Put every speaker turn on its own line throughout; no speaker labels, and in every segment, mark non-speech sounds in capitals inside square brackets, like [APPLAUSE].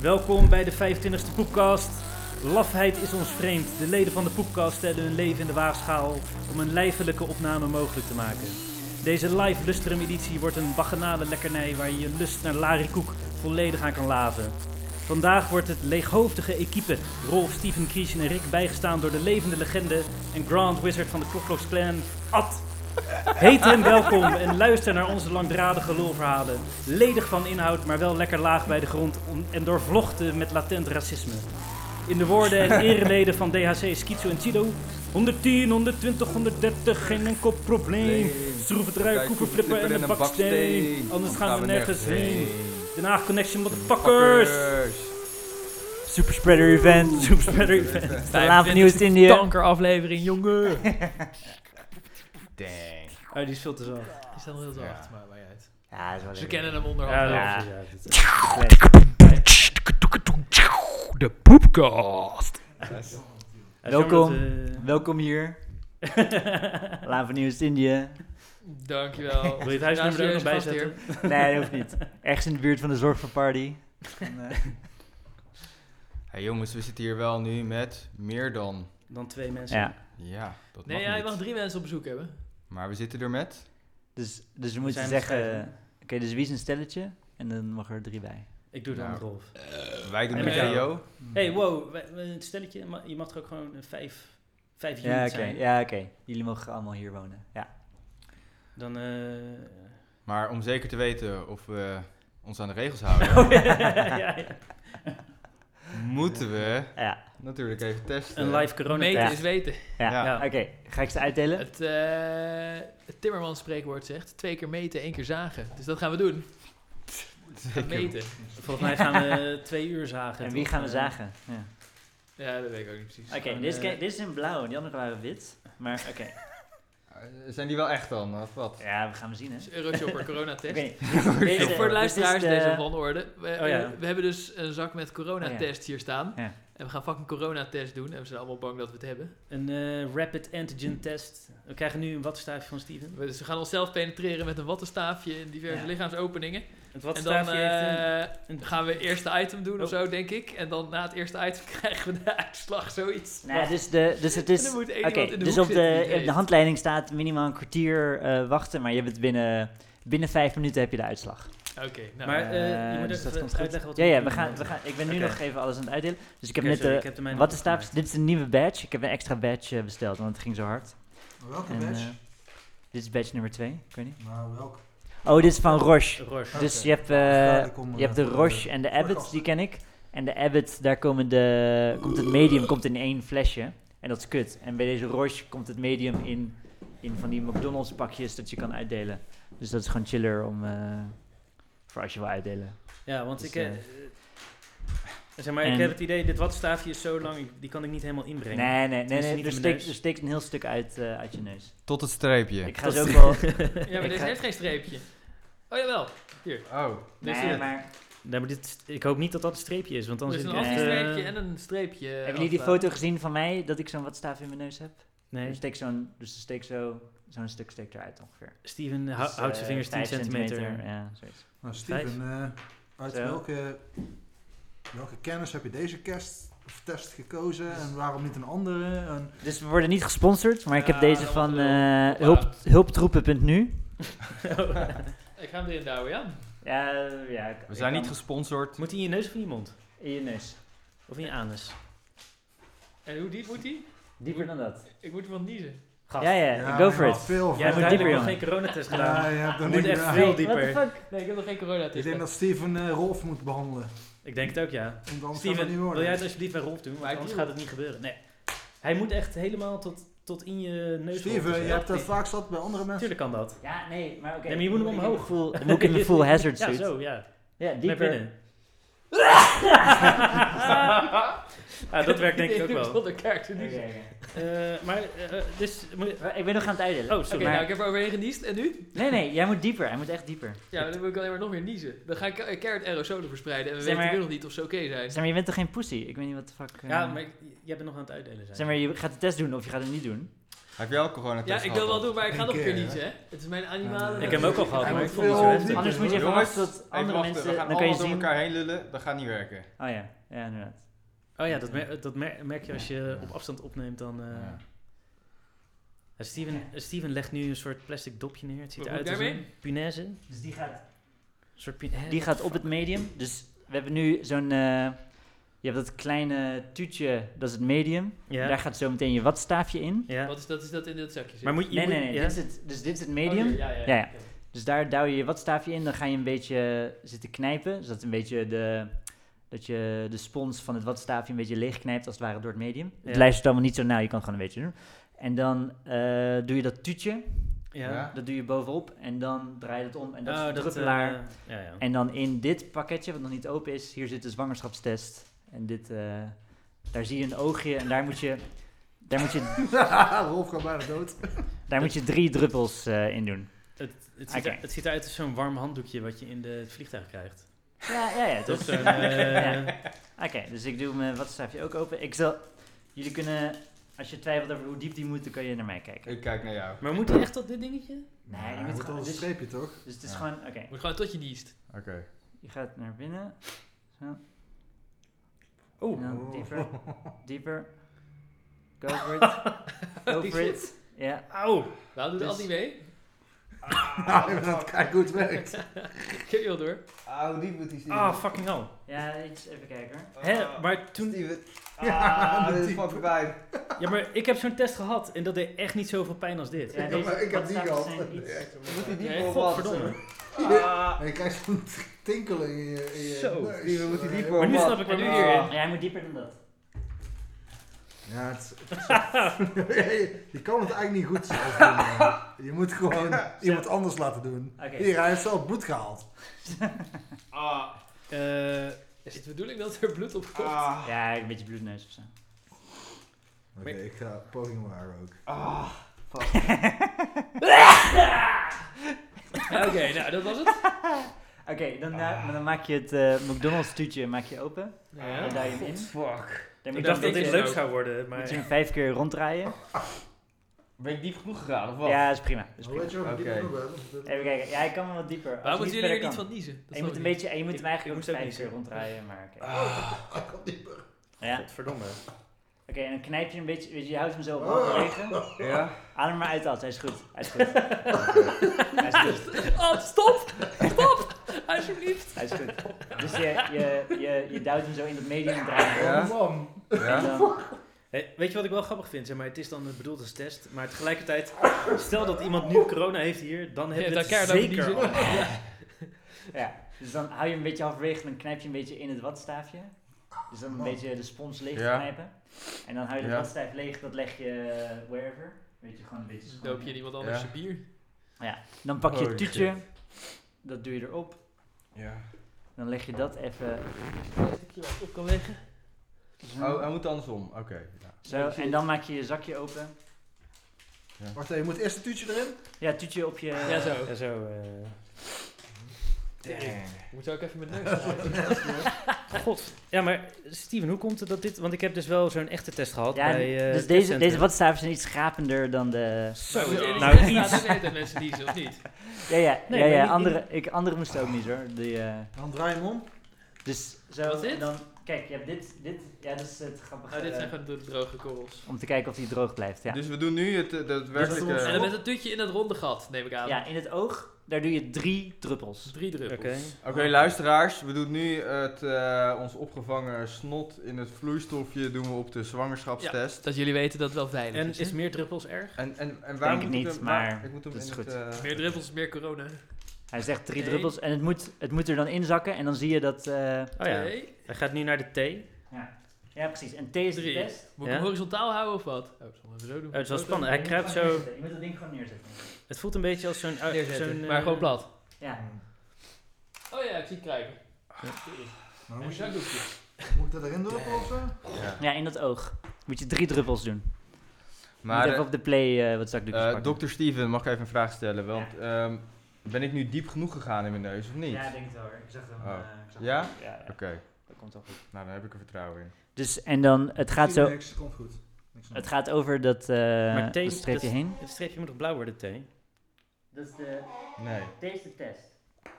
Welkom bij de 25e Poepcast. Lafheid is ons vreemd. De leden van de Poepcast stellen hun leven in de waagschaal om een lijfelijke opname mogelijk te maken. Deze live lustrum editie wordt een bacchanale lekkernij waar je je lust naar larikoek volledig aan kan laven. Vandaag wordt het leeghoofdige equipe Rolf, Steven, Kies en Rick bijgestaan door de levende legende en Grand Wizard van de Klokloks Clan, Ad. Heet hen welkom en luister naar onze langdradige lulverhalen. Ledig van inhoud, maar wel lekker laag bij de grond om- en doorvlochten met latent racisme. In de woorden en ereleden van DHC, Schizo en Chido. 110, 120, 130, geen enkel probleem. Schroef het ruik, koeper, flipper en een baksteen. Anders gaan we nergens heen. Den Haag Connection, motherfuckers!
Superspreader event.
Superspreader event.
Vanavond nieuws in India.
Kankeraflevering,
[LAUGHS]
jongen.
Dang.
Oh, die is veel te zacht.
Die staat nog heel zacht,
Ja.
maar maakt niet uit.
Ja, dat is wel
Ze
leuk.
kennen hem
Ja,
onderhand. wel.
dat
Ja.
is het,
De poepkast.
ja.
Welkom. Welkom hier. Laan van Nieuws Indië.
Dankjewel.
Wil je het huisnummer er ook nog bij zetten?
[LAUGHS] Nee, dat hoeft niet. Ergens in de buurt van de zorg voor party. En, eh,
Hey jongens, we zitten hier wel nu met meer dan.
Dan twee mensen.
ja.
Ja, dat
Nee,
mag
ja, je
niet.
mag drie mensen op bezoek hebben.
Maar we zitten er met.
Dus, dus we
We
moeten
zijn
zeggen...
bescheiden.
Oké, dus wie is een stelletje? En dan mag er drie bij.
Ik doe het
Nou.
aan Rolf.
Wij doen
en
de
met jou.
VO.
Hey, wow, we- we- het stelletje, ma- je mag er ook gewoon een vijf, vijf units
Ja, oké.
zijn.
Ja, oké. Jullie mogen allemaal hier wonen. Ja.
Dan, eh
Maar om zeker te weten of we ons aan de regels houden,
oh, ja, ja, ja.
moeten we
Ja.
natuurlijk even testen.
Een live corona
Meten
Ja.
is weten.
ja.
Ja.
Oké, ga ik ze uitdelen?
Het, eh het Timmermans spreekwoord zegt, twee keer meten, één keer zagen. Dus dat gaan we doen. We gaan meten.
Volgens mij gaan we twee uur zagen.
En wie
toch?
gaan we
Eh,
zagen? Ja.
Ja, dat weet ik ook niet precies.
Oké,
Gewoon,
dit, is
eh,
ke- dit is in blauw. Die andere waren wit. Maar oké.
Eh, Zijn die wel echt dan? Of wat?
Ja, we gaan hem zien, hè?
is
[LAUGHS]
Euroshopper
Ik
coronatest.
weet niet. [LAUGHS]
Even
Deze-
voor de
dit is
luisteraars
de-
deze van orde. We,
Oh ja. Oh,
we- we hebben dus een zak met coronatest hier staan.
Ja.
En we gaan fucking coronatest doen. En we zijn allemaal bang dat we het hebben.
Een eh, rapid antigen test. We krijgen nu een wattenstaafje van Steven.
We, dus we gaan onszelf penetreren met een wattenstaafje en diverse
Ja.
lichaamsopeningen.
Het
en dan
wattenstaafje heeft een-
eh, gaan we eerst de item doen of
Oh.
zo, denk ik. En dan na het eerste item [LAUGHS] krijgen we de uitslag, zoiets.
Nee, dus, de, dus het
[LAUGHS]
is...
En dan moet één
Oké,
iemand in de
dus
hoek
op
zitten die
de,
het
op de
weet.
handleiding staat minimaal een kwartier eh, wachten, maar je bent binnen, binnen vijf minuten heb je de uitslag.
Oké, nou.
Maar eh,
Eh,
je moet
dus
even
dat komt goed.
uitleggen wat
Ja, ja,
moeten
we
doen.
gaan, we gaan, ik ben nu
Oké.
nog even alles aan het uitdelen. Dus ik heb
Oké,
net
sorry,
de
ik heb de mijne
wat is
opgemaakt.
Dit is een nieuwe badge. Ik heb een extra badge eh, besteld, want het ging zo hard.
Welke
En,
badge?
eh, dit is badge nummer twee, ik weet niet.
nou, welke?
Oh, dit is van Roche.
Roche.
Dus
Oké.
je hebt, eh,
Ja, die komen,
je hebt de
eh, van
Roche
de
en de Abbott,
voorkast.
die ken ik. En de Abbott, daar komen de, komt het medium komt in één flesje. En dat is kut. En bij deze Roche komt het medium in, in van die McDonald's pakjes dat je kan uitdelen. Dus dat is gewoon chiller om, eh, voor als je wil uitdelen.
Ja, want
Dus,
ik... eh,
eh,
zeg maar, ik
en-
heb het idee, dit wattenstaafje is zo lang, ik- die kan ik niet helemaal
Nee,
inbrengen.
nee, nee.
Tenminste,
nee,
niet
er,
in mijn
steekt,
neus.
er steekt een heel stuk uit, eh, uit je neus.
Tot het streepje.
Ik ga ze
[LAUGHS]
ook wel...
ja, maar
ik
deze
ga-
heeft geen streepje. Oh jawel. Hier.
Oh,
Dus
nee,
dit-
maar...
Nee, maar dit, ik hoop niet dat dat een streepje is, want dan
Er
zit
is een
ik echt,
afstreepje
eh,
en een streepje.
Hebben jullie die foto gezien van mij, dat ik zo'n watstaaf in mijn neus heb?
Nee,
Er steekt zo'n... Dus er steekt zo... Zo'n stuk steekt eruit ongeveer.
Steven hou-
Dus,
houdt
eh,
zijn vingers 10
vijf
centimeter.
Ja, zoiets.
Nou, Steven, eh, uit
Zo.
welke, welke kennis heb je deze kerst, of test gekozen en waarom niet een andere? En,
Dus we worden niet gesponsord, maar ik heb
Ja,
deze
dat
van
was heel
eh,
oplaad.
hulp, hulptroepen.nu.
Ik ga hem erin douwen, ja?
Ja, eh, ja. ik-
we
ik
zijn
kan-
niet gesponsord.
Moet hij in je neus of in je mond?
In je neus.
Of in je anus?
En hoe diep moet die?
Dieper dan dat.
Ik moet iemand niezen.
Gast.
Ja, ja, go for
ja,
it.
Veel
Jij
moet
hebt
van-
dieper,
eigenlijk nog
jongen.
geen coronatest gedaan.
Ja, je hebt dan
Moet
niet
echt
meer-
veel
Hey, what
dieper.
the fuck?
Nee, ik heb nog geen coronatest.
Ik denk dat
gehad.
Steven eh, Rolf moet behandelen.
Ik denk het ook, ja.
Want anders kan het niet
Steven,
worden.
wil jij het alsjeblieft bij Rolf doen?
Maar
Want
ik
anders
doe
gaat het niet gebeuren. Nee. Hij moet echt helemaal tot, tot in je neus.
Steven, je hebt dat
Natuurlijk
vaak zat bij andere mensen.
kan dat.
Ja, nee, maar oké.
Nee, maar je moet hem
Ik
omhoog.
voel- Dan moet ik in de
[LAUGHS]
full hazard
Ja,
suit.
zo, ja.
Ja,
Naar [LAUGHS]
dieper.
binnen. ah, dat werkt
[LAUGHS]
denk ik ook wel.
Zonder kaart te
Oké,
niezen.
oké.
Eh, maar, eh, dus... Moet,
Maar Ik ben nog aan het uitdelen.
Oh,
Oké,
sorry.
nou ik heb er overheen geniest. En nu?
Nee, nee, jij moet dieper. Hij moet echt dieper.
Ja, maar dan moet ik alleen maar nog meer niezen. Dan ga ik eh, carrot aerosolen verspreiden en we
Zeg
weten
maar-
nu nog niet of ze oké zijn.
Zeg maar, je bent toch geen pussy? Ik weet niet wat de fuck... eh,
ja, maar ik- jij bent nog aan het uitdelen zijn.
Zeg maar, je gaat de test doen of je gaat het niet doen.
Heb jij ook corona
Ja, ik wil wel doen, maar ik ga
Eén
nog een keer
keer,
niet,
hè?
hè? Het is mijn animale...
Ik heb hem ook al gehad,
Ja,
maar ik
ik
vond het
wil
zo
niet.
heftig.
Anders moet je even
Jongens,
wachten tot
Even
andere
wachten, we
mensen...
gaan
Dan kan je
allemaal door
zien...
elkaar heen lullen. Dat gaat niet werken.
Oh ja, ja inderdaad.
Oh ja, dat, mer- dat mer- merk je als je op afstand opneemt dan... eh.
Ja.
Ja, Steven, Steven legt nu een soort plastic dopje neer. Het ziet
Wat
eruit
moet
als
ik daarmee?
een punaise. Een
Dus die gaat,
soort punaise.
die gaat op het medium. Dus we hebben nu zo'n... eh, je hebt dat kleine tuutje, dat is het medium.
Ja.
Daar gaat zo meteen je watstaafje in.
ja.
Wat is dat? Is dat in dat zakje? zit?
Maar moet je...
Nee,
moet-
nee, nee.
ja?
Dit is het, dus dit is het medium.
Oh, ja, ja,
Ja,
ja.
ja. Dus daar duw je je watstaafje in, dan ga je een beetje eh, zitten knijpen. Zodat een beetje de, dat je de spons van het watstaafje een beetje leegknijpt, als het ware, door het medium.
Ja.
Het luistert allemaal niet zo nauw, je kan het gewoon een beetje doen. En dan eh, doe je dat tuutje,
Ja.
Ja.
dat doe je bovenop en dan draai je het om en dat
Oh,
is de
eh,
druppelaar.
ja, ja.
En dan in dit pakketje, wat nog niet open is, hier zit de zwangerschapstest. En dit, eh, daar zie je een oogje en daar moet je, daar moet je,
[LAUGHS]
Rolf gaat bijna dood.
daar moet je drie druppels eh, in doen.
Het, het, ziet
Oké.
er, het ziet eruit als zo'n warm handdoekje wat je in de, het vliegtuig krijgt.
Ja, ja, ja.
Dat
Dat,
is zo'n... eh,
Ja. Oké, dus ik doe mijn wattenstaafje ook open. Ik zal... Jullie kunnen... Als je twijfelt over hoe diep die moet, dan kan je naar mij kijken.
Ik kijk naar jou.
Maar moet hij echt op dit dingetje?
Nee, die
je
moet
moet wel
gewoon...
een
Dus,
streepje toch?
dus het is
Ja.
gewoon... Oké,
Moet gewoon tot je niest.
Oké.
je gaat naar binnen. Zo. En
Oeh.
dan
Oh.
dieper. Dieper. Go for it. Go
Die
for it. Ja.
Auw.
Waarom doet
Dus-
dat niet mee? [LAUGHS]
[LAUGHS]
Nou, ik ben aan het kijken hoe het werkt.
Ik heb je wel door.
Ah, hoe diep moet die zien?
Ah, fucking hell.
Ja, iets even kijken. hoor.
Hè, maar toen...
Ja,
Ah, dit is
diep.
fucking bij.
Ja, maar ik heb zo'n test gehad en dat deed echt niet zoveel pijn als dit.
Ja,
maar
deze
ik heb die
wattenstaafjes
gehad.
zijn iets-
Moet die diep
Nee,
of wat?
Godverdomme.
Ah,
En je krijgt zo'n tinkeling in je... in je
Zo.
neus.
Steven, moet die
Eh,
dieper
Maar
of
nu
wat?
snap ik waar
En
we
nu
hier
hierin.
Oh. Ja, hij moet dieper dan dat.
Ja, het is- het is- [LAUGHS] je, je kan het eigenlijk niet goed zelf doen. man. Je moet gewoon iemand anders laten doen.
Oké.
Hier, hij heeft zelf bloed gehaald.
Ah,
Eh,
Is het de bedoeling dat er bloed op komt?
ah,
Ja, een beetje bloedneus of zo.
Oké, ik ga poging waren ook.
ah.
[LAUGHS]
Oké, nou dat was het.
Oké, dan, eh, maar dan maak je het eh, McDonald's tuutje maak je open.
Nou ja.
En duw je hem in.
fuck. Ik
Dan moet
dacht dat
je hem
dit
ik-
leuk zou worden, maar...
Moet je hem vijf keer ronddraaien?
Ben ik diep genoeg gegaan of wat?
Ja, dat is prima. dat is
Hoe
prima.
weet je wel,
Oké.
die doen we wel.
Even kijken. Ja, ik kan wel wat dieper. Als je
Waarom moeten jullie er
verder
niet
kan.
van niezen?
En je moet, een beetje, en je moet hem
Ik-
eigenlijk
ik
ook
moest ook
vijf
niet.
keer ronddraaien, maar oké. Ja. Oké,
Godverdomme.
en dan knijp je hem een beetje, weet je, je houdt hem zo op
Oh.
halverwege.
Ja?
Haal hem maar uit dat, hij is goed. Hij is goed. hij is goed.
Oh, stop! Stop! [LAUGHS] Alsjeblieft.
Hij is goed. Dus je, je, je, je duwt hem zo in het medium en draait hem
Ja?
om.
man.
En
Ja?
dan-
Hey, weet je wat ik wel grappig vind? Zeg maar, het is dan bedoeld als test, maar tegelijkertijd... Stel dat iemand nu corona heeft hier, dan hebben we
dan
het
keihard over
zeker
[LAUGHS] niezen.
allemaal.
ja. Dus dan hou je hem een beetje halverwege en dan knijp je een beetje in het watstaafje. Dus dan een
Oh.
beetje de spons leeg
Ja.
knijpen. En dan hou je de
Ja.
watstaaf leeg, dat leg je eh, wherever. Weet je, gewoon een beetje schoon.
Doop je iemand anders
Ja.
je bier?
Dan pak je het
Oh,
tuutje, dat doe je erop.
Ja.
Dan leg je dat even
Op kan leggen.
zo.
Oh, hij moet andersom. Oké. ja.
zo. En dan maak je je zakje open.
Wacht even, je moet eerst een tuutje erin.
Ja, tuutje op je...
Ja, zo.
Ja, zo. eh.
Ik moet ook even mijn neus draaien.
God. Ja, maar Steven, hoe komt het dat dit... Want ik heb dus wel zo'n echte test gehad
Ja,
bij... eh,
dus
het
deze,
testcentrum.
deze watstaafjes zijn iets schrapender dan de...
Zo,
Ja.
Nou,
nou, nou,
iets.
nou, nou, mensen niezen, of niet?
Ja, ja,
Nee,
ja,
maar
ja
niet-
andere, ik, andere moest ook niet hoor. Die, eh,
Dan draai je hem om.
dus zo,
Wat is dit?
en dan... Kijk, je hebt dit, dit... Ja, dat is het grappige...
Nou, dit zijn
eh,
gewoon de droge korrels.
Om te kijken of die droog blijft, ja.
Dus we doen nu het, eh, dat werkelijke...
Dus-
En dan met een tutje in dat ronde gat, neem ik aan.
Ja, in het oog, daar doe je drie druppels.
Drie druppels.
Oké.
Oké, luisteraars, we doen nu het, eh, ons opgevangen snot in het vloeistofje doen we op de zwangerschapstest.
Dat jullie weten dat het wel veilig
En
is. hè?
is meer druppels erg?
En, en, en waar moet
Denk het
ik
niet,
hem, waar-
maar
ik moet hem
dat is
in
goed.
Het, eh,
Meer druppels, meer corona.
Oh,
Hij zegt drie
Eén.
druppels en het moet, het moet er dan inzakken en dan zie je dat... eh,
Oh ja.
Twee.
Hij gaat nu naar de thee.
ja. ja, precies. En T is de
Drie.
test.
Moet ik
Ja?
hem horizontaal houden of wat? Oh, ik zal hem even zo doen.
Oh, het is wel
Zo
spannend. Hij
Je moet
kruipt
gewoon
zo...
neerzetten. Je moet dat ding gewoon neerzetten.
Het voelt een beetje als zo'n...
doen.
eh,
Neerzetten,
zo'n, eh,
maar gewoon plat.
Ja.
Oh ja, ik zie het kruipen.
Maar
Een
moet, je,
zakdoekje.
moet ik dat erin doen of zo?
ja.
ja, in dat oog. Moet je drie druppels doen.
Maar
Moet
eh,
even op de play eh wat zakdoekjes
eh,
pakken.
dokter Steven, mag ik even een vraag stellen? Want ehm, ben ik nu diep genoeg gegaan in mijn neus of niet?
Ja, ik denk het wel. hoor. Ik zag hem.
Oh.
eh, ik zag
Ja?
hem. Ja, ja.
Oké,
Dat komt wel goed.
nou dan heb ik er vertrouwen in.
Dus en dan, het gaat zo.
Niks, komt goed.
niks aan.
Het gaat over dat, eh
thee
dat streepje
is-
heen.
Het streepje moet nog blauw worden, T.
Dat is de,
Nee.
deze test.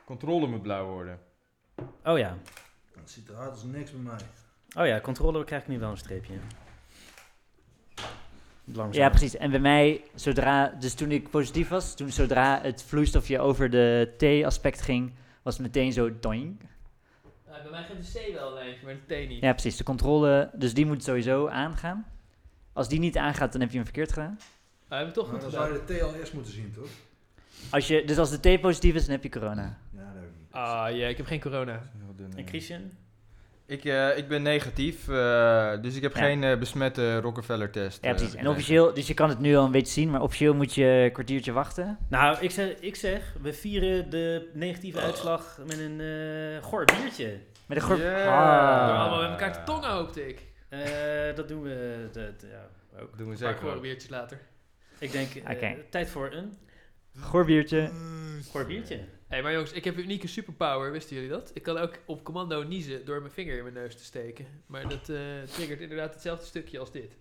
Controle moet blauw worden.
Oh ja.
Dat ziet eruit als niks bij mij.
Oh ja, controle krijg ik nu wel een streepje. Langzaam.
Ja, precies. En bij mij, zodra, dus toen ik positief was, toen zodra het vloeistofje over de T-aspect ging, was het meteen zo doing.
bij mij geeft de C wel een lijntje, maar de T niet.
Ja, precies. De controle, dus die moet sowieso aangaan. Als die niet aangaat, dan heb je hem verkeerd gedaan.
Maar Ah, we hebben toch
Maar
goed
dan zou
gedaan.
je de T al eerst moeten zien, toch?
Als je, dus als de T positief is, dan heb je corona.
Ja, dat heb ik niet.
Ah, ja, ik heb geen corona.
Heel dun,
En
eh.
Christian?
Ik, eh, ik ben negatief, eh, dus ik heb
Ja.
geen eh, besmette Rockefeller-test.
Ja,
eh,
precies. En
gekregen.
officieel, dus je kan het nu al een beetje zien, maar officieel moet je een kwartiertje wachten.
Nou, ik zeg, ik zeg, we vieren de negatieve uitslag met een eh goor biertje.
Met een groep.
Yeah.
Ah.
Door allemaal met elkaar te tongen, hoopte ik.
Eh, dat doen we dat, ja, ook.
Doen we
Een paar
zeker.
gewone
ook.
biertjes later.
Ik denk, eh,
Oké.
tijd voor een
Goorbiertje.
Mm.
goor biertje.
Hé, maar jongens, ik heb een unieke superpower, wisten jullie dat? Ik kan ook op commando niezen door mijn vinger in mijn neus te steken. Maar dat eh, triggert inderdaad hetzelfde stukje als dit.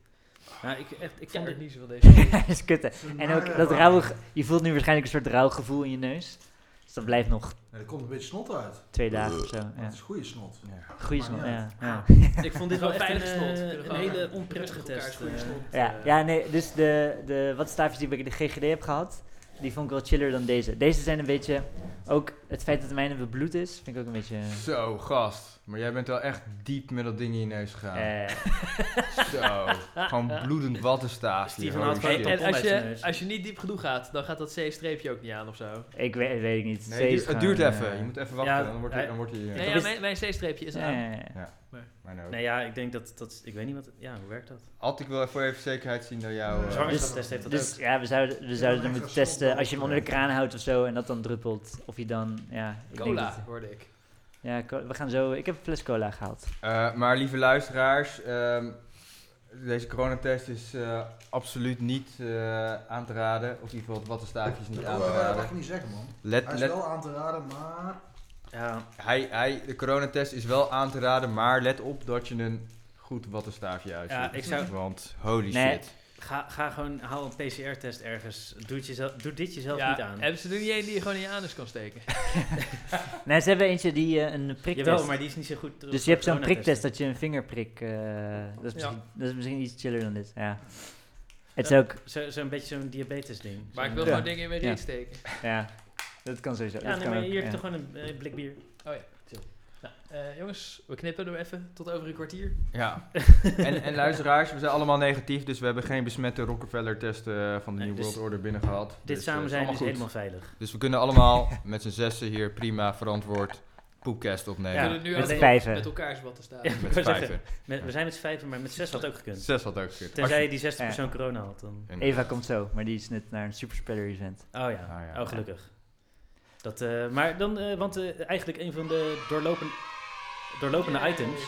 Nou, ik, echt, ik
Ik vond
vond
het
het niet.
niezen van deze.
[LAUGHS] dat is kut, hè.
Het is een
En ook
nare
dat
ervaring.
rauwe, ge- je voelt nu waarschijnlijk een soort rauw gevoel in je neus. Dus dat blijft nog
Nee, er komt een beetje snot uit.
twee dagen of zo.
Maar
Ja.
Het is goede snot.
Ja.
Goeie
Maar
smaak,
ja.
ja.
[LAUGHS]
Ja.
Ik vond dit wel echt een,
veilig snot.
eh,
Kunnen we
een
gewoon
hele
rustig
onprettige
op elkaar
test.
goede
eh.
snot,
Ja,
eh,
ja, nee, dus de, de wat staafjes die ik bij de GGD heb gehad, die vond ik wel chiller dan deze. Deze zijn een beetje, ook het feit dat mijn bloed is, vind ik ook een beetje...
Zo, gast. Maar jij bent wel echt diep met dat ding in je neus gegaan.
eh,
Zo. Gewoon bloedend wattenstaaf. hier,
Steven
holy
had gewoon
shit.
een
En
tampon
als
uit zijn
je,
neus.
als je niet diep genoeg gaat, dan gaat dat C-streepje ook niet aan of zo.
ik weet, weet ik niet.
Nee,
Ze
het
is
duurt, het duurt
gewoon,
even.
eh,
Je moet even wachten,
ja,
dan wordt
hij-
hij... Dan wordt hij eh,
Nee,
dat
ja,
is-
mijn, mijn C-streepje is aan.
eh,
mijn ook.
Nee, ja, ik denk dat, dat ik weet niet wat, ja, hoe werkt dat?
Alt, ik wil even voor even zekerheid zien dat jou... eh,
Zwanger-
Zwangerschapstest heeft dat
Dus
ook.
ja, we zouden, we
maar
zouden
extra
dan moeten
slot
testen
dan
als je hem onder de
ook,
kraan houdt of zo en dat dan druppelt. Of je dan, ja. Ik denk
Cola,
dat-
hoorde ik.
ja, co- we gaan zo, ik heb een fles cola gehaald.
Eh, maar lieve luisteraars, ehm, deze coronatest is eh, absoluut niet eh, aan te raden. Of in ieder geval het wattenstaafje is niet
Dat
aan
kan-
te
eh,
raden.
mag je niet zeggen, man.
Let,
Hij is
let,
wel aan te raden, maar...
Ja,
hij, hij, de coronatest is wel aan te raden, maar let op dat je een goed wattenstaafje uitziet.
ja ik zou,
Want holy
Nee.
shit.
ga, ga gewoon, haal een PCR-test ergens. Doe, het jezelf, doe dit jezelf
Ja,
niet aan.
hebben ze er niet één die je gewoon in je anus kan
[LAUGHS]
steken?
Nee, ze hebben eentje die eh, een priktest.
Jawel, maar die is niet zo goed.
Dus je hebt zo'n priktest dat je een vingerprik. eh, dat, is misschien, dat is misschien iets chiller dan dit. Ja. Het is
Ja.
ook.
Zo'n beetje zo'n diabetes-ding.
Maar ik
Zo'n-
wil
Ja.
gewoon dingen in mijn
Ja.
reet steken.
Ja, dat kan sowieso.
Ja,
dat
nee,
kan
maar
ook,
hier heb
ja.
je toch gewoon een eh, blik bier.
Oh ja, chill. Nou, eh, jongens, we knippen hem even tot over een kwartier.
[LAUGHS]
Ja. en, en luisteraars, we zijn allemaal negatief, dus we hebben geen besmette Rockefeller-test eh, van de
Nee,
New
dus
World Order binnengehaald.
Dit
Dus, eh,
samen
is
zijn is
allemaal goed.
helemaal veilig.
Dus we kunnen allemaal [LAUGHS] met z'n zessen hier prima verantwoord poepcast
We
opnemen.
Ja,
kunnen nu
met
ook
vijven.
met elkaar z'n watten staan.
Ja.
Met
Ik wou
vijven.
Met- we zijn met z'n vijven, maar met zes had het ook gekund.
Zes had ook gekund.
Tenzij je die zesde
Ja.
persoon corona had. Dan.
En-
Eva komt zo, maar die is net naar een superspeller event.
Oh
Ah,
ja,
ja.
oh gelukkig. Dat, eh, maar dan, eh, want eh, eigenlijk een van de doorlopen, doorlopende
Yay.
items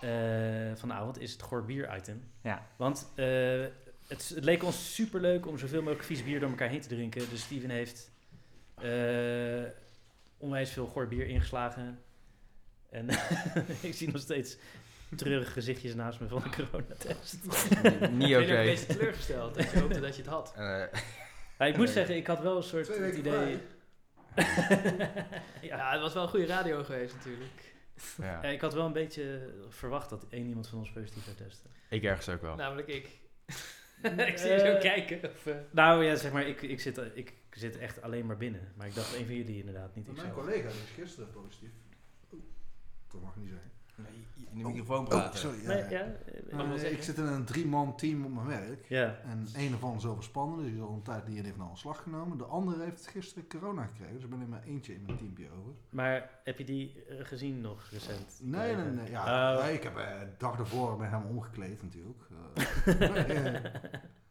eh, van de avond is het gorbier item.
Ja.
Want eh, het, het leek ons superleuk om zoveel mogelijk vies bier door elkaar heen te drinken. Dus Steven heeft eh, onwijs veel gorbier ingeslagen. En [LAUGHS] ik zie nog steeds treurige gezichtjes naast me van de
[LAUGHS]
coronatest. [LAUGHS]
Niet
Ik ben een
oké.
beetje teleurgesteld dat je hoopte dat je het had.
Eh,
Maar ik moet zeggen, ik had wel een soort
Twee
het
weken
idee...
vrij.
[LAUGHS] ja.
[LAUGHS] Ja, het was wel een goede radio geweest natuurlijk.
Ja,
ja.
ik had wel een beetje eh, verwacht dat één iemand van ons positief zou testen.
Ik ergens ook wel.
Namelijk [LAUGHS] ik. ik zie je zo
Eh.
kijken. Of, eh,
Nou ja, zeg maar, ik, ik, zit, eh, ik zit echt alleen maar binnen. Maar ik dacht één van jullie inderdaad, niet
Maar Mijn
ikzelf.
collega die is gisteren positief. Dat mag ik niet zeggen.
In de
Oh, sorry.
Nee,
ja, ja.
ja, eh,
Maar,
Mag wel
eh,
zeggen.
ik zit in een drie-man team op mijn werk.
ja.
En een ervan is overspannen, dus die is al een tijd die heeft nou ontslag genomen. De andere heeft gisteren corona [LAUGHS] gekregen, dus ik ben er maar eentje in mijn teampje over.
Maar heb je die eh, gezien nog recent? Oh.
Nee, nee, nee. Ja, nee, ik heb eh, de dag ervoor met hem omgekleed natuurlijk. Eh,
[LAUGHS]
[LAUGHS] nee, eh,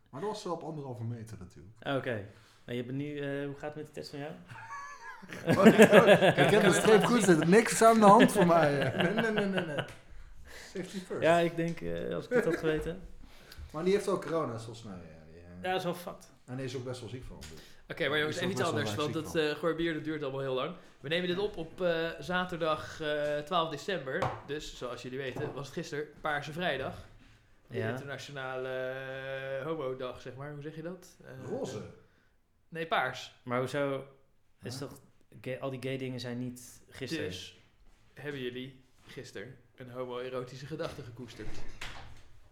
maar dat was wel op anderhalve meter
[LAUGHS]
natuurlijk.
Ah, Oké. En je bent nu, eh, hoe gaat het met de test van jou?
ik heb de streep goed zitten, niks aan de hand [LAUGHS] voor mij. eh,
[LAUGHS]
Nee, nee, nee, nee. nee. Safety first.
Ja, ik denk, eh, als ik het had geweten.
Maar die heeft ook corona, zoals nou [LAUGHS] ja. die, eh,
Ja, dat is wel fat.
En die is ook best wel ziek van. dus.
Oké, maar jongens,
Is ook
even
best
iets
wel
anders, want
waar ik
dat
ziek
eh gorbier dat duurt allemaal heel lang. We nemen dit op op eh, zaterdag eh, 12 december, dus zoals jullie weten was het gisteren Paarse Vrijdag. De
Ja.
internationale eh, homo-dag, zeg maar. Hoe zeg je dat? Eh,
Roze.
Nee, paars.
Maar hoezo? Is toch, gay- al die gay dingen zijn niet gisteren.
Dus hebben jullie gisteren een homoerotische gedachte gekoesterd?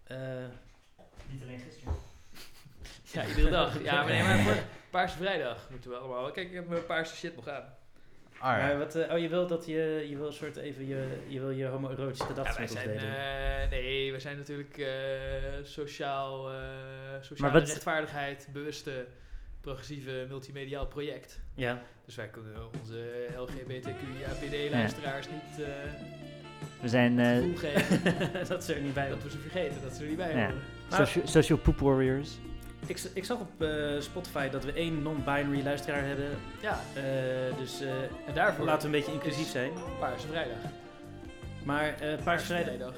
Eh,
Niet alleen gisteren.
Ja, iedere dag. Ja,
[LAUGHS]
maar nee, maar voor Paarse Vrijdag moeten we allemaal. Kijk, ik heb mijn paarse shit nog aan.
Ah,
maar wat, eh, oh, je wil dat je, je wil een soort even je, je wil je homoerotische
Ja,
gedachten
wij
met ons
zijn,
delen.
eh, nee, wij zijn natuurlijk eh, sociaal, eh
Maar
sociale
wat-
rechtvaardigheid, bewuste, progressieve, multimediaal project.
ja. [LAUGHS]
Dus wij kunnen onze LGBTQIAPD-luisteraars niet eh
We zijn
het
eh,
gevoel
[LAUGHS]
geven
dat ze er niet bij
dat we ze vergeten, dat ze er niet bij
Ja.
horen.
Maar-
socia- social poop warriors.
Ik, z- ik zag op eh, Spotify dat we één non-binary luisteraar hebben.
Ja,
Eh, dus eh,
en daarvoor
laten we een beetje inclusief zijn.
Paarse Vrijdag.
Maar eh Paarse Vrijdag,
Vrijdag.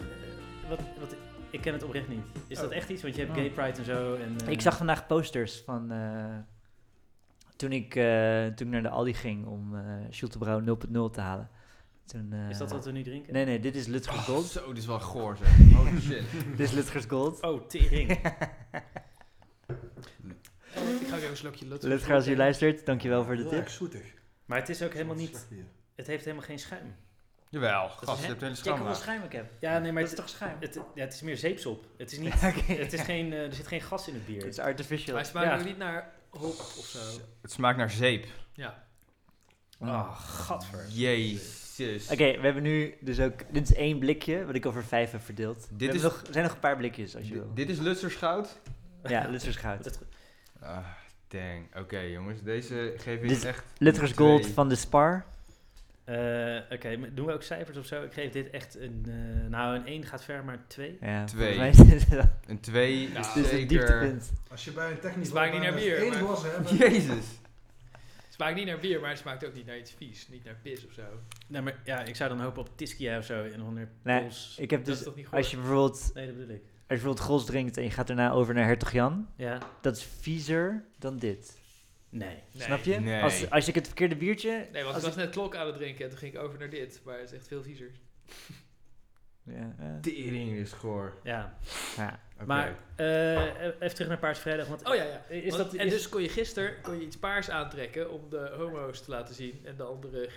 wat, wat, ik ken het oprecht niet. Is
Oh.
dat echt iets? Want je hebt
Oh.
gay pride en zo. En, eh,
Ik zag vandaag posters van. eh, toen, ik, eh, toen ik naar de Aldi ging om eh Schultebrouw 0.0 te halen. Toen, eh,
Is dat wat we nu drinken?
Nee, nee, dit is Lutgers
Oh,
Gold.
zo, dit is wel
[LAUGHS]
goor zeg. Holy shit.
dit is Lutgers Gold.
Oh,
[LAUGHS]
tering.
ik ga weer een slokje Lutger.
Lutger, als je luistert, dankjewel voor de
Heel
tip.
erg zoetig.
maar het is ook helemaal niet...
Slecht bier.
Het heeft helemaal geen schuim.
Jawel,
Dat
gast,
is-
je hebt hele
Kijk
schande.
hoeveel schuim ik heb.
Ja, nee, maar
dat is toch schuim?
Het, ja, het is meer zeepsop. Het is niet...
Ja, [LAUGHS] oké.
Het is geen, eh, er zit geen gas in het bier.
Het is artificial.
Maar het smaakt
Ja.
nog niet naar hop of zo.
Het smaakt naar zeep.
Ja.
Ah,
Oh, gadver.
Jezus.
Mm. Oké, we hebben nu dus ook... Dit is één blikje, wat ik over vijf heb verdeeld.
Dit
Dit
is-
is... nog, er zijn nog een paar blikjes, als je wil.
D- dit is Lutsers goud.
Ja, Lutgers
[LAUGHS]
Goud.
Dat-
Ah, dang. Oké jongens, deze geef
Dit
ik
is
echt...
Lutgers Gold
Twee.
van de Spar.
Eh, Oké, maar doen we ook cijfers of zo? Ik geef dit echt een... eh, nou, een 1 gaat ver, maar een 2.
Ja,
Twee.
volgens mij is [LAUGHS] dit wel-
Een 2
Ja,
is
dit is
zeker...
het dieptepunt.
Als je bij een technisch
Het smaakt niet naar bier,
één
maar-
glas hebt...
Jezus.
Het smaakt niet naar bier, maar het smaakt ook niet naar iets vies. Niet naar pis of zo.
Nou, maar ja, ik zou dan hopen op Tiskia of zo. En 100
Nee,
pils.
Ik heb
Dat is
dus...
toch niet goed?
Als je bijvoorbeeld
Nee, dat bedoel ik.
Als je bijvoorbeeld Gros drinkt en je gaat daarna over naar Hertog Jan,
Ja.
dat is viezer dan dit.
Nee.
Nee.
Snap je?
Nee.
Als, als ik het verkeerde biertje.
Nee, want
als
ik was net klok aan het drinken en toen ging ik over naar dit. Maar het is echt veel viezer.
ik- ja, ja.
Tering is goor.
Ja.
Ja.
Oké.
Maar eh, even terug naar Paarse Vrijdag. Want
Oh ja, ja.
Is
Want-
dat,
en
is-
dus kon je gisteren kon je iets paars aantrekken om de homo's te laten zien. En de andere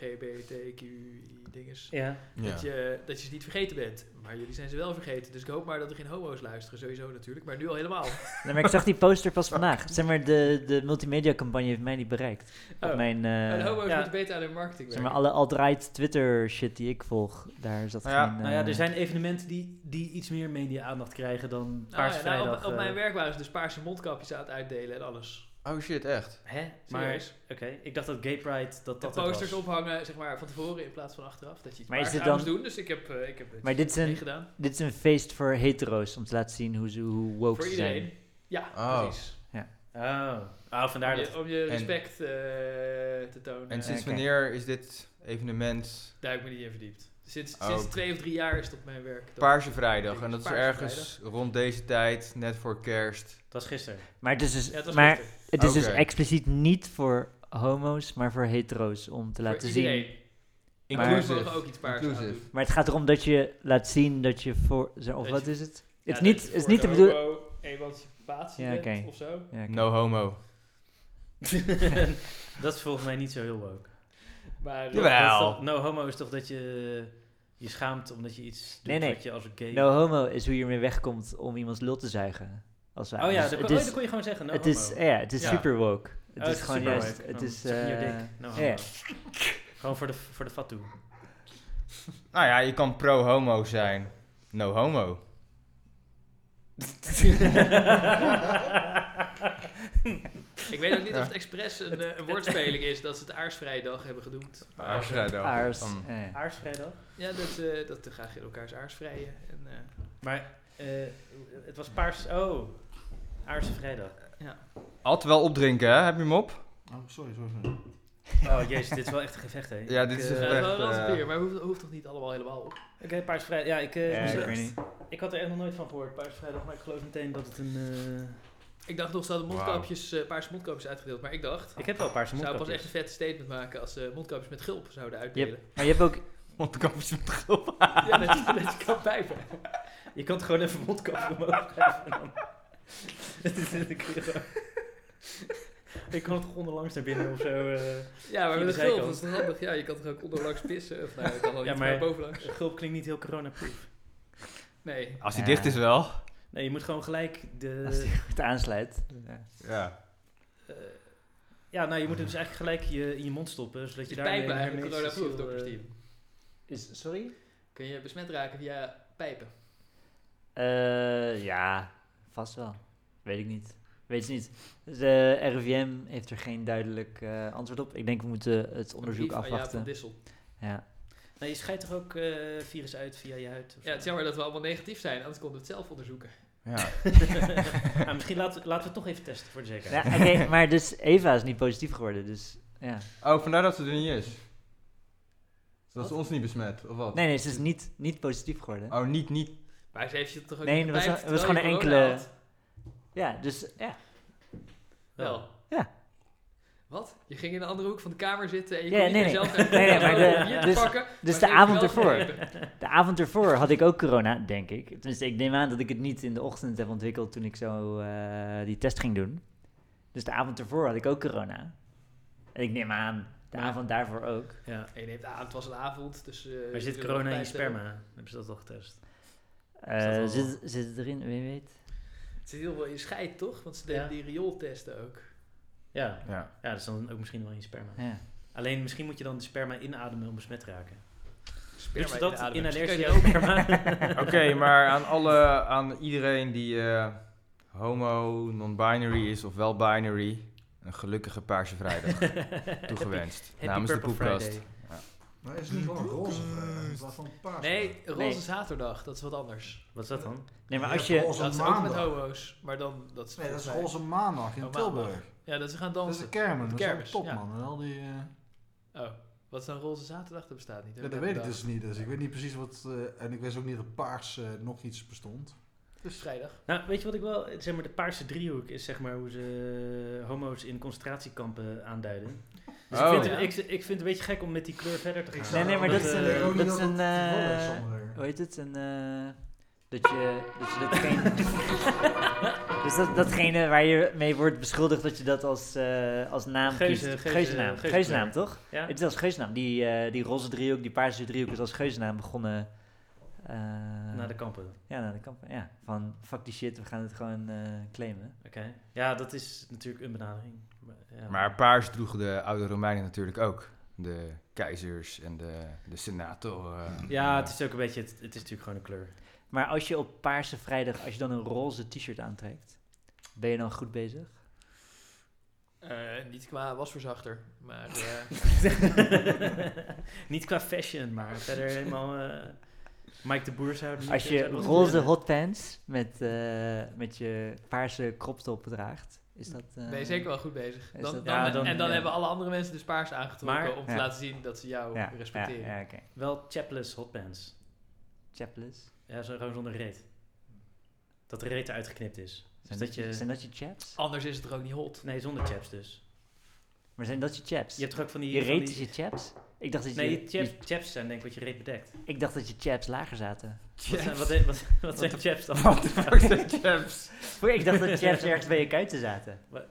GBTQ-dinges.
Ja.
Ja.
Dat, je, dat je ze niet vergeten bent. Maar jullie zijn ze wel vergeten. Dus ik hoop maar dat er geen homo's luisteren. Sowieso natuurlijk. Maar nu al helemaal.
Nee, maar ik zag die poster pas
[LAUGHS]
vandaag. Zeg maar, de, de multimedia campagne heeft mij niet bereikt. Op
Oh.
mijn. eh,
en homo's
ja.
moeten beter aan hun marketing
zeg
werken.
maar, alle alt-right Twitter shit die ik volg, daar zat
Ja.
geen.
Nou ja,
eh,
er zijn evenementen die, die iets meer media-aandacht krijgen dan
Nou
Paarse
ja, nou,
Vrijdag.
op, op
eh.
mijn werk waren ze dus paarse mondkapjes aan het uitdelen en alles.
Oh shit, echt.
Hè? Maar,
Serieus.
oké, ik dacht dat Gay Pride dat
De
dat het
posters
was.
ophangen, zeg maar, van tevoren in plaats van achteraf. Dat je iets
Maar is
paars
dit
aan moest
dan-
doen. Dus ik heb, eh, ik heb het
Maar dit is een-
meegedaan.
Dit is een feest voor hetero's om te laten zien hoe, ze- hoe woke
Voor
ze
iedereen.
zijn.
Ja,
Oh.
precies.
Oh. oh, vandaar
Om
dat...
je, om je
En-
respect eh, te tonen.
En sinds
oké.
wanneer is dit evenement
Daar heb ik me niet in verdiept. Sinds,
Oh,
sinds
oké.
twee of drie jaar is het op mijn werk. Dat-
Paarse Vrijdag? En dat is
Paarse
ergens rond deze tijd, net voor kerst.
Dat was [LAUGHS] gisteren.
Maar het is dus,
Ja, het was
maar
gisteren.
het is dus
Oké.
expliciet niet voor homo's, maar voor hetero's om te laten
Voor
zien.
iedereen.
Maar-
Maar
Inclusive.
mogen ook iets paars aan
Inclusive.
doen.
Maar het gaat erom dat je laat zien dat je voor... zo- Of
Dat
wat
je-
is het?
Ja,
het is
dat
niet,
je
het is
voor
niet de
de
bedoeling...
homo emancipatie
Ja,
bent
oké.
of zo.
Ja, oké.
No homo.
dat is volgens mij niet zo heel woke.
Maar, eh,
Jawel.
Dat is toch- no homo is toch dat je je schaamt omdat je iets doet
Nee, nee.
wat je als gay...
No homo is hoe je ermee wegkomt om iemands lul te zuigen. Als wij-
oh ja,
dus
dat
het
kon, oh,
is,
dat kon je gewoon zeggen. No
het is,
homo. Oh,
ja, het is
Ja.
super woke. Het
Oh,
is gewoon
super
juist...
woke.
Het
Dan
is...
zeg je
eh,
dik. No
ja.
homo. Gewoon voor de, voor de [LAUGHS] fatu.
Nou ja, je kan pro-homo zijn. No homo.
Ik weet ook niet of
[LAUGHS]
het expres een, eh, een woordspeling is dat ze het aarsvrijdag hebben genoemd.
Paarse Vrijdag.
Aars.
Dan-
ja.
Aarsvrijdag?
Ja, dat, eh dat graag in elkaars aarsvrijen. En, eh,
Maar eh, het was paars... Oh, Aarse Vrijdag.
ja.
Alt wel opdrinken, hè? Heb je hem op?
Oh, sorry, sorry. sorry.
Oh jezus, dit is wel echt een gevecht, hè?
Ja, dit
Ik,
is
eh,
een
Ja, het is wel een
Echt, eh,
randbier, maar hoeft, hoeft toch niet allemaal helemaal op?
Oké, Paars Vrijdag. Ja, ik, eh,
Ja,
moest-
ik weet niet.
ik had er echt nog nooit van gehoord, Paars Vrijdag. Maar ik geloof meteen dat het een... eh,
Ik dacht nog, ze hadden mondkapjes, eh, paarse mondkapjes uitgedeeld, maar ik dacht...
Ik heb wel Paarse
zou pas
mondkapjes.
echt een vette statement maken als ze mondkapjes met gulp
[LAUGHS]
zouden uitdelen.
Maar je hebt ook...
mondkapjes met gulp.
Ja, dat, dat je kan pijpen.
Je kan het gewoon even mondkapje omhoog geven. en dan- [LAUGHS] Het is een keer. [LAUGHS] Ik kan het toch onderlangs naar binnen of zo. eh.
Ja, maar
Via de
met een gulp,
zijkant.
dat is toch handig? Ja, je kan toch ook onderlangs pissen? Of nou, je kan wel
Ja,
iets
maar-
maar bovenlangs.
[LAUGHS] Gulp klinkt niet heel coronaproof.
Nee.
Als hij
Ja.
dicht is wel.
Nee, je moet gewoon gelijk
Als
de.
die goed aansluit. Ja.
Ja.
eh, ja, nou, je moet hem dus eigenlijk gelijk je, in je mond stoppen, zodat
Het
je
is
daar.
pijpen eigenlijk coronaproof,
eh,
dokter Steve.
Is, sorry?
Kun je besmet raken via pijpen?
Eh, ja, vast wel. Weet ik niet. Weet ze niet. Dus, eh, De RIVM heeft er geen duidelijk eh, antwoord op. Ik denk we moeten het onderzoek
Brief aan Jaap van
afwachten.
Dissel.
Ja.
Nee, je scheidt toch ook eh, virus uit via je huid? of
Ja, het is
zo? [LAUGHS]
jammer dat we allemaal negatief zijn, anders konden we het zelf onderzoeken.
ja.
Ah, misschien laten, laten we het toch even testen voor de
ja
zekerheid.
Oké, maar dus Eva is niet positief geworden, dus ja.
[LAUGHS] Oh, vandaar dat ze er niet is. Dat ze ons niet besmet, of wat?
Nee, nee, ze is niet, niet positief geworden.
Oh, niet, niet.
Maar ze heeft je toch ook
Nee,
niet
er was-
gepijpt
er was
terwijl
gewoon
je
een
corona
enkele-
had?
Ja, dus ja.
Wel.
Ja.
Wat? Je ging in een andere hoek van de kamer zitten en je
Ja,
kon niet
nee,
meer
nee. [LAUGHS]
zelf naar
Nee, nee,
maar de-
hier
dus-
te pakken.
Dus
maar
de
ze heeft
avond
je wel
ervoor.
gegrepen.
De avond ervoor had ik ook corona, denk ik. Tenminste, ik neem aan dat ik het niet in de ochtend heb ontwikkeld toen ik zo eh, die test ging doen. Dus de avond ervoor had ik ook corona. En ik neem aan, de avond daarvoor ook.
Ja.
En je neemt aan, het was een avond, dus... eh,
Maar zit
je
corona in je
pijpt hebben.
sperma? Hebben ze dat al getest?
Eh,
Is dat wel-
zit, zit het erin, wie weet.
Het zit heel veel in scheid, toch? Want ze deden
Ja.
die riooltesten ook.
Ja.
Ja.
ja, dat is dan ook misschien wel in je sperma.
Ja.
Alleen misschien moet je dan de sperma inademen om besmet te raken.
Sperma
Doet ze dat
inademen.
in
Misschien
allergie
kan je
op
die ook-
sperma?
[LAUGHS] Oké, maar aan alle, aan iedereen die eh, homo, non-binary is of wel binary, een gelukkige Paarse
[LAUGHS]
Vrijdag toegewenst.
Happy
namens de
Purple
Poepkast.
Friday.
Maar is het niet gewoon roze vrijdag in plaats van paars?
Nee, roze
Nee.
zaterdag, dat is wat anders.
Wat is dat dan?
Nee, maar
Je
als
hebt
je...
roze
dat is ook met
maandag.
homo's, maar dan... Dat is
Nee, dat is
volgens
roze maandag in
Oh, maandag.
Tilburg.
mij- Ja, dat ze gaan
Dat is
dansen.
de kermen, dat is wel
Kermis,
top
ja.
man. En al die, eh,
Oh, wat is dan roze zaterdag? Dat bestaat niet.
ja, dat weet ik dus niet. Dus ik weet niet precies wat... eh, en ik wist ook niet dat paars eh, nog iets bestond.
Dus vrijdag.
Nou, weet je wat ik wel... Zeg maar, de paarse driehoek is zeg maar hoe ze eh, homo's in concentratiekampen aanduiden. Dus
Oh,
ik, vind
ja.
het, ik, ik vind het een beetje gek om met die kleur verder te gaan.
Nee, nee, maar dat is
eh,
een-
Ik ook niet
dat is
dat
een,
het toeval is
eh,
zonder-
Hoe heet het? Een, eh, dat je... Dat je dat geen... [LAUGHS] dus dat, datgene waar je mee wordt beschuldigd dat je dat als, eh, als naam
Geuze-
kiest.
geuze-
Geuzennaam.
geuzekleur.
Geuzennaam, toch?
ja?
Het is als geuzennaam. Die, eh, die roze driehoek, die paarse driehoek is als geuzennaam begonnen. eh,
Naar de kampen.
Ja, naar de kamp. Ja, van fuck die shit, we gaan het gewoon eh, claimen.
Oké. Ja, dat is natuurlijk een benadering. Maar, ja.
Maar paars droegen de oude Romeinen natuurlijk ook. De keizers en de, de senatoren.
ja, het is ook een beetje... Het, het is natuurlijk gewoon een
[LAUGHS]
kleur.
Maar als je op Paarse Vrijdag, als je dan een roze t-shirt aantrekt, ben je dan goed bezig?
Eh, niet qua wasverzachter, maar... eh,
[LAUGHS]
niet qua fashion, maar verder helemaal... eh, Mike de Boer zou... het niet-
Als je
zou het
roze
willen.
hotpants met, eh, met je paarse kroptop draagt, is dat... eh,
ben je zeker wel goed bezig. Dan,
is dat-
dan,
Ja, dan-
en dan
ja.
hebben alle andere mensen dus paars aangetrokken
Maar-
om te
Ja.
laten zien dat ze jou
Ja, ja,
respecteren.
ja oké.
Wel chapless hotpants.
Chapless.
Ja, zo gewoon zonder reet. Dat de reet eruit geknipt is. Dus
Zijn
dat je... Oh.
Zijn dat je chaps?
Anders is het er ook niet hot.
Nee, zonder chaps dus.
Maar zijn dat je chaps?
Je hebt toch ook van die...
je
van
reet
die-
is je chaps? Ik dacht, dat je,
Nee, je chaps,
je-
chaps zijn denk ik wat je reet bedekt.
ik dacht dat je chaps lager zaten. [LAUGHS]
Wat zijn, wat, wat, wat zijn chaps dan? [LAUGHS] Eh,
Vroeger, ik dacht dat chaps ergens bij je kuiten zaten.
Wat?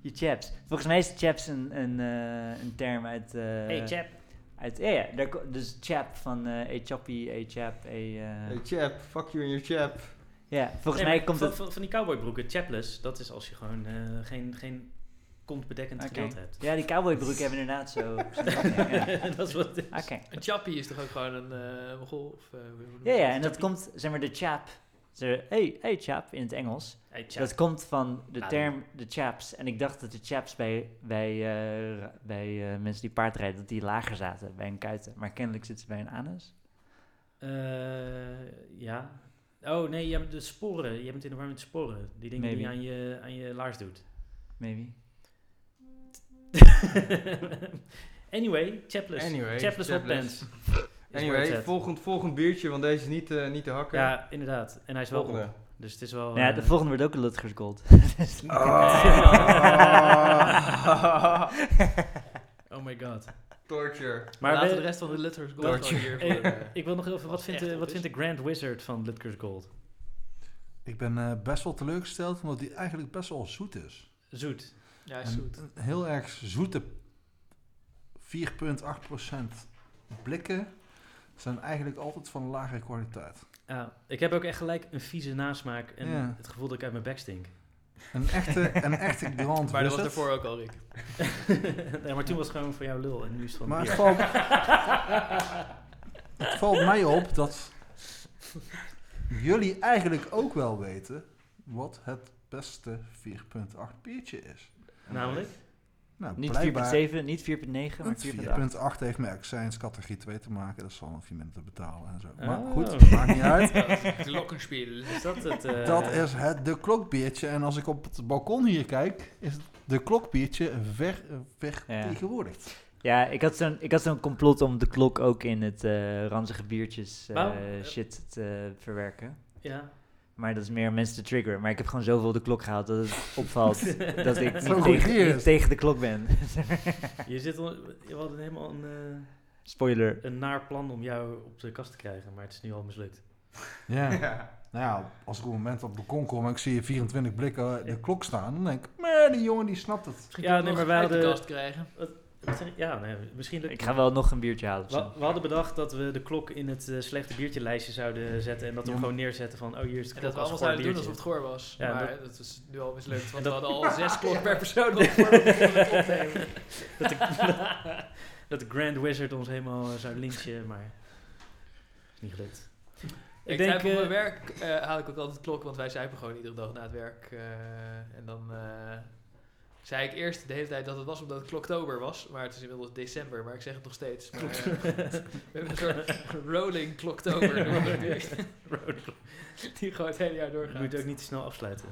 Je chaps. Volgens mij is chaps een, een, eh, een term uit... eh,
Hey chap.
Uit, ja, ja, daar ko- dus chap van eh hey chappie, hey chap, hey... eh,
Hey chap, fuck you and your chap.
ja, volgens
Nee,
mij
maar
komt
van,
het...
Van, van die cowboybroeken, chapless, dat is als je gewoon eh, geen, geen kontbedekkend
Oké.
gekant hebt.
Ja, die cowboybroek hebben inderdaad zo... zo'n ding, ja.
[LAUGHS] dat is wat het
Oké.
is.
Een chappie is toch ook gewoon een eh mogol? Of, eh, hoe noem je
Ja, ja,
dat?
en dat komt, zeg maar, de chap. Ze- Hey, hey chap, in het Engels.
Hey, chap.
Dat komt van de
Ah,
term de chaps. En ik dacht dat de chaps bij, bij, eh, ra- bij eh, mensen die paard rijden, dat die lager zaten bij een kuiten. Maar kennelijk zitten ze bij een anus.
Eh, ja. Oh nee, je hebt de sporen. Je hebt in de war met sporen. Die dingen die je
Maybe.
aan je, aan je laars doet.
Maybe.
[LAUGHS] anyway, chapless.
Anyway,
chapless
[LAUGHS]
hotpants.
chapless.
Is waar het
Anyway,
zit.
volgend, volgend biertje, want deze is niet, eh, niet te hakken.
Ja, inderdaad. En hij is wel
Volgende.
op. Dus het is wel...
Nou ja,
eh,
de volgende wordt ook een Lutgers Gold. [LAUGHS] Dus
Ah.
[LAUGHS] oh my god.
Torture.
Maar
Maar
laten
we-
we de rest van de letters gold
Torture.
gewoon hier.
Eh,
voor, eh,
ik wil nog even, wat
was
vindt,
echt
de,
een
wat vindt de Grand Wizard van Litker's Gold?
Ik ben eh, best wel teleurgesteld, omdat die eigenlijk best wel zoet is.
Zoet.
Ja, is goed.
Een heel erg zoete 4,8% blikken zijn eigenlijk altijd van lagere kwaliteit.
Ja, ik heb ook echt gelijk een vieze nasmaak en
Ja.
het gevoel dat ik uit mijn bek stink. [LAUGHS]
Een echte, een
[LAUGHS]
echte Grand
Maar dat was
Wizard.
daarvoor ook al, Rick.
nee, maar toen was het gewoon van jouw lul en nu is het van
Maar het
bier. [LAUGHS]
valt, het valt mij op dat jullie eigenlijk ook wel weten wat het beste 4.8 biertje is.
Namelijk?
Nou,
Niet
blijkbaar
4.7, niet 4.9, maar
het
4.8.
4.8 heeft met accijns categorie 2 te maken. Dat zal nog je mensen betalen en zo. Maar
Oh.
goed, maakt
[LAUGHS]
niet uit.
Glockenspiel.
Is dat het? eh,
Dat is het de klokbiertje. En als ik op het balkon hier kijk, is het de klokbiertje ver, vertegenwoordigd.
Ja, ik had zo'n ik had zo'n complot om de klok ook in het eh ranzige biertjes eh,
Waarom?
shit te verwerken.
Ja.
Maar dat is meer om mensen te triggeren. Maar ik heb gewoon zoveel de klok gehaald dat het
[LAUGHS]
opvalt dat ik
Zo'n
niet
goed bier
tegen,
is.
niet tegen de klok ben. [LAUGHS]
Je zit al, we hadden helemaal een, eh,
Spoiler.
een naar plan om jou op de kast te krijgen, maar het is nu al mislukt.
Ja.
Ja.
[LAUGHS] Nou ja, als ik op een moment op het balkon kom en ik zie 24 blikken de klok staan, dan denk ik, maar die jongen die snapt het.
Misschien
Ja,
ja,
nee,
nee,
maar
maar
wij
uit de
hadden-
kast krijgen.
Wat zeg ik? Ja, nee, misschien lukt
Ik ga wel nog een biertje halen. of
We,
zo.
we hadden bedacht dat we de klok in het eh, slechte biertje lijstje zouden zetten en dat we hem
Ja.
gewoon neerzetten van, oh hier is de
En
klok
dat we
als
allemaal
goor
zouden doen alsof
biertje.
het goor was.
Ja,
maar
dat-
dat, is nu al mislukt, want
dat- [LAUGHS]
we hadden al zes klokken per persoon op voor we het opnemen.
dat, de, [LAUGHS] dat de Grand Wizard ons helemaal eh, zou lynchen, maar is niet gelukt.
Ik,
denk,
denk, op
eh,
mijn werk eh, haal ik ook altijd klok, want wij zuipen gewoon iedere dag na het werk. eh, en dan eh, zei ik eerst de hele tijd dat het was omdat het kloktober was, maar het is inmiddels december, maar ik zeg het nog steeds. Maar, eh, we hebben een soort rolling
[LAUGHS]
kloktober, noemen we het nu. die gewoon [LAUGHS] het hele jaar
Je moet
doorgaat.
het ook niet te snel afsluiten.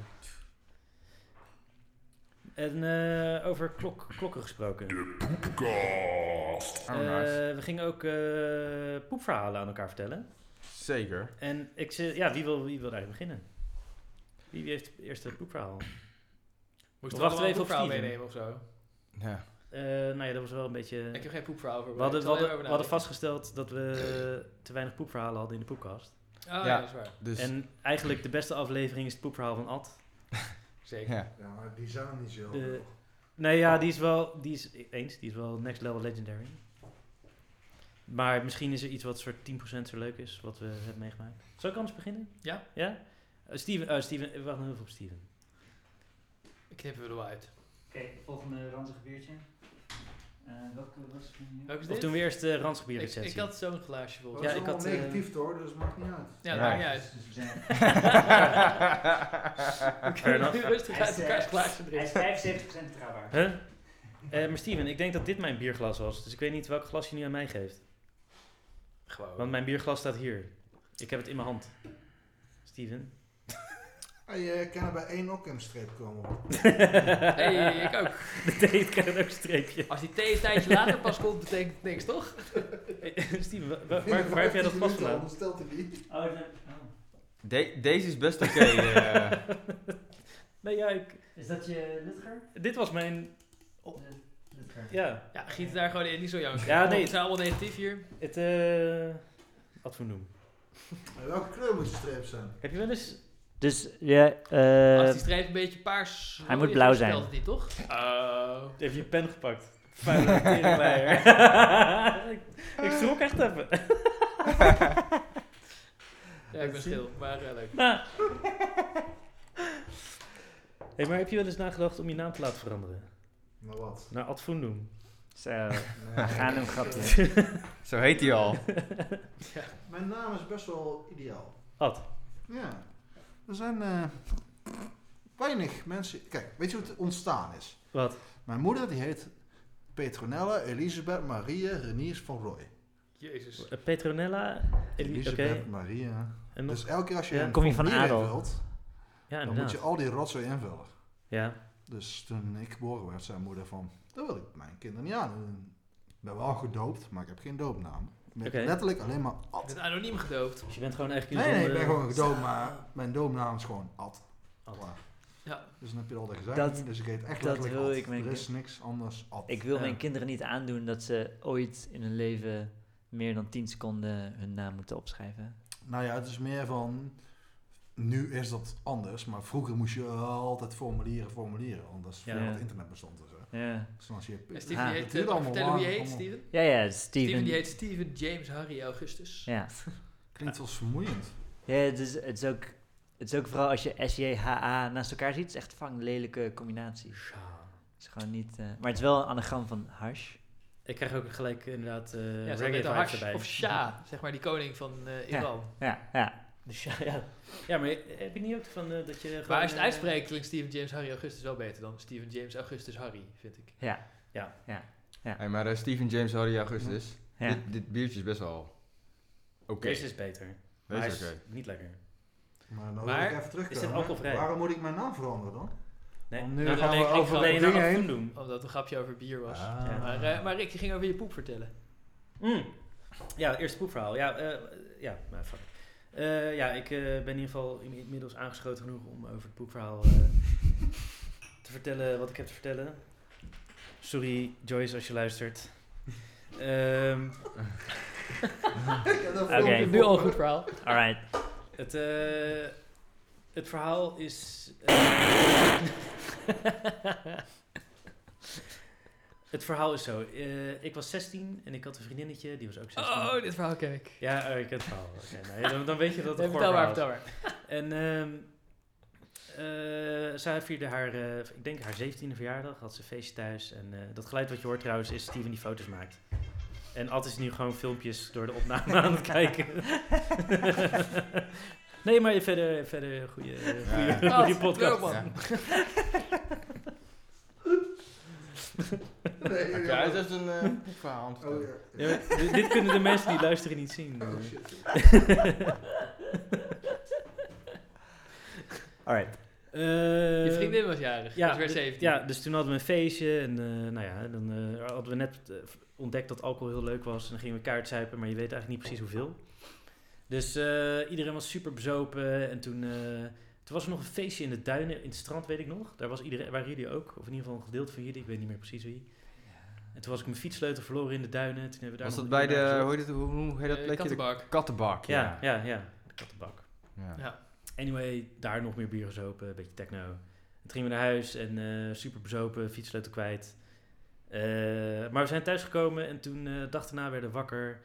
En eh, over klok, klokken gesproken.
Oh, nice.
Eh, we gingen ook eh, poepverhalen aan elkaar vertellen.
Zeker.
En ik zei, ja, wie wil, wie wil eigenlijk beginnen? Wie heeft het eerste poepverhaal?
Moest
Wacht
wacht even een
even op
poepverhaal
Steven.
meenemen of zo?
Ja.
Eh nou ja, dat was wel een beetje...
Ik heb geen poepverhaal voor.
We hadden, we, hadden, we hadden
vast.
vastgesteld dat we te weinig poepverhalen hadden in de poepkast.
Oh, ja.
Ja.
dat is waar.
Dus,
En eigenlijk de beste aflevering is het poepverhaal van Ad.
Zeker.
ja.
Ja, maar die zijn niet zo.
De- Nee, ja, die is wel... Die is, eens, die is wel next level legendary. Maar misschien is er iets wat soort 10% zo leuk is, wat we hebben meegemaakt. Zal ik anders beginnen?
Ja.
Ja? Eh, Steven, eh, Steven, we wachten heel veel op Steven.
Ik knip hem er wel uit.
Oké, volgende ranzige biertje. Eh, welke was het
Welke is
Of
dit?
doen we eerst de ranzige
ik,
recensie?
ik had zo'n glaasje volgens
Ja,
mij.
ik had, eh,
negatief hoor, dus maakt niet uit.
Ja,
Ja.
maakt niet uit.
we zijn
[LAUGHS]
[LAUGHS]
We [LAUGHS] kunnen nu rustig uit elkaar glaasje drinken.
Hij is 75% betrouwbaar.
[LAUGHS] Huh? Eh, maar Steven, ik denk dat dit mijn bierglas was. Dus ik weet niet welk glas je nu aan mij geeft.
Gewoon.
Want mijn bierglas staat hier. Ik heb het in mijn hand. Steven.
Ah, Je kan er bij één ook een streep komen.
[LAUGHS] Hey, ik ook.
[LAUGHS] De thee kan ook een streepje.
Als die thee een tijdje later pas komt, betekent het niks, toch?
Eh, Steven, wa- wa- waar, waar heb jij dat glas vandaan?
Stelt hij niet.
Oh,
De- deze is best oké. eh.
Nee, ja, ik,
Is dat je Lutger?
dit was mijn... Oh. Ja,
Ja, giet het daar gewoon in. Niet zo janken.
Ja, nee.
Het zijn allemaal negatief hier.
het... eh wat voor noem.
Welke kleur moet je streep zijn?
Heb je wel eens...
Dus ja,
Als
eh
die streep een beetje paars...
hij moet
rood is,
blauw
dan
zijn.
Stelt het niet, toch? Oh.
Heb je je pen gepakt? Vuile
[LAUGHS]
teringleier. [LAUGHS] ik, ik schrok echt even.
Ja, ik ben stil. Maar eh, leuk.
Hey, maar heb je wel eens nagedacht om je naam te laten veranderen?
Maar Nou, wat?
Naar Ad Voendoem.
zo, we
Nee.
gaan hem grapje.
Zo heet hij
[LAUGHS]
al.
Mijn naam is best wel ideaal.
Ad.
Ja. Er zijn eh, weinig mensen. Kijk, weet je hoe het ontstaan is?
Wat?
Mijn moeder die heet Petronella Elisabeth Maria Reniers van Roy.
Jezus.
Eh, Petronella? Eli- Oké.
nou?
Elisabeth Maria.
En nog?
Dus elke keer als je
Ja.
een
Kom je van
formulier
adel?
invult,
ja,
dan
inderdaad.
moet je al die rotzooi invullen.
Ja.
Dus toen ik geboren werd, zei moeder van, dat wil ik mijn kinderen niet aan. Ik ben wel gedoopt, maar ik heb geen doopnaam. Ik ben
Oké.
letterlijk alleen maar
Ik
Ad.
ben anoniem gedoopt.
Dus je bent gewoon eigenlijk
Nee, nee, ik
zonder-
ben gewoon gedoopt, maar mijn doopnaam is gewoon Ad.
Ad.
Klaar.
Ja.
Dus dan heb je al dat gezeik
Dat-
niet, dus ik eet echt
dat
letterlijk
wil
at.
ik, mijn
Er is niks anders at.
Ik wil
Ja.
mijn kinderen niet aandoen dat ze ooit in hun leven meer dan 10 seconden hun naam moeten opschrijven.
Nou ja, het is meer van... Nu is dat anders, maar vroeger moest je altijd formulieren, formulieren. Anders
Ja.
voordat
Ja.
het internet bestond en zo.
Ja,
Dus als je...
En
Ja,
Steven die
dat
heet,
duurt
eh,
allemaal
vertel hoe je
lang,
heet,
allemaal-
Steven?
ja, ja Ah, Steven.
Steven. die heet Steven James Harry Augustus.
Ja,
Klinkt wel vermoeiend.
ja het, is, het, is ook, het is ook vooral als je S-J-H-A naast elkaar ziet, het is echt vang lelijke combinatie. Het is gewoon niet... eh, maar het is wel een anagram van hash.
Ik krijg ook gelijk inderdaad eh
Ja, ze
reggae
heet
vibes
Hash
erbij.
of Shah, zeg maar die koning van eh, Iran.
Ja, ja.
Dus ja, ja. ja, maar heb je niet ook van eh, dat je gewoon...
Maar als je het
eh,
uitspreekt klinkt Steven James Harry Augustus wel beter dan Steven James Augustus Harry, vind ik.
Ja.
Hey, maar eh, Steven James Harry Augustus,
Ja.
dit, dit biertje is best wel oké.
Deze is beter. Maar
Deze
hij
is
is
oké.
niet lekker.
Maar dan
Maar
wil ik even terugkomen.
is dit alcoholvrij?
Waarom moet ik mijn naam veranderen dan?
Nee.
Want nu
Nou,
gaan
alleen-
we
ik
over
ga alleen
dingen
naar
heen.
Afkoen doen.
Omdat het een grapje over bier was.
Ah.
Ja.
Maar, eh, maar Rick, je ging over je poep vertellen.
Mm. Ja, eerste poepverhaal. Ja, eh, ja, maar fuck. Eh, ja, ik eh, ben in ieder geval in- inmiddels aangeschoten genoeg om over het poepverhaal eh, te vertellen wat ik heb te vertellen. Sorry, Joyce, als je luistert. Ehm,
Ik heb dat
Oké.
filmpje
Nu al
voor
een
me.
goed verhaal.
Alright.
het, eh, het verhaal is. eh, [LAUGHS] het verhaal is zo. Eh, ik was 16 en ik had een vriendinnetje, die was ook 16.
Oh, dit verhaal ken ik.
Ja, oh, ik ken het verhaal. Oké, nou ja, dan, dan weet je dat het
Nee,
een goor
vertel maar,
verhaal is.
vertel maar.
En ehm, eh, zij vierde haar, eh, ik denk haar 17e verjaardag, had ze een feestje thuis. En eh, dat geluid wat je hoort trouwens is Steven die foto's maakt. En Ad is nu gewoon filmpjes door de opname aan het
[LAUGHS]
kijken. nee, maar verder, verder goede, goede,
Ja.
goede
Ad, leuk,
podcast.
man.
Ja.
[LAUGHS] Nee,
Oké,
ja.
dat is een eh, poepverhaal aan het
Oh,
vertellen.
ja.
Ja, maar dit- dit kunnen de mensen die luisteren niet zien.
Oh, shit.
Alright.
Eh,
Je vriendin was jarig. Ja,
Ja,
dus werd
d-
17.
ja, dus toen hadden we een feestje en eh, nou ja, dan eh, hadden we net eh, ontdekt dat alcohol heel leuk was. En dan gingen we kaart zuipen, maar je weet eigenlijk niet precies hoeveel. Dus eh, iedereen was super bezopen en toen, eh, toen was er nog een feestje in de duinen, in het strand weet ik nog. Daar was iedereen, waren jullie ook, of in ieder geval een gedeelte van jullie, ik weet niet meer precies wie. En toen was ik mijn fietssleutel verloren in de duinen. Toen hebben we daar
Was
nog
dat bij
iemand
de,
gezocht.
hoe heet, het, hoe, hoe heet dat
Eh,
plekje? De
kattenbak.
kattenbak,
Ja,
ja.
ja, ja, de kattenbak.
Ja.
Ja.
Anyway, daar nog meer bier gezopen, een beetje techno. Toen gingen we naar huis en eh, super bezopen, fietssleutel kwijt. Eh, maar we zijn thuisgekomen en toen eh, de dag daarna werden we wakker.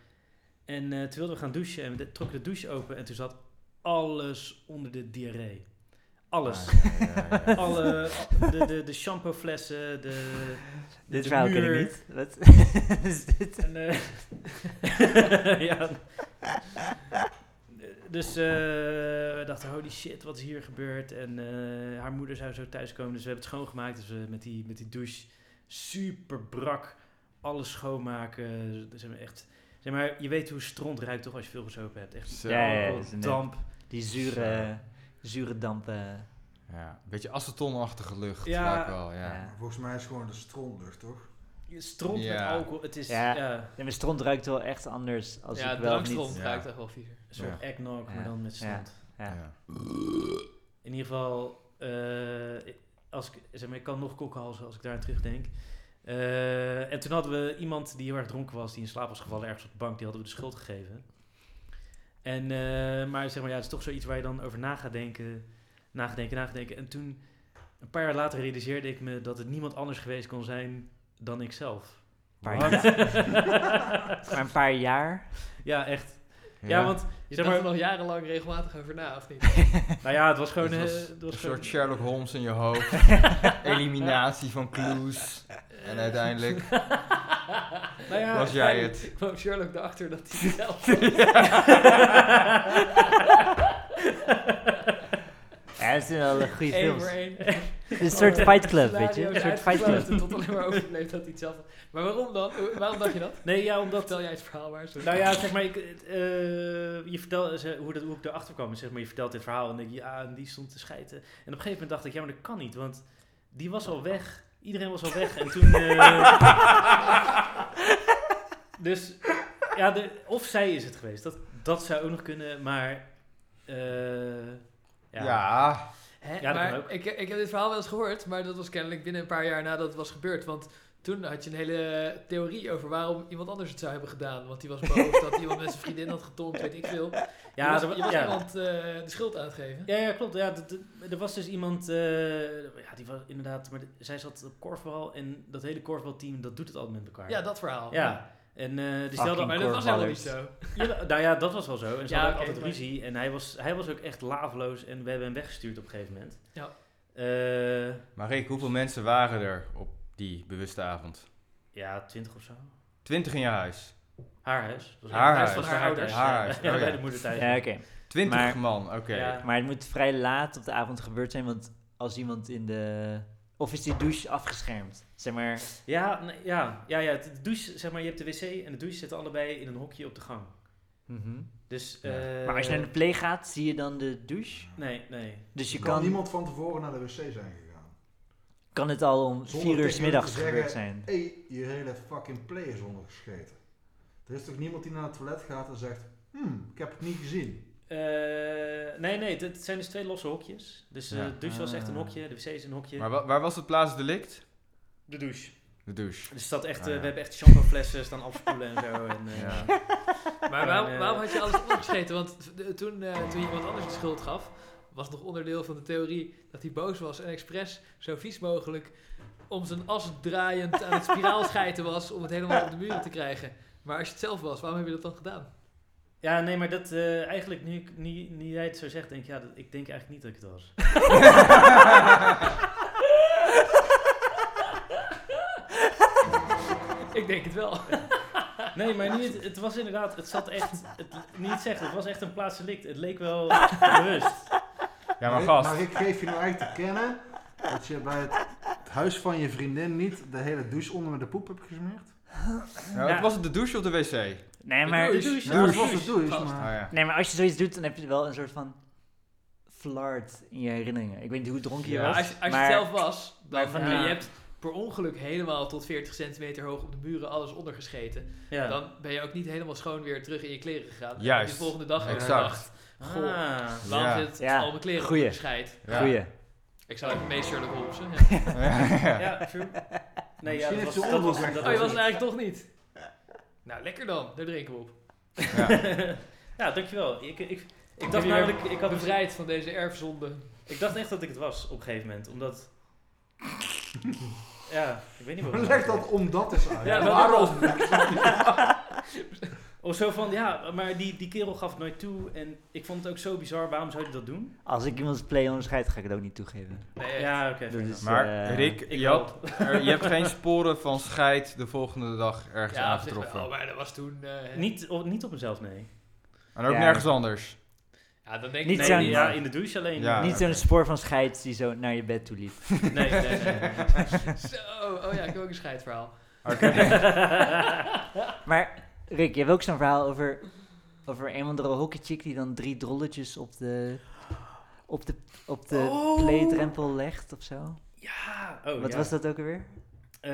En eh, toen wilden we gaan douchen en we de- trokken de douche open en toen zat alles onder de diarree.
Ah.
Alles.
Ah, Ja, ja, ja.
Alle, de, de, de shampooflessen, de...
[LAUGHS] Dit
de
verhaal ken
muur.
ik niet. Wat is dit?
En, eh, [LAUGHS] ja. Dus eh, we dachten, holy shit, wat is hier gebeurd? En eh, haar moeder zou zo thuiskomen, dus we hebben het schoongemaakt. Dus we met die, met die douche super brak alles schoonmaken. Dus hebben we echt, zeg maar, je weet hoe stront ruikt toch als je veel gezopen hebt. Echt
Zo.
Ja, ja,
alcohol,
dat is een-
damp.
Die zure, zure dampen.
Ja, een beetje acetonachtige lucht.
Ja.
vaak wel, ja.
Ja.
Volgens mij is het gewoon de strontlucht, toch?
Stront
Ja.
met alcohol, het is
Ja.
ja,
Nee, maar stront ruikt wel echt anders als
ja,
ik wel
drankstrom [LAUGHS]
niet...
Ja.
ruikt echt wel viezer.
een soort eggnog,
Ja.
maar dan met stront.
Ja.
Ja.
In ieder geval, eh, als ik, zeg maar, ik kan nog kokhalzen als ik daar aan terugdenk. Eh, en toen hadden we iemand die heel erg dronken was, die in slaap was gevallen ergens op de bank, die hadden we de schuld gegeven. En, eh, maar zeg maar, ja, het is toch zoiets waar je dan over na gaat denken, nagedenken, nagedenken. En toen, een paar jaar later, realiseerde ik me dat het niemand anders geweest kon zijn dan ikzelf.
Paar jaar. [LAUGHS] maar een paar jaar.
Ja, echt. Ja, want,
Je
zeg
dacht
maar,
er nog jarenlang regelmatig over na, of niet?
nou ja, het was gewoon...
[LAUGHS] Het
eh,
was
het was
een
gewoon-
soort Sherlock Holmes in je
[LAUGHS]
hoofd. Eliminatie van clues. En uiteindelijk
nou ja,
was jij
uiteindelijk
het.
[LAUGHS] kwam Sherlock erachter dat hij het zelf was.
Ja, dat zijn wel een goede
Eén
films.
voor één.
Het is een soort fight club, weet je? Een
Scenario's
soort fight club.
uitgesloten Tot alleen maar overbleef dat hij het zelf was. Maar waarom dan? Hoe- Waarom dacht je dat?
Nee, ja, omdat...
Vertel jij het verhaal maar. sorry.
Nou ja, zeg maar, ik, het, eh, je vertelt eh, hoe, dat, hoe ik erachter kwam. Zeg maar, je vertelt dit verhaal en denk je, ja, en die stond te schijten. En op een gegeven moment dacht ik, ja, maar dat kan niet, want die was al weg. Iedereen was al weg. En toen... eh, [LAUGHS] dus, ja, de, of zij is het geweest. Dat, dat zou ook nog kunnen, maar... eh,
Ja.
ja.
Hè?
Ja, dat
maar
kan ook.
Ik, ik heb dit verhaal wel eens gehoord, maar dat was kennelijk binnen een paar jaar nadat het was gebeurd. Want toen had je een hele theorie over waarom iemand anders het zou hebben gedaan. Want die was
[LAUGHS]
boos dat iemand met zijn vriendin had getonkt, weet ik veel.
Ja,
je
er
was,
wa-
je was
ja.
iemand eh, de schuld aan het geven.
Ja, ja klopt. Ja, d- d- er was dus iemand, eh, ja, die was inderdaad, maar d- zij zat op korfbal en dat hele korfbalteam, dat doet het altijd met elkaar.
Ja, dat
Oh,
verhaal.
Ja. En eh dus die hadden-
[LAUGHS]
Maar dat was helemaal niet zo.
Ja, nou ja, dat was wel zo. En ze hadden
Ja,
ook
oké,
altijd
maar-
ruzie. En hij was, hij was ook echt laveloos. En we hebben hem weggestuurd op een gegeven moment.
Ja.
Eh,
Maar Rick, hoeveel mensen waren er op die bewuste avond?
ja, twintig of zo.
Twintig in je huis.
Haar huis. Dat was
Haar
het
huis.
van haar
Haar
ouders.
huis.
Haar huis,
Ja,
oh
bij
ja.
de moeder thuis.
Ja, oké.
Twintig
Maar-
man, oké.
Ja.
Maar het moet vrij laat op de avond gebeurd zijn, want als iemand in de... Of is die douche afgeschermd? Zeg maar,
Ja, nee, ja, ja, ja. De douche, zeg maar, je hebt de wc en de douche zitten allebei in een hokje op de gang. Dus,
Ja.
eh,
maar als je naar de pleeg gaat, zie je dan de douche.
Nee, nee.
Dus je
Er kan
kan,
niemand van tevoren naar de wc zijn gegaan.
kan het al om
Zonder
vier uur
tegen
's
hun
middags
te
gebeurd
zeggen-
zijn.
Hé, hey, je hele fucking play is ondergescheten. Er is toch niemand die naar het toilet gaat en zegt, hmm, ik heb het niet gezien.
Eh, nee, nee. Het zijn dus twee losse hokjes. Dus eh,
Ja.
de douche was echt een
Ah.
hokje. De wc is een hokje.
Maar wa- waar was het plaatsdelict?
de douche.
De douche.
Dus dat echt,
Ah,
eh,
ja.
we hebben echt shampooflessen staan afspoelen en
[LAUGHS]
zo. En, eh,
Ja.
Maar
En,
waarom,
eh,
waarom had je alles opgescheten? Want v- de- toen, eh, toen je iemand anders de schuld gaf, was nog onderdeel van de theorie dat hij boos was en expres zo vies mogelijk om zijn as draaiend aan het
[LAUGHS]
spiraalscheiten was om het helemaal op de muren te krijgen. Maar als je het zelf was, waarom heb je dat dan gedaan?
Ja, nee, maar dat eh, eigenlijk nu, ik- nu, nu jij het zo zegt, denk ik, ja, dat, ik denk eigenlijk niet dat ik het was.
[LAUGHS] Ik denk het wel.
Nee, maar nu, het, het was inderdaad, het zat echt, het, niet zeggen, het was echt een plaatselijk. Het leek
[LAUGHS]
wel bewust.
Ja, maar
ik-
gast.
Maar ik geef je nou echt te kennen dat je bij het, het huis van je vriendin niet de hele douche onder met de poep hebt gesmeerd.
Nou,
Ja.
het was het de douche of de wc?
Nee, maar... dus
De douche.
Ja, dat was de douche,
Gast.
Ah,
maar...
ja.
Nee, maar als je zoiets doet, dan heb je wel een soort van flart in je herinneringen. Ik weet niet hoe dronken je
Ja,
Ja,
was.
Nou, als je, als je
maar
het zelf was, dan
maar van
en
die-
je hebt per ongeluk helemaal tot 40 centimeter hoog op de muren alles ondergescheten.
Ja.
Dan ben je ook niet helemaal schoon weer terug in je kleren gegaan.
Juist.
De volgende dag heb je
Exact.
gedacht, goh,
Ah.
waarom
Ja.
zit het
Ja.
al mijn kleren
Goeie.
ondergescheid?
Ja. [LAUGHS]
Goeie.
Ik zou even mee Sherlock Holmes. hè?
Ja, true. Nee, ja, dat
Misschien heeft
was,
ze
dat
onderbroek
was,
weg.
dat
Oh, je
was
was het eigenlijk toch niet. Nou, lekker dan. Daar drinken we op.
Ja.
Ja, [LAUGHS] dankjewel. Ik, ik, ik,
Ik
dacht
dacht
namelijk,
namelijk,
ik had
Bevrijd van deze erfzonde.
ik dacht echt dat ik het was op een gegeven moment, omdat... Ja, ik weet niet wat.
[LAUGHS] Leg dat omdat eens uit.
Ja,
waarom?
waarom?
Of zo van, ja, maar die, die kerel gaf het nooit toe en ik vond het ook zo bizar, waarom zou je dat doen?
Als ik iemands play onderscheid, ga ik het ook niet toegeven.
Nee, ja.
Ja, oké. fair
Dat
enough.
is,
Maar
eh,
Rick,
Ik
je,
wel.
had- er- je hebt geen sporen van scheid de volgende dag ergens
Ja, op zich
aangetroffen.
wel, maar dat was toen... eh,
Niet op, niet op mezelf, nee.
En ook
Ja.
nergens anders.
Ja, dan denk ik...
Niet
nee,
zo'n-
nee, [LAUGHS] ja, in de douche alleen.
Ja.
niet zo'n
oké.
spoor van scheid die zo naar je bed toe liep.
Nee, nee, nee. nee.
[LAUGHS]
[LAUGHS]
Zo, oh ja, ik heb ook een scheidverhaal.
Maar Rick, je hebt ook zo'n verhaal over, over een of andere hockeychick die dan drie drolletjes op de, op de, op de
Oh.
playdrempel legt of zo.
Ja, oh
Wat
ja.
was dat ook alweer? [LAUGHS]
Eh,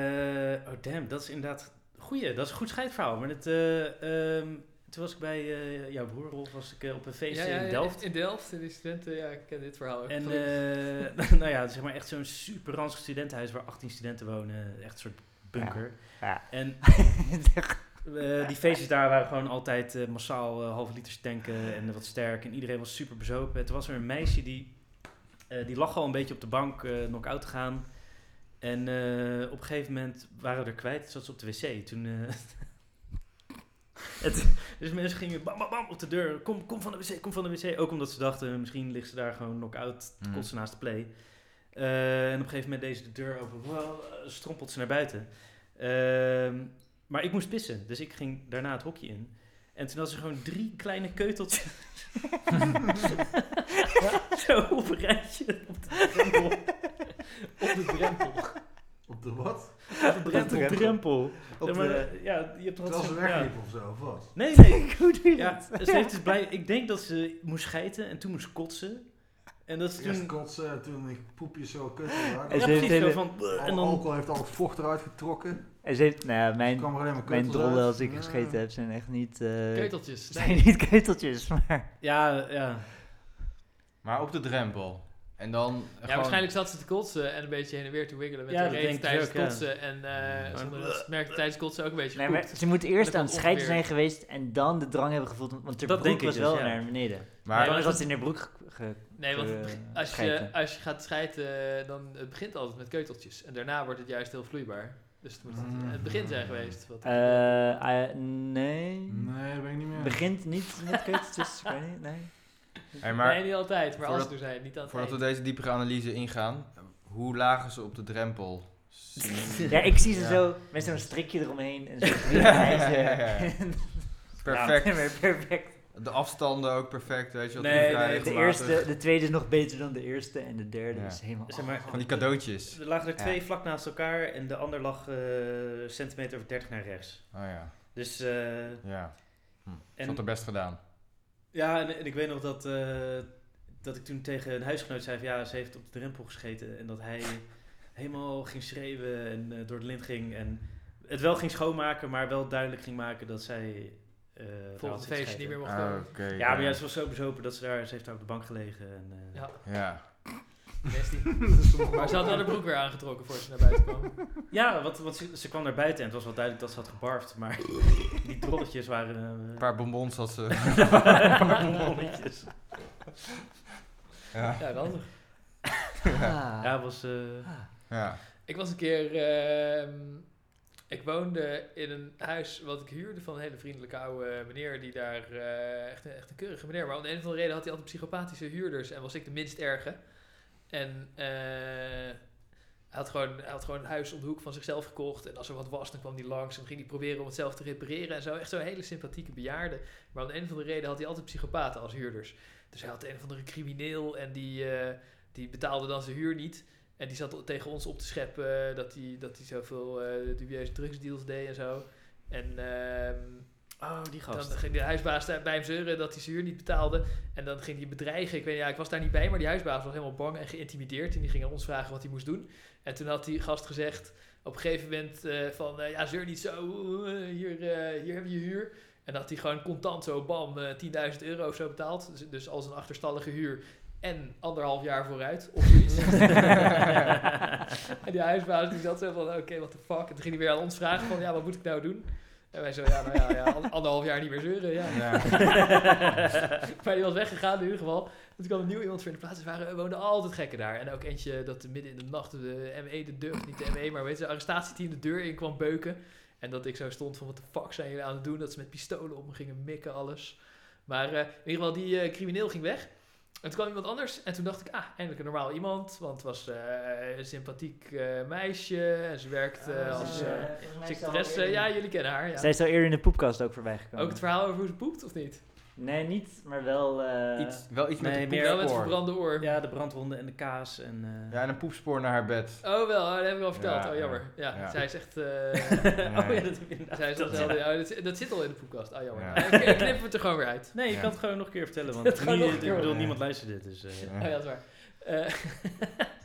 oh damn, dat is inderdaad... Goeie, dat is een goed scheidverhaal. Maar het, eh, ehm, toen was ik bij eh, jouw broer, Rolf, was ik eh, op een feest
Ja, ja,
in Delft.
In Delft, in die studenten. Ja, ik ken dit verhaal ook.
En
Gelukkig.
eh, [LAUGHS] nou ja, zeg maar echt zo'n super ranzig studentenhuis waar 18 studenten wonen. Echt een soort bunker.
Ja.
En eh, die feestjes daar waren gewoon altijd eh, massaal eh, halve liters tanken en wat sterk. En iedereen was super bezopen. En toen was er een meisje die, eh, die lag al een beetje op de bank eh knock-out te gaan. En eh, op een gegeven moment waren we er kwijt. Zat ze op de wc. Toen... eh, [LAUGHS] het- dus mensen gingen bam, bam, bam op de deur. Kom, kom van de wc, kom van de wc. Ook omdat ze dachten, misschien ligt ze daar gewoon knock-out
Mm.
kotsen naast de play. Eh, en op een gegeven moment deed ze de deur open. Wow, eh, strompelt ze naar buiten. Ehm, maar ik moest pissen, dus ik ging daarna het hokje in. En toen had ze gewoon drie kleine keuteltjes. [LAUGHS] Zo op een rijtje op de drempel. Op de drempel.
Op de wat?
Op de drempel.
drempel.
drempel.
Op
Ja, maar, eh,
de,
ja, je hebt er
terwijl ze
altijd zo'n- ja.
wegliep of zo, of wat?
Nee, nee.
Hoe doe je
Ja,
dat?
ze heeft dus blij... Ik denk dat ze moest schijten en toen moest kotsen. En dat ze
Eerst
toen...
kotsen, toen ik poepjes zo kut.
En
Ja,
ze
En
heeft
precies, zo
hele-
van... En
dan...
dan...
Alcohol heeft al het vocht eruit getrokken.
En ze heeft, nou ja,
Ik
mijn,
kwam er alleen maar
mijn
keutels
drollen
uit.
als ik
Ja.
gescheten heb zijn echt niet, eh
[LAUGHS]
[LAUGHS]
Keuteltjes.
zijn niet keuteltjes, maar...
Ja, ja.
Maar op de drempel. En dan
Ja,
gewoon-
waarschijnlijk zat ze te kotsen en een beetje heen en weer te wiggelen met
Ja,
de
dat
reet
denk ik
tijdens
ook,
het
ja.
kotsen. En eh zonder dat ze het merkte tijdens het kotsen ook een beetje
Nee,
gepoept.
maar ze moeten eerst
Met
aan
dat
het scheiden
ongeveer.
zijn geweest en dan de drang hebben gevoeld. Want
Dat
de broek
denk ik
was
dus,
wel
ja.
naar beneden.
Maar
dan
maar
was het in de broek ge- ge-
Nee, want het
eh,
beg- als, je,
schijten.
als je gaat schijten, dan het begint altijd met keuteltjes. En daarna wordt het juist heel vloeibaar. Dus het moet
Mm.
het, het begin zijn geweest. Wat
Eh, eh, nee.
Nee, dat ben ik niet meer.
Begint niet met keuteltjes. ik weet niet,
[LAUGHS]
nee.
Hey, maar
nee, niet altijd, maar als
voordat-
het er zijn, niet aan het
voordat we
eind.
deze diepere analyse ingaan, hoe lagen ze op de
[LAUGHS]
drempel? Zien-
Ja, ik zie ze
Ja.
zo met zo'n strikje
[LAUGHS]
eromheen en zo'n
Ja, ja, ja, ja.
[LAUGHS] ijzer.
Perfect.
Ja, maar perfect.
De afstanden ook perfect, weet je wat?
Nee, nee,
vrij
De,
regelmatig.
eerste, de tweede is nog beter dan de eerste en de derde
Ja.
is helemaal...
Zeg maar,
Van die cadeautjes.
Er lagen er
Ja.
twee vlak naast elkaar en de ander lag eh centimeter of 30 naar rechts.
Oh ja,
Dus, eh,
ja. Ze
en,
had haar best gedaan.
ja, en, en ik weet nog dat, eh, dat ik toen tegen een huisgenoot zei van ja, ze heeft op de drempel gescheten. En dat hij helemaal ging schreeuwen en eh, door de lint ging. En het wel ging schoonmaken, maar wel duidelijk ging maken dat zij... eh, daar had
Volgend
zitten
feestje niet meer
schijten.
mocht
Ah,
komen.
oké,
Ja, maar ja, ze was zo bezopen dat ze daar, ze heeft daar op de bank gelegen. En, eh,
[LAUGHS]
Ja.
Ja.
Nasty. maar ze had wel de broek weer aangetrokken voor ze naar buiten kwam.
Ja, want, want ze, ze kwam naar buiten en het was wel duidelijk dat ze had gebarfd,
[LAUGHS]
maar die trolletjes waren... eh,
Een
[LAUGHS]
paar bonbons had ze. [LAUGHS]
Rommeltjes.
ja.
Ja, handig.
Ah.
Ja, het was... eh,
ja.
Ik was een keer... ehm, ik woonde in een huis wat ik huurde van een hele vriendelijke oude meneer. Die daar... eh, echt, een, echt een keurige meneer. Maar om de een of andere reden had hij altijd psychopathische huurders. En was ik de minst erge. En... eh, hij had, gewoon, hij had gewoon een huis om de hoek van zichzelf gekocht. En als er wat was, dan kwam hij langs. En ging hij proberen om het zelf te repareren. En zo echt zo'n hele sympathieke bejaarde. Maar om de een of andere reden had hij altijd psychopaten als huurders. Dus hij had een of andere crimineel. En die, eh, die betaalde dan zijn huur niet. En die zat tegen ons op te scheppen eh, dat hij dat die zoveel eh dubieuze drugsdeals deed en zo. En ehm,
Oh, die
dan
gast.
ging de huisbaas daar bij hem zeuren dat hij zijn huur niet betaalde. En dan ging hij bedreigen. Ik, weet, ja, ik was daar niet bij, maar die huisbaas was helemaal bang en geïntimideerd. En die ging aan ons vragen wat hij moest doen. En toen had die gast gezegd op een gegeven moment eh, van... eh, ja, zeur niet zo, eh, hier, eh, hier heb je je huur. En dat hij gewoon contant zo, bam, eh 10.000 euro of zo betaald. Dus, dus als een achterstallige huur. En anderhalf jaar vooruit, of zoiets. [LAUGHS] en die huisbaas die zat zo van, oké, what the fuck. En toen ging hij weer aan ons vragen van, ja, wat moet ik nou doen? En wij zo, ja, nou ja, ja an- anderhalf jaar niet meer zeuren, ja.
[LAUGHS]
ja.
Maar die was weggegaan in ieder geval. Toen kwam er nieuw iemand voor in de plaats. Er waren, er woonden altijd gekken daar. En ook eentje dat midden in de nacht de ME de deur, of niet de ME, maar weet je, de arrestatieteam de deur in kwam beuken. En dat ik zo stond van, wat de fuck zijn jullie aan het doen? Dat ze met pistolen op me gingen mikken, alles. Maar eh, in ieder geval, die eh, crimineel ging weg. En toen kwam iemand anders. En toen dacht ik, ah, eindelijk een normaal iemand. Want het was eh, een sympathiek eh, meisje. En ze werkte eh, als
Oh, ze,
eh secretaresse. ja, jullie kennen haar, ja.
Zij is al eerder in de poepkast ook voorbij gekomen.
Ook het verhaal over hoe ze poept, of niet?
Nee, niet, maar wel... eh,
Iets, wel iets
nee,
met een
meer
Wel met
poepspoor.
verbrande
[LAUGHS]
oor.
Ja, de brandwonden en de kaas en... eh,
ja, en een poepspoor naar haar bed.
Oh, wel, oh, dat heb ik al verteld.
Ja,
oh, jammer. Ja,
ja. Ja.
zij is echt. eh,
[LAUGHS]
[LAUGHS]
[LAUGHS] oh ja,
Nee.
dat heb je inderdaad
zij is
verteld,
dat,
ja.
dat, zit- dat zit al in de podcast. Oh, jammer.
Ja.
Eh, Ik, ik knip het er gewoon weer uit.
Nee, je
Ja.
kan het gewoon nog een keer vertellen,
[LAUGHS]
want
Het gewoon
nu-
nog een
ik
keer.
bedoel,
Ja.
niemand luistert dit, dus... eh,
Ja.
Oh ja, dat is waar. Eh,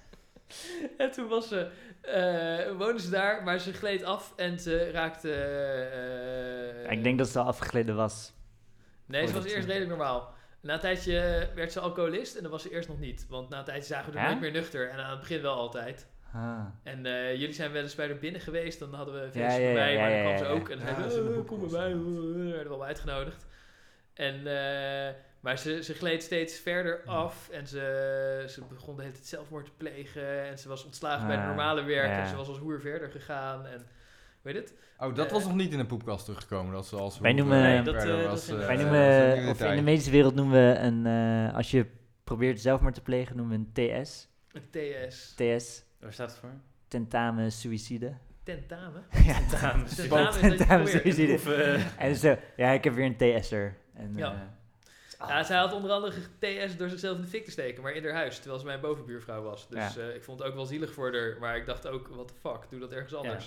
[LAUGHS] en toen was ze, eh woonden ze daar, maar ze gleed af en ze raakte. eh,
ik denk Oh, dat ze al afgegleden was.
Nee, ze was
voordat-
eerst redelijk normaal. Na een tijdje werd ze alcoholist en dat was ze eerst nog niet. Want na een tijdje zagen we haar
Ja?
nooit meer nuchter. En aan het begin wel altijd.
Ah.
En eh, jullie zijn wel eens bij haar binnen geweest. Dan hadden we een feestje
Ja, ja,
bij
ja, ja,
mij, maar dan
ja,
kwam
ja,
ze
ja.
ook. En hij
Ja,
zei,
ze hebben
"Eh,
ook
kom bij
wel
mij.
eens
eh, Werden wel uitgenodigd. En, eh, maar ze, ze gleed steeds verder af. En ze, ze begon de hele tijd zelfmoord te plegen. En ze was ontslagen bij het
Ah,
normale werk.
ja.
En ze was als hoer verder gegaan. En weet je het?
Oh, dat was nog niet in de poepkast teruggekomen. Dat ze als
Wij noemen-
eh,
Nee,
Eh, dat, eh,
verder
dat
was,
vind ik-
eh,
Wij
dat
was
noemen,
een
of in de
detail.
medische wereld noemen we een, eh, als je probeert zelfmoord te plegen, noemen we een TS.
Een TS.
TS,
Waar staat het
[LAUGHS]
voor?
tentamen suïcide. [LAUGHS]
Tentamen.
ja,
Dames.
Tentamen is dat je
tentamen
probeert.
suïcide.
Dus
[LAUGHS]
Of, eh,
En zo, ja, ik heb weer een TS'er. En,
Ja.
eh,
Ja, zij had onder andere TS door zichzelf in de fik te steken, maar in haar huis, terwijl ze mijn bovenbuurvrouw was. Dus eh, ik vond het ook wel zielig voor haar, maar ik dacht ook, what the fuck, doe dat ergens anders.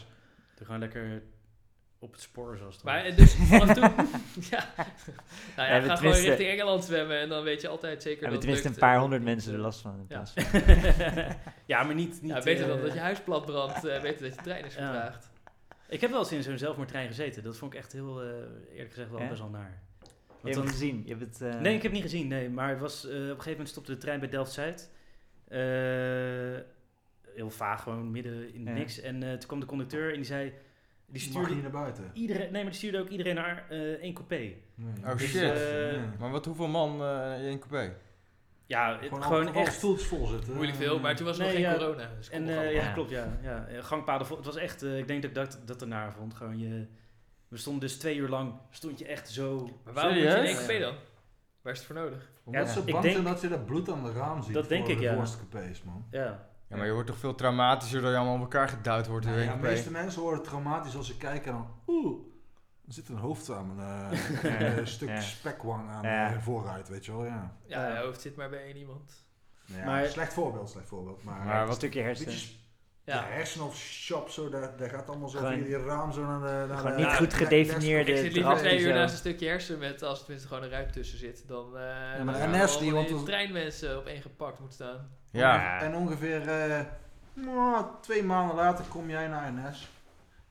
doe gewoon lekker op het spoor, zoals het
Maar
hoort.
[LAUGHS] eh,
[LAUGHS]
dus vanaf toen... ja. Nou ja,
hebben
ga gewoon
tenminste-
richting Engeland zwemmen en dan weet je altijd zeker
hebben
dat
tenminste een
lukt.
paar honderd mensen er last van. In
eh, Ja.
plaats van-
ja, maar niet... niet
Ja, beter dan
eh,
dat je huis platbrandt, eh beter dat je trein is
Ja.
vertraagd.
Ik heb wel eens in zo'n zelfmoordtrein gezeten. Dat vond ik echt heel, eh, eerlijk gezegd, wel
Ja?
best wel naar.
Je hebt hem gezien. Je hebt het, eh,
Nee, ik heb het niet gezien, nee. Maar het was, eh, op een gegeven moment stopte de trein bij Delft-Zuid. Eh, heel vaag, gewoon midden in
Ja.
niks. En eh, toen kwam de conducteur en die zei... Die
Mag
stuurde,
je naar buiten?
iedereen, nee, maar die stuurde ook iedereen naar eh één coupé.
Oh
Dus,
shit.
eh,
Ja.
Maar wat, hoeveel man eh, in een coupé?
Ja, het-
Gewoon,
gewoon,
gewoon alle
echt...
stoeltjes vol zitten.
Moeilijk veel, maar toen was er nog
Nee,
geen
ja.
corona. Dus kon
En
nog
eh,
allemaal.
ja, klopt, ja. ja. Eh, Gangpaden, vol- het was echt, eh, ik denk dat ik dat, dat ernaar vond. Gewoon je, we stonden dus twee uur lang, stond je echt zo...
Maar waarom moet je in één
Serieus?
café dan? Waar is het voor nodig?
Omdat
Ja,
ze
ik
bang
denk-
zijn dat je dat bloed aan de raam ziet.
Dat denk
voor
ik,
de
ja.
worstcapés, man.
Ja,
Ja, maar je wordt toch veel traumatischer dat je allemaal op elkaar geduwd wordt in
Nou
een
ja, de
coupé.
meeste mensen horen het traumatisch als ze kijken en dan... Oeh, er zit een hoofd aan
[LAUGHS]
mijn eh, een stuk
Ja.
spekwang aan
Ja.
eh, vooruit, weet je wel. Ja.
Ja,
Ja.
je hoofd zit maar bij één iemand.
Nou ja,
Maar-
slecht voorbeeld, slecht voorbeeld. Maar,
Maar
een
wat-
stukje
een beetje
hersenen.
sp-
Ja.
de hersen of shop, zo, daar, daar gaat allemaal zo
Gewoon-
via die raam zo naar de... Naar
Gewoon
de-
niet goed
naar de-
gedefinieerde
Ik zit liever
draft
drachten
twee uur
zo.
naast een stukje hersen met, als er tenminste gewoon een ruimte tussen zit, dan eh ja,
maar een nest die, want
de
dat-
treinmensen op één gepakt moeten staan.
Ja.
En ongeveer eh, mwah, twee maanden later kom jij naar NS.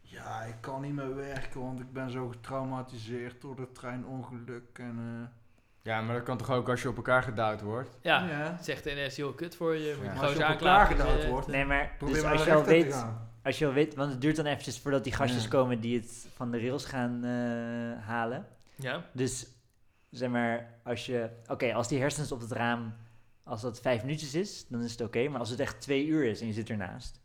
Ja, ik kan niet meer werken, want ik ben zo getraumatiseerd door het treinongeluk. En, eh,
ja, maar dat kan toch ook als je op elkaar geduwd wordt?
Ja,
ja.
zegt de NS, joh, kut voor je. Moet
Ja.
je
Maar als
gewoon
je op
eens
elkaar
aanklagen.
gedouwd
eh,
wordt,
Nee, maar
probeer
dus
maar
als je
naar
al
de rechter te
weet,
gaan.
als je al weet, want het duurt dan eventjes voordat die gastjes
Ja.
komen die het van de rails gaan eh, halen.
Ja,
Dus zeg maar, als je, oké, als die hersens op het raam, als dat vijf minuutjes is, dan is het oké. maar als het echt twee uur is en je zit ernaast,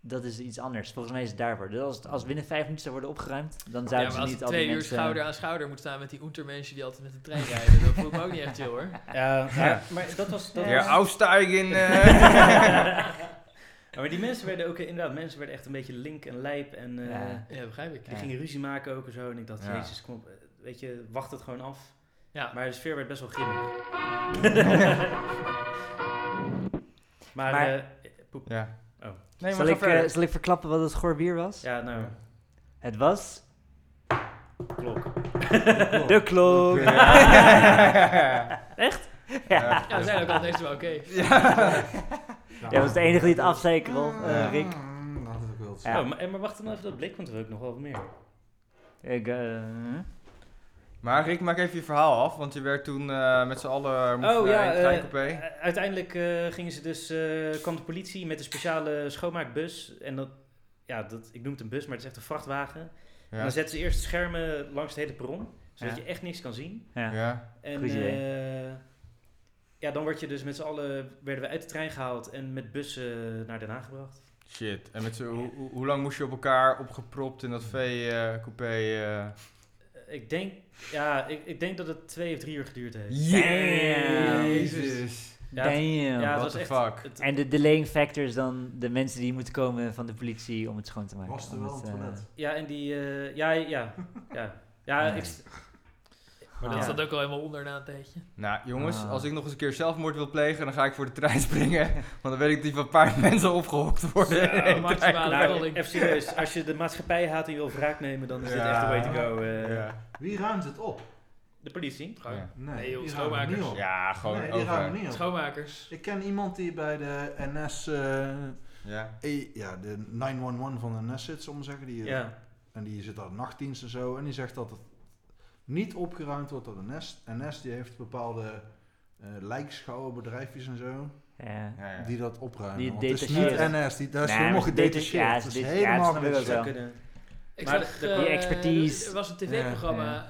dat is iets anders. Volgens mij is het daarvoor. Dus als, het- als binnen vijf minuten zou worden opgeruimd, dan zouden
ja maar als
ze
ik
niet al die
twee uur
mensen...
schouder aan schouder moet staan met die Untermenschen die altijd met de trein rijden, dat voelt me ook niet echt chill
[LAUGHS]
hoor.
ja, maar, maar dat was... Dat
Ja,
was-
afstijgen. eh.
[LAUGHS] Ja, maar die mensen werden ook, eh, inderdaad, mensen werden echt een beetje link en lijp en eh,
Ja.
Ja, begrijp ik.
die gingen ruzie maken ook en zo. En ik dacht,
Ja.
jezus, kom op, eh, weet je, wacht het gewoon af.
Ja.
Maar de sfeer werd best wel grimmig. maar,
Maar-
eh, poep.
ja.
Oh.
Nee,
zal,
maar ga
ik, eh,
verder.
zal ik verklappen wat het gorbier was?
Ja, nou,
Ja.
Het was
klok.
de klok. [LAUGHS]
Ja.
ja.
Ja, we zijn ook al deze wel oké.
Jij was de enige die het afzei, Rol, eh, Rick.
Mm, dat had ik wel eens.
Ja.
Oh, maar, eh, maar wacht dan even dat blik, want er ook nog wel wat meer.
Ik, eh,
Maar Rick, maak even je verhaal af, want je werd toen eh, met z'n allen moest
Oh,
naar
ja,
een
eh,
treincoupé.
u- uiteindelijk eh, gingen ze dus, eh, kwam de politie met een speciale schoonmaakbus. En dat, ja, dat, ik noem het een bus, maar het is echt een vrachtwagen. En
ja.
dan zetten ze eerst schermen langs het hele perron, zodat
Ja.
je echt niks kan zien.
ja.
Ja.
En
Goed idee.
eh, ja, dan word je dus met z'n allen, werden we uit de trein gehaald en met bussen naar Den Haag gebracht.
Shit. En met z'n- hoe, hoe- hoe lang moest je op elkaar opgepropt in dat V-coupé?
Eh, Ik denk, ja, ik, ik denk dat het twee of drie uur geduurd heeft.
Damn.
Jezus.
Ja, het-
Damn.
ja,
what
het was
the
echt.
fuck.
het-
En de delaying factor is dan de mensen die moeten komen van de politie om het schoon te maken.
Was er
om
wel een
het, eh,
toilet?
ja, en die, eh, ja, ja, ja. Ja, ik,
Maar dat
Ah.
zat ook al helemaal onder na een tijdje.
Nou jongens,
Ah.
als ik nog eens een keer zelfmoord wil plegen, dan ga ik voor de trein springen. [LAUGHS] Want dan weet ik dat van een paar [LAUGHS] mensen opgehokt [LAUGHS] worden. in
Ja,
de
maximale
trein.
nou,
rolling.
even serieus, als je de maatschappij haat en je wil wraak nemen, dan is dit
Ja.
echt de way to go. eh.
Ja.
Wie ruimt het op?
De politie.
Gewoon
Ja.
Nee,
Nee,
joh,
die ruimen het
schoonmakers.
niet op.
Ja, gewoon
nee, die ruimen
over.
niet op.
schoonmakers.
Ik ken iemand die bij de NS, eh,
Ja.
E- ja, de 911 van de NS zit, zullen we maar zeggen. Die, eh,
Ja.
En die zit daar nachtdienst en zo. En die zegt dat het niet opgeruimd wordt door de NS. NS die heeft bepaalde eh lijkschouwenbedrijfjes en zo.
Ja.
Ja, ja.
Die dat opruimen.
Die
Want het is niet
detacheren.
NS. Die, dat is
Nee,
helemaal
maar ze detache-
gedetacheerd.
ja,
Het
ze
is
deta- ja, dat
helemaal
snap ik ook
Zou
gedetacheerd.
wel.
kunnen.
Ik
Maar
zag,
de-
eh,
die expertise.
Er was een tv-programma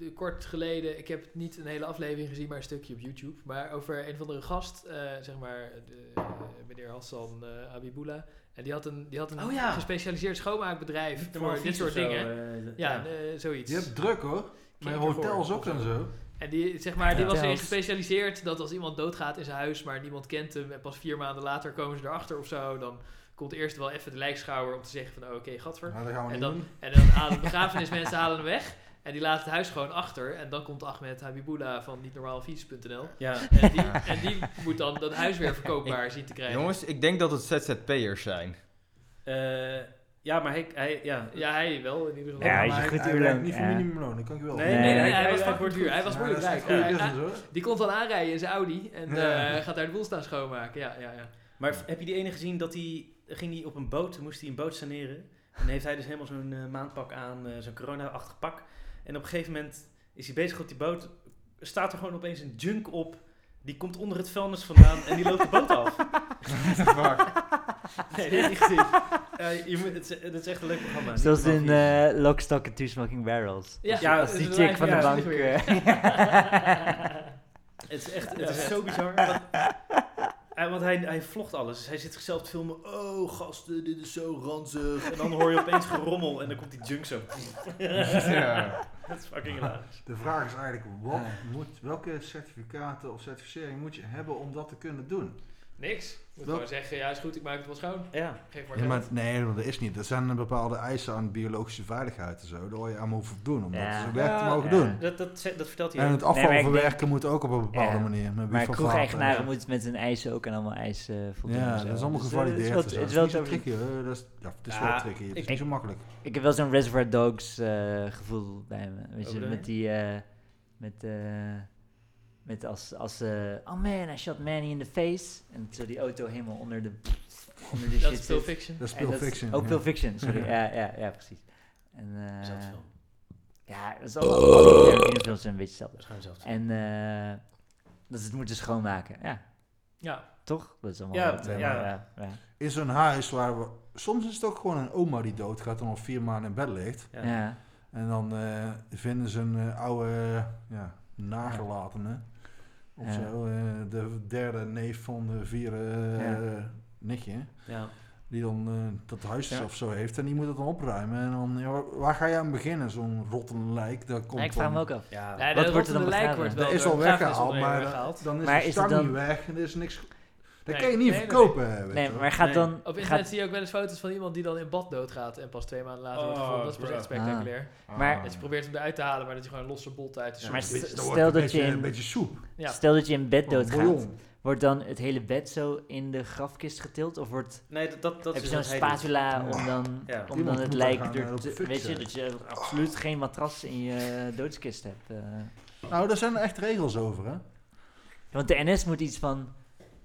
eh, kort geleden. Ik heb niet een hele aflevering gezien, maar een stukje op YouTube. Maar over een van de gast, eh, zeg maar de, eh, meneer Hassan eh Abibullah. En die had een, die had een
Oh ja.
gespecialiseerd schoonmaakbedrijf
De
voor
Malvies
dit soort
of zo,
dingen.
eh,
ja, eh, zoiets.
Je hebt druk hoor. Met
Kinderen
hotels
voor,
ook
of
en zo.
En die, zeg maar, die
Ja.
was erin
Hotels.
gespecialiseerd dat als iemand doodgaat in zijn huis, maar niemand kent hem en pas vier maanden later komen ze erachter of zo, dan komt eerst wel even de lijkschouwer om te zeggen van oh, oké, gadver.
Nou, dat gaan we
En
niet
dan,
doen.
en dan halen de begrafenismensen halen hem weg. En die laten het huis gewoon achter. En dan komt Ahmed Habibullah van nietnormaalfiets.nl.
Ja.
En die, en die moet dan dat huis weer verkoopbaar zien te krijgen.
Jongens, ik denk dat het ZZP'ers zijn.
Eh, ja, maar hij, hij ja.
Ja, hij wel in ieder geval.
Ja, hij is
Maar
een goed
hij
uur
werkt
lang,
niet voor
ja.
minimumloon, dat kan ik wel.
Nee,
nee,
nee,
nee,
hij,
hij,
hij was
hij
fucking
goed.
duur. Hij was
Ja,
moeilijk
dat is
rijk.
echt goede
Ja,
business,
ja,
hoor.
die komt dan aanrijden in zijn Audi en
Ja.
eh, gaat daar de boel staan schoonmaken. Ja, ja, ja.
Maar f- heb je die ene gezien dat hij ging hij op een boot, moest hij een boot saneren? En heeft hij dus helemaal zo'n eh, maandpak aan, eh, zo'n corona-achtig pak. En op een gegeven moment is hij bezig op die boot, staat er gewoon opeens een junk op Die komt onder het vuilnis vandaan en die loopt de boot af.
Fuck.
[LAUGHS] Nee, die heb ik niet gezien. Ja, je moet, het, is, het is echt een leuk programma.
Zoals
Niet
in
normaal vies.
eh Lockstock and Two Smoking Barrels.
Ja,
Ja,
Als die
dat
chick van de
lijkt me
bank...
juist
[LAUGHS]
weer.
eh,
Het is echt het is zo bizar. [LAUGHS] Want, eh, want hij, hij vlogt alles. Dus Hij zit zichzelf te filmen. Oh, gasten, dit is zo ranzig. En dan hoor je opeens gerommel en dan komt die junk zo.
[LAUGHS]
[LAUGHS]
Ja.
Dat is fucking hilarisch.
De vraag is eigenlijk, wat moet, welke certificaten of certificering moet je hebben om dat te kunnen doen?
Niks. Je Moet
Wel-
gewoon zeggen, ja is goed, ik maak het wel schoon.
Ja.
Geef maar
Ja, maar,
geld.
nee, dat is niet. Er zijn bepaalde eisen aan biologische veiligheid en zo. Daar hoor je aan moet voldoen om
Ja.
dat zo werk te
Ja.
mogen doen.
Dat, dat, ze- dat vertelt hij
En
ook.
het
maar ik
afvalverwerken moet ook op een bepaalde
Ja.
manier. Met
Maar
wie van Vaten.
kroegeigenaren moeten met hun eisen ook aan allemaal eisen eh, voldoen. en
Ja,
zo.
dat is allemaal
Dus, eh, het
gevalideerd.
wat-
en zo.
het is
Het is
wel
niet zo
te-
tricky hoor. Dat is, ja, het is
Ja,
wel tricky. Het is
ik-
niet zo makkelijk.
Ik heb wel zo'n Reservoir Dogs eh, gevoel bij me. Weet
Wat
je,
bedoel
met
je?
die... eh, met, eh, met als... als eh, oh man, I shot Manny in the face. En zo die auto helemaal onder de... Onder de
Dat
shit
is Pulp
zit.
Fiction.
Dat is
En
Pulp
dat is
Fiction.
Ook
ja.
Pulp Fiction, sorry.
Ja.
ja, ja, ja, precies. En, eh,
Zelfde film.
ja, dat is allemaal... Ja, films zijn een beetje hetzelfde.
Dat is gewoon zelfde film.
En eh, dat ze het moeten schoonmaken. Ja,
Ja.
toch? Dat is allemaal...
Ja,
wat, eh,
ja.
ja, ja.
In zo'n huis waar we... Soms is het ook gewoon een oma die doodgaat en al vier maanden in bed ligt.
Ja.
Ja.
En dan eh, vinden ze een eh, oude eh, ja, nagelatene. Of
Ja.
zo. eh, de derde neef van de vierde eh, nichtje.
Ja.
Die dan eh, dat huis
Ja.
of zo heeft. En die moet het dan opruimen. En dan, ja, waar- waar ga je aan beginnen? Zo'n rotten lijk. Dat komt
Ja, ik vraag
dan-
me ook af.
Ja.
Ja,
Wat
de
wordt er dan
rottende lijk
begraven?
wordt wel
Dat is
door
al
een begrafenis
weggehaald,
onder
maar
je weggehaald.
dan is
Maar
de
is het
stang
dan-
niet weg en er is niks... ge- Dat
Nee,
kan je niet
nee, nee,
verkopen. eh, weet
Nee,
je wel.
maar gaat
Nee.
dan...
Op internet
Gaat,
zie je ook wel eens foto's van iemand die dan in bad doodgaat en pas twee maanden later wordt
Oh,
gevonden. Dat is pas
bruh.
echt spectaculair.
Ah.
Maar-
Dat je probeert hem eruit te halen, maar dat je gewoon een losse bot uit de
maar
een beetje-
stel
wordt een
dat
beetje-
je in-
Een beetje soep.
Ja.
Stel dat je in bed doodgaat.
Bouillon.
Wordt dan het hele bed zo in de grafkist getild? Of wordt,
Nee, dat, dat, dat
heb
is
je zo'n
wat hij doet.
spatula om dan,
Ja.
om dan
Iemand
het
moet
lijk
daar gaan, eh,
er
op
te-
fixen.
Weet je, dat je absoluut geen matras in je doodskist hebt. eh.
Nou, daar zijn er echt regels over, hè?
Want de NS moet iets van...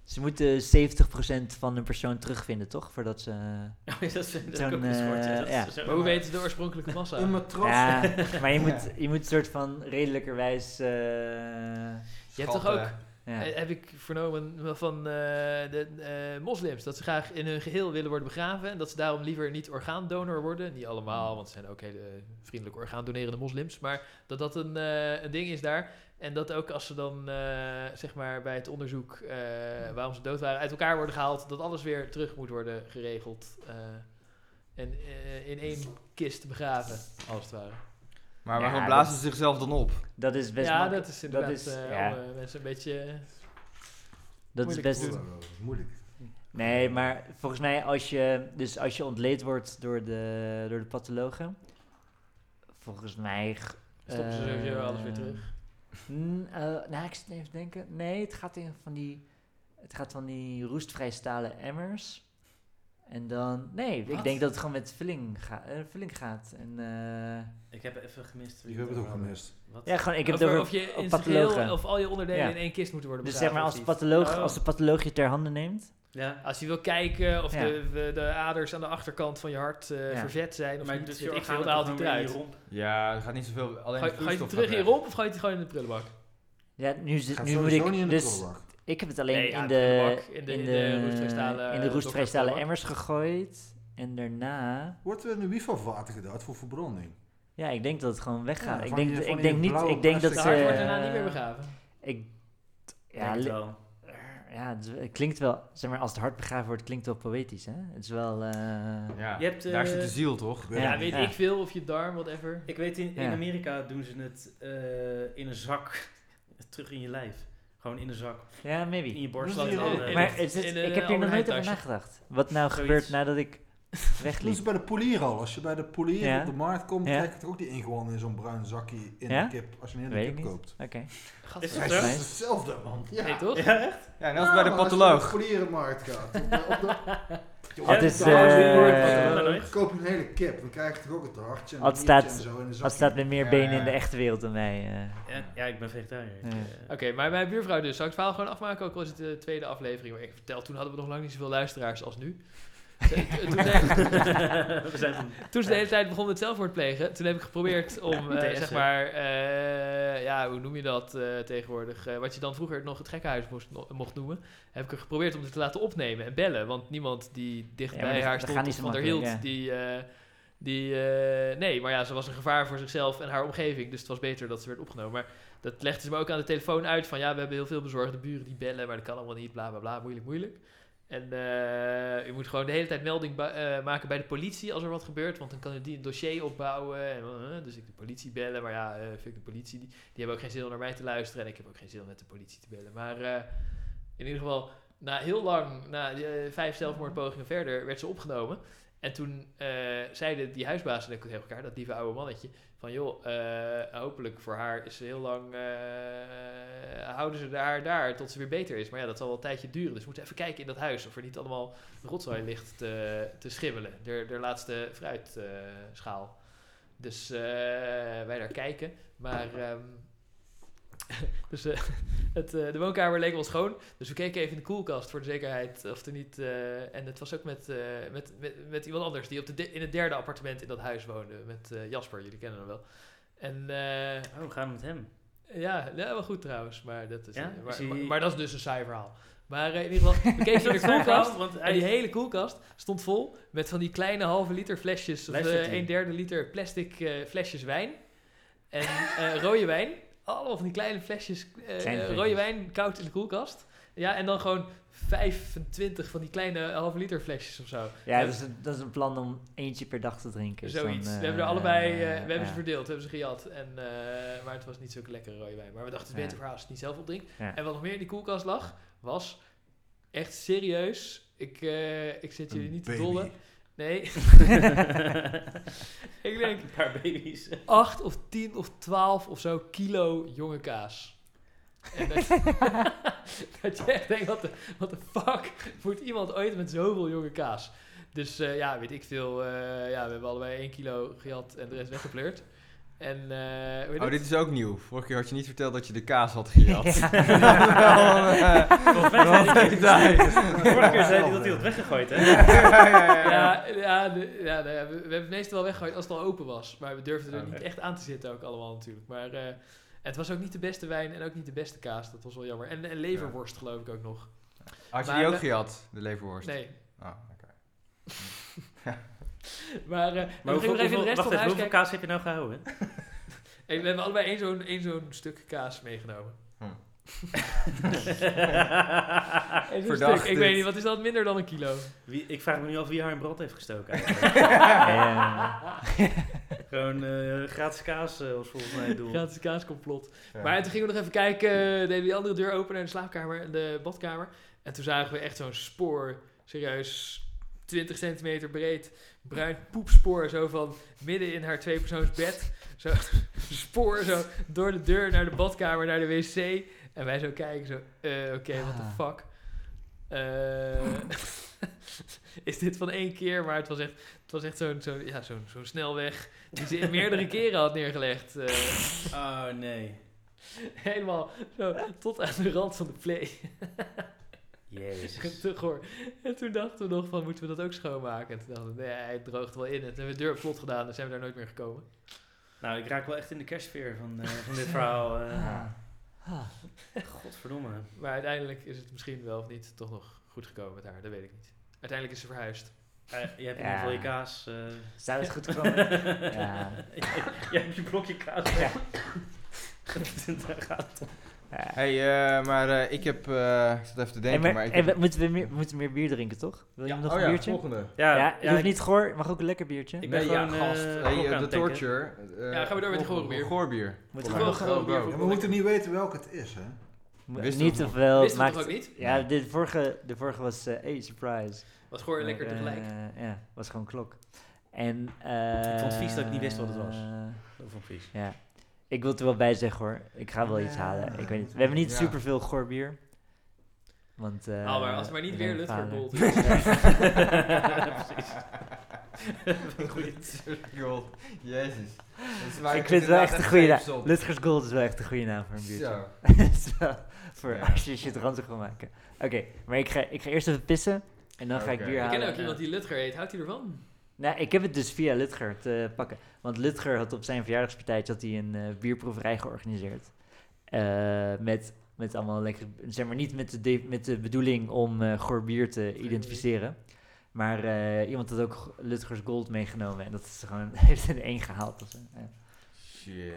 Ze moeten 70% van een persoon terugvinden, toch? Voordat ze...
Ja, dat is dat is
Zo'n,
ook een schortje.
eh,
Dat is
ja.
zo-
Maar hoe weten ze de oorspronkelijke massa?
Een matras.
Ja, maar je moet, je moet soort van redelijkerwijs... eh,
Je hebt toch ook,
ja.
eh, heb ik vernomen van eh, de eh, moslims, dat ze graag in hun geheel willen worden begraven en dat ze daarom liever niet orgaandonor worden. Niet
Mm.
allemaal, want ze zijn ook hele vriendelijke orgaandonerende moslims, maar dat dat een, eh, een ding is daar. En dat ook als ze dan, eh, zeg maar, bij het onderzoek eh,
Mm.
waarom ze dood waren, uit elkaar worden gehaald, dat alles weer terug moet worden geregeld eh, en eh, in één kist begraven, als het ware.
Maar waarom
Ja,
blazen ze zichzelf dan op?
Dat is best
ja,
makkelijk.
dat is inderdaad
is-
eh,
ja.
om, eh, mensen een beetje...
Dat is
Moeilijk
best...
te
Moeilijk.
Nee, maar volgens mij als je, dus als je ontleed wordt door de, door de pathologen, volgens mij... g-
Stoppen ze
eh,
sowieso alles weer terug?
Mm, eh, nou, ik zit even te denken. Nee, het gaat in van die, het gaat van die roestvrij stalen emmers. En dan, nee, ik
Wat?
denk dat het gewoon met vulling, ga, eh, vulling gaat. En, eh,
Ik heb even gemist. wie
Ik heb het ook
over had.
gemist.
Wat?
ja, gewoon, ik heb
Of-
het over
of je in zijn
pathologen.
geheel of al je onderdelen
Ja.
in één kist moeten worden
dus
begraven.
zeg maar als de, patholoog,
Oh.
als de patholoog je ter handen neemt.
Ja.
Als je wil kijken of
Ja.
de, de, de aders aan de achterkant van je hart eh,
Ja.
vervet zijn of
Maar
niet,
dus
weet
je
ik veel,
organen
dan haalt
toch
hij
gewoon weer in
eruit.
je
Ga,
romp.
Ja, er gaat niet zoveel. Alleen
ga
de
je het
vloeistof
terug in
gaat
je
weg.
romp of gooi je het gewoon in de prullenbak?
Ja, nu, zit-
Gaat
nu moet
sowieso niet in
ik,
de
dus
prullenbak.
Ik heb het alleen
Nee, ja,
in,
in
de,
de
in,
prullenbak,
de,
in
in
de-
de,
in de roestvrijstalen, eh,
roestvrijstalen
dokterprullenbak.
emmers gegooid. En daarna...
Wordt er in de wifi-vaten gedood voor verbranding?
Ja, ik denk dat het gewoon weggaat.
Ja,
ik
van
denk,
die-
dat-
van
ik
die
denk niet...
blauwe
Ik denk dat eh,
plastic
Het
ze...
hart wordt daarna niet meer begraven.
Ik,
Ja,
ja, li-
wel.
ja, het, is- het klinkt wel... Zeg maar, als het hart begraven wordt, klinkt het wel poëtisch, hè? Het is wel... eh,
Ja,
Je hebt,
daar
eh,
zit de ziel toch?
Ja,
Ja, weet
ja.
ik veel of je darm, whatever.
Ik weet, in, in
Ja.
Amerika doen ze het eh, in een zak. Terug in je lijf. Gewoon in een zak.
Ja,
In
maybe.
je borst.
Doen ze
laten
hier
dan,
ook?
eh,
Maar het is,
in een
ik heb hier nog nooit over
Albert Heijn
nagedacht. Wat nou
Zoiets.
gebeurt nadat ik
Dat
wegliep.
is bij de polier al. Als je bij de polier
Ja.
op de markt komt,
Ja.
krijg je toch ook die ingewanden in zo'n bruin zakje in
Ja?
de kip. Als je een
Weet
hele
ik
kip
niet.
koopt.
Oké.
Gadver-
Is
Ja,
dat
het
zo?
is hetzelfde, man. Ja.
Nee, toch?
Ja, echt?
Ja, en dat is bij de
maar als je
patoloog.
naar de polierenmarkt gaat. op de- op de- Joh,
Het
op
is,
de hartje,
eh,
hoor,
Ja,
dan
nooit.
koop je een hele kip, dan krijg je toch ook het hartje en
Ad
het biertje
staat-
en zo in de
Dat
zakje.
staat met meer benen in de
Ja.
echte wereld dan mij. eh.
Ja, ja, ik ben vegetariër.
Ja.
Eh,
Oké, maar mijn buurvrouw dus. Zal ik het verhaal gewoon afmaken? Ook al is het de tweede aflevering. Maar ik vertel, toen hadden we nog lang niet zoveel luisteraars als nu. [LAUGHS] Toen- toen zei-
eh,
[LAUGHS]
We zijn van-
Toen ze de hele tijd begon met zelfmoord plegen, toen heb ik geprobeerd om, eh,
TSC.
zeg maar, eh, ja, hoe noem je dat eh, tegenwoordig? Eh, wat je dan vroeger nog het gekkenhuis moest, no- mocht noemen, heb ik er geprobeerd om dit te laten opnemen en bellen. Want niemand die
Ja, maar
dichtbij
dat-
haar
dat
stond
gaat
of
niet zo
van haar hield,
makkelijk,
die... eh, die eh, nee, maar ja, ze was een gevaar voor zichzelf en haar omgeving. Dus het was beter dat ze werd opgenomen. Maar dat legde ze me ook aan de telefoon uit. Van ja, we hebben heel veel bezorgde buren die bellen, maar dat kan allemaal niet. Bla bla bla, moeilijk, moeilijk. En eh, u moet gewoon de hele tijd melding ba- eh, maken bij de politie als er wat gebeurt. Want dan kan die een dossier opbouwen. En, eh, dus ik de politie bellen. Maar ja, eh, vind ik de politie. Die, die hebben ook geen zin om naar mij te luisteren. En ik heb ook geen zin om met de politie te bellen. Maar eh, in ieder geval, na heel lang, na eh, vijf zelfmoordpogingen verder, werd ze opgenomen. En toen eh, zeiden die huisbazen tegen elkaar, dat lieve oude mannetje, van joh, eh, hopelijk voor haar is ze heel lang, eh, houden ze haar daar tot ze weer beter is. Maar ja, dat zal wel een tijdje duren. Dus we moeten even kijken in dat huis of er niet allemaal rotzooi ligt te, te schimmelen. De, de laatste fruitschaal. dus eh, wij daar kijken. Maar ehm, [LAUGHS] dus, eh, [LAUGHS] het, eh, de woonkamer leek wel schoon. Dus we keken even in de koelkast voor de zekerheid of er niet. eh, en het was ook met, eh, met, met, met iemand anders die op de de- in het derde appartement in dat huis woonde. Met eh, Jasper, jullie kennen hem wel. En eh,
Oh, we gaan met hem.
ja, ja, wel goed trouwens. Maar dat is,
Ja?
eh, maar,
Is hij-
maar, maar dat is dus een saai verhaal. Maar eh, in ieder
[LAUGHS]
geval, we keken in de koelkast.
Want
En
hij,
die
[LAUGHS]
hele koelkast stond vol met van die kleine halve liter flesjes, of
Flesjes,
eh,
ja.
een derde liter plastic eh, flesjes wijn. En eh, rode wijn. Allemaal van die kleine flesjes eh,
Kleine
eh, rode
flesjes.
wijn koud in de koelkast. Ja, en dan gewoon 25 van die kleine halve liter flesjes of zo.
Ja, dat is, een, dat is een plan om eentje per dag te drinken. Dus dan,
Zoiets.
eh,
we hebben er allebei, eh,
eh,
we hebben
ja.
ze verdeeld, we hebben ze gejat. En, eh, maar het was niet zulke lekkere rode wijn. Maar we dachten, het
Ja.
is beter voor haar als ze het niet zelf opdrinkt.
Ja.
En wat nog meer in die koelkast lag, was echt serieus. Ik, eh, ik zit jullie niet te dollen. Nee. [LAUGHS] ik denk
een paar
[LAUGHS]
baby's.
8 of 10 of 12 of zo kilo jonge kaas. En dat, [LAUGHS] dat je echt denkt, wat de, what the fuck moet iemand ooit met zoveel jonge kaas? Dus eh, ja, weet ik veel. eh, ja, we hebben allebei 1 kilo gejat en de rest weggepleurd. En, eh, hoe heet
Oh,
het?
dit is ook nieuw. Vorige keer had je niet verteld dat je de kaas
[LAUGHS]
had gejat. [LAUGHS]
eh,
Nou, eh,
Volgens mij zei hij- Vorige keer zei hij dat hij dat
dat
weggegooid hè?
ja, ja, de- ja nee, we, we hebben het meestal wel weggegooid als het al open was. Maar we durfden er
Oh,
niet
oké.
echt aan te zitten ook allemaal natuurlijk. Maar eh, het was ook niet de beste wijn en ook niet de beste kaas. Dat was wel jammer. En, en leverworst geloof ik ook nog.
Had je
Maar
die ook
we-
gejat, de leverworst?
Nee.
Ah, oké.
Maar, eh
Maar
we
hoeveel,
gingen nog even in de
hoeveel,
rest
wacht
van het
even, hoeveel
huis kijken.
kaas heb je nou gehouden?
En we hebben allebei één zo'n, één zo'n stuk kaas meegenomen. Eén zo'n
Verdacht
stuk. Ik
dit.
weet niet, wat is dat? Minder dan een kilo.
Wie, ik vraag me nu af wie haar in brand heeft gestoken. eigenlijk.
[LAUGHS]
Ja.
Gewoon eh, gratis kaas eh, was volgens mij het doel.
Gratis kaascomplot.
Ja.
Maar toen gingen we nog even kijken, eh, deden we die andere deur open naar de slaapkamer en de badkamer. En toen zagen we echt zo'n spoor, serieus 20 centimeter breed, bruin poepspoor, zo van midden in haar tweepersoonsbed. Zo [LAUGHS] spoor zo door de deur naar de badkamer, naar de wc. En wij zo kijken, zo, eh, oké, what the
Ah.
fuck. Eh, [LAUGHS] is dit van één keer, maar het was echt, het was echt zo'n zo'n- ja, zo'n zo'n snelweg die ze in meerdere keren had neergelegd. eh.
Oh
[LAUGHS]
nee.
Helemaal zo, tot aan de rand van de play. [LAUGHS]
Jezus.
Te goor. En toen dachten we nog van, moeten we dat ook schoonmaken? En toen dachten we, nee, het droogt wel in. En toen hebben we de deur plot gedaan en zijn we daar nooit meer gekomen.
Nou, ik raak wel echt in de kerstsfeer van, eh, van dit verhaal.
Ah.
eh. Godverdomme.
Maar uiteindelijk is het misschien wel of niet toch nog goed gekomen met haar. Dat weet ik niet. Uiteindelijk is ze verhuisd.
Eh, je hebt in
Ja.
ieder geval je kaas. eh, [LAUGHS]
Zou het goed komen? Ja.
Jij hebt je blokje kaas.
Ja.
Daar gaat het om.
Ja.
Hey, eh, maar eh, ik heb... eh, ik zat even te denken,
Hey, maar,
maar ik
hey,
heb...
we- moeten we, meer, we moeten meer bier drinken, toch? Wil je nog
oh
een
ja,
biertje?
volgende.
Ja,
Ja,
je hoeft niet goor, je mag ook een lekker biertje.
Ik ben gewoon,
ja,
eh,
gast. Hey,
klok aan
eh, de
het tikken.
torture. eh,
Ja, gaan we door met die goorbier.
Goorbier.
Moet
Kom
gewoon
maar.
goorbier
Go, go.
voor-
Ja, we moeten niet weten welke het is,
[LAUGHS]
hè?
Mo-
Wist
niet
het
te
nog?
veel.
Wist het
maakt-
toch ook niet?
Ja, de vorige, de vorige was, eh hey, surprise.
Was goor en lekker
Maar,
tegelijk.
eh, ja, was gewoon klok. En, eh,
Ik vond het vies dat ik niet wist wat het was.
eh,
Dat vond ik vies.
Ja. Ik wil het er wel bij zeggen hoor. Ik ga wel
Eh,
iets
Ja.
halen. Ik weet niet. We hebben niet
Ja.
superveel goorbier. Want, eh
Ah, maar als het maar niet
we
weer
zijn vader.
Lutger Bolt
eh,
Gold. Jezus. Dat is waar
Ik vind het wel echt een goede
inderdaad
naam.
echt
Lutger's Gold is wel echt een goede naam voor een
vapes op.
biertje.
[LAUGHS]
[LAUGHS]
Zo.
Het is wel voor
Ja.
als je shit ranzig wil maken. Oké, maar ik ga, ik ga eerst even pissen. En dan ga ik
Oké.
bier
Ik
Ik
halen.
ken ook
en-
iemand die Lutger heet. Houdt hij ervan?
Nou, ik heb het dus via Lutger te pakken. Want Lutger had op zijn verjaardagspartijtje had hij een eh, bierproeverij georganiseerd. Eh, met, met allemaal lekker... Zeg maar niet met de, de- met de bedoeling om eh goor bier te identificeren. Maar eh, iemand had ook go- Lutgers Gold meegenomen. En dat is gewoon, [LAUGHS] heeft er één gehaald. of zo. Ja.
Shit.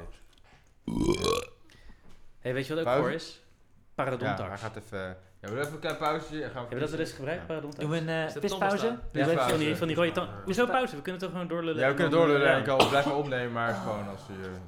Hey, weet je wat ook
Pauze?
voor is?
Ja,
Paradontax.
hij gaat even... Ja, we doen even een klein pauzetje en gaan we...
Hebben we dat wel eens gebruikt,
Ja.
Doen
paradontax?
we een eh,
Is dat
pispauze?
tandenstaal?
Ja,
Even
van, die,
pauze.
van die rode tand. Hoezo pauze? We kunnen toch gewoon doorlullen?
Ja, we
en
kunnen
dan,
doorlullen
eh,
en ik kan blijven opnemen, maar gewoon als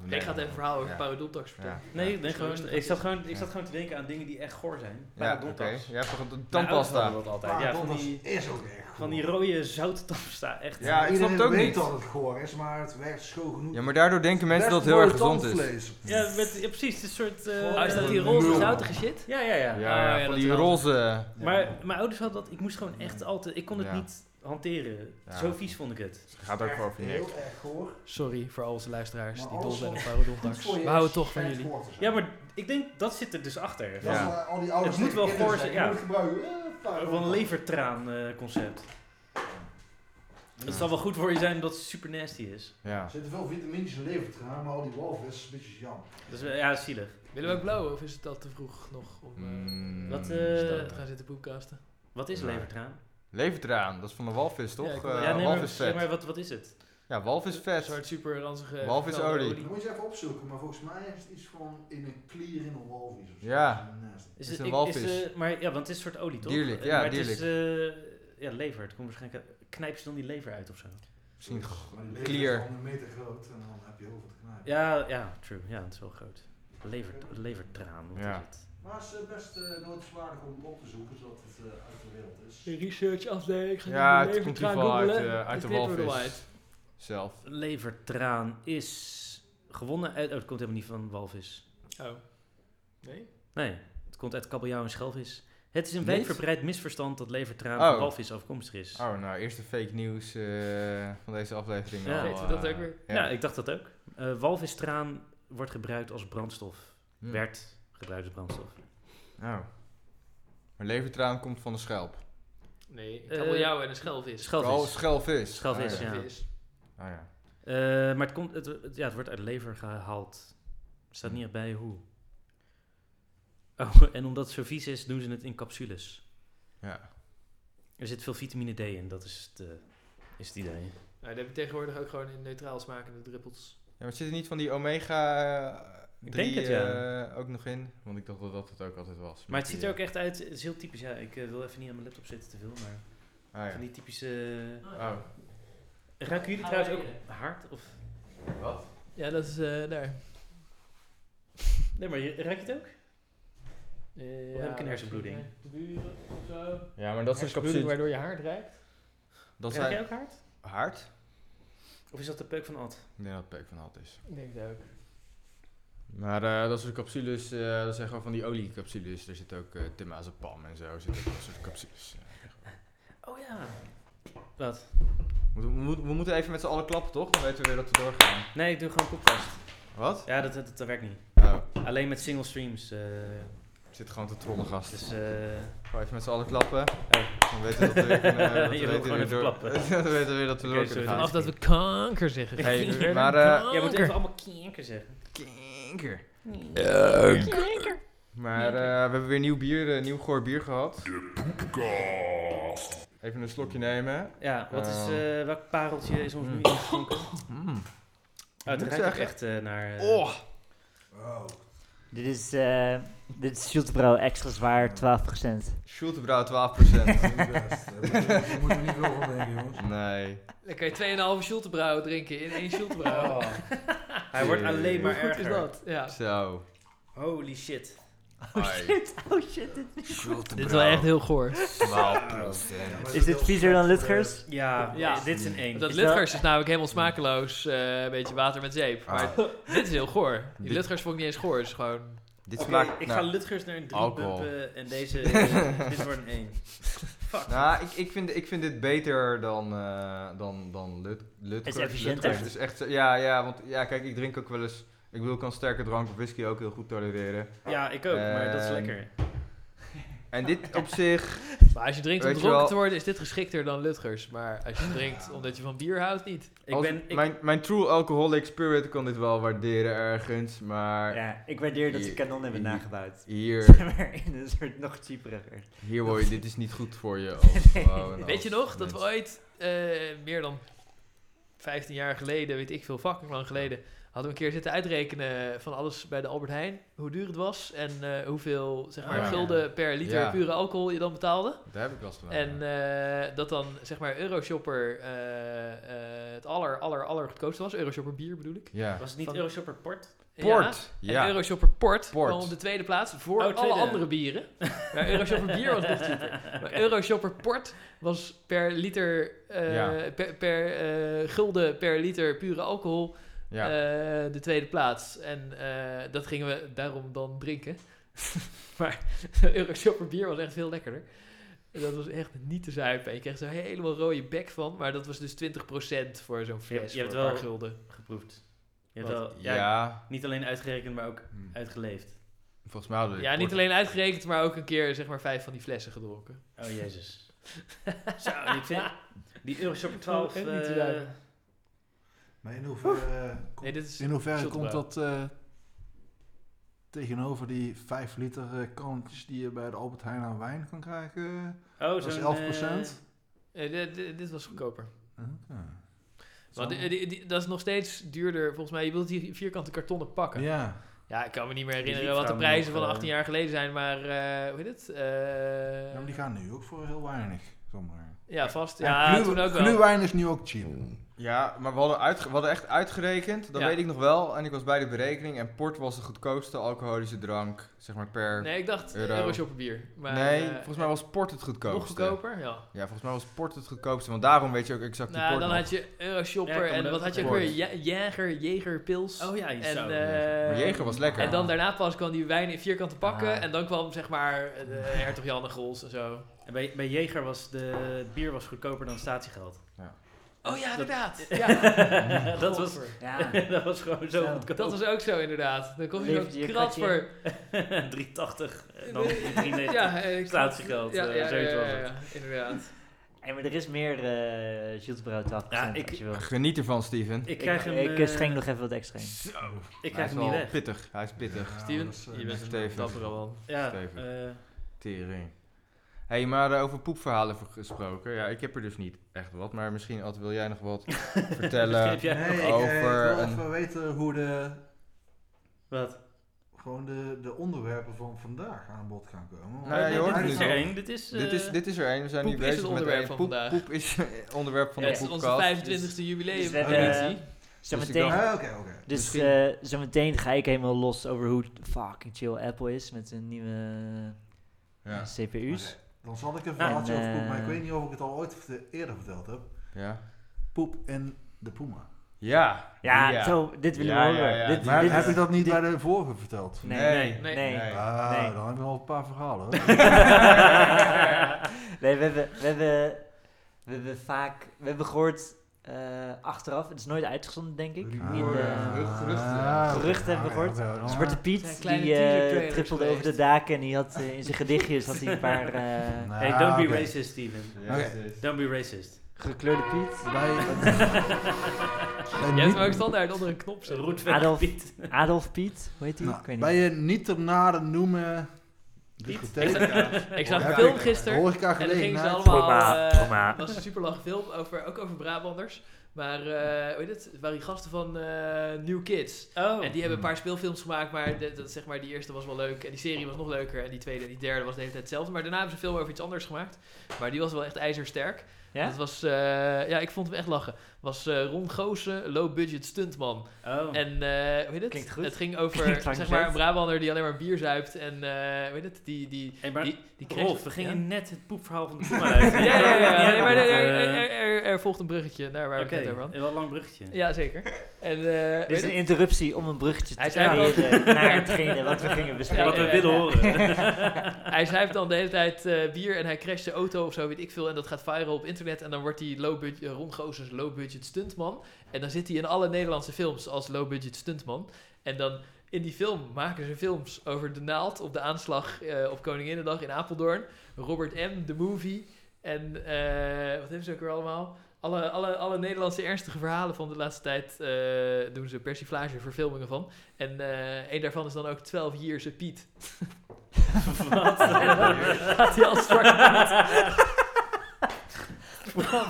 je...
ik ga het even verhaal over
Ja.
parodontax vertellen.
Ja.
Nee, nee
Zo is
gewoon,
het
ik, zat gewoon, ik
Ja.
zat gewoon te denken aan dingen die echt goor zijn.
Ja, oké.
Paradontax.
Je hebt toch een
Mijn ouders hadden
tandpasta?
dat altijd. Ja,
Ja,
van die,
is ook echt
van die rode zouttandpasta. Echt.
Ja, ik snap
Iedereen
het ook
weet
niet.
dat het goor is, maar het werkt schoon genoeg.
Ja, maar daardoor denken mensen dat
Best
het heel erg
mooi
gezond is.
tandvlees.
Ja, met, ja, precies. Een soort... eh,
Oh, is dat die
Ja.
roze
Nul.
zoutige shit?
Ja, ja, ja.
Ja,
Oh, ja,
van
dat
die
wel.
roze...
Maar mijn ouders hadden dat... Ik moest gewoon echt altijd... Ik kon het
Ja.
niet hanteren.
Ja.
Zo vies vond ik het.
Het gaat ook
Echt
gewoon over niks.
Heel erg goor.
Sorry voor al onze luisteraars
Maar
die dol
alles
zijn op
wat [LAUGHS]
parodontax.
Voor je
We houden
is
toch van
fijn
jullie.
goor te zijn.
Ja, maar ik denk... Dat zit er dus achter.
Dat
Ja.
is waar al die ouders
Het moet wel
tegen kinderen
goor zijn,
zeggen,
ja.
je moet gebruiken. Eh,
Van
parodontax.
een levertraan eh, concept. Het zal wel goed voor je zijn omdat het super nasty is.
Ja.
Er zitten veel vitamintjes in levertraan, maar al die walvis is een beetje jammer.
Dat is, wel- ja, zielig.
Willen we ook blauwen of is het al te vroeg nog om eh
Mm.
Wat,
te
eh,
staan te gaan zitten poepkasten?
Wat is
Ja.
levertraan?
Levert eraan, dat is van de walvis
Ja,
toch?
ik-
Eh
Ja,
ja, nee, maar,
walvisvet.
ja, maar wat, wat is het?
Ja,
Een
walvisvet.
soort eh, super ranzige...
Walvisolie.
Dan moet je eens even opzoeken, maar volgens mij is het iets van in een klier in een walvis of zo.
Ja.
Dat is een
Is
nasty.
Het is
het-
een
ik-
walvis.
eh, maar ja, want het is een soort olie, toch?
Dierlijk,
Eh,
ja,
maar het is... eh, ja, lever. Het komt waarschijnlijk... uit- Knijp ze dan die lever uit of zo?
Misschien
Maar die lever
clear.
is gewoon een meter groot en dan heb je heel veel te knijpen.
Ja, ja, true. Ja, het is wel groot. Lever, levertraan, wat
Ja.
is het?
Maar het is eh, best eh noodwaardig om op te zoeken zodat het eh, uit de wereld is.
Research afdeling.
Ja, het komt in ieder geval uit, eh, uit de walvis. Zelf.
Levertraan is gewonnen uit... Oh, het komt helemaal niet van walvis.
Oh. Nee?
Nee, het komt uit kabeljauw en schelvis. Het is een
Niet?
wijdverbreid misverstand dat levertraan
Oh.
van walvis afkomstig is.
Oh, nou, eerste fake nieuws eh, van deze aflevering.
Ja.
al,
Weten we dat
eh,
ook weer?
Ja. ik dacht dat ook. Eh walvistraan wordt gebruikt als brandstof.
Hm.
Werd gebruikt als brandstof.
Oh. Maar levertraan komt van de schelp.
Nee, een
Eh,
kabeljauw en een schelvis.
Vooral
Schelvis.
schelvis.
Schelvis,
Oh,
ja.
Schelvis.
ja. Oh, ja.
Eh, maar het, komt, het, het- ja, het wordt uit lever gehaald. Er staat niet echt bij hoe. Oh, [LAUGHS] en omdat het zo vies is, doen ze het in capsules.
Ja.
Er zit veel vitamine D in, dat is het, eh, is het idee.
Nou, dat heb je tegenwoordig ook gewoon in neutraal smakende druppels.
Ja, maar zit er niet van die omega
Ik
3
denk het, ja.
ook nog in? Want ik dacht dat dat het ook altijd was. eh,
Maar het ziet er ook
in.
echt uit, het is heel typisch. Ja, ik eh, wil even niet aan mijn laptop zitten te veel, maar van
Oh,
die typische... eh,
ja. Oh.
Ruiken jullie trouwens ook hard? Of...
Wat?
Ja, dat is eh, daar.
Nee, maar je- ruik je het ook?
Eh,
heb ik een hersenbloeding?
misschien, eh, De buren of zo.
Ja, maar dat is een
Hersenbloeding
capsule.
waardoor je haar ruikt.
Dat
ruik
zijn...
jij ook hard?
Haard?
Of is dat de peuk van Ad?
Ik denk dat het peuk van hart is.
Ik denk dat ook.
Maar eh, dat soort capsules, eh, dat zijn gewoon van die oliecapsules. Er zit ook eh timazepam en zo. Zit ook dat soort capsules.
Oh ja. Wat?
We, we- we moeten even met z'n allen klappen, toch? Dan weten we weer dat we doorgaan.
Nee, ik doe gewoon podcast.
Wat?
Ja, dat, dat, dat werkt niet.
Oh,
Alleen met single streams. eh,
ik zit gewoon te trollen, gast.
dus eh,
Gewoon even met z'n allen klappen.
Oh.
Dan weten we dat we
[LAUGHS]
weer kunnen... dat we
Je wilt
weten
gewoon
weer
even
door-
klappen.
Dan weten we weer [LAUGHS] dat we
Oké,
door
sorry,
kunnen
dat
gaan.
Vanaf dat we kanker zeggen.
Hey,
We werden
maar, eh,
kanker.
jij moet even allemaal kinker zeggen.
Kinker. Maar eh, we hebben weer nieuw bier, eh, nieuw goor bier gehad. De Even een slokje nemen.
Ja, wat is,
Eh.
eh, welk pareltje is ons nu
Mm.
ingeschonken?
Mm.
Oh, het
Moet
ruikt ook
zeggen.
echt eh, naar... eh,
Oh,
Wow.
Dit is, eh dit is Schultebrouw extra zwaar, 12%.
Schultebrouw
[LAUGHS]
12%.
Dat is niet best. Daar moeten we niet veel van denken, jongens.
nee.
Dan kan je 2,5 Schultebrouw drinken in één [LAUGHS] Schultebrouw.
oh. [LAUGHS] Hij wordt alleen maar
Hoe goed
erger.
is dat? Ja.
Zo.
Holy shit.
[LAUGHS] Oh shit. dit-
Dit is wel echt heel goor.
12%.
Ja, maar
Is dit
wel
viezer dan
slecht, eh,
Lutgers?
Ja,
Ja.
dit is een 1.
Dat
Is dat-
Lutgers is namelijk helemaal smakeloos. eh, Een beetje water met zeep.
Ah,
Maar Ah. dit is heel [LAUGHS] goor. Die
Dit-
Lutgers vond ik niet eens goor. Het is gewoon...
Dit
Oké,
smaakt...
ik
nou,
ga Lutgers naar een 3
alcohol.
bumpen en deze... eh, dit wordt een 1.
Nou, ik, ik, vind, ik vind dit beter dan, eh dan, dan Lut, Lutgers.
Het is efficiënter.
Lutgers is dus echt, ja, ja, want ja, kijk, ik drink ook wel eens... Ik bedoel, ik kan sterke drank of whisky ook heel goed tolereren.
Ja, ik ook, maar dat is
Ehm,
lekker.
[LAUGHS]
En dit op zich...
Maar als je drinkt om
Weet je
dronken
wel-
te worden, is dit geschikter dan Lutgers. Maar als je drinkt omdat je van bier houdt, niet. Oh,
Ik
Als-
ben... Ik,
mijn, mijn true alcoholic spirit kon dit wel waarderen ergens, maar
ja, ik waardeer dat ze
Je-
kanon hebben
je-
nagebouwd.
hier,
[LAUGHS] maar in een soort nog cheaperiger.
hier word je, dit is niet goed voor
[LAUGHS]
je. Als, gewoon als
Weet je nog dat we
mens.
ooit, eh, meer dan 15 jaar geleden, weet ik veel, fucking lang geleden, hadden we een keer zitten uitrekenen van alles bij de Albert Heijn. Hoe duur het was en eh, hoeveel, zeg
Oh,
maar,
ja.
gulden per liter
Ja.
pure alcohol je dan betaalde.
Daar heb ik last van.
En eh, dat dan, zeg maar, Euroshopper eh, eh, het aller, aller, aller goedkoopste was. Euroshopper bier bedoel ik.
ja.
Was het niet
Van-
Euroshopper Port?
Port.
eh, Ja. En
Ja.
Euroshopper Port,
Port.
kwam op de tweede plaats voor
Oh,
alle
tweede.
andere
[LAUGHS]
bieren. Maar Euroshopper bier was nog cheaper. Maar Euroshopper Port was per liter, eh,
Ja.
per, per eh, gulden per liter pure alcohol
ja.
eh, de tweede plaats. En eh, dat gingen we daarom dan drinken. [LAUGHS] maar [LAUGHS] Euroshopper bier was echt veel lekkerder. En Dat was echt niet te zuipen. En je kreeg zo helemaal rode bek van. Maar dat was dus 20% voor zo'n
Je hebt-
fles
je hebt
voor een paar
wel-
gulden.
[LAUGHS] Geproefd. Je hebt
Wat?
wel, ja,
ja.
Niet alleen uitgerekend, maar ook
Hm.
uitgeleefd.
Volgens mij hadden we
Ja,
dit
niet
port-
alleen uitgerekend, maar ook een keer zeg maar vijf van die flessen gedronken.
Oh, jezus. Zo, en ik vind... Die Euroshopper 12...
Echt niet te
eh,
duiden.
Maar in hoeverre, eh, komt-
Nee, dit is
in hoeverre komt
Schottenbrouw.
dat eh, tegenover die 5 liter eh, kannetjes die je bij de Albert Heijn aan wijn kan krijgen?
oh,
Dat is
zo'n,
11
Eh, dit- dit- dit was goedkoper.
Oké.
Want eh, die- die- die- dat is nog steeds duurder, volgens mij. Je wilt die vierkante kartonnen pakken. Ja,
Ja,
ik kan me niet meer
Die
herinneren wat de
vrouwen
prijzen
nog,
van
eh,
18 jaar geleden zijn, maar eh, hoe heet het? Eh,
Ja, maar die gaan nu ook voor heel weinig. Zomaar.
ja, vast. Ja,
glu-
toen ook wel.
gluwijn is nu ook cheap.
Mm. Ja, maar we hadden, uitge- we hadden echt uitgerekend, dat
Ja.
weet ik nog wel. En ik was bij de berekening en port was de goedkoopste alcoholische drank, zeg maar per...
Nee, ik dacht
Euro.
Euroshopper bier. Maar,
Nee,
eh,
volgens mij was port het
nog
goedkoopste.
goedkoper. Ja.
Ja, volgens mij was port het goedkoopste, want daarom weet je ook exact die
Nou,
port
dan
nog.
had je Euroshopper
Ja, ik kan
en
me
wat
dat
had je ook
ook
weer? Ja- Jager, Jager, Pils.
Oh ja, je
En,
zou-
eh,
Maar Jeger was lekker.
En dan daarna pas kwam die wijn in vierkante pakken.
Ah.
En dan kwam zeg maar eh, de hertog Jan en Gols en zo.
En bij, bij Jeger was de bier was goedkoper dan statiegeld.
Oh ja,
Dat-
inderdaad. [LAUGHS] Ja.
[LAUGHS] Dat was-
Godver.
[LAUGHS] Ja,
dat was gewoon zo
Zo.
goedkoop.
Dat was ook zo inderdaad. Dan kon je
Levert je
zo'n
een
krat
kratje?
voor...
380 en dan 390.
[LAUGHS] Ja, eh,
Statiegeld, eh, zoiets was het.
ja, inderdaad.
en maar er is meer eh Jules Brouw 12%
Ja, ik-
als je wil.
Geniet ervan, Steven.
Ik
Ik,
krijg hem,
ik,
eh,
streng nog even wat extra in.
dus
Ik
Hij
krijg
is
hem niet
wel
weg.
pittig, hij is pittig.
Ja,
Steven,
dat is, eh,
je bent een
Steven.
dappere man.
Ja,
Steven.
eh,
Tering. Hé, hey, maar eh, over poepverhalen ver- gesproken. Ja, ik heb er dus niet echt wat, maar misschien, Ad, wil jij nog wat vertellen?
begreep jij?
nee, ik, eh,
over
ik wil
een-
even weten hoe de,
Wat?
gewoon de, de onderwerpen van vandaag aan bod gaan komen.
Nou ja,
Nee,
je hoort
dit,
het
is
nu
er
al.
één. Dit is... eh,
dit, is, dit is er één, we zijn
poep
nu
is
bezig met
het onderwerp
één.
van
poep,
vandaag.
poep is [LAUGHS] het onderwerp van
Ja,
de dus
het is onze
poepkast.
25e
Dus
jubileum.
we
Oh,
hebben-
editie.
Zometeen
Ah, Oké, oké.
Dus
Misschien-
eh, zometeen ga ik helemaal los over hoe fucking chill Apple is met hun nieuwe eh,
Ja.
CPU's.
Oké, Dan zal ik een verhaaltje
en,
over poep, maar ik
eh,
weet niet of ik het al ooit verte- eerder verteld heb.
Ja.
Poep en de Puma.
Ja.
Ja, zo, dit willen
Ja,
we horen.
ja, ja.
Dit,
Maar
dit
heb
is-
je dat niet
dit-
bij de vorige verteld?
Nee,
Nee,
nee,
nee.
nee.
Nee.
Ah,
nee.
dan [LAUGHS] heb je al een paar verhalen. hoor.
[LAUGHS] nee, we hebben, we, hebben, we hebben vaak... We hebben gehoord eh, achteraf, het is nooit uitgezonden, denk ik.
Ah.
in,
Ja.
eh,
Gerucht- geruchten.
Ah,
Geruchten hebben we gehoord.
ja, ja, ja.
Zwarte
zijn
Piet,
kleine
die eh
teaser-trailers
trippelde over de
geweest.
daken en die had eh, in zijn gedichtjes had hij een paar eh,
Nou,
Hey, don't be
Ah, oké.
racist, Steven. Don't be racist.
gekleurde Piet.
Bij
Je hebt hem ook standaard onder een knop zitten.
Roetweg
Adolf.
Piet.
Adolf Piet, hoe heet die?
Nou,
ik weet niet.
bij je niet ter nade noemen discotheek.
[LAUGHS] Ik zag
Ja,
een film
ik-
gisteren.
Horeca
En dan gingen ze
gelegenheid.
allemaal...
Prima,
eh, Het
prima.
was een super lange film, over, ook over Brabanders. Maar, eh hoe heet het? Het waren die gasten van eh, New Kids.
Oh.
En die hebben een paar speelfilms gemaakt, maar, de, dat, zeg maar die eerste was wel leuk. En die serie was nog leuker. En die tweede en die derde was de hele tijd hetzelfde. Maar daarna hebben ze een film over iets anders gemaakt. Maar die was wel echt ijzersterk.
Ja?
Dat was, eh, ja, ik vond hem echt lachen. Was eh, Ron Goosen, low budget stuntman.
Oh.
En eh, hoe heet het?
Klinkt goed.
Het
[LAUGHS]
ging over
Klinkt lang
zeg maar, een
gezet.
Brabander die alleen maar bier zuipt. En eh hoe heet het? Die, die,
Hey, maar-
die, die kreeg-
Rolf, we gingen
Ja?
net het poepverhaal van de Puma uit.
[LAUGHS] Ja, ja, ja, ja,
Niet
Nee, maar er,
hebben,
er,
eh,
er- er- er volgt een bruggetje daar waar
Oké,
we het net over hadden.
een wel lang bruggetje.
Ja, zeker. En, eh,
Dit
weet
is
het?
een interruptie om een bruggetje te
Hij zei al-
creëren naar hetgene wat we gingen bespreken.
Wat we
Ja,
willen horen.
Hij zuipt dan de hele tijd eh, bier en hij crasht de auto of zo, weet ik veel. En dat gaat viral op internet. En dan wordt hij low budget, eh, Ron Goossens low budget stuntman. En dan zit hij in alle Nederlandse films als low budget stuntman. En dan In die film maken ze films over de naald op de aanslag eh, op Koninginnedag in Apeldoorn. Robert M., The Movie. En eh, wat hebben ze ook weer allemaal? Alle, alle, alle Nederlandse ernstige verhalen van de laatste tijd eh, doen ze persiflage, verfilmingen van. En eh een daarvan is dan ook 12 Years a Piet.
[LAUGHS]
Wat?
Gaat hij al strak.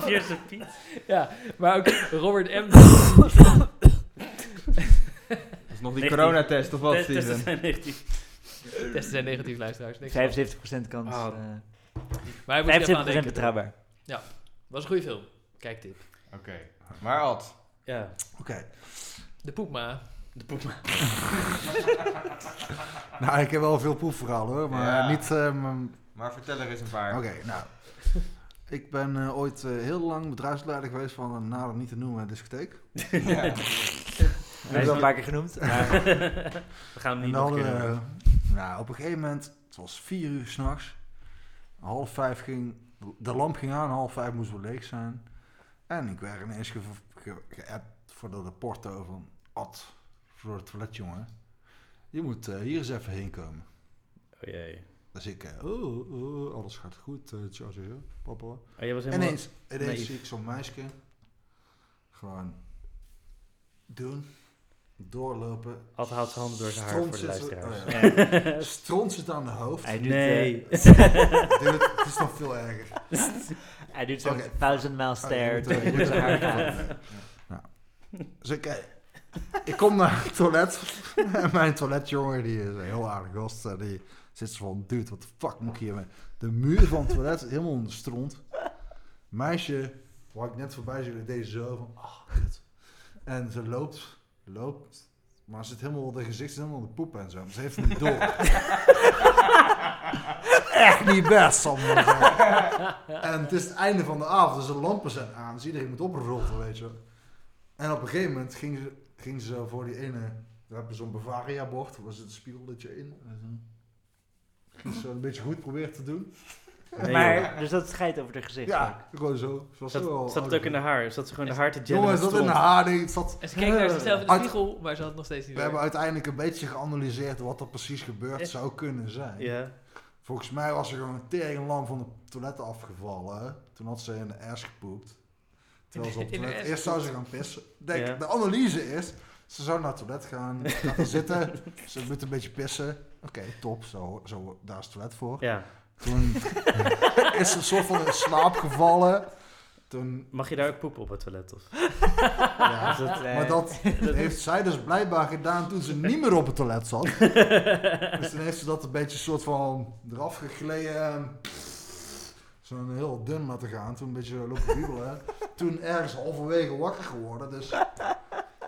Eerste Piet.
Ja, maar ook Robert M.
Dat is nog die
19.
coronatest of wat,
Testen
Steven?
zijn 19.
Testen zijn negatief, luisteraars. Niks van.
75% kans.
Ah.
eh,
Maar hij moest er even aan
75%
denken.
betrouwbaar.
Was een goede film. Kijk dit.
Oké. Maar Ad,
Ja,
Oké.
De Poepma.
de poep.
Nou, ik heb wel veel poefverhalen hoor, maar
Ja.
niet... eh, mijn-
maar vertel er eens een paar.
Oké,
[LAUGHS]
nou. Ik ben eh, ooit eh, heel lang bedrijfsleider geweest van een nader niet te noemen discotheek.
Ja.
Hij is al een paar keer
[LAUGHS]
genoemd.
We gaan hem
En
niet
dan,
ontkennen.
eh, nou, op een gegeven moment, het was vier uur s'nachts. Half vijf ging, de lamp ging aan, half vijf moest wel leeg zijn. En ik werd ineens ge- ge- geappt voor de porto van Ad, voor het toilet jongen. Je moet eh, hier eens even heen komen.
Oh jee.
Dus ik, eh, oh, oh, alles gaat goed, eh Charlie, hè, papa.
Oh, jij was
En
helemaal...
ineens, ineens
naïef.
zie ik zo'n meisje gewoon doen, doorlopen.
Ad houdt zijn handen door zijn haar voor
Stront
de
zit-
luisteraars.
oh, [LAUGHS] ja. Stront zit aan de hoofd.
Hij doet,
Nee.
eh,
[LAUGHS] Dude, het is nog veel erger.
hij doet zo'n
Oké.
thousand mile stare.
Oh, je moet, eh,
tegen
je moet
zijn haar
er-
gaan.
Ja. Dus ik, eh, ik kom naar het toilet. [LAUGHS] en mijn toiletjongen, die is een heel aardig gast. eh, Die zit zo van, dude, wat de fuck moet ik hiermee? De muur van het toilet is helemaal onder stront. Meisje, waar ik net voorbij zag, die deed zo van, ah, kut. En ze loopt, loopt. Maar ze zit helemaal, de gezicht is helemaal onder poep en zo. Maar ze heeft het niet door. Echt niet best, zal ik maar zeggen. En het is het einde van de avond, dus de lampen zijn aan, dus iedereen moet oprotten, weet je. wel. En op een gegeven moment ging ze, ging ze voor die ene, daar hebben ze zo'n Bavaria-bord, daar zit een spiegeltje in. En zo. Ging ze een beetje goed proberen te doen.
Nee,
maar, dus dat scheidt over de gezicht.
Ja, gewoon zo. Ze was zo wel
Zat, zat het ook
ouder.
in de haar? Zat ze gewoon de haar te jellen
oh, Jongens,
met
dat in de
stront?
haar, nee, het zat...
En ze keek naar zichzelf
[LAUGHS]
in de
Uit-
spiegel, maar ze had het nog steeds niet
We
door.
hebben uiteindelijk een beetje geanalyseerd wat er precies gebeurd zou kunnen zijn.
Ja.
Volgens mij was er gewoon een teringlam van het toilet afgevallen. Toen had ze in de ass gepoept. Terwijl ze op het
In de
toilet...
ass
Eerst zou ze gaan pissen. Denk,
Ja.
De analyse is... Ze zou naar het toilet gaan, gaat er zitten. Ze moet een beetje pissen. Oké, top. Zo, zo, daar is het toilet voor.
ja.
Toen is ze een soort van in slaap gevallen. Toen,
Mag je daar ook poepen op het toilet? Of?
[LAUGHS] ja.
Is
dus
[LAUGHS]
dat-
eh,
Maar
[LAUGHS]
dat heeft zij dus blijkbaar gedaan toen ze niet meer op het toilet zat. dus toen heeft ze dat een beetje soort van eraf gegleden. en Zo'n heel dun laten gaan. Toen een beetje lopen wiebelen. Toen ergens halverwege wakker geworden. Dus,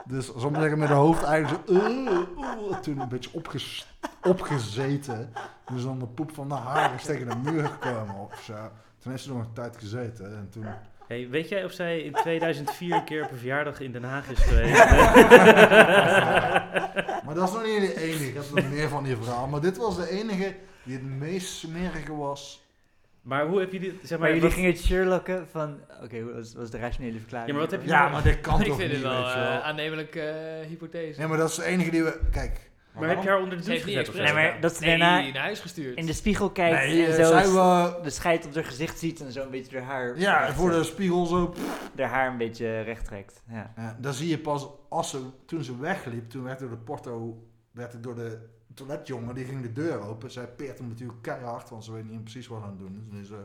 dus zal ik maar zeggen, met haar hoofd eigenlijk zo... "Eh, oeh," toen een beetje opges- opgezeten. Dus dan de poep van de haar is tegen de muur gekomen of zo. Toen heeft ze nog een tijd gezeten. En toen...
Hey, weet jij of zij in 2004 een keer op een verjaardag in Den Haag is geweest?
[LAUGHS] Maar dat is nog niet de enige. Ik heb nog meer van die verhaal. Maar dit was de enige die het meest smerige was.
Maar hoe heb je dit... Zeg maar,
Maar jullie
wat-
gingen het Sherlocken van... Oké, wat was, was de rationele verklaring?
Ja, maar wat heb je
Ja, maar dit
[LAUGHS] [LAUGHS]
kan
ik
toch
vind
niet,
het wel
weet je wel.
eh aannemelijke eh, hypothese.
Nee, maar dat is de enige die we... Kijk.
Maar heb je haar onder de
Ze
douche
heeft niet
gezet of zo?
expres
Nee, maar
gedaan.
dat ze
Nee,
daarna-
naar huis gestuurd.
In de spiegel kijkt
Nee,
en
eh,
zo
zijn we...
de scheid op haar gezicht ziet en zo een beetje haar haar...
Ja,
recht
voor de
trekt.
spiegel zo. pff.
Haar haar een beetje recht trekt. Ja.
Eh, dan zie je pas, als ze, toen ze wegliep, toen werd door de porto, werd het door de toiletjongen, die ging de deur open. Zij peert hem natuurlijk keihard, want ze weet niet precies wat aan het doen. is. Dus ze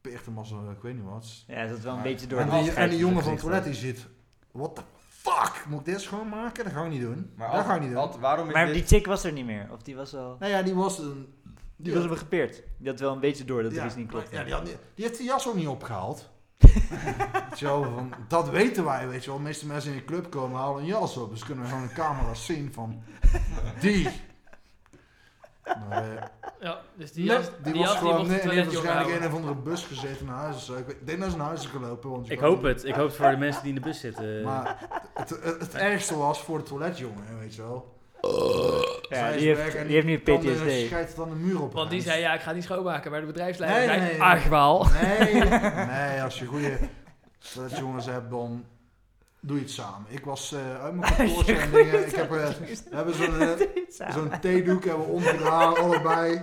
peert hem als, een- ik weet niet wat.
Ja, dat is wel een
Maar-
beetje door
En
de
die,
afscheid
en die
op
jongen
het
van
gezicht
het toilet die zit, what the fuck, moet ik dit schoonmaken? Dat ga ik niet doen.
Maar
dat
Ad,
ga ik niet doen.
Ad, waarom
was.
is
Maar
dit...
die chick was er niet meer. Of die was al...
Nou ja, die was een...
Die
ja.
was al gepeerd. Die had wel een beetje door dat
ja,
er iets niet klopt.
Ja, die, had niet- die heeft die jas ook niet
[LAUGHS]
opgehaald. Weet je wel, van, dat weten wij, weet je wel. De meeste mensen in de club komen halen een jas op. Dus kunnen we gewoon de camera's zien van die.
[LAUGHS]
Maar, eh,
Ja, dus die,
die,
jas-
die
die
was
jas, die
gewoon
mocht
nee,
het
die heeft
toilet niet
waarschijnlijk in
ophouden.
een of andere bus gezeten naar huis. of zo. Ik weet- ik denk dat ze naar huis is gelopen. Want je
Ik
kan
hoop
niet-
het. Ik hoop het voor de mensen die in de bus zitten.
Maar het, het, het ergste was voor de toiletjongen, weet je wel. Zij is
die,
weg en
heeft, die heeft nu
kan de
[LAUGHS] PTSD.
schijt dan de muur op.
Want die
gaan.
zei, ja, ik ga het niet schoonmaken. Maar de bedrijfsleider
Nee,
zei,
nee, nee.
[LAUGHS]
argwaal.
Nee, nee, als je goede toiletjongens hebt, dan doe je het samen. Ik was eh,
[LAUGHS]
uit mijn kantoor en dingen. Ik
[LAUGHS]
heb, eh, we hebben zo'n eh, zo'n theedoek hebben we omgedaan, allebei.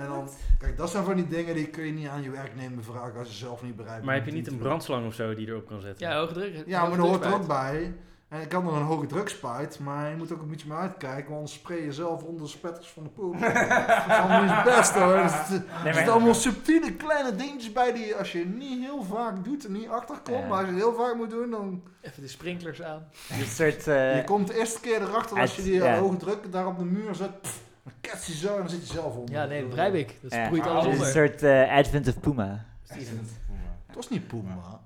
En dan, kijk, dat zijn van die dingen die kun je niet aan je werknemer vragen als je zelf niet bereid bent.
Maar heb je
om
niet
te
een
doen.
brandslang of zo die je erop kan zetten?
Ja, hoge druk.
Ja, maar
hoge
dat hoort er
drukspuit.
ook bij. En ik kan er een hoge drukspuit, maar je moet ook een beetje maar uitkijken, want anders spray je zelf onder de spetters van de
[LAUGHS]
poep. dat is allemaal niet het beste hoor. Er zitten-
maar-
er zitten allemaal subtiele kleine dingetjes bij die als je niet heel vaak doet en niet achterkomt,
Ja.
maar als je het heel vaak moet doen, dan
Even de sprinklers aan.
Dit soort... eh,
je komt de eerste keer erachter als je
het-
die
ja.
hoge druk daar op de muur zet. Pff, dan kets je zo en dan zit je zelf onder.
Ja, nee, dat begrijp ik. Dat
ja,
sproeit
dit
alles
is
onder.
een soort eh, Advent of Puma.
Het was niet Puma.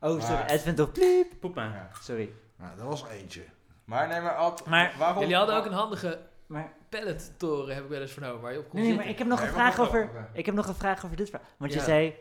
Oh, sorry.
Maar-
Advent of Pliep.
Poep maar.
Ja.
Sorry.
Nou, dat was eentje.
Maar nee, maar, Ad,
Maar-
waarom...
Oh,
Jullie hadden ook een handige
Maar-
pallet-toren, heb ik wel eens vernomen, waar je op kon
Nee, nee, maar
zitten.
ik heb nog
Nee,
een
maar
vraag
wacht
over...
even.
Ik heb nog een vraag over dit verhaal. Want je
Ja.
zei,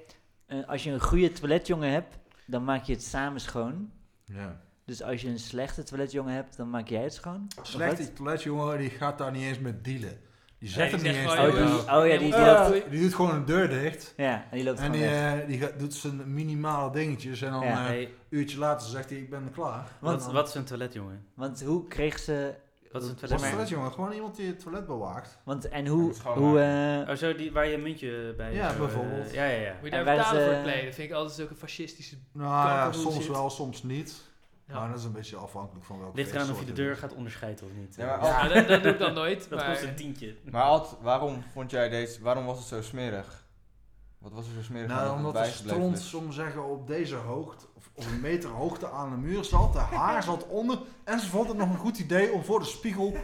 eh, als je een goede toiletjongen hebt, dan maak je het samen schoon.
Ja.
Dus als je een slechte toiletjongen hebt, dan maak jij het schoon. Of
Slecht
wat?
die toiletjongen, die gaat daar niet eens met dealen. Die
Nee,
zegt
die
het niet
zegt
eens.
Oh,
gewoon,
tegen
die,
jou.
joh.
oh ja, die, die
Eh,
loopt...
doei.
Die doet gewoon een deur dicht.
Ja, en die loopt
En
gewoon
die,
weg.
eh, die gaat- doet zijn minimale dingetjes. En dan
Ja.
eh,
Hey,
een uurtje later zegt hij, ik ben klaar.
wat,
En dan-
wat is een toiletjongen?
Want hoe kreeg ze...
Wat is een
Wat
zeg maar-
is dat,
toiletjongen?
jongen? Gewoon iemand die het toilet bewaakt.
Want, en
Ja,
hoe...
dat is gewoon
hoe eh,
Oh, zo die, waar je een muntje bij
Ja,
zo, eh,
bijvoorbeeld.
ja, ja, ja.
Moet je
En
daar
wij
betalen
dus,
voor
eh,
het kleden? Dat vind ik altijd zulke fascistische...
Nou ja,
Kankerboel
soms
shit.
wel, soms niet.
Ja.
Maar dat is een beetje afhankelijk van welke
Ligt eraan of je de
feestsoort
deur
het
gaat onderscheiden of niet.
Ja, maar
Ja.
Ad,
Nou, dat, dat doe ik dan
[LAUGHS]
nooit,
Dat
maar...
kost een tientje.
maar Ad, waarom vond jij deze... Waarom was het zo smerig? Wat was er zo
is.
smerig aan
Nou,
dat het
omdat de
bijgebleven
stront,
is?
soms zeggen, op deze hoogte, of op een meter hoogte aan de muur zat. De haar zat onder. En ze vond het nog een goed idee om voor de spiegel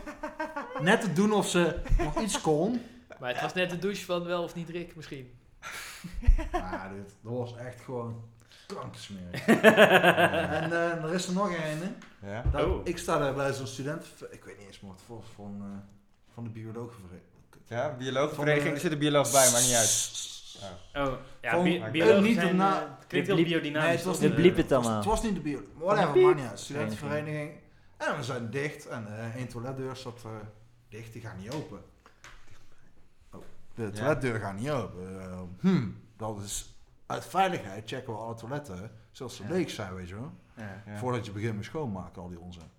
net te doen of ze nog iets kon.
Maar het was net de douche van wel of niet Rick, misschien.
Maar dit, dat was echt gewoon
[LAUGHS]
kankersmerig. en eh, er is er nog een.
Ja?
Dat-
Oh.
Ik sta daar bij zo'n student, ik weet niet eens meer wat het was, van, eh, van de biologenvereniging.
Ja, biologenvereniging, er zit een bioloog bij, maakt niet uit.
Oh, ja,
Van-
bi
Een
biologen
niet
zijn,
daarna-
eh, het klinkt
Dit
heel
bliep-
biodynamisch.
Nee, het was
dat,
niet-
eh,
Dit bliep het
Het was,
allemaal.
het was niet de bioloog,
Van de
whatever, maakt niet uit. Studentenvereniging. En we zijn dicht en eh één toiletdeur zat eh, dicht, die gaat niet open. Oh, de toiletdeur gaat niet open. Eh, hm, dat is, uit veiligheid checken we alle toiletten, zodat ze
Ja.
leeg zijn, weet je wel.
ja.
Ja.
Voordat je begint met schoonmaken, al die onzin.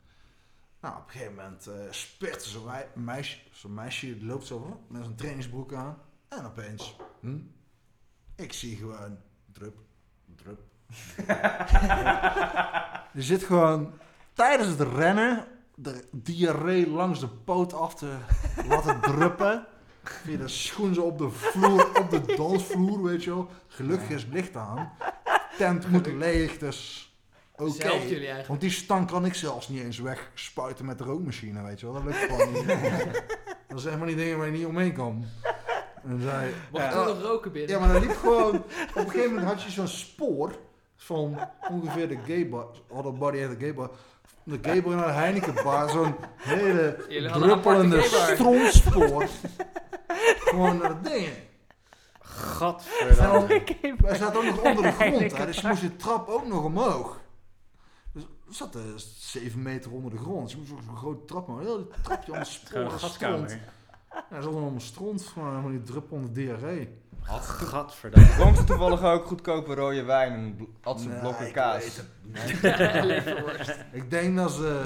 Nou, op een gegeven moment eh spirtte zo'n wei- meisje, zo'n meisje die loopt zo met zijn trainingsbroek aan. En opeens, hm, ik zie gewoon drup, drup. [LAUGHS] je zit gewoon tijdens het rennen de diarree langs de poot af te laten druppen. Via de schoen zo op de vloer, op de dansvloer, weet je wel. Gelukkig is het licht aan. Tent moet leeg, dus oké.
Zelf jullie eigenlijk.
Want die stank kan ik zelfs niet eens wegspuiten met de rookmachine, weet je wel. Dat lukt gewoon niet. dat zijn helemaal die dingen waar je niet omheen kan. En zij,
Mocht je
Ja.
nog roken binnen? [LAUGHS]
ja, maar dan liep gewoon... Op een gegeven moment had je zo'n spoor van ongeveer de gay bar... Other body at the gay bar. De gay bar naar de Heineken bar. Zo'n hele
Jullie hadden een aparte
druppelende
gay bar.
stronspoor. gewoon naar de dingen.
Gadverdamme.
En Wij zaten ook nog onder de grond, hè, dus je moest de trap ook nog omhoog. Dus we zaten zeven meter onder de grond. Dus je moest ook zo'n grote trap, maar heel die trapje allemaal
Gewoon
sporen
een
stront.
gaskamer.
Ja, er zat allemaal stront, gewoon helemaal die druppel onder diarree.
Gadverdamme.
Dronk ze toevallig ook goedkope rode wijn en bl- had ze
Nee,
blokken
ik weet
kaas.
het niet.
Leverworst.
Ik denk dat ze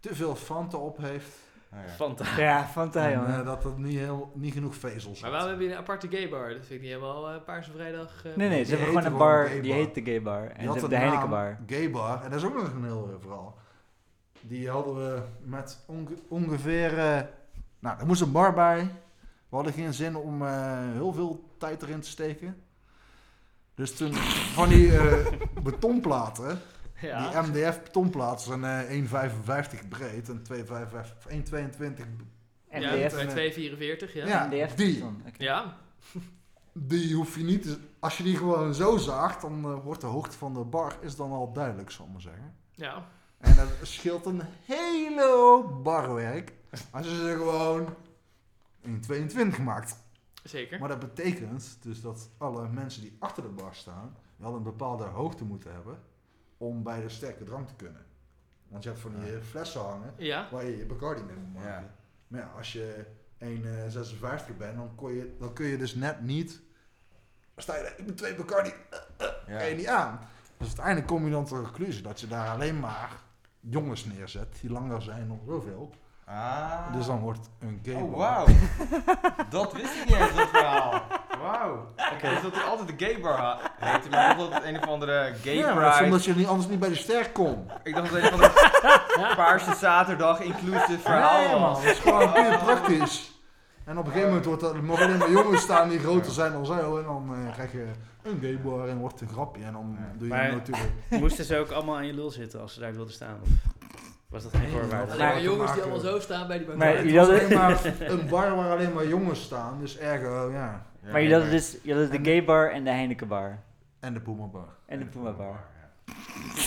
te veel Fanta op heeft.
Oh, ja.
Fanta.
Ja, Fanta,
En
jongen.
eh, dat dat niet, heel, niet genoeg vezels
Maar
had.
waarom hebben jullie een aparte gaybar? Dat vind ik niet helemaal eh Paarse Vrijdag. eh,
Nee, nee, ze
Die
hebben gewoon
heette
een
gewoon
bar,
Gay
die
Bar.
heet de Gay Bar. En
Die
ze
had
hebben
een
de Heineken
naam,
Bar.
Gay Bar. En dat is ook nog een heel eh, verhaal. Die hadden we met onge- ongeveer... eh, nou, er moest een bar bij. We hadden geen zin om eh, heel veel tijd erin te steken.
[LAUGHS]
Dus toen van die eh, betonplaten,
Ja.
die MDF betonplaten zijn eh, 1,55 breed en 2,55 1,22
En
ja,
MDF.
bij 244, ja.
Ja.
MDF
die.
dan. Oké.
Ja.
Die hoef je niet. te- Als je die gewoon zo zaagt, dan eh, wordt de hoogte van de bar is dan al duidelijk, zal ik maar zeggen.
Ja.
En dat scheelt een hele hoop barwerk. Als je ze gewoon in 22 maakt.
zeker.
Maar dat betekent dus dat alle mensen die achter de bar staan, wel een bepaalde hoogte moeten hebben om bij de sterke drank te kunnen. Want je hebt van die eh, flessen hangen
Ja.
waar je je Bacardi mee moet maken.
Ja.
Maar ja, als je 1,56 bent, dan, kon je, dan kun je dus net niet... Dan sta je daar, ik ben twee Bacardi,
Ja.
kan je niet aan. Dus uiteindelijk kom je dan tot de conclusie dat je daar alleen maar jongens neerzet die langer zijn dan zoveel.
Ah.
Dus dan wordt het een gay
Oh,
bar.
wauw. [LAUGHS] dat wist ik niet eens, dat verhaal. Wauw. Dus dat hij altijd de gay bar ha- heette, maar dat het een of andere gay
Ja, maar dat is
pride.
omdat je niet, anders niet bij de ster komt.
Ik dacht dat het een of andere
[LAUGHS]
paarse zaterdag inclusive verhaal
Nee, man,
was.
dat is gewoon [LAUGHS] puur praktisch. En op een gegeven moment wordt dat, er mogen alleen maar jongens staan die groter zijn dan zo. En dan eh, krijg je een gay bar en wordt het een grapje. En dan
Ja.
doe je
Maar-
natuurlijk... [LAUGHS]
Moesten ze ook allemaal aan je lul zitten als ze daar wilden staan? Of was dat geen
Nee,
voorwaarde?
Alleen maar
Maar-
jongens die
maken-
allemaal zo staan bij die
Maar
het
bank.
[LAUGHS]
jullie
was
hadden-
alleen maar een bar waar alleen maar jongens staan. Dus ergo, ja.
Ja,
Maar jullie hadden dus jullie hadden
En-
de gay bar en de Heineken bar.
En de Puma bar.
En de Puma
Oh,
bar.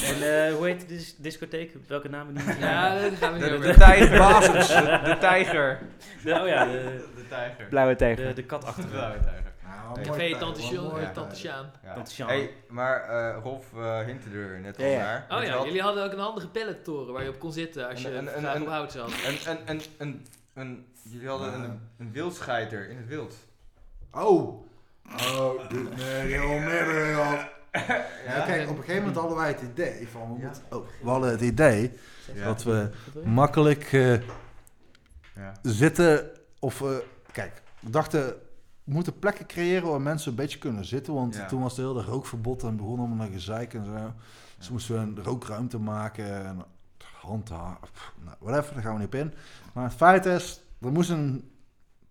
En eh, hoe heet de dis- discotheek? Welke naam noemen jullie?
Oh, Ja, dat gaan we niet
De,
over.
de
[LAUGHS]
tijger. Basis. De, de tijger.
De- oh ja, de,
De tijger.
Blauwe
de,
tijger.
de
De
katachtige.
blauwe tijger.
Nou,
Nee.
mooi
Café
tijd,
Tante
hoor.
Sjaan.
Mooi
eh,
tijd.
Tante Sjaan.
Ja.
Dat is Sjaan.
Hey, maar eh Rolf eh Hinterdeur, net al
Ja, ja.
daar.
Oh
Weet je
ja,
wat?
jullie hadden ook een handige pallettoren waar je op kon zitten als je
En- en- en-
graag
en-
op hout zat.
Een, een, een, een, een, jullie hadden een, een wildscheiter in het wild.
Oh. Oh, dit nee, heel merrie, joh. Ja, kijk, op een gegeven moment hadden wij het idee van... We,
Ja.
moeten, oh, we hadden het idee
Ja.
dat we makkelijk eh,
Ja.
zitten of... eh, kijk, we dachten, we moeten plekken creëren waar mensen een beetje kunnen zitten. Want
Ja.
toen was het hele rookverbod en begon allemaal een gezeik en zo. Dus
Ja.
moesten we een rookruimte maken en handhaven. pff, Nou, whatever, daar gaan we niet op in. Maar het feit is, er moest een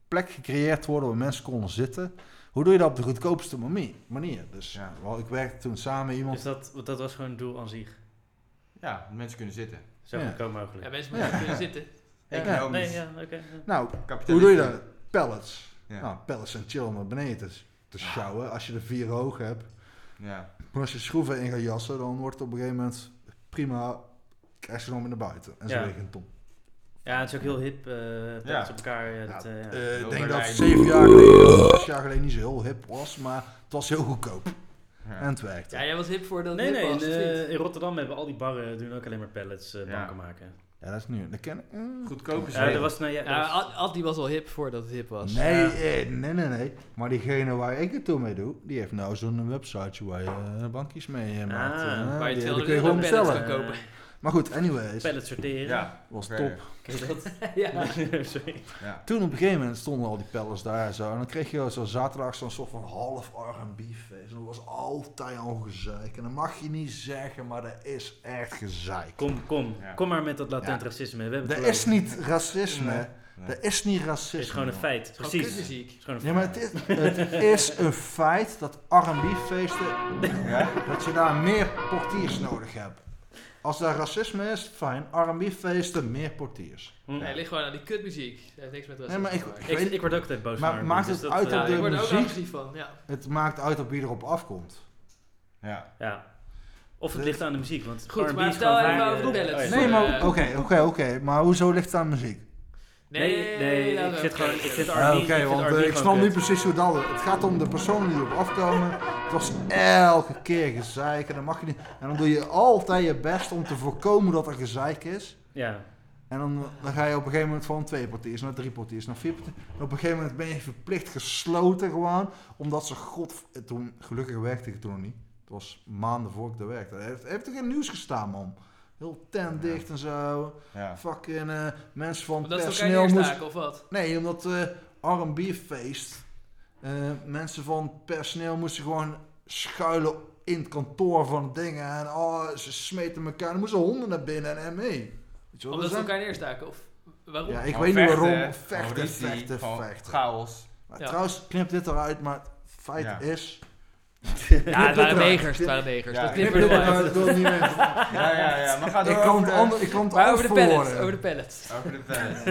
plek gecreëerd worden waar mensen konden zitten. Hoe doe je dat op de goedkoopste mami- manier? Dus
Ja.
wel, ik werkte toen samen met iemand
Dus dat, want dat was gewoon het doel aan zich.
Ja, mensen kunnen zitten.
Zo
Ja.
goedkoop
Ja,
mogelijk.
mensen moeten kunnen zitten.
Economisch.
nee, ja, oké. ja.
Nou, hoe
Kapitalisme.
doe je dat? Pallets.
Ja.
Nou, pallets zijn chill om naar beneden te, te sjouwen. Als je er vier hoog hebt.
Ja.
Maar als je schroeven in gaat jassen, dan wordt het op een gegeven moment prima. Krijg je dan weer naar buiten. En zo
Ja.
weer geen ton.
Ja, het is ook heel hip. eh plaats
Ja.
op elkaar. eh, dat,
Ja,
eh, ja.
Eh, Ik
Heel
denk dat
Berlijn.
het zeven jaar geleden, zes jaar geleden niet zo heel hip was. Maar het was heel goedkoop. En
Ja.
het werkte.
Ja, jij was hip voor dat
nee,
hip
nee. In,
was, dat
eh,
vindt.
in Rotterdam hebben al die barren doen ook alleen maar pallets eh,
Ja.
banken maken.
Ja, dat is nu. Dat ken ik. eh.
Goedkoop is
Ja,
heel.
dat was, nou, ja, dat
Ja,
was-
Ad- Ad die was al hip voordat het hip was.
Nee, eh, nee, nee, nee. Maar diegene waar ik het toe mee doe, die heeft nou zo'n website waar je eh, bankjes mee eh, maakt.
Ah,
Eh,
waar je
die, die
200
kun je gewoon
euro pallets
bestellen.
kan kopen.
Eh,
Maar goed, anyways.
pallets sorteren.
Ja,
Was
verder.
top.
Ken je dat?
[LAUGHS] Ja.
[LAUGHS] Sorry.
Ja.
Toen op een gegeven moment stonden al die pallets daar en zo. En dan kreeg je zo zaterdag zo'n soort van half R&B feest. En dat was altijd al gezeik. En dat mag je niet zeggen, maar dat is echt gezeik.
Kom, kom.
Ja.
Kom maar met dat latent
Ja.
racisme. We hebben het
Dat is
beloofd.
niet racisme.
Nee. Nee.
Dat is niet racisme.
Het is gewoon een feit.
Gewoon
Precies. Het
kutmuziek.
is gewoon een
Ja, maar het is,
[LAUGHS]
het is een feit dat R&B feesten,
Ja.
dat je daar meer portiers nodig hebt. Als daar racisme is, fijn. R&B feesten, meer portiers.
Hm.
Nee, het ligt gewoon aan die kutmuziek. Dat heeft niks met
Nee,
racisme
maar ik,
te maken.
ik
Ik,
weet,
ik word ook altijd boos
Maar
van
maakt
R&B,
het
dus
uit
dat,
Ja,
op
eh,
de
ik word er ook
muziek-
agressief van. Ja.
het maakt uit op wie erop afkomt.
Ja.
Ja. Of het ligt aan de muziek, want
Goed,
R&B
maar
is
vertel
gewoon
even
vaak,
over de
eh,
ballads.
oh ja.
Nee, maar
Eh,
oké, oké, oké. Maar hoezo ligt het aan muziek?
Nee, nee,
laten we
ik zit
ook
gewoon, ik
even-
vind R&B,
Ah, Oké,
ik vind
want
R&B
eh, ik
gewoon
snap
kut.
nu precies hoe dat... Het gaat om de personen die erop afkomen. Het was elke keer gezeik en dan mag je niet... En dan doe je altijd je best om te voorkomen dat er gezeik is.
Ja, [LAUGHS]
En dan, dan ga je op een gegeven moment van twee portiers naar drie portiers naar vier portiers. En op een gegeven moment ben je verplicht gesloten gewoon. Omdat ze god... eh, Toen, gelukkig werkte ik toen nog niet. Het was maanden voor ik daar werkte. Er heeft, heeft er geen nieuws gestaan, man. Heel tent dicht en zo.
Ja.
Fucking eh, mensen van
Omdat ze elkaar
personeel moesten...
neerstaken of wat?
Nee, omdat eh R&B feest. eh, mensen van het personeel moesten gewoon schuilen in het kantoor van dingen. En oh, ze smeten elkaar. Er moesten honden naar binnen en hem mee. Weet je wel,
Omdat ze
dat zijn-
elkaar neerstaken of waarom?
Ja, ik
Gewoon
weet niet
Oh, vechten,
waarom.
gewoon
Vechten,
ruzie,
vechten,
gewoon
vechten.
Chaos.
Maar
Ja.
Trouwens, knip dit eruit, maar het feit
Ja.
is...
Ja, het waren negers, het
Knip
waren negers.
Ja,
Dat
dit
knippen we
eruit,
eruit.
maar ik wil het niet meer.
Ja, ja, ja. Maar ga door.
Ik kan
over
het
de-
ander- ik kan het
Maar
anders
over de pallets,
verwoorden.
over de pallets.
Over de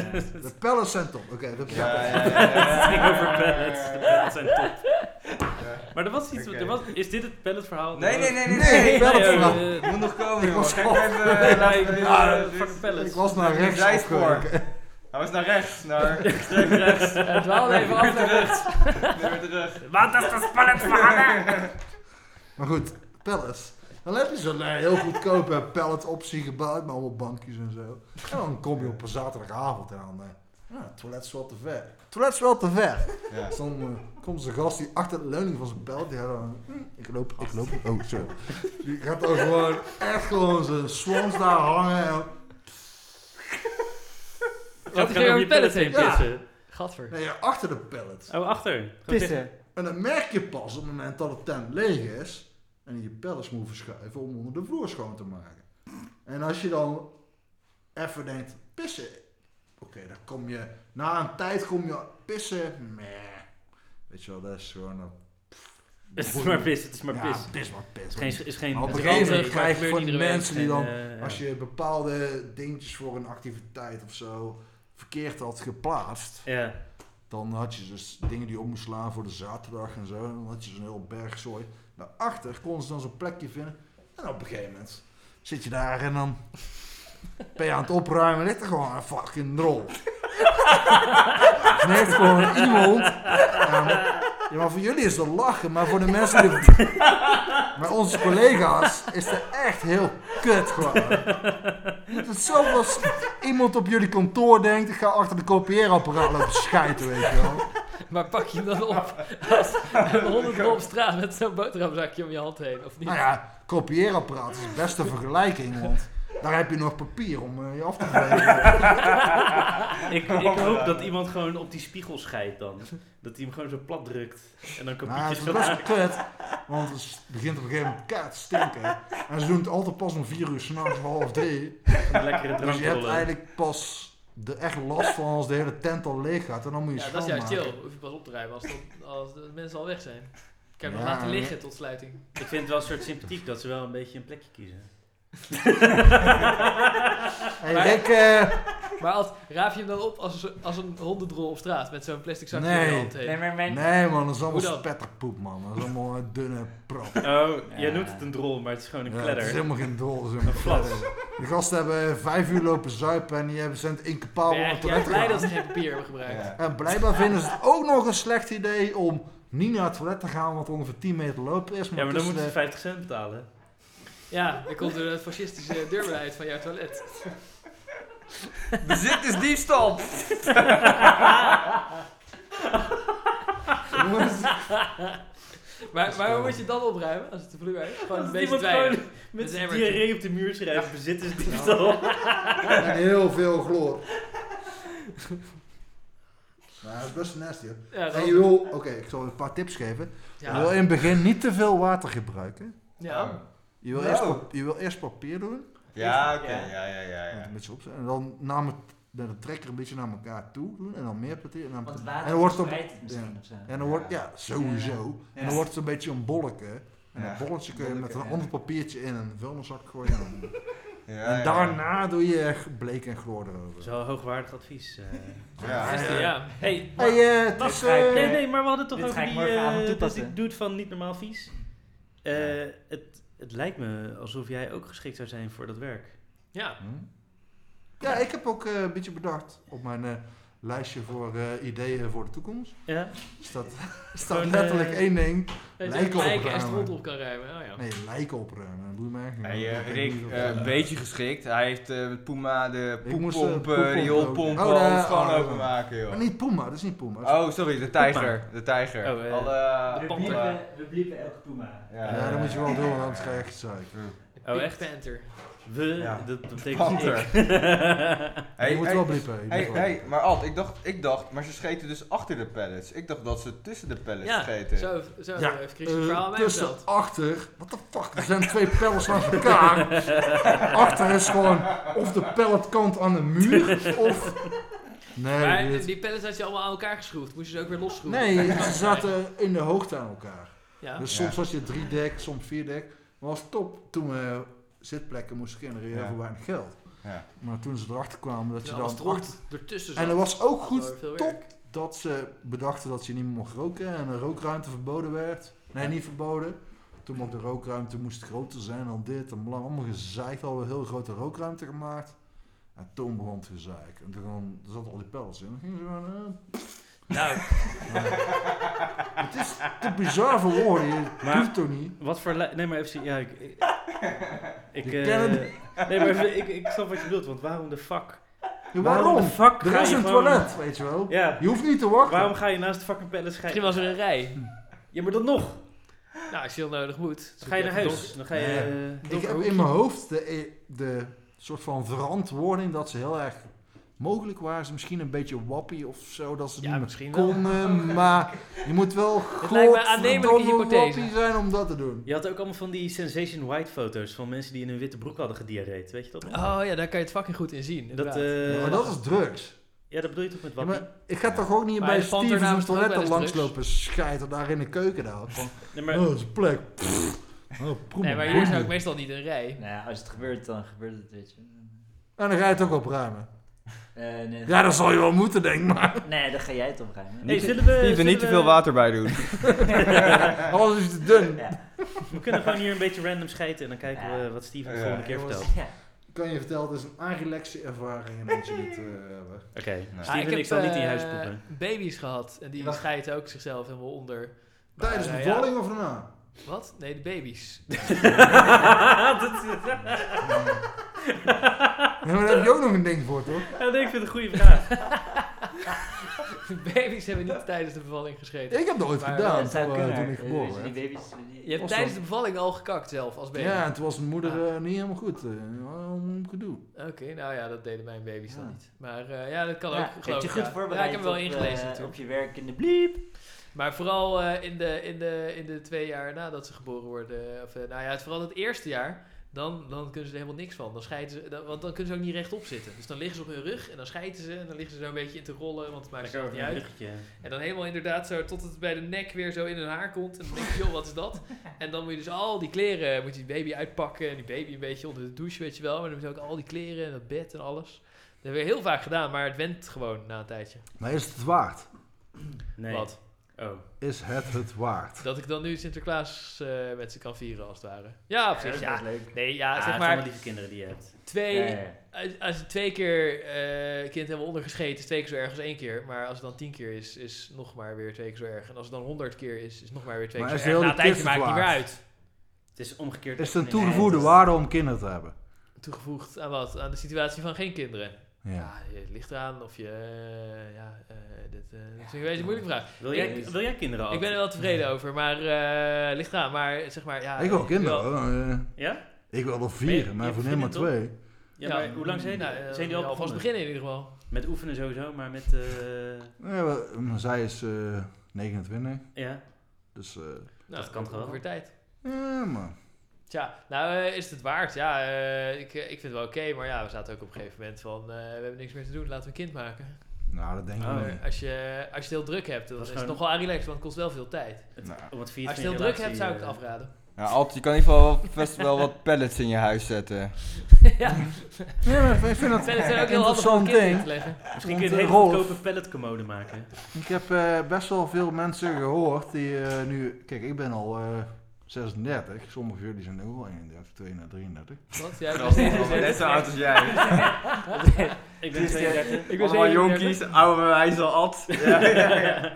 pallets.
De pallets zijn top. Oké, dat is
Ja,
[LAUGHS]
ja,
ja.
ja, ja.
Het ging over pallets. De pallets zijn top.
Ja.
Maar er was iets,
Oké.
er was, is dit het pallet verhaal?
Nee, nee, nee, nee.
Nee,
nee.
wel het
nee,
verhaal.
eh,
Het moet nog komen,
Ik
jongen.
was
Kijk
al-
even... eh,
Ja,
laten
ik-
we even-
ah,
dit-
fuck de
Ik
pallets.
was naar
Links
rechts
rechts voor.
afgeweken.
Hij was naar
[LAUGHS]
rechts, naar...
Het wel Eh, even af naar rechts.
Naar terug.
Wat is dat pallet verhaal?
[LAUGHS] Maar goed, pallets. Dan heb je zo'n eh, heel goedkope palletoptie gebouwd met allemaal bankjes en zo. En dan kom je op een zaterdagavond en dan eh, Ja, het toilet is wel te ver. Het toilet is wel te ver.
Ja.
Dus dan eh, komt zo'n gast die achter de leuning van zijn pijl, die gaat dan... "Mm, Ik loop, ik loop. Oh, sorry. Die gaat dan gewoon echt gewoon zijn swans daar hangen. En,
Wat
je
ga je
over
je pallet
je pallet
heen
heen
pissen?
Gadver.
nee, ja, achter de pallet.
Oh, achter. Gewoon pissen.
Pissen.
En dan merk je pas op het moment dat het tent leeg is en je pellets moet verschuiven om onder de vloer schoon te maken. En als je dan even denkt, pissen. Oké, dan kom je, na een tijd kom je pissen. Meh. Weet je wel, dat is gewoon een...
Het is maar pis, het is maar
ja,
pis.
pis maar pis.
Het is geen, is geen
Maar op een
het is
gegeven moment
ranzig,
krijg je
maar het
van
gebeurt
die
iedere week.
mensen die
En,
dan,
eh,
Als je bepaalde dingetjes voor een activiteit of zo verkeerd had geplaatst,
Ja,
dan had je dus dingen die je op moest slaan voor de zaterdag en zo. En dan had je zo'n heel bergzooi. Daarachter konden ze dan zo'n plekje vinden. En op een gegeven moment zit je daar en dan ben je aan het opruimen. Ligt er gewoon een fucking [LAUGHS] rol. Nee, heeft gewoon iemand. Ja, maar- ja, maar voor jullie is dat lachen, maar voor de mensen die. [LAUGHS] Maar onze collega's is dat echt heel kut gewoon. Het is zo als iemand op jullie kantoor denkt: ik ga achter de kopieerapparaat lopen schijten, weet je wel.
Maar pak je hem dan op als een honderd op straat met zo'n boterhamzakje om je hand heen, of niet?
Nou ja, kopieerapparaat is de beste vergelijking, want daar heb je nog papier om eh, je af te
[LAUGHS]
geven.
ik, ik hoop
[LAUGHS]
dat iemand gewoon op die spiegel scheidt dan. Dat hij hem gewoon zo plat drukt. En dan
Maar Nou, het
kopietjes
is
gaat
best wel
maken.
kut, want het is- begint op een gegeven moment kaart te stinken. En ze doen het altijd pas om vier uur s'nachts, half drie.
Een lekkere eh.
eh,
Dus je hebt
drankrollen.
eigenlijk pas de echt last van als de hele tent al leeg gaat. En dan moet je
Ja, dat is juist
schoonmaken.
chill. Hoef je pas op te rijden als, tot- als de mensen al weg zijn. Ik heb hem
Ja.
laten liggen tot sluiting.
Ik vind het wel een soort sympathiek dat ze wel een beetje een plekje kiezen.
Hey, Rick, eh,
Maar als, raaf je hem dan op als, als een hondendrol op straat met zo'n plastic zakje
Nee.
in je hand heen?
Nee, maar mijn...
nee man, dat is
Hoe
allemaal
dan?
spetterpoep man. Dat is allemaal eh, dunne
[LAUGHS]
prop.
Oh, jij
Ja.
noemt het een drol, maar het is gewoon een
Ja, het is
kledder.
helemaal geen drol. het is helemaal
Plat.
geen- De gasten hebben vijf uur lopen zuipen en die hebben zijn het incapabel
Nee,
om
ik
het
ben echt
toilet te
blij dat
gaan.
ze geen papier hebben gebruikt.
Ja.
En blijkbaar vinden ze het ook nog een slecht idee om niet naar het toilet te gaan, wat ongeveer 10 meter lopen is. eh, Maar,
Ja, maar dan
tussen
moeten ze
de-
50 cent betalen.
Ja, dan komt er een eh, fascistische deur uit van jouw toilet.
Bezit is diefstal.
Jongens,
[LAUGHS] Maar, maar hoe moet je het dan opruimen als het de vloer uit? Gewoon een
Als
beetje
iemand
dweilen.
gewoon met
is
zijn
emmertje.
diarree op de muur schrijft, bezit is diefstal.
en heel veel chloor. [LAUGHS] Nou, dat is best nasty hoor.
Ja,
En
dan-
je wil, oké, ik zal een paar tips geven. Je wil
ja.
in het begin niet te veel water gebruiken.
ja.
Je wil,
Nou.
eerst, pap- je wil eerst papier doen.
Ja, oké. Ja, ja, ja.
want
ja.
een beetje opzetten. En dan na met, met de trekker een beetje naar elkaar toe doen. En dan meer papier. En dan,
Want
en
water
dan wordt het, op-
verspreidt het misschien of zo.
en dan wordt, ja, sowieso. En dan wordt het een beetje een bolletje. En
Ja.
dat bolletje kun je met een
Bolletje, ja.
ander papiertje in een vuilniszak gooien. En, dan-
Ja,
en
ja.
daarna doe je g- bleek en chloor erover.
Dat is wel hoogwaardig advies. eh.
Ja.
Ja. ja.
Hey, maar-
Hey, eh, het
Dit
is...
ga ik-
eh,
Nee, nee, maar we hadden het toch
Dit
over
ga ik
die,
morgenavond
eh, dat
toepassen.
die dude van Niet Normaal Vies. Eh, het, het lijkt me alsof jij ook geschikt zou zijn voor dat werk.
Ja.
Hm? Ja, ik heb ook eh, een beetje bedacht op mijn eh, lijstje voor eh, ideeën voor de toekomst.
Ja?
Staat, staat
Gewoon, eh,
letterlijk één ding.
Dat je
Lijken
kijken en
opruimen.
stront op kan ruimen. Oh, ja.
Nee, lijken opruimen. Dat boeit me eigenlijk
Hey, eh,
Ik weet
Rick,
niet of-
eh, een beetje geschikt. Hij heeft eh, met Puma de
Ik moest, eh,
poeppomp,
poeppomp
eh, rioolpomp,
ook. Oh, daar-
alles gewoon
oh, oh.
openmaken,
Maar
joh.
niet Puma, dat is niet Puma.
Oh, sorry, de tijger. De tijger.
Oh, eh,
Alle...
panter.
alle-
We bliepen elke Puma.
ja,
Ja,
dat moet je
eh,
wel doen, want anders ga je echt zeiken.
Oh,
Big
echt?
Panther.
We,
Ja.
dat dat betekent
Panter.
ik.
je
Hey,
moet
hey,
wel bliepen. je moet
Hey,
wel
hey,
bliepen.
maar Alt, ik dacht, ik dacht, maar ze scheten dus achter de pallets. Ik dacht dat ze tussen de pallets
Ja,
scheten.
zo, zo
Ja,
heeft Chris het
Eh,
verhaal aan mij
tussen
verteld.
achter, wat de fuck, er zijn twee pallets naast elkaar. achter is gewoon of de palletkant aan de muur, of... Nee,
Maar
dit-
die pallets had je allemaal aan elkaar geschroefd. Moest je ze ook weer losschroeven.
nee, ze zaten in de hoogte aan elkaar.
Ja.
Dus
Ja.
soms was je drie dek, soms vier dek. Maar was top toen we zitplekken moesten genereren
Ja.
voor weinig geld.
Ja.
Maar toen ze erachter kwamen dat
Dat
je
je
dan...
alles
achter-
stront ertussen zat.
En dat was ook
Dat was
goed
veel
top
werk.
dat ze bedachten dat je niet meer mocht roken en de rookruimte verboden werd. Nee, niet verboden. Toen mocht de rookruimte moest groter zijn dan dit en bla, allemaal gezeik. Hadden we een heel grote rookruimte gemaakt. En toen begon het gezeik. En toen kwam- er zat al die pels in. Dan gingen ze gewoon... eh,
Nou,
het is te bizar voor woorden. Je
Maar-
doet het toch niet?
wat voor... li- Nee, maar even... zien. Ja, ik...
[LAUGHS]
Ik, ik,
Die
eh,
kennen
nee, maar even- ik, ik snap wat je bedoelt, want waarom de fuck
Ja,
de
Waarom?
fuck
Er
ga
is
je
een
gewoon-
toilet, weet je wel.
Ja,
Je hoeft niet te wachten.
waarom ga je naast de fucking palace
Misschien
schijnen?
was er een rij.
Ja, maar dan nog.
Nou, als je heel nodig moet.
Dan ga je naar huis. Dan ga je...
Nee.
eh,
Ik heb in mijn hoofd de, eh, de soort van verantwoording dat ze heel erg... Mogelijk waren ze misschien een beetje wappie of zo, dat ze het
Ja,
niet
misschien
meer
wel.
konden.
[LAUGHS]
Maar je moet wel
lijkt me een aannemelijke
godverdomme
hypothese.
wappie zijn om dat te doen.
Je had ook allemaal van die Sensation White foto's van mensen die in hun witte broek hadden gediarreed. Weet je dat nog?
Oh ja, daar kan je het fucking goed in zien.
dat,
inderdaad.
eh,
maar dat is drugs.
Ja, dat bedoel je toch met
Ja,
wappie?
maar ik ga toch ook niet
Maar
bij
de panter
Steven's
namens toch ook
toilet
wel eens
langs
drugs?
lopen scheiden daar in de keuken daar. Van,
nee, maar
oh, dat is een plek. Pff. Oh, proem
nee, maar hier zou ik meestal niet een rij.
Nou ja, als het gebeurt, dan gebeurt het, weet je.
En dan ga je het ook opruimen.
Eh, nee,
Ja, dat zal je wel moeten, denk ik. Maar
nee, dan ga jij het opruimen.
Hey,
Nee,
zullen we...
Steven,
zullen
niet te
we-
veel water bij doen.
alles is te dun.
We kunnen gewoon hier een beetje random schijten en dan kijken we
Ja.
wat Steven de
Ja,
volgende keer
jongens.
vertelt.
ja.
Kan je vertellen, het is een aanrelaxe ervaring dat je dit eh, hebben.
Oké,
Nee.
Steven, ik,
heb,
zal niet in je
eh,
huis
[LAUGHS]
poepen. [LAUGHS]
baby's gehad en die
Ja.
scheiden ook zichzelf helemaal onder. Maar,
Tijdens
eh,
de
ja.
bevalling of daarna?
Wat? Nee, de baby's. [LAUGHS]
Dat is-
Nee, maar daar heb je ook nog een ding voor, toch?
Ja, nee, ik vind het een goede vraag.
baby's hebben niet tijdens de bevalling gescheten.
Ik heb dat ooit
Maar,
gedaan
dat zou
toen, eh,
kunnen.
toen ik
dus
Eh,
geboren
die
werd.
baby's...
Je hebt
Of
tijdens
zo.
de bevalling al gekakt zelf als baby.
Ja, en toen was mijn moeder
Ah.
eh, niet helemaal goed. eh, wel een gedoe.
Oké, nou ja, dat deden mijn baby's dan
Ja.
niet. Maar eh, ja, dat kan
Ja,
ook.
je hebt
geloof
je
ik,
goed
ja. Ja,
voorbereid
ik heb hem wel
op,
ingelezen
eh,
natuurlijk.
op je werk in de bliep.
Maar vooral eh, in, de, in, de, in de twee jaar nadat ze geboren worden, of eh, nou ja, het, vooral het eerste jaar, dan, dan kunnen ze er helemaal niks van. Dan scheiden ze, dan- want dan kunnen ze ook niet rechtop zitten. Dus dan liggen ze op hun rug en dan scheiden ze en dan liggen ze zo een beetje in te rollen, want het maakt ze
Lekker
niet
over een
uit.
bruggetje.
En dan helemaal inderdaad zo tot het bij de nek weer zo in hun haar komt. En dan denk je, joh, wat is dat? En dan moet je dus al die kleren, moet je die baby uitpakken en die baby een beetje onder de douche, weet je wel. Maar dan moet je ook al die kleren en dat bed en alles. Dat hebben we heel vaak gedaan, maar het went gewoon na een tijdje.
Maar is het waard?
Nee.
Wat?
Oh.
Is het het waard?
Dat ik dan nu Sinterklaas eh, met ze kan vieren, als het ware. Ja, op
dat
zich,
is
ja.
wel leuk.
Nee, ja,
Ah, het
zeg
zijn allemaal
maar,
lieve kinderen die je hebt.
twee,
Ja, ja, ja.
als- als je twee keer eh kind helemaal ondergescheten is, twee keer zo erg als één keer. Maar als het dan tien keer is, is nog maar weer twee keer zo erg. En als het dan honderd keer is, is nog maar weer twee
Maar
keer
is
zo erg.
heel
Na een
de
tijdje maakt
kist
het niet meer
waard?
uit.
Het is omgekeerd.
Is het een
Nee,
toegevoegde
dat-
waarde om kinderen te hebben?
Toegevoegd aan wat? Aan de situatie van geen kinderen.
Ja.
Ja, het ligt eraan of je... eh, ja, eh, dit, eh, dat is een beetje een moeilijke vraag.
Wil jij, wil jij kinderen al?
Ik ben er wel tevreden over, maar eh ligt eraan. Maar zeg maar, ja...
ik wil
eh,
kinderen.
wel-
hoor. Eh,
Ja?
Ik wil er
Nee, je
vier, maar
hebt
voor helemaal maar
vriendin,
twee.
Ja, maar hoe lang zijn,
nou,
die,
eh,
zijn die al
Alvast
begonnen?
beginnen in ieder geval.
Met oefenen sowieso, maar met... eh,
Nee, wel, maar zij is eh 29,
ja.
dus... eh
Nou,
Dat kan toch wel?
Weer tijd.
ja, maar...
Tja, nou eh, is het waard? Ja, eh, ik, eh, ik vind het wel oké, maar ja, we zaten ook op een gegeven moment van, eh, we hebben niks meer te doen, laten we een kind maken.
Nou, dat denk ik
Oh,
niet.
Als je, als je het heel druk hebt, dan
Dat
is
is
het
gewoon-
nog wel aan relaxed, want het kost wel veel tijd.
Nou.
Om het vier
Als je het heel druk hebt,
eh,
zou ik het afraden.
[LAUGHS]
Nou, Alt, je kan in ieder geval wel- best wel wat pallets in je huis zetten.
ja,
Ja, maar ik vind
het [LAUGHS]
dat
zijn
een
ook heel handig om een
interessant
kind in te
ding.
leggen.
Misschien
Want,
kun je
eh,
een hele
Rolf,
goedkope palletcommode maken.
Ik heb eh, best wel veel mensen gehoord die eh, nu... Kijk, ik ben al eh 36. Sommigen van jullie zijn ook al 31, 32, 33.
Wat? Ja, ik
Net zo oud als jij.
Ik
Dus,
ben 32.
Ik ben
Allemaal
37.
jonkies, oude wijze Alt.
eh, [LAUGHS]
Ja, ja, ja.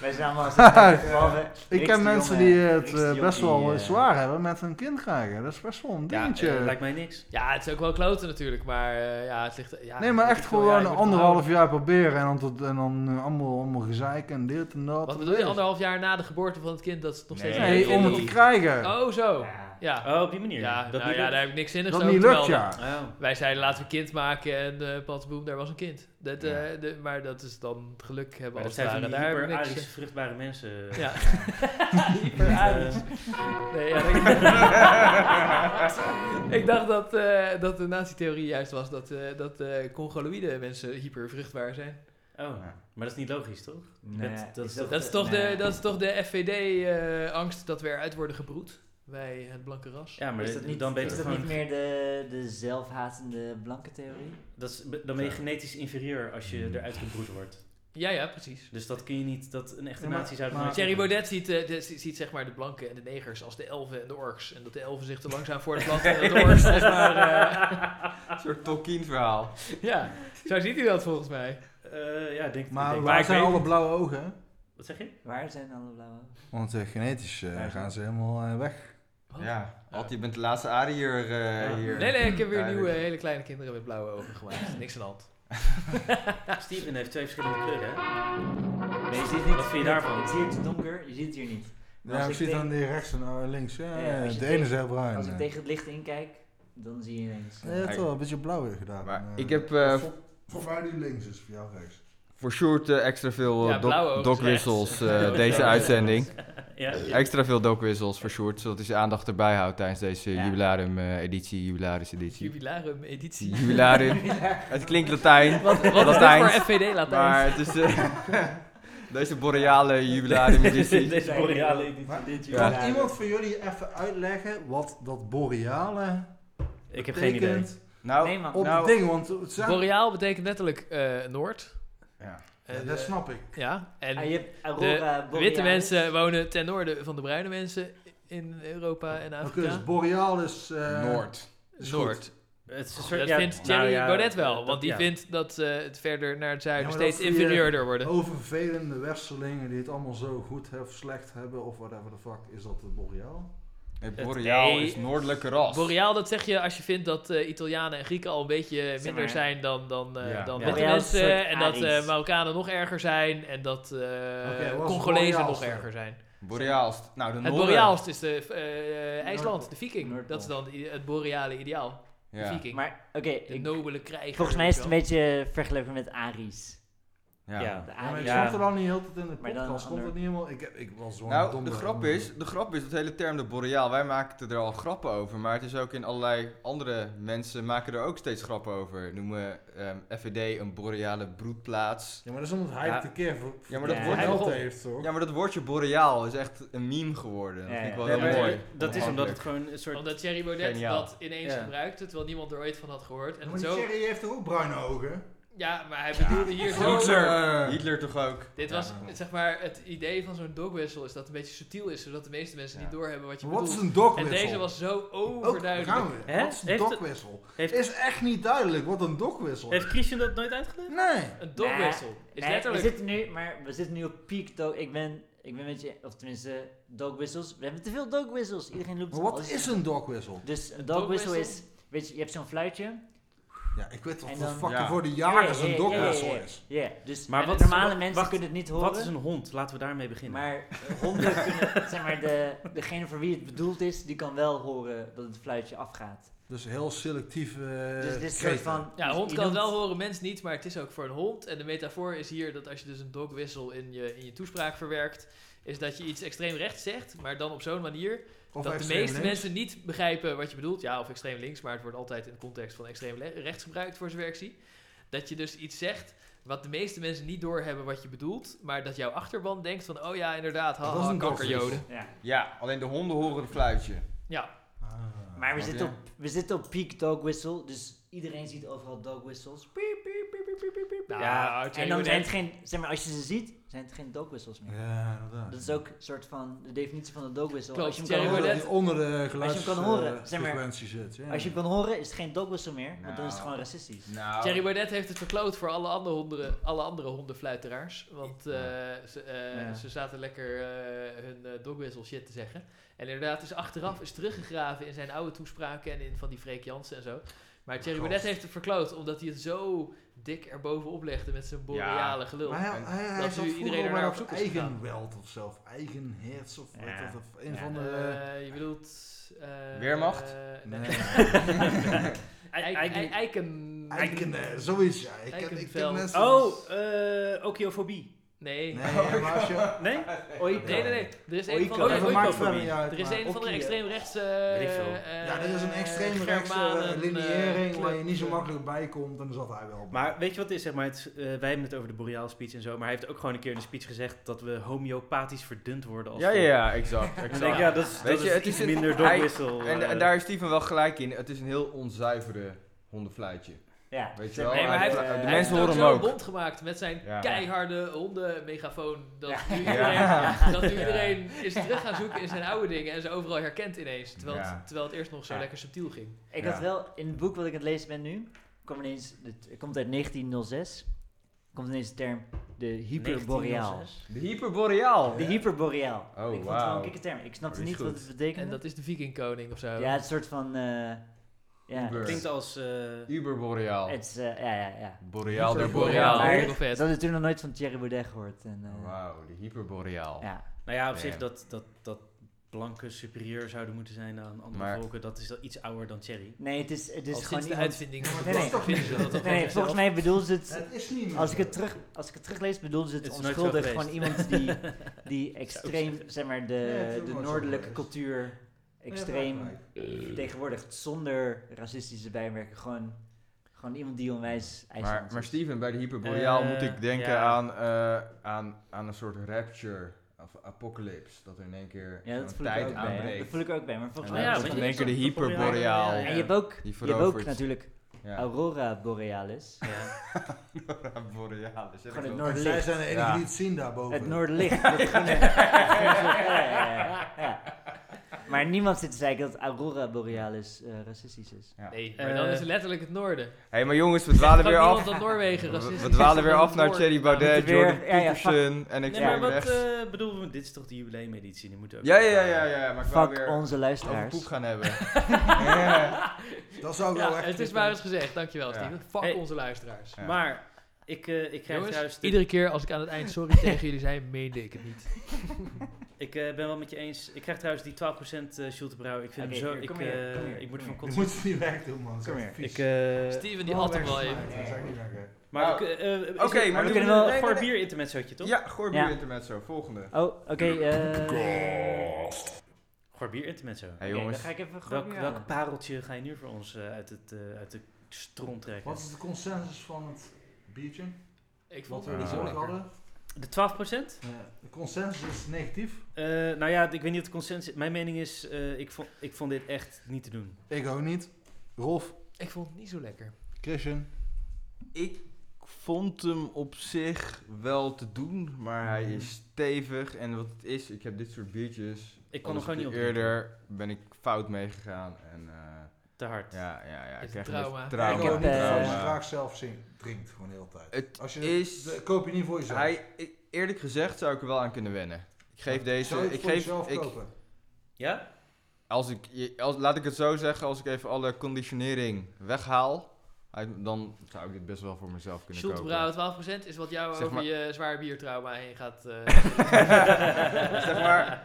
Wij zijn allemaal...
Ik ken mensen die het eh, best wel eh, zwaar hebben met hun kind krijgen. Dat is best wel een
Ja,
dingetje.
eh, lijkt mij niks.
Ja, het is ook wel kloten natuurlijk, maar eh, ja, het ligt... Ja,
Nee, maar
ik
echt
bedoel, ja, je
gewoon
moet het
anderhalf
houden.
jaar proberen en dan, tot, en dan eh, allemaal, allemaal gezeik en dit en dat.
Wat bedoel je, anderhalf jaar na de geboorte van het kind, dat is het nog steeds...
Nee,
Nee, om het te krijgen.
Oh, zo. Ja.
Oh, op die manier.
Ja,
dat
nou
niet
ja,
lukt?
daar heb ik niks zinnigs
dat
over
niet
te
lukt,
melden.
ja.
Oh.
Wij zeiden laten we een kind maken en eh patboom, daar was een kind. Dat, eh, de- maar dat is dan het geluk hebben
Maar dat
als
zijn
het
van
ware.
die
Daar hebben we
hyper
niks. eh.
vruchtbare mensen.
Ja. [LAUGHS]
Hyper-Aries.
Nee, ja, ik- [LAUGHS] ik dacht dat, eh, dat de nazi-theorie juist was dat, eh, dat eh Congoloïde mensen hypervruchtbaar zijn.
Oh, maar dat is niet logisch, toch? dat- dat-
Dat is toch, de, dat is toch de FVD-angst eh, dat we eruit worden gebroed? Wij, het blanke ras.
Ja, maar
is dat niet,
dan ben je
is
toch
dat niet
gewoon...
meer de, de zelfhatende blanke theorie?
Dat is, dan ben je genetisch inferieur als
Mm.
je eruit gebroed wordt.
Ja, ja, precies.
Dus dat kun je niet, dat een echte
Ja, maar-
nazi zou dat
maar-
nooit
Thierry
doen.
Baudet ziet, eh, de- ziet, ziet zeg maar de blanken en de negers als de elfen en de orks. En dat de elfen zich te langzaam voortplanten en dat de orks als maar... eh,
Een soort Tolkien verhaal.
[LAUGHS] ja, zo ziet hij dat volgens mij.
[LAUGHS] Eh, ja, ik denk ik
Maar
denk-
waar
ik
zijn
weet-
alle blauwe ogen? hè?
Wat zeg je?
Waar zijn alle blauwe?
Want eh, genetisch eh,
Ja.
gaan ze helemaal eh, weg.
Ja, Alt, je bent de laatste Ariër eh,
Ja.
hier.
Nee, nee, ik heb weer
Duidelijk.
nieuwe hele kleine kinderen met blauwe ogen gemaakt. Niks aan de hand.
Steven heeft twee verschillende kleuren, hè?
Nee, je ziet het niet.
Wat vind je daarvan?
Het is hier te donker, je ziet het hier niet. Maar Nou,
Ja,
als
ik
ik
zit
denk-
aan die rechts en nou links. Ja,
Ja,
ja,
als je
de ene is
tegen-
heel bruin.
Als ik
ja.
tegen het licht inkijk, dan zie je ineens.
Ja, toch, een beetje blauwig gedaan.
Maar
Ja.
ik heb eh,
Voor- Voor mij nu links is voor jou rechts.
voor short extra veel
Ja,
eh,
blauwe
doc,
ogen
doc
is rechts.
whistles [LAUGHS]
[LAUGHS] Ja,
eh, deze
ja.
uitzending.
[LAUGHS] Ja,
Extra veel doc whistles voor short, zodat hij zijn aandacht erbij houdt tijdens deze
Ja.
jubilarum eh, editie, jubilaris editie.
Jubilarum editie.
Jubilarum.
[LAUGHS]
[LAUGHS]
Het klinkt Latijn,
Wat, wat is dit
Latijn.
voor FVD Latijn?
maar het is eh, [LAUGHS] deze boreale jubilarum editie.
Deze boreale editie.
Maar-
Dit
Ja.
Kan iemand van jullie even uitleggen wat dat boreale
Ik heb geen idee.
betekent
Nou,
Nee, man.
op
Nou-
het ding? Want het zijn...
Boreaal betekent letterlijk eh, Noord.
ja.
Ja,
En,
dat
eh,
snap ik.
Ja, en
Ah, je hebt Aurora Borealis.
witte mensen wonen ten noorden van de bruine mensen in Europa en
Oké,
Afrika.
dus boreaal is... eh,
Noord.
is goed.
Noord.
Het is een soort,
Oh, Dat
ja,
vindt
nou
Thierry
ja,
Baudet wel,
dat-
want die
ja.
vindt dat eh, het verder naar het zuiden
Ja, maar
steeds
dat vind je-
interieurder worden.
Over vervelende westerlingen die het allemaal zo goed of slecht hebben of whatever the fuck, is dat het boreaal?
Nee,
Het-
boreaal
nee.
is noordelijke ras.
Boreaal, dat zeg je als je vindt dat eh, Italianen en Grieken al een beetje minder
maar.
zijn dan, dan, eh,
Ja.
dan
Ja.
witte
Boreaal is een
mensen.
soort
en dat eh,
Aries.
Marokkanen nog erger zijn. En dat eh
wat was
Congolezen
Boreaal
nog
dan?
erger zijn.
Boreaalst. Nou, de
Het
noorden.
Boreaalst is de, eh, eh, IJsland, de viking.
Noordpool.
Dat is dan i- het boreale ideaal. De
Ja.
viking.
Maar oké,
De
ik-
nobele krijger.
volgens mij
weet
is het
je
een
wel.
beetje vergeleken met Aries.
Ja.
Ja.
De
Ja, maar
Aries. Eh,
ik
Ja.
snap het al niet heel tijd in de
Ah, Maar dan
podcast, komt
ander-
het niet helemaal... Ik, heb- ik was gewoon
Nou,
dom
de
dat
grap,
allemaal.
is, de grap is, dat hele term de boreaal, wij maken er al grappen over, maar het is ook in allerlei andere mensen maken er ook steeds grappen over. Noemen ehm FVD een boreale broedplaats.
Ja, maar dat is omdat hij
Ja.
het een keer voor,
Ja, maar dat
Ja,
wordt
hij
geld
ook-
heeft, toch?
Ja, maar dat woordje boreaal is echt een meme geworden. Dat
Ja,
vind ik
ja.
wel
Ja,
heel
maar
mooi.
Dat is omdat
Onafhankelijk.
het gewoon een soort...
Omdat Thierry Baudet
Geniaal.
dat ineens
Ja.
gebruikte, terwijl niemand er ooit van had gehoord. En
maar
het
die
zo...
Thierry heeft toch ook bruine nou, ogen?
Ja, maar hij bedoelde hier zo...
Hitler. Hitler toch ook.
Dit
Ja,
was,
maar-
zeg maar, het idee van zo'n dogwissel is dat het een beetje subtiel is, zodat de meeste mensen
Ja.
niet doorheben wat je
Wat is
bedoelt.
een dog
en
whistle?
deze was zo
Ook, daar
overduidelijk.
gaan we.
Hè?
Wat is een
Heeft-
dog whistle?
heeft-
Is echt niet duidelijk wat een dog whistle is.
Heeft Christian dat nooit uitgelegd?
Nee.
Een dogwissel is
Nee,
letterlijk...
we zitten nu, maar we zitten nu op peak dog. Ik ben, ik ben met je, of tenminste, dog whistles. We hebben te veel dog whistles. Iedereen loopt.
Maar wat
alles.
is een dog whistle?
Dus een
dog
dog whistle is,
whistle?
weet je, je hebt zo'n fluitje.
Ja, ik weet wat
En
de
dan-
fucking
Ja.
voor de
Ja,
jagers
ja,
een
ja,
dog
ja, ja,
whistle
ja.
is.
Ja, dus
Maar
en
wat is-
normale
wa-
mensen
wacht,
kunnen het niet horen.
Wat is een hond? Laten we daarmee beginnen.
Maar eh, honden kunnen, [LAUGHS] zeg maar, de, degene voor wie het bedoeld is, die kan wel horen dat het fluitje afgaat.
Dus heel selectief. eh
dus dit is een soort
kreten.
van... dus
Ja, een hond
je
kan het
noemt-
wel horen, mens niet, maar het is ook voor een hond. En de metafoor is hier dat als je dus een dogwissel in je, in je toespraak verwerkt, is dat je iets extreem rechts zegt, maar dan op zo'n manier
Of
dat de
extreem
meeste
links.
mensen niet begrijpen wat je bedoelt. Ja, of extreem links, maar het wordt altijd in de context van extreem le- rechts gebruikt voor zover ik zie. Dat je dus iets zegt wat de meeste mensen niet doorhebben wat je bedoelt, maar dat jouw achterban denkt van, oh ja, inderdaad,
Dat was
haha,
een
kankerjoden.
dogwissel.
Ja.
Ja, alleen de honden horen het fluitje.
Ja,
Ah.
Maar we
Oké.
zitten, op, we zitten op peak dog whistle, dus iedereen ziet overal dog whistles. Piep, piep, piep, piep, piep, piep, piep.
Nou,
en
Thierry
dan zijn
Baudet-
het geen, zeg maar, als je ze ziet, zijn het geen dog whistles meer.
Ja, inderdaad.
Dat is ook een soort van de definitie van een dog whistle.
Klopt,
als, je hem
Thierry
kan
Onder
horen,
de-
Baudet.
onder de
kan horen, zeg maar,
geluidsfrequentie zit. Ja.
als je hem kan horen, is het geen dog whistle meer, want dan is
Nou.
het gewoon racistisch.
Nou,
Oh.
Thierry Baudet heeft het verkloot voor alle andere, honden, alle andere hondenfluiteraars. Want eh, ze, eh,
Ja.
ze zaten lekker eh, hun eh, dogwhistle shit te zeggen. En inderdaad is achteraf is teruggegraven in zijn oude toespraken en in van die Freek Jansen en zo. Maar Thierry
Gast.
Baudet heeft het verkloot omdat hij het zo dik erbovenop legde met zijn boreale gelul.
maar hij, hij, hij
dat
zat
nu
vroeger
iedereen
bij
ernaar
dat
op zoek is
eigen
gegaan.
weld of zelf, eigen hertz of
Ja.
weet dat, of een
Ja,
van de...
Eh, je bedoelt... eh,
Weermacht?
eh, nee.
Nee.
[LAUGHS] Eik-
Eigen-
Eik- Eiken...
Eiken, eh, zoiets, ja. Ik ken, ik ken
Eikenveld.
mensen...
Oh, eh okiofobie.
Nee.
Nee,
[LAUGHS]
maar als je...
Nee?
Oika.
Nee, nee, nee. Er is een
Oika.
van
Oh,
de...
ja,
dat
ooit
maakt
ook
verder
niet.
niet uit.
Er is
maar-
een van de
Okie,
extreemrechts...
weet ik veel.
Ja, er is een extreemrechtse eh, lineering waar je niet zo makkelijk bij komt en dan zat hij wel bij.
Maar weet je wat het is? Zeg maar, het, is, eh, wij hebben het over de boreaal speech en zo, maar hij heeft ook gewoon een keer in de speech gezegd dat we homeopathisch verdund worden. Als
Ja,
we-
ja, ja, exact.
En ik
exact.
denk, ja, dat is,
Weet
dat
je,
is
het
iets
is een-
minder
hij-
dogwissel.
En,
eh,
en daar is Steven wel gelijk in. Het is een heel onzuivere hondenfluitje.
Ja.
Weet je
Zeg
wel?
Nee, maar hij
de
heeft-
mensen
Hij heeft
horen
ook
hem
zo'n
ook.
bond gemaakt met zijn
Ja.
keiharde hondenmegafoon. Dat
Ja.
nu iedereen,
Ja.
dat nu iedereen is terug gaan zoeken in zijn oude dingen en ze overal herkent ineens. Terwijl,
Ja.
het, terwijl het eerst nog zo
Ja.
lekker subtiel ging.
Ik
Ja.
had wel, in het boek wat ik aan het lezen ben nu, kwam ineens, het, het komt uit 1906, komt ineens de term de hyperboreaal.
1906.
De hyperboreaal.
De hyperboreaal.
Oh,
ik vond het
wauw.
wel een kikke term. Ik snapte
Oh, die is
niet wat
goed.
het betekende.
En dat is de vikingkoning of zo.
ja, het is een soort van, eh, Ja.
Uber.
Klinkt als... eh,
Uber Boreal.
Het is, eh, ja, ja, ja.
Boreal der
Boreal.
Boreal.
heel
Dat
vet.
hadden we toen nog nooit van Thierry Baudet gehoord. En,
Oh,
eh,
Wauw, de hyperboreaal.
Ja,
Nou ja, op zich
Ja.
dat, dat, dat blanken superieur zouden moeten zijn aan andere
Maar-
volken, dat is al iets ouder dan
[LAUGHS]
Thierry.
nee, het is, het
Al
is gewoon
sinds de
iemand...
uitvinding van
Nee, nee.
de vinden ze dat toch
Nee,
gewoon
nee, volgens
zelf.
mij bedoel ze het...
Het is niet meer.
Als ik het, terug, als ik het teruglees, bedoel ze het,
Het is nooit zo
onschuldig.
geweest.
Gewoon iemand die, die extreem, zeg maar,
het is
de,
ook
de
nooit zo
noordelijke
geweest.
cultuur
Ja,
extreem
gelijk.
vertegenwoordigt. Zonder racistische bijwerken. Gewoon, gewoon iemand die onwijs
Maar,
IJsland
maar
is.
Steven, bij de hyperboreaal
Eh,
moet ik denken
ja.
aan, eh, aan, aan een soort rapture of apocalypse. Dat er in één keer
Ja, dat
zo'n
voel, ik
tijd
ook bij, hè. dat
aanbreekt.
voel ik ook bij. Maar volgens
En
Ja,
mij...
dan
is
ja,
het
is
want
in
gewoon-
je-
één keer de
dat probeer ik-
hyperboreaal.
ja,
En je hebt ook,
Die
je hebt ook
veroverd.
natuurlijk
Ja,
Aurora Borealis.
Ja.
[LAUGHS] boreaal. Dus heb
Gewoon
ik wel-
het
Want Zij
Noorderlicht.
zijn de enige
Ja.
die het zien daarboven.
Het
[LAUGHS]
Noorderlicht. dat groene- ja, ja, ja. Maar niemand zit te zeggen dat Aurora Borealis eh, racistisch is.
Nee, maar
Eh,
dan is het letterlijk het noorden.
hey, maar jongens, we dwalen weer af.
Dat Noorwegen
We-
racistisch
We
is,
dwalen
dan
weer
is
af
het
naar
noorden.
Thierry
we
Baudet,
moeten
Jordan
weer- ja, ja, fuck.
Peterson en ik
Nee,
sta
maar
weer
wat
rechts.
eh, bedoelen we? Dit is toch de jubileumeditie, die moeten we ook...
Ja, ja, ja, ja, maar ik wou
Fuck
weer
onze
over poep
luisteraars.
gaan
[LAUGHS]
hebben. Ja.
Dat zou ik wel
Ja,
echt...
het is maar eens gezegd. Dankjewel,
Ja.
Steven. Fuck
Hey.
onze luisteraars.
Ja.
Maar ik, eh, ik krijg
Jongens,
trouwens... de-
iedere keer als ik aan het eind sorry tegen jullie zei, meende ik het niet.
Ik eh, ben wel met je eens. Ik krijg trouwens die 12% eh Schulte-Brouw. Ik vind
Oké,
hem zo...
hier,
ik,
kom hier,
eh,
kom hier,
ik
kom
moet
hier.
van
Je
kotsen.
moet het niet weg doen, man.
Kom hier.
Ik, eh,
Steven, die had hem wel even.
Dat is echt niet lekker.
maar
Nou,
we kun- eh, is
Oké,
het-
maar
we
doen
kunnen
we-
wel
nee,
voor
nee,
het
nee.
bier intermezzootje, toch?
Ja, goor bier
Ja.
intermezzo, volgende.
Oh, oké. eh,
Voor bier intermezzo.
Hey
oké, dan
jongens,
ga ik even
Welk,
gewoon
welk pareltje ga je nu voor ons eh, uit, het, eh, uit de stroom trekken?
Wat is de consensus van het biertje?
Ik vond
Wat
het
we
Ah.
die
niet zo
zorg
lekker.
hadden?
De 12%?
Ja, De consensus is negatief.
Eh, nou ja, ik weet niet of het consensus... Mijn mening is, eh, ik, vond, ik vond dit echt niet te doen.
Ik ook niet. Rolf,
Ik vond het niet zo lekker.
Christian.
ik vond hem op zich wel te doen, maar hij is stevig. En wat het is, ik heb dit soort biertjes.
Ik kon hem
alles
gewoon niet
op
op.
de Eerder ben ik fout meegegaan en eh,
Te hard.
ja, ja, ja.
Is
Nou, Ik krijg een
trauma.
beetje
Ik
trauma.
ook niet.
eh,
Als je het
Trauma.
graag zelf zin- drinkt, gewoon de hele tijd.
Het
Als je
is-
de- koop je niet voor jezelf.
Hij, ik- eerlijk gezegd zou ik er wel aan kunnen wennen. Ik geef deze,
Zou je
eh,
het
ik
voor
geef,
jezelf
ik,
kopen?
Ja?
Als ik, je- als, laat ik het zo zeggen, als ik even alle conditionering weghaal, uit- dan zou ik dit best wel voor mezelf kunnen
Schulte
kopen.
Brouwer 12% is wat jou
Zeg
over
maar-
je zwaar biertrauma heen gaat. eh,
[LAUGHS] zeg, maar,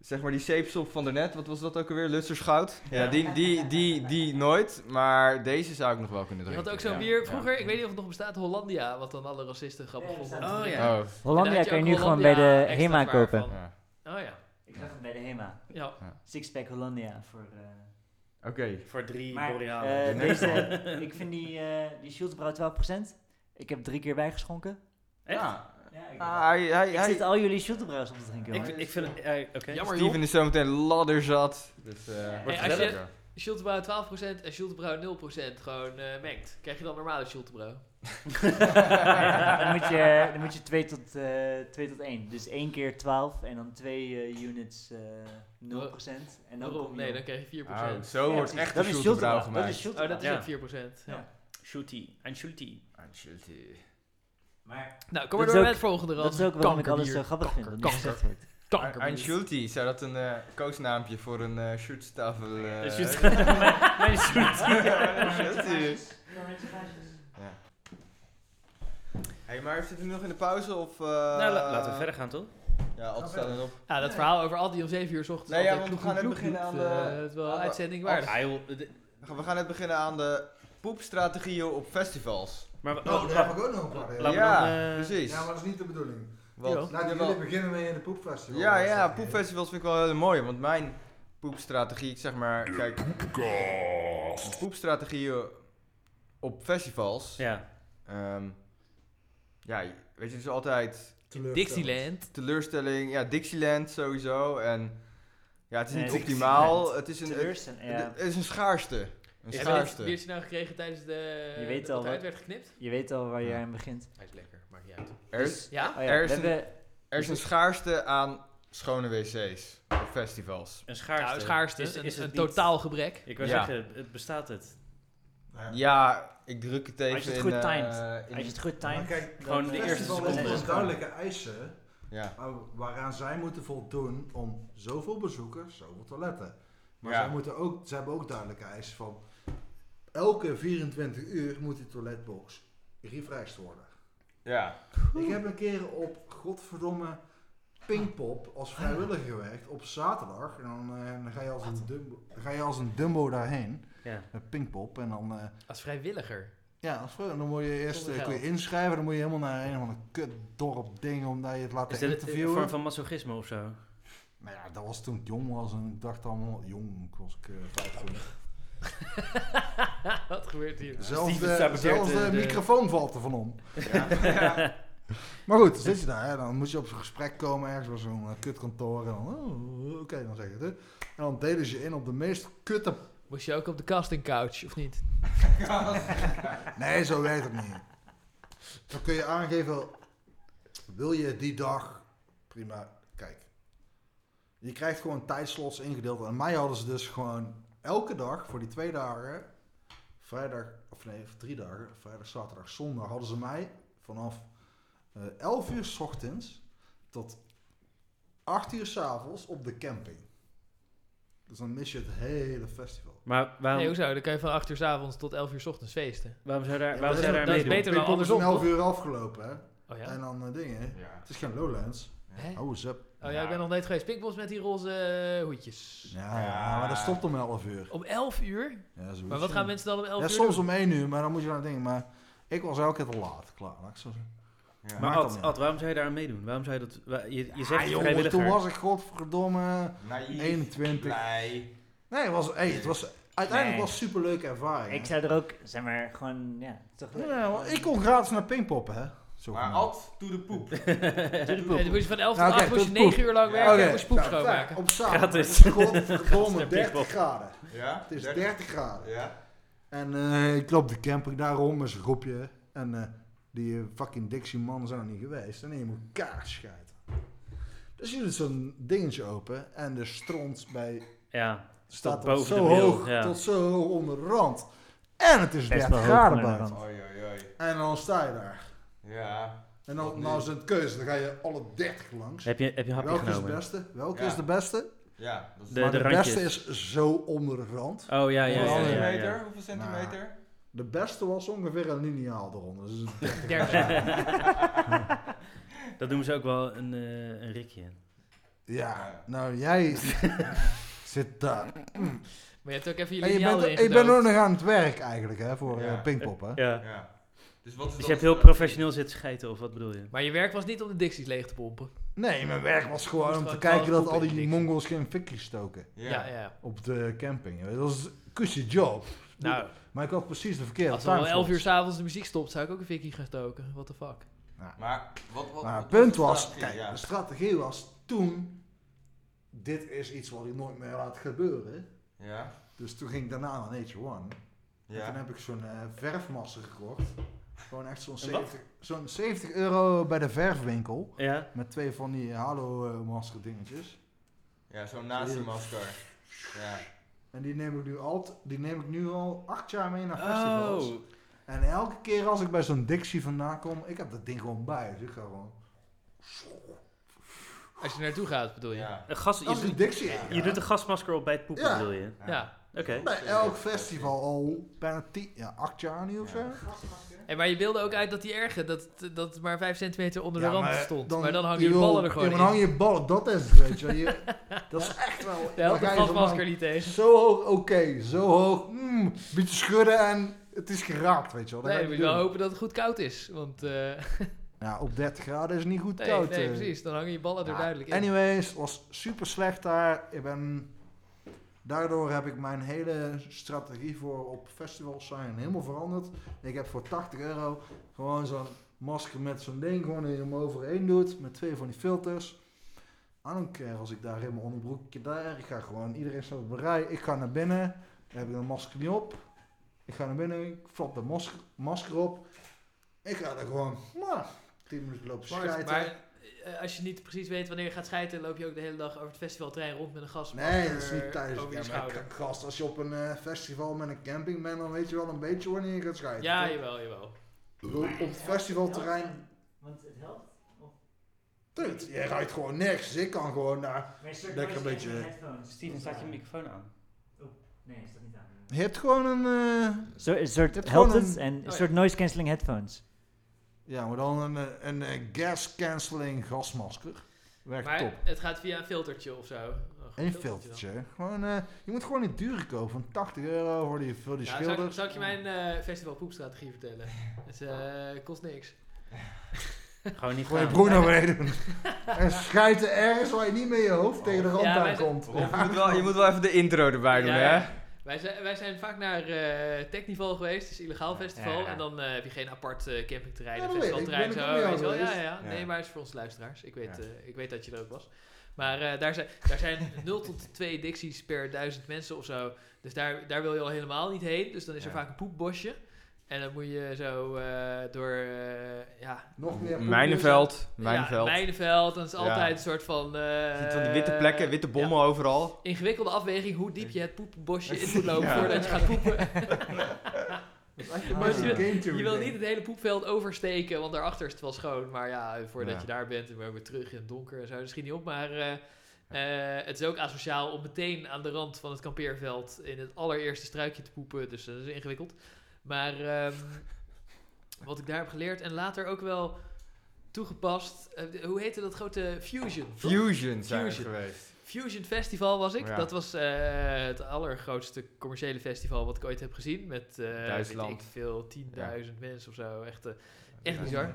zeg maar die zeepsop van daarnet, wat was dat ook alweer? Lutserschout? Ja, die, die, die, die nooit, maar deze zou ik nog wel kunnen
je
drinken.
had ook zo'n
ja.
bier vroeger, ik weet niet of het nog bestaat, Hollandia, wat dan alle racisten grappig vonden.
Oh,
Ja.
ja.
Oh,
Hollandia
Daar had
kan je
ook
nu gewoon bij
Hollandia
de
extra
HEMA
zwaar
kopen.
van.
ja.
Oh ja.
Ik zag hem bij de HEMA.
ja.
Sixpack Hollandia voor... eh,
Oké,
Voor drie
Maar,
borealen.
eh,
De next
deze, ik vind die, eh die Schultebrouw 12%. Ik heb drie keer bijgeschonken.
Echt?
Ja.
Ja, ik,
Ah, hij, hij,
ik
hij-
zit al jullie Schultebrouwers op te drinken,
ik,
hoor.
ik vind het... eh, Oké.
Jammer joh.
Steven is zometeen ladder zat. Dus, eh wordt
als je-
gezellig.
Schulte Brouw 12% en Schulte Brouw 0% gewoon eh, mengt. Krijg je dan normale Schulte Brouw?
[LAUGHS] dan, moet je, dan moet je 2 tot, eh 2 tot 1. Dus 1 keer 12 en dan 2 units eh 0%. En dan
Waarom?
kom je
Nee,
op.
dan krijg je 4%.
Oh, zo
Ja,
wordt
precies.
echt
Dat
een
is
Schultebrouw
Schultebrouw, Dat is
gemaakt.
Schultebrouw.
Oh, dat is
Ja.
het 4%. Ja.
Ja.
Shooty. En shooty.
Ah, shit.
Maar
Nou,
Dat
kom
is
maar door
ook-
met het volgende rand.
dat is ook waarom ik alles zo
Kankerbier.
grappig vind. Dat
Kanker,
niet gezegd wordt.
kankerbier.
Ein Schulte, zou dat een eh, koosnaampje voor een eh shootstafel... eh,
Een
[LAUGHS]
shoot- [LAUGHS] mijn, mijn shooty. [LAUGHS]
Een Schulte. Ja. hey, maar zitten we nog in de pauze of... eh,
nou, la- laten we verder gaan, toch?
Ja, altijd
Gaan
staan erop.
Ja, dat verhaal over Aldi om 7 uur 's ochtends.
Nee, ja,
altijd
want we gaan
kloek,
net
kloek,
beginnen
kloek,
aan
eh,
de-
dat is wel
aan de-
uitzending waard.
Ah, joh, de-
We gaan net beginnen aan de poepstrategieën op festivals.
maar wa-
Oh,
wa-
daar
wa-
heb ik ook nog een paar.
Laat me
ja,
dan, eh,
precies.
Ja, maar dat is niet de bedoeling.
Wat?
Laten
Jawel.
jullie beginnen mee in de poepfestival.
ja, ja, poepfestivals vind ik wel heel mooi, want mijn poepstrategie, ik zeg maar, kijk... Poepstrategieën op festivals...
ja.
ehm, ja, weet je, het is altijd...
Dixieland.
teleurstelling. Ja, Dixieland sowieso. En ja, het is
Nee,
niet
Dixieland.
optimaal. Het is, een, het,
Teleurstelling, ja.
het is een schaarste. Een
Heb
schaarste.
je dit nou gekregen tijdens de...
Je weet
dat
al
het uit
wat-
werd geknipt?
Je weet al waar je aan begint.
Hij is lekker, maakt niet uit.
Er, is-
Dus-
Ja?
Oh ja,
Er
we
is een-
hebben
er is een schaarste aan schone wc's op festivals.
Een schaarste.
Nou, schaarste.
Is-
een-
is het
een
niet-
totaal gebrek.
Ik wou
Ja.
zeggen, het bestaat het.
Ja, ik druk het even
Als je het
in,
goed
eh,
timed.
in-
Als je het goed
Maar
timed.
kijk,
Gewoon
dan,
de
eh,
eerste
festival
dan is
heeft
het
gewoon
gewoon.
duidelijke eisen
Ja.
waar- waaraan zij moeten voldoen om zoveel bezoekers, zoveel toiletten. Maar
Ja.
zij moeten ook, ze hebben ook duidelijke eisen van elke 24 uur moet die toiletbox refreshed worden.
Ja.
Ik heb een keer op godverdomme Pinkpop als vrijwilliger gewerkt op zaterdag. En dan, eh, dan, ga, je als een dumbo, dan ga je als een dumbo daarheen
Ja.
met Pinkpop. En dan, eh,
Als vrijwilliger. [LAUGHS]
ja, als vrijwilliger, dan moet je eerst
Zonder
eh, kun je
geld.
inschrijven. Dan moet je helemaal naar een of ander kutdorp ding om daar je het
Is eh,
laten
dat een
interviewen.
vorm van masochisme of zo?
Nou ja, dat was toen ik jong was en ik dacht allemaal, jong was ik eh 25.
Wat gebeurt hier?
Zelfs
Steven
de,
saboteert
zelfs de
de-
microfoon valt er van om.
Ja.
[LAUGHS] Maar goed, dan zit je daar, hè, dan moet je op zo'n gesprek komen ergens bij zo'n eh, kutkantoor. En dan, oh, oké, dan zeg je het. hè. En dan delen ze je in op de meest kutte.
Moest je ook op de casting couch, of niet?
Nee, zo werkt het niet. Dan kun je aangeven, wil je die dag? Prima, kijk. Je krijgt gewoon tijdslots ingedeeld. En mij hadden ze dus gewoon elke dag voor die twee dagen, vrijdag, of nee, drie dagen, vrijdag, zaterdag, zondag, hadden ze mij vanaf eh 11 uur s ochtends tot 8 uur s avonds op de camping. Dus dan mis je het hele festival.
Maar waarom,
Nee, hoezo? Dan kan je van 8 uur 's avonds tot 11 uur 's ochtends feesten.
waarom zou daar,
Ja,
waarom
dat
zou
is-
daar
dat is
meedoen?
beter dan
Pinkpop is
andersom.
om 11
toch?
dus uur afgelopen, hè?
Oh ja?
En dan eh, dingen.
Ja.
Het is geen Lowlands.
Hè?
Hou eens up.
Oh ja, ik ben nog nooit geweest. Pinkbos met die roze eh, hoedjes.
Ja,
Ja.
maar dat stopt om 11 uur.
Om 11 uur?
Ja, zo
Maar wat gaan mensen dan om 11
Ja,
uur
soms
doen?
om 1 uur, maar dan moet je naar dingen. Maar ik was elke keer te laat. Klaar, laat ik zo zeggen.
Ja.
Maar
Maakt dat
Ad,
niet.
Ad, waarom zou je daar aan meedoen? Waarom zou je dat... wa- Je, je zegt
Ah,
het
joh,
vrijwilliger.
toen was ik godverdomme
Naïef.
21.
Blij.
Nee, het was, hey, het was, uiteindelijk
Nee.
was het een superleuke ervaring.
Ik
hè.
zou er ook, zeg maar, gewoon, ja, toch leuk.
Ja, want ik kon gratis naar pingpoppen, hè. Zo
Maar
genoemd.
Ad, to the poep.
Nee, dan moest je van 11 tot
Nou,
8
oké,
moest je
tot
9
poep.
uur lang
Ja,
werken en
Oké,
moest je poep
nou,
schoonmaken.
Op zaterdag.
Gratis.
Godverdomme,
Naar Pinkpop.
30 graden.
Ja?
Het is
dertig.
30 graden.
Ja?
En eh, ik loop de camper daar rond met zijn groepje. En eh, die eh, fucking Dixie mannen zijn er niet geweest. En je moet kaars scheiden. Dus je doet zo'n dingetje open. En de stront bij,
Ja,
staat
Tot
tot
boven
zo
de bril,
hoog,
ja.
tot zo hoog onder de rand. En het is
Best
30
wel hoog onder
graden
de
buiten.
rand.
Oi, oi, oi.
En dan sta je daar.
Ja.
En
Wat
dan
nu?
nou is het keuze. Dan ga je alle 30 langs.
heb je, heb je een hapje
Welke is de
genomen?
beste? Welke
Ja.
is de beste?
Ja. Dat is
De-
maar
Maar-
de,
randjes.
beste is zo onder de rand.
Oh, ja, ja,
Hoeveel
ja. ja,
centimeter?
ja.
Hoeveel centimeter?
De beste was ongeveer een lineaal eronder. Dus het is
30 uur.
Dat doen ze ook wel een, eh, een rikje in.
Ja, nou jij [LAUGHS] zit daar.
Maar je hebt ook even je
En je
lineaal
bent,
erin
ik ben ook
gedoopt.
nog aan het werk eigenlijk, hè, voor
Ja.
eh, Pinkpop, hè.
Ja.
Ja. Dus wat is
Dus
dat
je hebt
als-
heel professioneel zitten schijten, of wat bedoel je?
Maar je werk was niet om de Dixies leeg te pompen.
Nee, mijn werk was
Moest
gewoon om te
gewoon
kijken
twaalf
dat al
poepen in
die
die ding.
Mongols geen fikkie stoken
Ja.
Ja, ja.
op de camping. Dat was een kusje job.
Nou,
Maar ik had precies de verkeerde
als we om
timeslots.
11 uur s'avonds de muziek stopt, zou ik ook een fikkie gaan stoken. What the fuck?
Maar wat, wat,
Maar
wat
het punt
de
was,
strategie?
kijk, dus-
Ja.
de strategie was toen, dit is iets wat ik nooit meer laat gebeuren.
Ja.
Dus toen ging ik daarna naar Nature One. En toen
Ja.
heb ik zo'n eh, verfmassa gekocht. Gewoon echt zo'n
Een wat?
70, zo'n 70 euro bij de verfwinkel.
Ja?
Met twee van die halo-masker dingetjes.
Ja, zo'n nazi-masker. Ja.
En die neem, ik nu al, die neem ik nu al acht jaar mee naar festivals.
Oh,
En elke keer als ik bij zo'n Dixie vandaan kom, ik heb dat ding gewoon bij. Dus ik ga gewoon...
Als je naartoe gaat, bedoel je?
Ja.
een gas, je,
Als
doet-
een Dixie
ja.
ja.
je doet een gasmasker op bij het poepen,
Ja.
bedoel je?
Ja.
Ja.
Oké.
Bij elk festival al bijna tien, ja, acht jaar nu of zo.
Ja.
En maar je wilde ook uit dat die erge, dat, dat maar 5 centimeter onder
Ja,
de rand
maar
stond. maar dan hangen je,
wil-
ballen er
ja,
gewoon
maar
in.
dan hangen je ballen, dat is het, weet je. wel.
[LAUGHS]
je dat is echt wel...
De
dan
helft
ga
het
je zo
gasmasker
lang-
niet tegen.
Zo hoog, oké. zo hoog, mm, beetje schudden en het is geraakt, weet je wel. Dat
Nee,
ga
dan moet
je
je
niet
wel
doen.
hopen dat het goed koud is. Want eh, [LAUGHS]
Ja, op 30 graden is het niet goed
nee,
koud.
nee,
eh.
precies. Dan hangen je ballen er
Ja,
duidelijk in.
Anyways, het was super slecht daar. Ik ben... Daardoor heb ik mijn hele strategie voor op festivals zijn helemaal veranderd. Ik heb voor 80 euro gewoon zo'n masker met zo'n ding gewoon die je hem overheen doet. Met twee van die filters. I don't care als ik daar in mijn onderbroekje daar. Ik ga gewoon, iedereen staat op een rij. Ik ga naar binnen. Dan heb ik een masker niet op. Ik ga naar binnen. Ik flap de masker, masker op. Ik ga er gewoon, nou, 10 minuten lopen
Maar,
schijten.
maar eh, als je niet precies weet wanneer je gaat scheiden, loop je ook de hele dag over het festivalterrein rond met een gasmasker.
Nee, dat is niet thuis.
Over
Ja,
je
maar
schouder.
k- gast, als je op een eh, festival met een camping bent, dan weet je wel een beetje wanneer je gaat scheiden.
Ja,
toch?
jawel, jawel.
Ik bedoel, op het festivalterrein,
Want het helpt.
tut, je ruikt gewoon niks. Dus ik kan gewoon daar.
Maar
Lekker een beetje-
Steven,
Steven, staat je microfoon aan?
Nee, staat niet aan.
Je hebt gewoon een... eh,
Zo, een soort
hebt gewoon
helpt het
een-
en een
Oh ja.
soort noise cancelling headphones.
ja, maar dan een, eh, een, eh, gas-canceling gasmasker. Werkt
maar
top.
het gaat via een filtertje of zo. Een goed
Eén filtertje. Gewoon, eh, je moet gewoon niet duur kopen. Van 80 euro voor die, voor
dan.
die
Ja, zal, ik,
Dus schilders.
zal ik je mijn eh festival poepstrategie vertellen?
[LAUGHS]
Het eh, kost niks.
[LAUGHS] Gewoon niet
Gewoon je
gaan.
broer nou. naar beneden doen. [LAUGHS] en schijten ergens waar je niet met je hoofd tegen de rand
Oh. Ja,
aan
wij zijn-
komt.
Rob, je, moet [LAUGHS] wel, je moet wel even de intro erbij doen,
Ja,
hè?
ja. Wij zijn, wij zijn vaak naar eh Technival geweest, dus illegaal festival. En dan eh, heb je geen apart eh, campingterrein,
Ja,
en
dat weet ik.
festivalterrein.
Ben ik
zo,
ook bij jou
weet je wel. Ja, ja,
geweest.
ja.
Ja.
Nee, maar het is voor ons luisteraars. Ik weet,
Ja.
eh, ik weet dat je er ook was. Maar eh, daar, zijn, daar
[LAUGHS]
zijn 0 tot 2 dicties per duizend mensen of zo. Dus daar, daar wil je al helemaal niet heen. Dus dan is er
Ja.
vaak een poepbosje. En dan moet je zo eh, door, eh, ja,
Nog meer
Mijnenveld.
ja,
Mijnenveld.
Mijnenveld. Dan is het
Ja.
altijd een soort van... eh,
Je ziet van die witte plekken, witte bommen overal.
Ingewikkelde afweging hoe diep je het poepbosje in moet lopen
Ja.
voordat je gaat poepen.
Maar
je-
je,
Je wil niet het hele poepveld oversteken, want daarachter is het wel schoon. Maar ja, voordat
Ja.
je daar bent en weer weer terug in het donker en zo, misschien niet op. Maar eh, eh, het is ook asociaal om meteen aan de rand van het kampeerveld in het allereerste struikje te poepen. Dus dat is ingewikkeld. Maar ehm, wat ik daar heb geleerd en later ook wel toegepast. eh, hoe heette dat grote Fusion? toch?
Fusion zijn we
Fusion.
geweest.
Fusion Festival was ik.
Ja.
Dat was eh, het allergrootste commerciële festival wat ik ooit heb gezien. Met eh,
Duitsland.
weet ik veel, 10.000 mensen of zo. Echt, eh, echt
Ja.
bizar.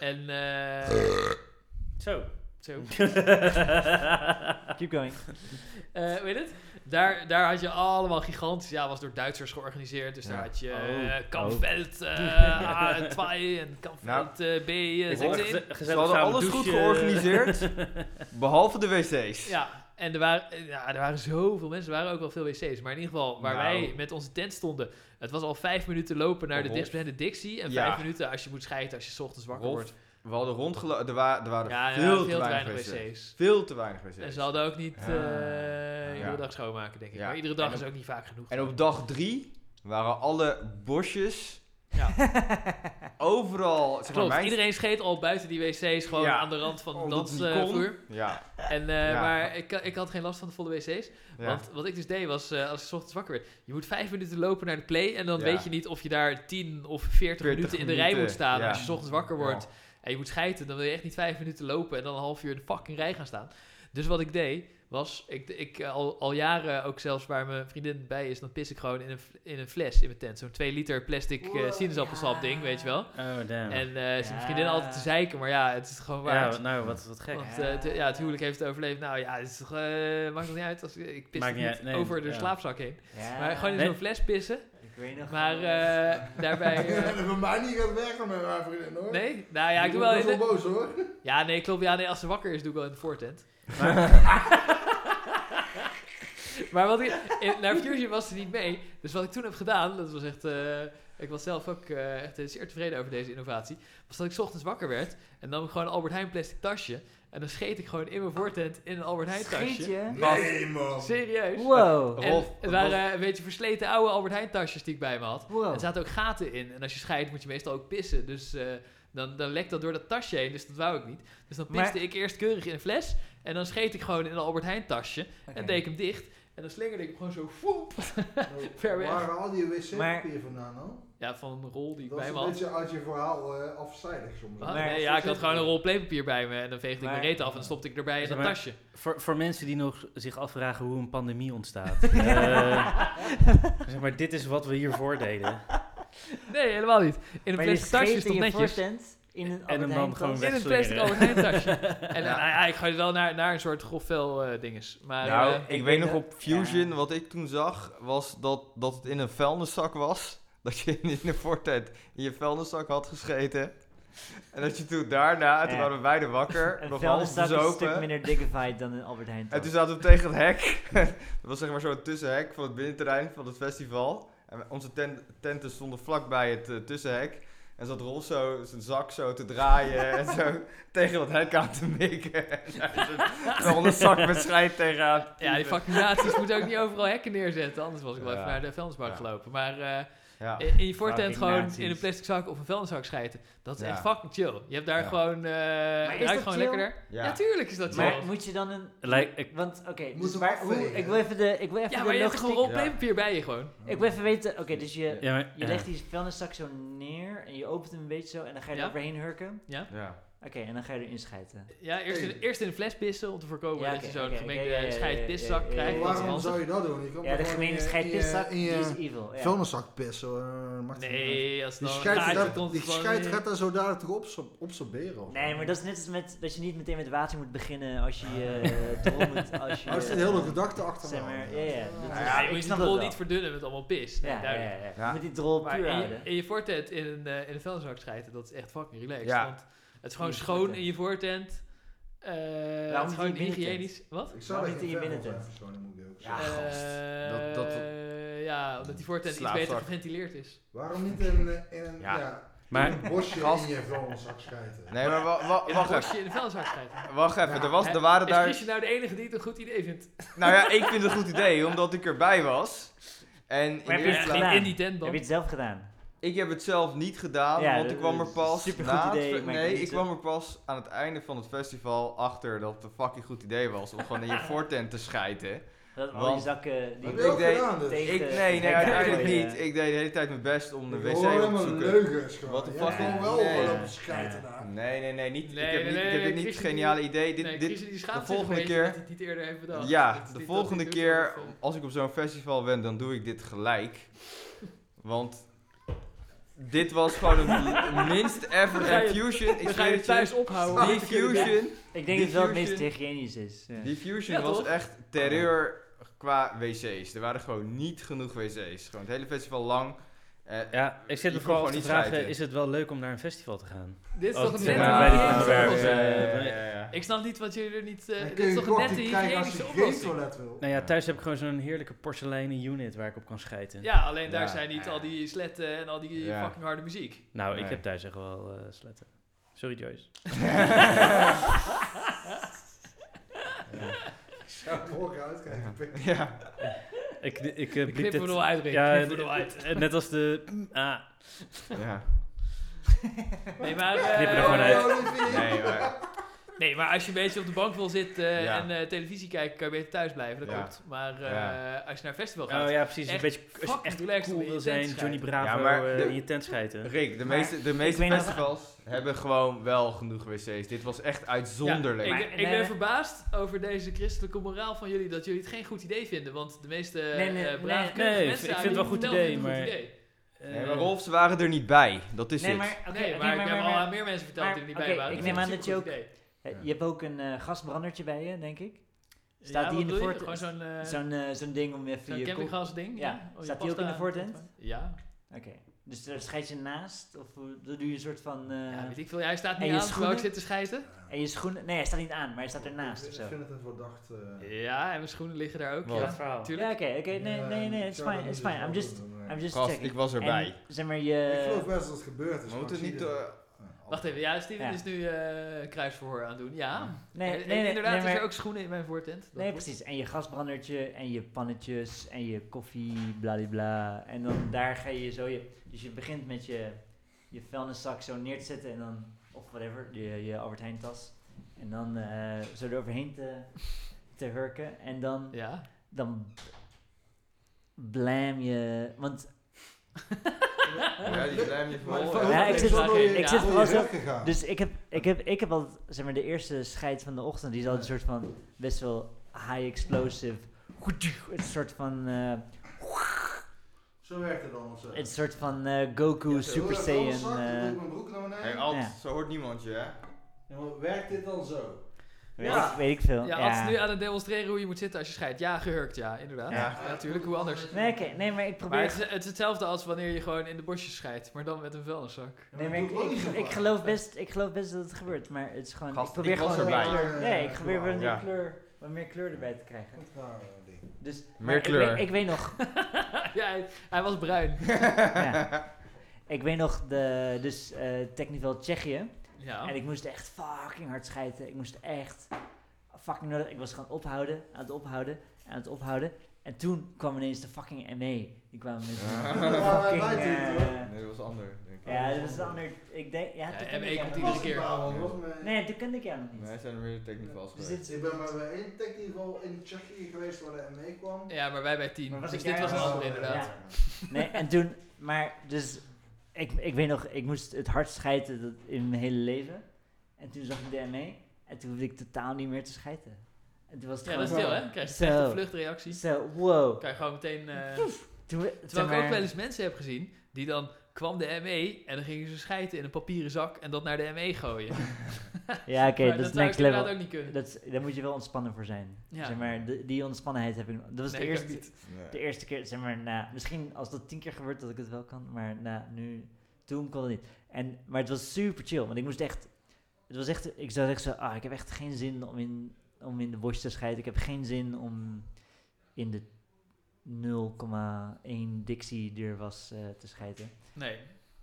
En eh
[LAUGHS]
Zo.
zo, Ah.
Keep going.
Eh, weet je het? Daar, daar had je allemaal gigantisch. Ja, was door Duitsers georganiseerd. Dus daar
Ja.
had je
Oh.
eh,
[LAUGHS]
Kampveld eh, A2 en Kampveld eh, B. eh,
Nou, ik
Een
hoor-
Z1.
geze-
Ze
gezellig
hadden
samen
alles goed
douchen.
georganiseerd, behalve de wc's.
Ja, en er waren, eh, ja, er waren zoveel mensen. Er waren ook wel veel wc's. Maar in ieder geval, waar
Nou.
wij met onze tent stonden... Het was al vijf minuten lopen naar de
Rolf.
dichtstbijzijnde Dixie. En
Ja.
vijf minuten als je moet scheiden als je 's ochtends wakker
Rolf,
wordt.
We hadden rondgelopen, er, wa- er waren
Ja, er
veel,
waren
te weinig wc's. Veel te weinig wc's.
En ze hadden ook niet
Ja.
eh, iedere
Ja.
dag schoonmaken, denk ik.
Ja.
Maar iedere dag
En
is
op-
ook niet vaak genoeg.
En op dag drie waren alle bosjes
Ja.
[LAUGHS] overal... Zeg maar,
Klopt,
mijn-
iedereen scheet al buiten die wc's, gewoon
Ja.
aan de rand van de
Omdat het niet kon.
dansvloer.
Ja,
en eh,
Ja.
Maar ik, ik had geen last van de volle wc's.
ja.
Want wat ik dus deed was, eh, als ik 's ochtends wakker werd, je moet vijf minuten lopen naar de play en dan
Ja.
weet je niet of je daar 10 of 40 minuten in de rij
minuten,
moet staan.
ja.
Als je 's ochtends wakker
Ja.
wordt en je moet schijten, dan wil je echt niet vijf minuten lopen en dan een half uur in de fucking rij gaan staan. Dus wat ik deed was, ik, ik eh, al, al jaren ook zelfs waar mijn vriendin bij is, dan pis ik gewoon in een, f- in een fles in mijn tent. Zo'n 2 liter plastic eh sinaasappelsap ding, weet je wel.
[LAUGHS] Oh, damn.
En eh is mijn
Ja.
vriendin altijd te zeiken, maar ja, het is gewoon waard.
ja, nou, wat, wat
Oh.
gek.
Want eh, het- ja, het huwelijk heeft het overleefd. Nou ja, het is toch, eh, maakt het niet uit. Als, ik pis
Maakt
het
niet
niet
uit, nee,
over de
ja.
slaapzak heen.
Ja.
Maar gewoon in zo'n
Nee.
fles pissen.
Ik weet nog.
Maar
[LAUGHS]
eh, daarbij... eh,
Bij mij niet gaat werken met mijn vriendin hoor.
nee? Nou ja, ik doe
Die
wel...
wordt
in
best
de-
boos hoor.
ja, nee, klopt. Ja, nee, als ze wakker is, doe ik wel in de voortent. [LAUGHS] maar wat ik... in- naar Fusion was ze niet mee. Dus wat ik toen heb gedaan, dat was echt... eh, ik was zelf ook eh, echt eh, zeer tevreden over deze innovatie. Was dat ik 's ochtends wakker werd en nam ik gewoon een Albert Heijn plastic tasje. En dan scheet ik gewoon in mijn voortent in een Albert Heijn tasje.
Scheetje.
Nee man.
Serieus?
Wow.
En
Rolf,
het waren eh, een beetje versleten oude Albert Heijn tasjes die ik bij me had.
Wow.
Er zaten ook gaten in. En als je scheidt moet je meestal ook pissen. Dus eh, dan, dan lekt dat door dat tasje heen. Dus dat wou ik niet. Dus dan piste
Maar-
ik eerst keurig in een fles. En dan scheet ik gewoon in een Albert Heijn tasje.
Oké.
En deed ik hem dicht. En dan slingerde ik hem gewoon zo
[LAUGHS]
voep. Ver weg.
Waar haal je
Maar-
wc-papier vandaan dan?
Ja, van een rol die ik
Dat is
bij me
een
had.
beetje uit je verhaal eh, afzijdig soms.
Wat?
Maar-
Nee, ja, ik had gewoon een rol playpapier bij me. En dan veegde ik
Maar-
mijn reet af en dan stopte ik erbij in
Zeg
dat
maar-
tasje.
Voor, voor mensen die nog zich afvragen hoe een pandemie
[LAUGHS]
ontstaat. Eh, zeg maar, dit is wat we hiervoor deden.
Nee, helemaal niet. In een
Maar je
plastic tasje
scheet in
stond
je
netjes.
voortent in een
En
Albert
hem
Heijn
dan gewoon
tas.
weg.
In een
Wegslingeren.
plastic Albert
[LAUGHS]
Heijn tasje. en eh, nou ja. ik ga dus wel naar, naar een soort grof vel eh, dinges. Maar
Nou,
eh,
ik,
ik
weet
weet
nog
dat-
op Fusion, wat ik toen zag, was dat, dat het in een vuilniszak was. [LAUGHS] Dat je in de voortijd in je vuilniszak had gescheten. En dat je toen daarna, toen
Ja.
waren we beide wakker,
Een
nog half
vuilniszak is een stuk
bezopen.
minder dignified dan een Albert Heijn
En
tas.
toen zaten we tegen het hek. [LAUGHS] dat was zeg maar zo'n tussenhek van het binnenterrein van het festival. En onze ten- tenten stonden vlakbij het eh, tussenhek. En zat Rolf zo zijn zak zo te draaien en zo [LAUGHS] tegen dat hek aan te mikken. [LAUGHS] En
[LAUGHS]
daar een zak met schijt tegenaan. te
Ja, die
piepen.
vaccinaties moeten ook niet overal hekken neerzetten. Anders was ik wel
Ja.
even naar de vuilnisbak
Ja.
gelopen. Maar eh,
Ja.
In, in je voortent
Fucking
gewoon
nazi's.
in een plastic zak of een vuilniszak schijten. Dat is
Ja.
echt fucking chill. Je hebt daar
Ja.
gewoon... eh
is
ruikt
dat
gewoon
chill?
lekkerder. Ja.
Ja.
tuurlijk is dat chill.
Maar moet je dan een...
Lijk- ik-
Want, oké,
Moet
dus
hem
waar, hoe,
afvegen.
ik wil even de, ik wil even
ja,
de
maar je hebt gewoon
logistiek...
rolpapier bij je gewoon.
Ik wil even weten... Oké, dus je,
Ja, maar,
je
ja.
legt die vuilniszak zo neer en je opent hem een beetje zo en dan ga je
Ja.
er overheen hurken.
Ja.
Oké, en dan ga je erin schijten.
Ja, eerst in,
Hey.
eerst in een fles pissen om te voorkomen
Ja,
dat
oké,
je zo'n
oké,
gemengde
oké, ja, ja, ja,
scheidpiszak
ja, ja, ja.
krijgt. Dat is
Waarom
Nederlandse-
zou
handig.
je dat doen? Je kan
Ja, de
gewoon in
gemeente
je-
scheidpiszak,
eh, in je-
die is
in je
evil. Ja.
vuilniszak pissen. hoor. Maakt het niet uit.
Nee, als het
Die
dan een
scheid,
gaatje
gaat-
komt,
die
gewoon-
scheid gaat daar zo dadelijk toch op, absorberen. of-
Nee, maar dat is net als met, dat je niet meteen met water moet beginnen als je
[LAUGHS]
eh erom moet. Als je,
Maar Oh, er zit een hele gedachte achter.
Zeg
me
maar,
aan.
ja, ja.
Ja,
dat is-
Nou ja, je
ik
moet je
snap
de
dat
rol
wel.
niet verdunnen met allemaal pis. Nee,
Ja, ja,
duidelijk.
ja, ja.
Ja.
Met die drol
Maar
puur
in je,
houden.
in je voortent in een, eh, in een vuilniszak schijten, dat is echt fucking relaxed.
Ja.
Want het is gewoon
In je
schoon
voortent.
in je voortent. Eh het
niet
is
in
gewoon
je binnentent?
hygiënisch. Wat?
Waarom
Ik zou
niet in je binnentent? Ja,
Ja.
Eh,
gast.
Dat- dat-
ja, omdat die voortent iets
Slaapzak.
beter geventileerd is.
Waarom niet in, eh, in een,
Ja.
ja.
Maar-
in een bosje
Gast.
in je vuilniszak schijten?
Nee, maar wa- wa-
In
Oh, wacht
een
even.
bosje in de vuilniszak schijten.
Wacht even, er, was,
Hè,
er waren
Is
daar...
Chris je nou de enige die het een goed idee vindt?
Nou ja, ik vind het een goed idee, omdat ik erbij was. En in
Maar heb je
eerste
het
plaats-
gedaan?
in die tent
Heb
dan.
je het zelf gedaan?
Ik heb het zelf niet gedaan,
Ja,
want
dat
ik kwam er
is
pas
supergoed
na het
idee,
fe-
maar ik
nee,
weet
ik
het.
kwam er pas aan het einde van het festival achter dat het een fucking goed idee was om gewoon in
[LAUGHS]
je voortent te schijten.
Dat al
Want-
die zakken die
Heb
Ik
je ook
deed-
gedaan dus?
tegen-
Ik,
eh,
nee, nee,
tegen-
uiteindelijk
gooien.
niet. Ik deed de hele tijd mijn best om de
Ik
wc op
hoor
te
helemaal
zoeken.
leugens gewoon.
What the
Jij
fuck?
gewoon wel
Nee.
gewoon op schijten daar.
Nee, nee, nee, niet,
Nee,
ik heb niet,
nee,
ik heb
nee,
niet het
Chris die-
geniale idee. Dit,
Nee,
dit,
Chris, die schaamt
de volgende
zich een
keer-
beetje dat hij het niet eerder heeft bedacht.
Ja,
Dat is
de
niet-
volgende
dat hij het doet,
keer
maar dat, eh,
als ik op zo'n festival ben, dan doe ik dit gelijk. Want dit was gewoon de
[LAUGHS]
minst ever
Dan ga je-
en Fusion. Ik
Dan
zweer
ga je het
het je.
thuis ophouden.
Die Fusion,
Ik denk
Die
dat het wel het meest
fusion-
hygiënisch is. ja.
die
Ja,
fusion was
toch?
echt terreur qua wc's. Er waren gewoon niet genoeg wc's. Gewoon het hele festival lang. Eh,
Ja, ik zit
Je
me
kon
vooral af
gewoon
te
niet
vragen,
schijten.
is het wel leuk om naar een festival te gaan?
Dit is
Oh,
toch een
zeg
eh,
nette
maar, bij die
hygiënische
onderwerpen.
oplossing?
ja, ja, ja.
Ik snap niet wat jullie er niet... eh,
Dan
dit
kun
is
je
toch een
een
nette
die krijgen als
hygiënische
je geen
oplossing?
toilet wil.
Nou ja, thuis heb ik gewoon zo'n heerlijke porseleinen unit waar ik op kan schijten.
Ja, alleen daar
Ja.
zijn niet al die sletten en al die
Ja.
fucking harde muziek.
Nou, ik
Nee.
heb thuis echt wel eh, sletten. Sorry Joyce.
Ik zou morgen uitkijken. pik.
eh, Ja.
Ik, ik,
Ik knip hem er wel uit, Rick.
Ja,
Ik knip hem er wel uit.
eh, [LAUGHS] net als de... Ah,
Ja.
Nee, maar,
[LAUGHS] knip er
eh,
gewoon uit.
Nee, maar,
nee, maar als je een beetje op de bank wil zitten eh,
Ja.
en eh, televisie kijken, kan je beter thuis blijven. Dat
Ja.
klopt. Maar eh,
Ja.
als je naar een festival gaat...
oh ja, precies. Een
Echt
beetje, als je
fucking
echt
relaxed om
cool
in je
wil
tent
zijn,
te schijten.
Johnny Bravo
Ja, maar
eh,
de-
in je tent
[LAUGHS]
schijten.
Rick, de
Maar
meeste, de meeste
weet nog-
festivals hebben gewoon wel genoeg wc's. Dit was echt uitzonderlijk.
Ja,
Maar-
ik, ik
nee,
ben
nee.
verbaasd over deze christelijke moraal van jullie dat jullie het geen goed idee vinden. Want de meeste eh
Nee, nee,
brave,
nee,
keurige
nee, ik
mensen
vind
aan
het wel
jullie
goed
verteld
idee,
dat het een
maar-
goed idee.
Nee, maar
Eh,
Rolfs waren er niet bij. Dat is
Nee,
het.
maar oké,
nee,
oké,
maar, ik
maar-
heb
maar-
al aan meer mensen verteld
maar-
die er niet
oké,
bij waren.
ik
vind
neem
het
aan dat
supergoed idee.
eh, Je hebt ook een eh, gasbrandertje bij je, denk ik.
Ja,
Staat
wat
die in de
bedoel je?
voortent?
Gewoon zo'n, eh,
Zo'n eh, zo'n ding om even
zo'n
je... kop-
campinggas ding?
Ja.
Oh, je
Staat die ook in
pasta-
de voortent?
Ja.
Oké, dus daar scheid je naast? Of hoe- doe je een soort van... eh,
ja, weet ik veel. Jij staat
en
niet
je
aan terwijl ik
schoenen?
zit te schijten.
En je schoenen... Nee, hij staat niet aan, maar hij staat ernaast of
Ik
zo.
vind het een verdacht... eh,
Ja, en mijn schoenen liggen daar ook.
Wat?
Ja,
verhaal.
Ja,
natuurlijk.
oké, oké. Nee,
ja,
nee, nee,
ik
it's
zou dat
fine,
niet
it's fine.
zo
I'm just,
doen, nee.
I'm eh, just
Gast,
checking.
ik was erbij.
En, zeg maar,
Ik geloof
je...
best dat het gebeurd is.
we moeten niet...
door.
eh,
Wacht even. Ja, Steven
Ja.
is nu eh, kruisverhoor aan het doen. Ja.
Nee,
En-
nee,
en
nee,
Eh, Inderdaad,
nee,
is er
maar-
ook schoenen in mijn voortent. Dat
Nee,
klopt.
precies. En je gasbrandertje en je pannetjes en je koffie, bladibla. En dan daar ga je zo je... Dus je begint met je, je vuilniszak zo neer te zetten en dan... Of whatever, je, je Albert Heijn tas. En dan eh, zo eroverheen te, te hurken. En dan...
Ja.
Dan... Blam je... Want
ja, die blijven je
Maar
voor.
Ja, ik zit-
ik
zit vooral zo-
gegaan.
Dus ik heb, ik heb, ik heb al, zeg maar, de eerste scheid van de ochtend, die is al een soort van best wel high explosive. [LAUGHS] Een soort van, eh,
Zo werkt het dan of zo.
een soort van eh, Goku
Ja,
Super
heel erg wel een
Saiyan.
zak, dan oh, doe ik
eh,
mijn broek naar beneden.
Hey, Alt,
Ja.
zo hoort niemand je, hè?
Ja, maar werkt dit dan zo?
weet,
Ja.
ik, weet ik veel.
Ja,
Ja,
Ad is nu aan het demonstreren hoe je moet zitten als je scheidt. Ja, gehurkt, ja, inderdaad.
Ja.
Ja, natuurlijk, hoe anders.
Nee, oké, nee, maar ik
Maar
probeer.
het is, het is hetzelfde als wanneer je gewoon in de bosjes scheidt, maar dan met een vuilniszak. [LAUGHS]
nee, maar ik, ik, ik geloof best, ik geloof best dat het gebeurt, maar het is gewoon.
Gast,
ik probeer
ik was
gewoon
erbij.
meer kleur. Nee, ik
Ja.
probeer wel
Ja.
meer kleur, wat meer kleur erbij te krijgen.
Ah,
Dus,
Meer
maar ik
kleur.
weet- ik weet nog,
ja, hij, hij was bruin.
ja. Ik weet nog, de, dus eh Technivel Tsjechië.
Ja.
En ik moest echt fucking hard schijten. Ik moest echt fucking nodig. Ik was gaan ophouden, aan het ophouden, aan het ophouden. En toen kwam ineens de fucking ME. Die kwamen met
Ja.
[LAUGHS] een
Ja, wij
fucking...
weten het,
eh,
Nee, dat was ander, denk ik.
ja, dat is een ander... Ik denk... Ja,
Ja,
toen kende
ME
ik jou
komt
nog
iedere
niet.
keer.
Nee, toen kende ik jou nog niet.
Nee, zijn er weer techniek vast
Dus
geweest.
dit
Ik ben maar bij één technical in Tsjechië geweest waar de ME kwam.
Ja, maar wij bij 10.
Maar was
Dus
ik
dit
daar
was een
wel?
ander inderdaad.
Ja. Nee, en toen, maar dus, ik, ik weet nog, ik moest het hardst schijten dat, in mijn hele leven. En toen zag ik de ME en toen hoefde ik totaal niet meer te schijten. En toen was het
Ja, dat
gewoon
is heel, hè? Krijg je
Zo.
echt een vluchtreactie.
Zo, wow.
Kan je gewoon
[LAUGHS]
meteen... eh,
Toen, we- zeg
terwijl ik ook
maar-
wel eens mensen heb gezien die dan kwam de ME en dan gingen ze schijten in een papieren zak en dat naar de ME gooien.
Ja, oké,
Maar
dat is
zou ik
next level.
inderdaad ook niet kunnen.
Dat is, daar moet je wel ontspannen voor zijn.
Ja.
Zeg maar, de- die ontspannenheid heb ik nog- Dat was
Nee,
de,
ik ook
eerste,
niet.
de eerste keer, zeg maar, na, misschien als dat tien keer gebeurt dat ik het wel kan, maar na, nu, toen kon het niet. En, maar het was super chill, want ik moest echt, het was echt, ik zat echt zo, ah, ik heb echt geen zin om in, om in de worst te scheiden. Ik heb geen zin om in de 0,1 dictie die er was eh, te scheiden.
Nee.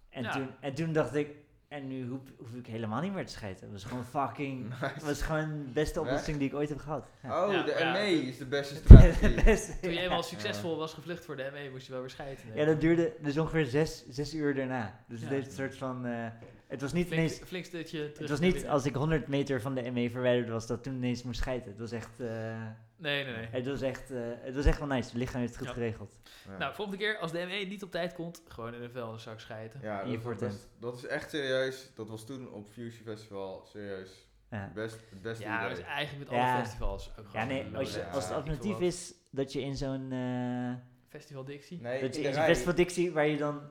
En,
Ja.
toen, en toen dacht ik, en nu hoef, hoef ik helemaal niet meer te scheiden. Het was gewoon
[LAUGHS]
fucking, het was gewoon de beste oplossing die ik ooit heb gehad. Ja.
Oh,
Ja,
de
ja.
ME is de
[LAUGHS]
beste strategie.
Best-
Toen je
ja.
eenmaal succesvol was gevlucht voor de ME, moest je wel weer schijten.
Ja,
hè?
dat duurde dus ongeveer zes, zes uur daarna. Dus
Ja.
het heeft een soort van. eh, het was niet
flink,
ineens.
flink stuitje terug.
Het was
naar
niet
binnen.
als ik 100 meter van de ME verwijderd was dat toen ineens moest scheiden. Het was echt. eh,
Nee, nee, nee.
het, was echt eh, het was echt wel nice. Het lichaam heeft het goed
Ja.
geregeld.
Ja.
Nou, volgende keer als de ME niet op tijd komt, gewoon in een vuilniszak schijten.
Ja,
Hier
dat,
voor
was
het
best- dat is echt serieus. Dat was toen op Fusion Festival serieus
Ja.
het best, het beste
Ja, maar dat
idee.
is eigenlijk met
Ja.
alle festivals ook
Ja,
gewoon
nee,
een eh,
als, je,
Ja,
als het
ik
alternatief
wil
is dat je in zo'n. eh,
Festival Dixie.
Nee,
dat je
in
in
de
zo'n
rij-
festival Dixie waar je dan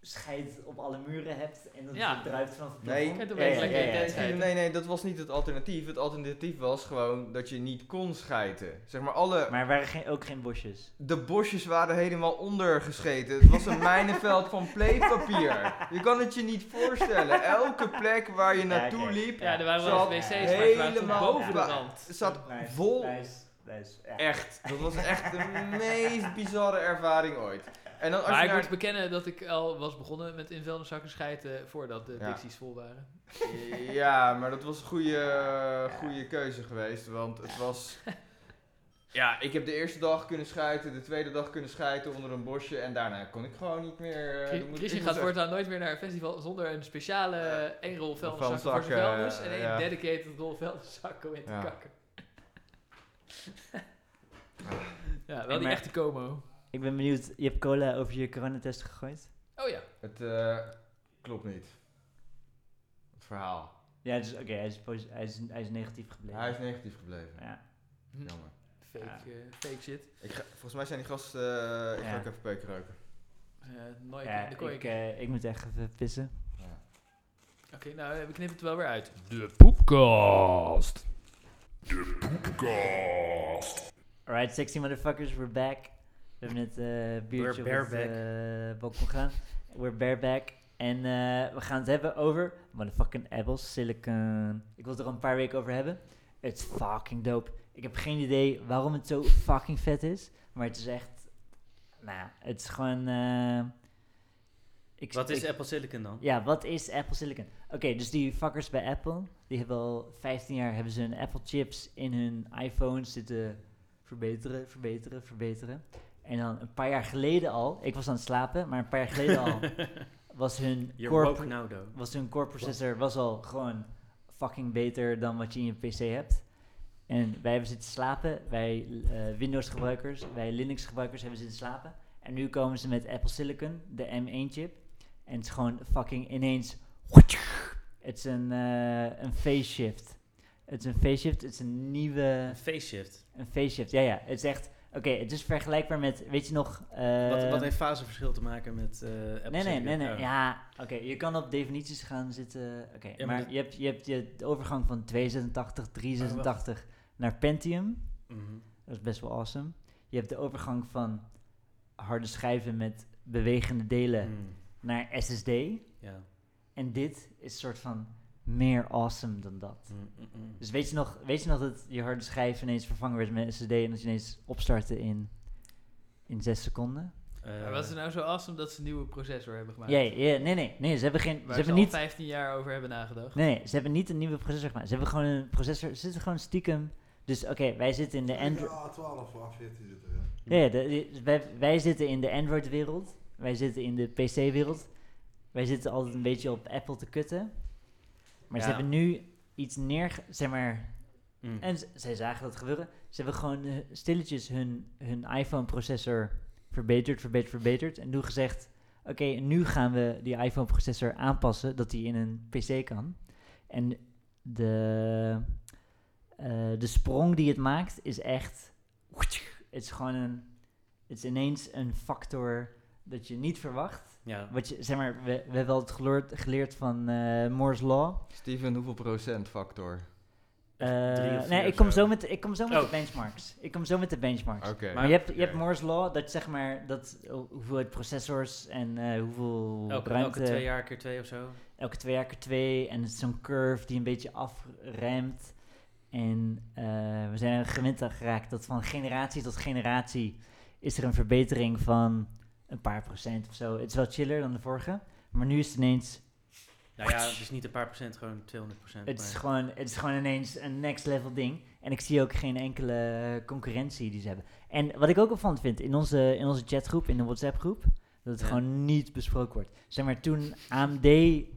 scheid op alle muren hebt en dat
Ja.
het druipt vanaf het
Nee.
plafond.
Kijk, dan
Ja,
weet
ja,
ik
ja,
lekker
ja,
in
ja.
bed. scheiden.
Nee, nee, dat was niet het alternatief. Het alternatief was gewoon dat je niet kon schijten. Zeg maar, alle...
Maar er waren geen, ook geen bosjes.
De bosjes waren helemaal ondergescheten. Het was
[LAUGHS]
een mijnenveld van pleepapier. Je kan het je niet voorstellen. Elke plek waar je naartoe
oké.
liep,
Ja, er waren wel
Zat
eens wc's, maar die waren toen
helemaal
boven de
klaar.
rand.
zat
Nice,
vol.
Nice, nice. Ja.
Echt. Dat was echt de meest bizarre ervaring ooit. En dan als
Maar
je
ik
naar...
moet bekennen dat ik al was begonnen met in vuilniszakken schijten voordat de
Ja.
Dixies vol waren.
Ja, maar dat was een goede, goede keuze geweest, want het
[LAUGHS]
was... Ja, ik heb de eerste dag kunnen schijten, de tweede dag kunnen schijten onder een bosje en daarna kon ik gewoon niet meer... eh, dan moet-
Christian
ik
gaat
moest echt-
voortaan nooit meer naar een festival zonder een speciale
Eh,
één rol vuilniszakken
vuilniszakken,
voor zijn vuilnis
eh,
en één
ja.
dedicated rol vuilniszakken om in te
Ja. [LAUGHS]
kakken.
Ah.
ja,
En
wel die
maar-
echte como.
Ik ben benieuwd, je hebt cola over je coronatest gegooid?
Oh ja,
Het eh, klopt niet. Het verhaal.
Ja, dus, oké, hij, is posi- hij, is, hij is negatief gebleven.
Hij is negatief gebleven.
ja.
Hm.
Jammer.
fake,
Ja.
eh, fake shit.
Ik ga, volgens mij zijn die gasten... eh, ik ga
Ja.
ook even peuken roken.
Eh nooit
ja
in de kooi.
ik, eh, ik moet echt even pissen.
Ja.
Oké, nou eh, we knippen het wel weer uit.
Alright, sexy motherfuckers, we're back. We hebben net eh biertje
We're
op het eh, balkon gedaan. We're bareback. En eh, we gaan het hebben over motherfucking Apple Silicon. Ik wil het er al een paar weken over hebben. It's fucking dope. Ik heb geen idee waarom het zo fucking vet is. Maar het is echt... Nou, het is gewoon... eh, ik,
Wat is
ik-
Apple Silicon dan?
Ja, wat is Apple Silicon? Oké, dus die fuckers bij Apple, die hebben al 15 jaar hebben ze hun Apple chips in hun iPhones zitten verbeteren, verbeteren, verbeteren. En dan een paar jaar geleden al, ik was aan het slapen, maar een paar jaar geleden
[LAUGHS]
al was hun
Je
core
woke
pro-
now though.
was hun core processor was al gewoon fucking beter dan wat je in je PC hebt. En wij hebben zitten slapen, wij eh, Windows-gebruikers, wij Linux-gebruikers hebben zitten slapen. En nu komen ze met Apple Silicon, de M1-chip. En het is gewoon fucking ineens. Het is een, eh een phase shift. Het is een phase shift, het is een nieuwe.
Een face shift.
Een phase shift, ja, ja. Het is echt. Oké, het is vergelijkbaar met. Weet je nog. eh,
wat, wat heeft faseverschil te maken met eh, Apple
Nee, nee,
Silicon?
nee, nee.
Oh.
Ja, oké. je kan op definities gaan zitten. Oké,
maar
maar
dat-
je hebt, je hebt je de overgang van 286, 386 naar Pentium.
Mhm.
Dat is best wel awesome. Je hebt de overgang van harde schijven met bewegende delen
Mm.
naar SSD.
Ja.
En dit is een soort van meer awesome dan dat.
Mm, mm, mm.
Dus weet je nog, weet je nog dat je harde schijf ineens vervangen werd met SSD en dat je ineens opstartte in, in 6 seconden?
maar
Eh,
was het nou zo awesome dat ze een nieuwe processor hebben gemaakt?
Ja, ja, nee, nee, nee. Ze hebben, geen, ze
Waar ze,
hebben
al
niet
15 jaar over hebben nagedacht.
Nee, ze hebben niet een nieuwe processor gemaakt. Ze hebben gewoon een processor. Ze zitten gewoon stiekem Dus oké, wij zitten in de Android...
Ja, 12 of 14 zit erin.
nou-
mm,
Ja, ja, de- de- wij, wij zitten in de Android-wereld. Wij zitten in de PC-wereld. Wij zitten altijd een beetje op Apple te kutten. Maar ze
Ja.
hebben nu iets neer... Zeg maar...
Mm.
En z- zij zagen dat gebeuren. Ze hebben gewoon eh, stilletjes hun, hun iPhone-processor verbeterd, verbeterd, verbeterd. En toen gezegd... Oké, nu gaan we die iPhone-processor aanpassen... dat die in een PC kan. En de, eh, de sprong die het maakt is echt... Het is gewoon een... Het is ineens een factor dat je niet verwacht.
Ja.
Wat je, zeg maar, we, we hebben al het geleerd, geleerd van eh Moore's Law.
Steven, hoeveel procent factor?
Eh,
drie of vier
nee, ik
of
kom
zo.
zo met, ik kom zo met
Oh.
de benchmarks. Ik kom zo met de benchmarks.
Oké.
Maar je hebt, je
oké.
hebt Moore's Law, dat zeg maar, dat, ho- hoeveelheid processors en eh, hoeveel
Elke,
ruimte...
elke twee jaar keer twee of zo.
elke twee jaar keer twee. En het is zo'n curve die een beetje afremt. En eh, we zijn er gewend aan geraakt dat van generatie tot generatie is er een verbetering van een paar procent of zo. Het is wel chiller dan de vorige. Maar nu is het ineens,
Nou ja, het is niet een paar procent, gewoon 200 procent.
het is gewoon, het is gewoon ineens een next level ding. En ik zie ook geen enkele concurrentie die ze hebben. En wat ik ook opvallend vind, in onze, in onze chatgroep, in de WhatsApp groep, dat het
Ja.
gewoon niet besproken wordt. Zeg maar, toen AMD,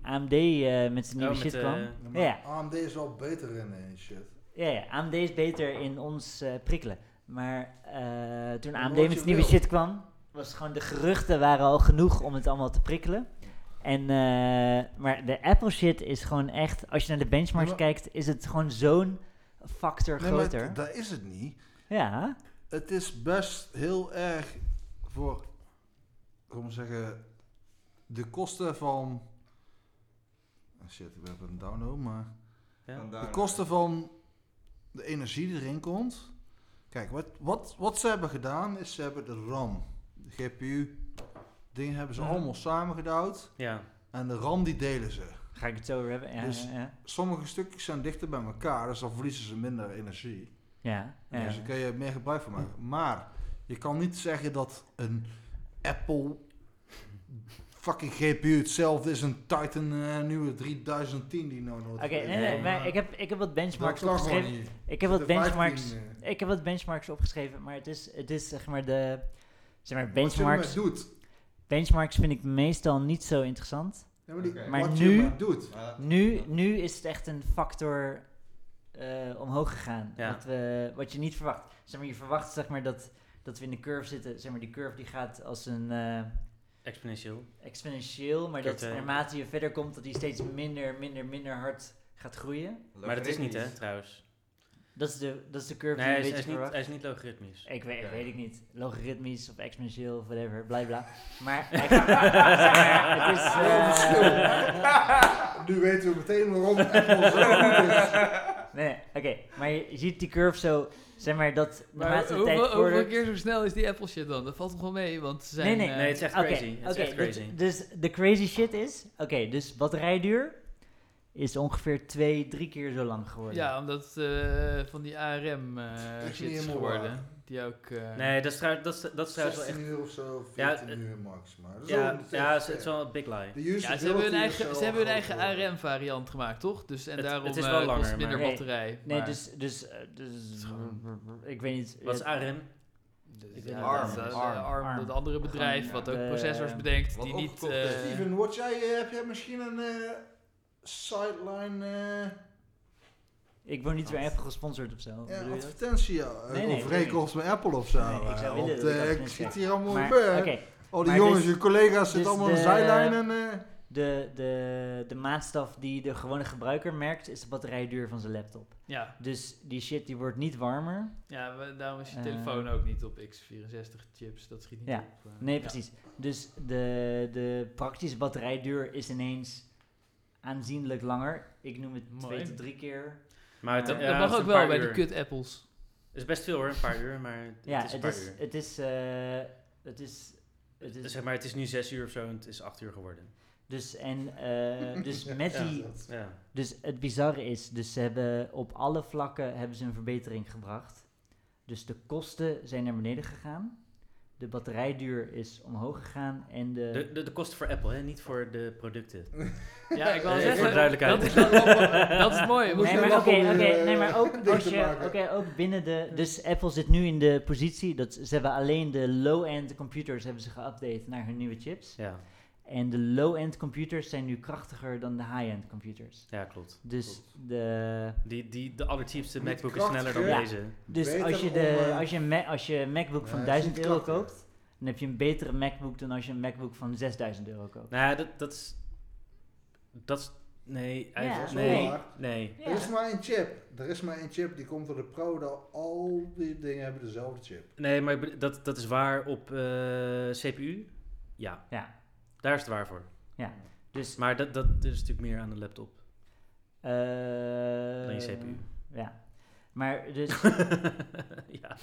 AMD eh,
Oh,
met zijn nieuwe shit kwam.
Ja,
Ja, ja.
maar AMD is wel beter in eh, shit.
Ja, ja, AMD is beter in ons eh, prikkelen. Maar eh, toen
Maar
AMD
wat
met
je
zijn nieuwe
wil.
shit kwam, was gewoon de geruchten waren al genoeg om het allemaal te prikkelen. En, eh, maar de Apple shit is gewoon echt, als je naar de benchmarks
Ja, maar-
kijkt, is het gewoon zo'n factor
Nee, maar
groter.
d- dat is het niet.
ja,
Het is best heel erg voor, hoe moet ik zeggen, de kosten van... Ah, Shit, ik ben op een download, maar... De kosten van de energie die erin komt. Kijk, wat, wat, wat ze hebben gedaan is ze hebben de RAM, de GPU, dingen hebben ze
Mhm.
allemaal samengedouwd.
Ja.
En de RAM die delen ze.
ga ik het zo over hebben? Ja,
Dus-
ja, ja.
Sommige stukjes zijn dichter bij elkaar, dus dan verliezen ze minder energie.
ja, ja.
Dus daar kun je meer gebruik van maken. Maar je kan niet zeggen dat een Apple fucking GPU hetzelfde is als een Titan eh, nieuwe 3010 die nou
Oké, nee, nee, maar ik heb, ik heb wat
Nou,
benchmarks opgeschreven.
niet.
Ik heb wat
De
benchmarks
15, eh.
Ik heb wat benchmarks opgeschreven, maar het is, het is zeg maar de. Zeg maar,
Wat je
benchmarks,
ermee doet.
benchmarks vind ik meestal niet zo interessant.
Ja, maar die,
Oké.
Maar
wat
nu-
je ermee doet.
Maar dat-
Nu, nu is het echt een factor eh, omhoog gegaan.
Ja.
Wat, we, wat je niet verwacht. Zeg maar, je verwacht zeg maar, dat, dat we in de curve zitten. Zeg maar, die curve die gaat als een eh,
Exponentieel.
exponentieel, maar
Keer
dat
twee.
naarmate je verder komt, dat die steeds minder, minder, minder hard gaat groeien.
Maar dat is niet, hè, trouwens.
Dat is de, dat is de curve
Nee,
die
hij is,
je een
hij
beetje
is niet,
verwacht.
hij is niet logaritmisch.
Ik weet,
Ja.
weet ik niet. Logaritmisch of exponentieel of whatever, bla
[LAUGHS]
bla. Maar, [LAUGHS] zeg maar, het is... eh,
nu weten we meteen [LAUGHS] waarom Apple zo goed is.
nee, nee, oké. Maar je ziet die curve zo, zeg maar, dat
Maar
naarmate de
hoeveel,
tijd
hoeveel
vordert...
keer zo snel is die Apple shit dan? Dat valt toch wel mee, want ze zijn...
Nee, nee.
eh,
Nee, het is echt
Oké,
crazy. Het is
oké,
echt
dit-
crazy.
dus de crazy shit is... Oké, dus batterijduur is ongeveer twee, drie keer zo lang geworden.
Ja, omdat eh, van die ARM eh,
Dat is
shit
niet
is
helemaal
geworden.
waar.
Die ook... eh,
Nee, dat is trouwens, dat is, dat is trouwens wel echt...
16 uur of zo,
Ja,
14 uur maximaal. Dat is wel
Ja,
een-
ja, het is- het is wel een big lie.
de usability
Ja, ze hebben hun
is
eigen,
wel
ze hebben hun
groot
eigen
geworden.
ARM-variant gemaakt, toch? Dus, en
Het-
daarom
het is
eh,
wel langer,
kost het minder
maar- Nee,
batterij.
Nee,
maar-
dus... dus, eh, dus ik weet niet...
Wat is
eh,
ARM?
Dus
Ik
ja,
weet
Arm,
dat, dat-
arm,
eh,
arm.
dat andere bedrijf
Gewoon,
wat
ja,
ook
de-
processors bedenkt
Wat
die niet...
opgekocht is.
eh,
Steven, word jij, eh, heb jij misschien een eh, sideline eh,
Ik word niet weer Apple gesponsord of zo. bedoel
ja,
je dat?
advertentie eh,
Nee, nee,
of
ik
rekels met Apple of zo?
Nee, ik zou
eh,
willen
want,
dat ik
eh,
dat
ik
niet
zit
zeg.
hier allemaal
Maar,
bij.
oké,
Al die
maar
jongens,
dus-
je collega's zitten
dus
allemaal in de
de-
zijlijn en... eh,
De, de, de maatstaf die de gewone gebruiker merkt is de batterijduur van zijn laptop.
ja,
Dus die shit die wordt niet warmer.
ja, maar daarom is je
Eh.
telefoon ook niet op x64-chips. Dat schiet niet
Ja.
op. eh.
Nee,
Ja.
precies. Dus de, de praktische batterijduur is ineens aanzienlijk langer. Ik noem het
Mooi.
twee tot drie keer.
Maar het,
Dat-
ja,
dat
het is
mag ook
een
wel
paar
bij
uur.
die kut-apples.
Het is best veel hoor, een paar uur, maar het,
Ja,
is een
het
paar
is,
uur. Dus
het is, eh, het is, het is,
Zeg maar, het is nu zes uur of zo en het is acht uur geworden.
dus en, eh, dus met
ja,
die,
dat-
Ja.
Dus het bizarre is, dus ze hebben op alle vlakken hebben ze een verbetering gebracht. Dus de kosten zijn naar beneden gegaan. de batterijduur is omhoog gegaan en de...
De, de, de kosten voor Apple, hè? niet voor de producten.
Ja, ik wil
Even
zeggen.
Eh, voor de duidelijkheid.
Dat is, wel- dat
[LAUGHS]
is mooi.
Moest
Nee
je
maar,
wel
oké,
proberen,
oké, nee,
eh,
maar
[LAUGHS]
ook
dicht
als
te
je,
maken.
oké, ook binnen de, dus Apple zit nu in de positie dat ze ze hebben alleen de low-end computers hebben ze geüpdate naar hun nieuwe chips.
Ja,
En de low-end computers zijn nu krachtiger dan de high-end computers.
ja klopt.
Dus, de,
Die, die, de allercheapste
Niet
MacBook is sneller dan
krachtiger.
deze.
dus
Beter
als je,
om,
de,
eh,
als, je een Ma- als je een MacBook van
Nee,
1000
het is
euro
krachtig.
koopt, dan heb je een betere MacBook dan als je een MacBook van 6000 euro koopt.
Nou ja, dat, dat is... Dat is... Nee, eigenlijk-
Dat is wel
nee,
waar.
nee.
Er is maar één chip. Er is maar één chip die komt door de Pro. dat Al die dingen hebben dezelfde chip.
Nee, maar ik bedo- dat, dat is waar op eh, CPU. Ja.
Ja.
Daar is het waar voor.
Dus,
Maar dat, dat is natuurlijk meer aan de laptop
eh
dan je CPU.
Ja. Maar dus,
[LAUGHS]
[LAUGHS] ja.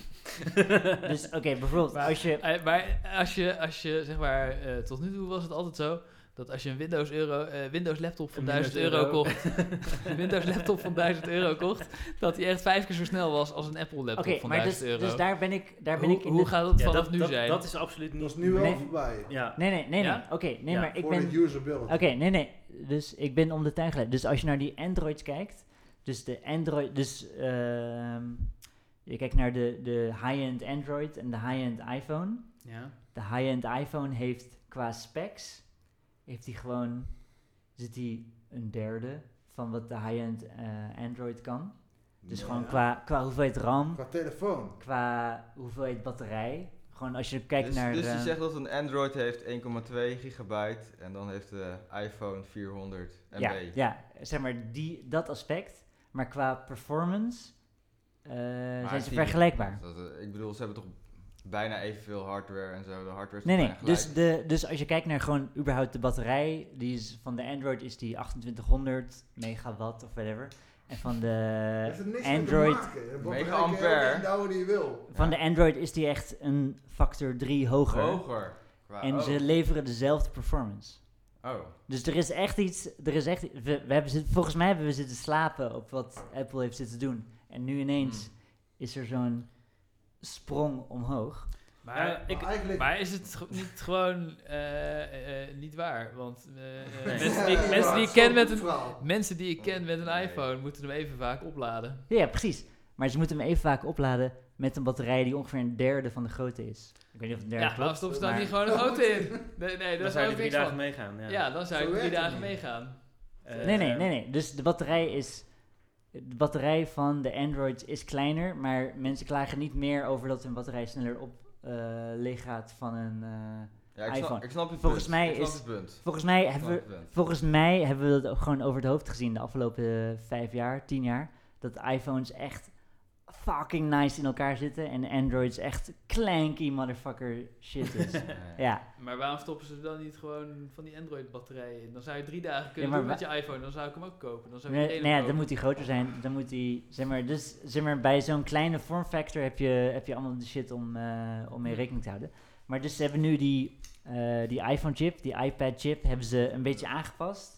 dus oké, bijvoorbeeld als je...
Eh, maar als je, als je zeg maar, eh, tot nu toe was het altijd zo dat als je een Windows, euro, eh, Windows laptop van
Een
1000
Windows
euro,
euro.
kocht, [LAUGHS] een Windows laptop van 1000 euro kocht, dat die echt vijf keer zo snel was als een Apple laptop
Oké,
van
maar
1000
dus,
euro.
dus daar ben ik, daar ben
hoe
ik in
hoe
de...
gaat dat
Ja,
vanaf
dat,
nu
dat,
zijn?
dat is absoluut
Dat is
niet...
nu wel
Nee.
voorbij.
Ja.
Nee, nee, nee,
Ja?
nee. Oké, nee,
Ja,
maar ik
voor
ben...
de usability.
Oké, nee, nee. Dus ik ben om de tuin geleid. Dus als je naar die Androids kijkt, dus de Android, dus ehm, je kijkt naar de, de high-end Android en de high-end iPhone.
Ja.
De high-end iPhone heeft qua specs, heeft hij gewoon, zit hij een derde van wat de high-end eh, Android kan. Dus
Ja.
gewoon qua, qua hoeveelheid RAM,
Qua telefoon.
qua hoeveelheid batterij. Gewoon als je kijkt
Dus,
naar...
dus je
eh,
zegt dat een Android heeft 1,2 gigabyte en dan heeft de iPhone 400 MB.
Ja, ja, zeg maar die, dat aspect. Maar qua performance eh, zijn ze
die-
vergelijkbaar.
Dat, eh, ik bedoel, ze hebben toch bijna evenveel hardware en zo. De hardware is
Nee,
toch
nee.
bijna
Dus,
gelijk?
de, dus als je kijkt naar gewoon überhaupt de batterij, die is, van de Android is die 2800 megawatt of whatever. En van
Heeft er
de
niks mee
Eh, Android,
te maken.
Mega
Wat bereik je
ampère.
elke inhoud die je wil.
van
Ja.
de Android is die echt een factor 3 hoger.
hoger. qua-
En
oh.
ze leveren dezelfde performance.
oh.
Dus er is echt iets, er is echt, we, we hebben zit- volgens mij hebben we zitten slapen op wat Apple heeft zitten doen. En nu ineens is er zo'n sprong omhoog.
Maar,
Maar
ik,
maar eigenlijk...
maar is het ge- niet gewoon eh, eh, niet waar? Want eh, eh,
Nee.
mensen, die, mensen
Ja,
die
het
ik
is
ken
wel
met
goed
een,
verhaal.
mensen die ik ken met een
Nee.
iPhone moeten hem even vaak opladen.
Ja, precies. Maar ze moeten hem even vaak opladen met een batterij die ongeveer een derde van de grootte is. Ik weet niet of een derde
Ja,
klopt.
maar stop, staat
maar- [LAUGHS]
niet gewoon een auto in. Nee, nee,
Dan
daar
zou
zou
je
ik
drie
niks
dagen
van.
meegaan. Ja.
Ja, dan zou
Zo
ik drie
werkt het
dagen
niet.
meegaan.
Eh,
Nee, nee, nee, nee. Dus de batterij is... De batterij van de Android is kleiner, maar mensen klagen niet meer over dat hun batterij sneller op eh, leeg gaat van een... eh,
Ja, ik snap,
iPhone.
ik snap je
Volgens
punt.
mij
ik snap
is-
je punt.
volgens mij
Ik
hebben
snap
we
je punt.
Volgens mij hebben we dat ook gewoon over het hoofd gezien de afgelopen eh, vijf jaar, tien jaar. Dat iPhones echt fucking nice in elkaar zitten en Androids echt clanky motherfucker
[LAUGHS]
shit is. [LAUGHS] ja,
Maar waarom stoppen ze er dan niet gewoon van die Android-batterijen in? Dan zou je drie dagen kunnen
maar
doen met je iPhone. Dan zou ik hem ook kopen. Dan zou ik
nee,
iedereen
nou
hem
ja, dan
kopen.
moet die groter zijn. Dan moet die, zeg maar, dus, zeg maar bij zo'n kleine form factor heb je, heb je allemaal de shit om, eh, om mee rekening te houden. Maar dus ze hebben nu die, eh, die iPhone-chip, die iPad-chip, hebben ze een beetje aangepast.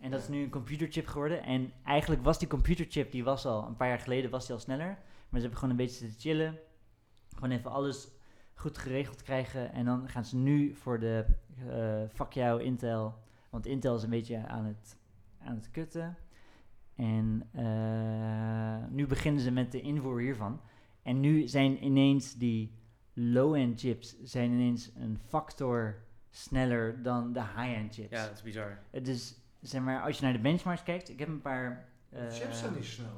En dat is nu een computerchip geworden. En eigenlijk was die computerchip, die was al een paar jaar geleden, was die al sneller. Maar ze hebben gewoon een beetje zitten chillen. Gewoon even alles goed geregeld krijgen. En dan gaan ze nu voor de eh fuck jou Intel. Want Intel is een beetje aan het, aan het kutten. En eh, nu beginnen ze met de invoer hiervan. En nu zijn ineens die low-end chips zijn ineens een factor sneller dan de high-end chips.
Ja, dat is bizar.
Het is, zeg maar, als je naar de benchmarks kijkt, ik heb een paar... eh,
Chips zijn niet sneller.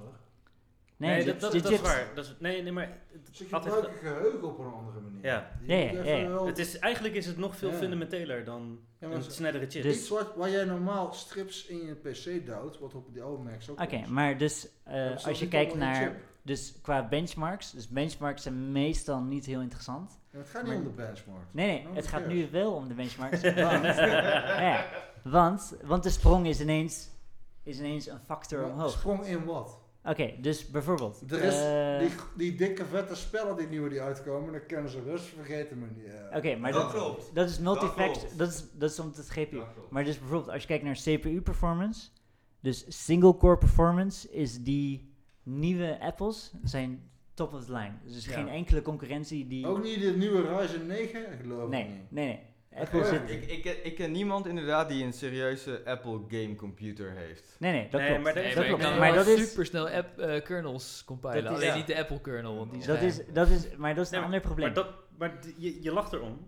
Nee,
Nee,
de-
dat, dat,
de
dat is
chips-
waar. Dat is, nee, nee, maar... het-
Ze
altijd-
gebruiken geheugen op een andere manier.
Ja.
Je
Ja, ja,
moet
ja,
even
ja.
wel-
Het is, eigenlijk is het nog veel
Ja.
fundamenteler dan
Ja, maar
een
ze-
snellere chip.
Dus-
Iets wat, waar jij normaal strips in je PC duwt, wat op die oude Macs ook
Oké,
komt.
maar dus eh,
Dat is
als je
niet
kijkt
allemaal in
naar...
je chip.
Dus qua benchmarks, dus benchmarks zijn meestal niet heel interessant.
Ja, het gaat niet
maar-
om de benchmark.
Nee, nee,
Nou,
het gaat
serieus.
nu wel om de benchmarks. want, ja, want, want de sprong is ineens, is ineens een factor
Maar
omhoog.
Sprong in wat?
Oké, dus bijvoorbeeld...
Er is
eh,
die, die dikke vette spellen die nieuwe die uitkomen, dan kunnen ze rust vergeten. Maar die, eh,
Oké, maar
Dat
dat,
klopt.
dat is multifact,
klopt.
dat is, dat is om het GPU.
Dat klopt.
Maar dus bijvoorbeeld als je kijkt naar CPU performance, dus single core performance is die nieuwe Apples zijn top of the line. Dus er is
Ja.
geen enkele concurrentie die...
Ook niet de nieuwe Ryzen 9, geloof
nee,
ik
nee,
niet.
nee. Apple
Apple
Ik,
is
zit...
het.
ik, ik, ik ken niemand inderdaad die een serieuze Apple game computer heeft.
Nee, nee, dat
Nee,
klopt.
maar
Nee,
dat
maar je
klopt.
kan
Maar
wel
dat is...
supersnel app, eh, kernels compilen.
Dat is-
Alleen
ja.
niet de Apple kernel, want die is
Dat
geheim.
is, dat is, maar dat is
Nee,
een ander probleem.
Maar, dat, maar d- je, je lacht erom.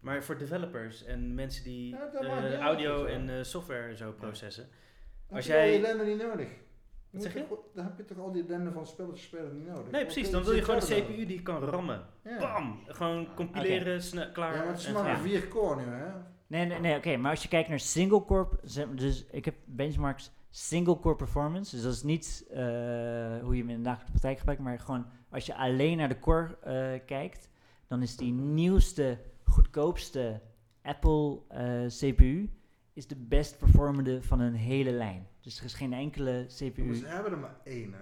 Maar voor developers en mensen die
Ja, dat
eh,
maakt niet uit,
audio
dat is
en
wel.
eh, software en zo processen.
Dan
Als
heb je al
jij-
die ellende niet nodig. Dan
zeg
heb Dan heb je toch al die ellende van spelletjes spelen niet nodig.
Nee,
Want
precies.
je
Dan wil je
zit
gewoon een
verder
CPU die kan rammen.
dan. Ja. Ah,
Bam! Gewoon compileren, sne- klaar.
Ja, maar het is
en
maar
klaar.
vier core nu, hè?
Nee, nee, nee oké, maar als je kijkt naar single core, ze- dus ik heb benchmarks single core performance, dus dat is niet eh, hoe je hem in de dagelijkse praktijk gebruikt, maar gewoon als je alleen naar de core eh, kijkt, dan is die nieuwste, goedkoopste Apple eh, CPU is de best performende van een hele lijn. Dus er is geen enkele CPU.
Dus Ze hebben er maar één, hè?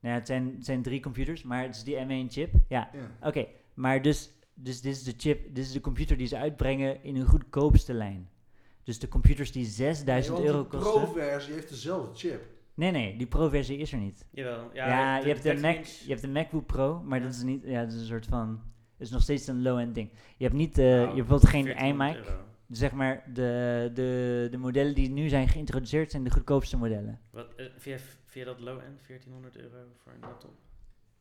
Nou, ja, het zijn, het zijn drie computers, maar het is die M1 chip. Ja,
Ja.
Oké, maar dus, dus dit is de chip, dit is de computer die ze uitbrengen in hun goedkoopste lijn. Dus de computers die 6000
Nee,
euro
want
kosten.
De Pro-versie heeft dezelfde chip.
nee, nee, die Pro-versie is er niet.
Jawel.
Ja,
Ja,
je, hebt de
Mac.
Mac, je hebt de MacBook Pro, maar
Ja.
dat is niet, ja, dat is een soort van, is nog steeds een low-end ding. Je hebt niet, eh,
Nou,
je hebt bijvoorbeeld geen iMac. Zeg maar, de, de, de modellen die nu zijn geïntroduceerd zijn de goedkoopste modellen.
Wat, eh, vind, jij, vind jij dat low-end 1400 euro voor een laptop?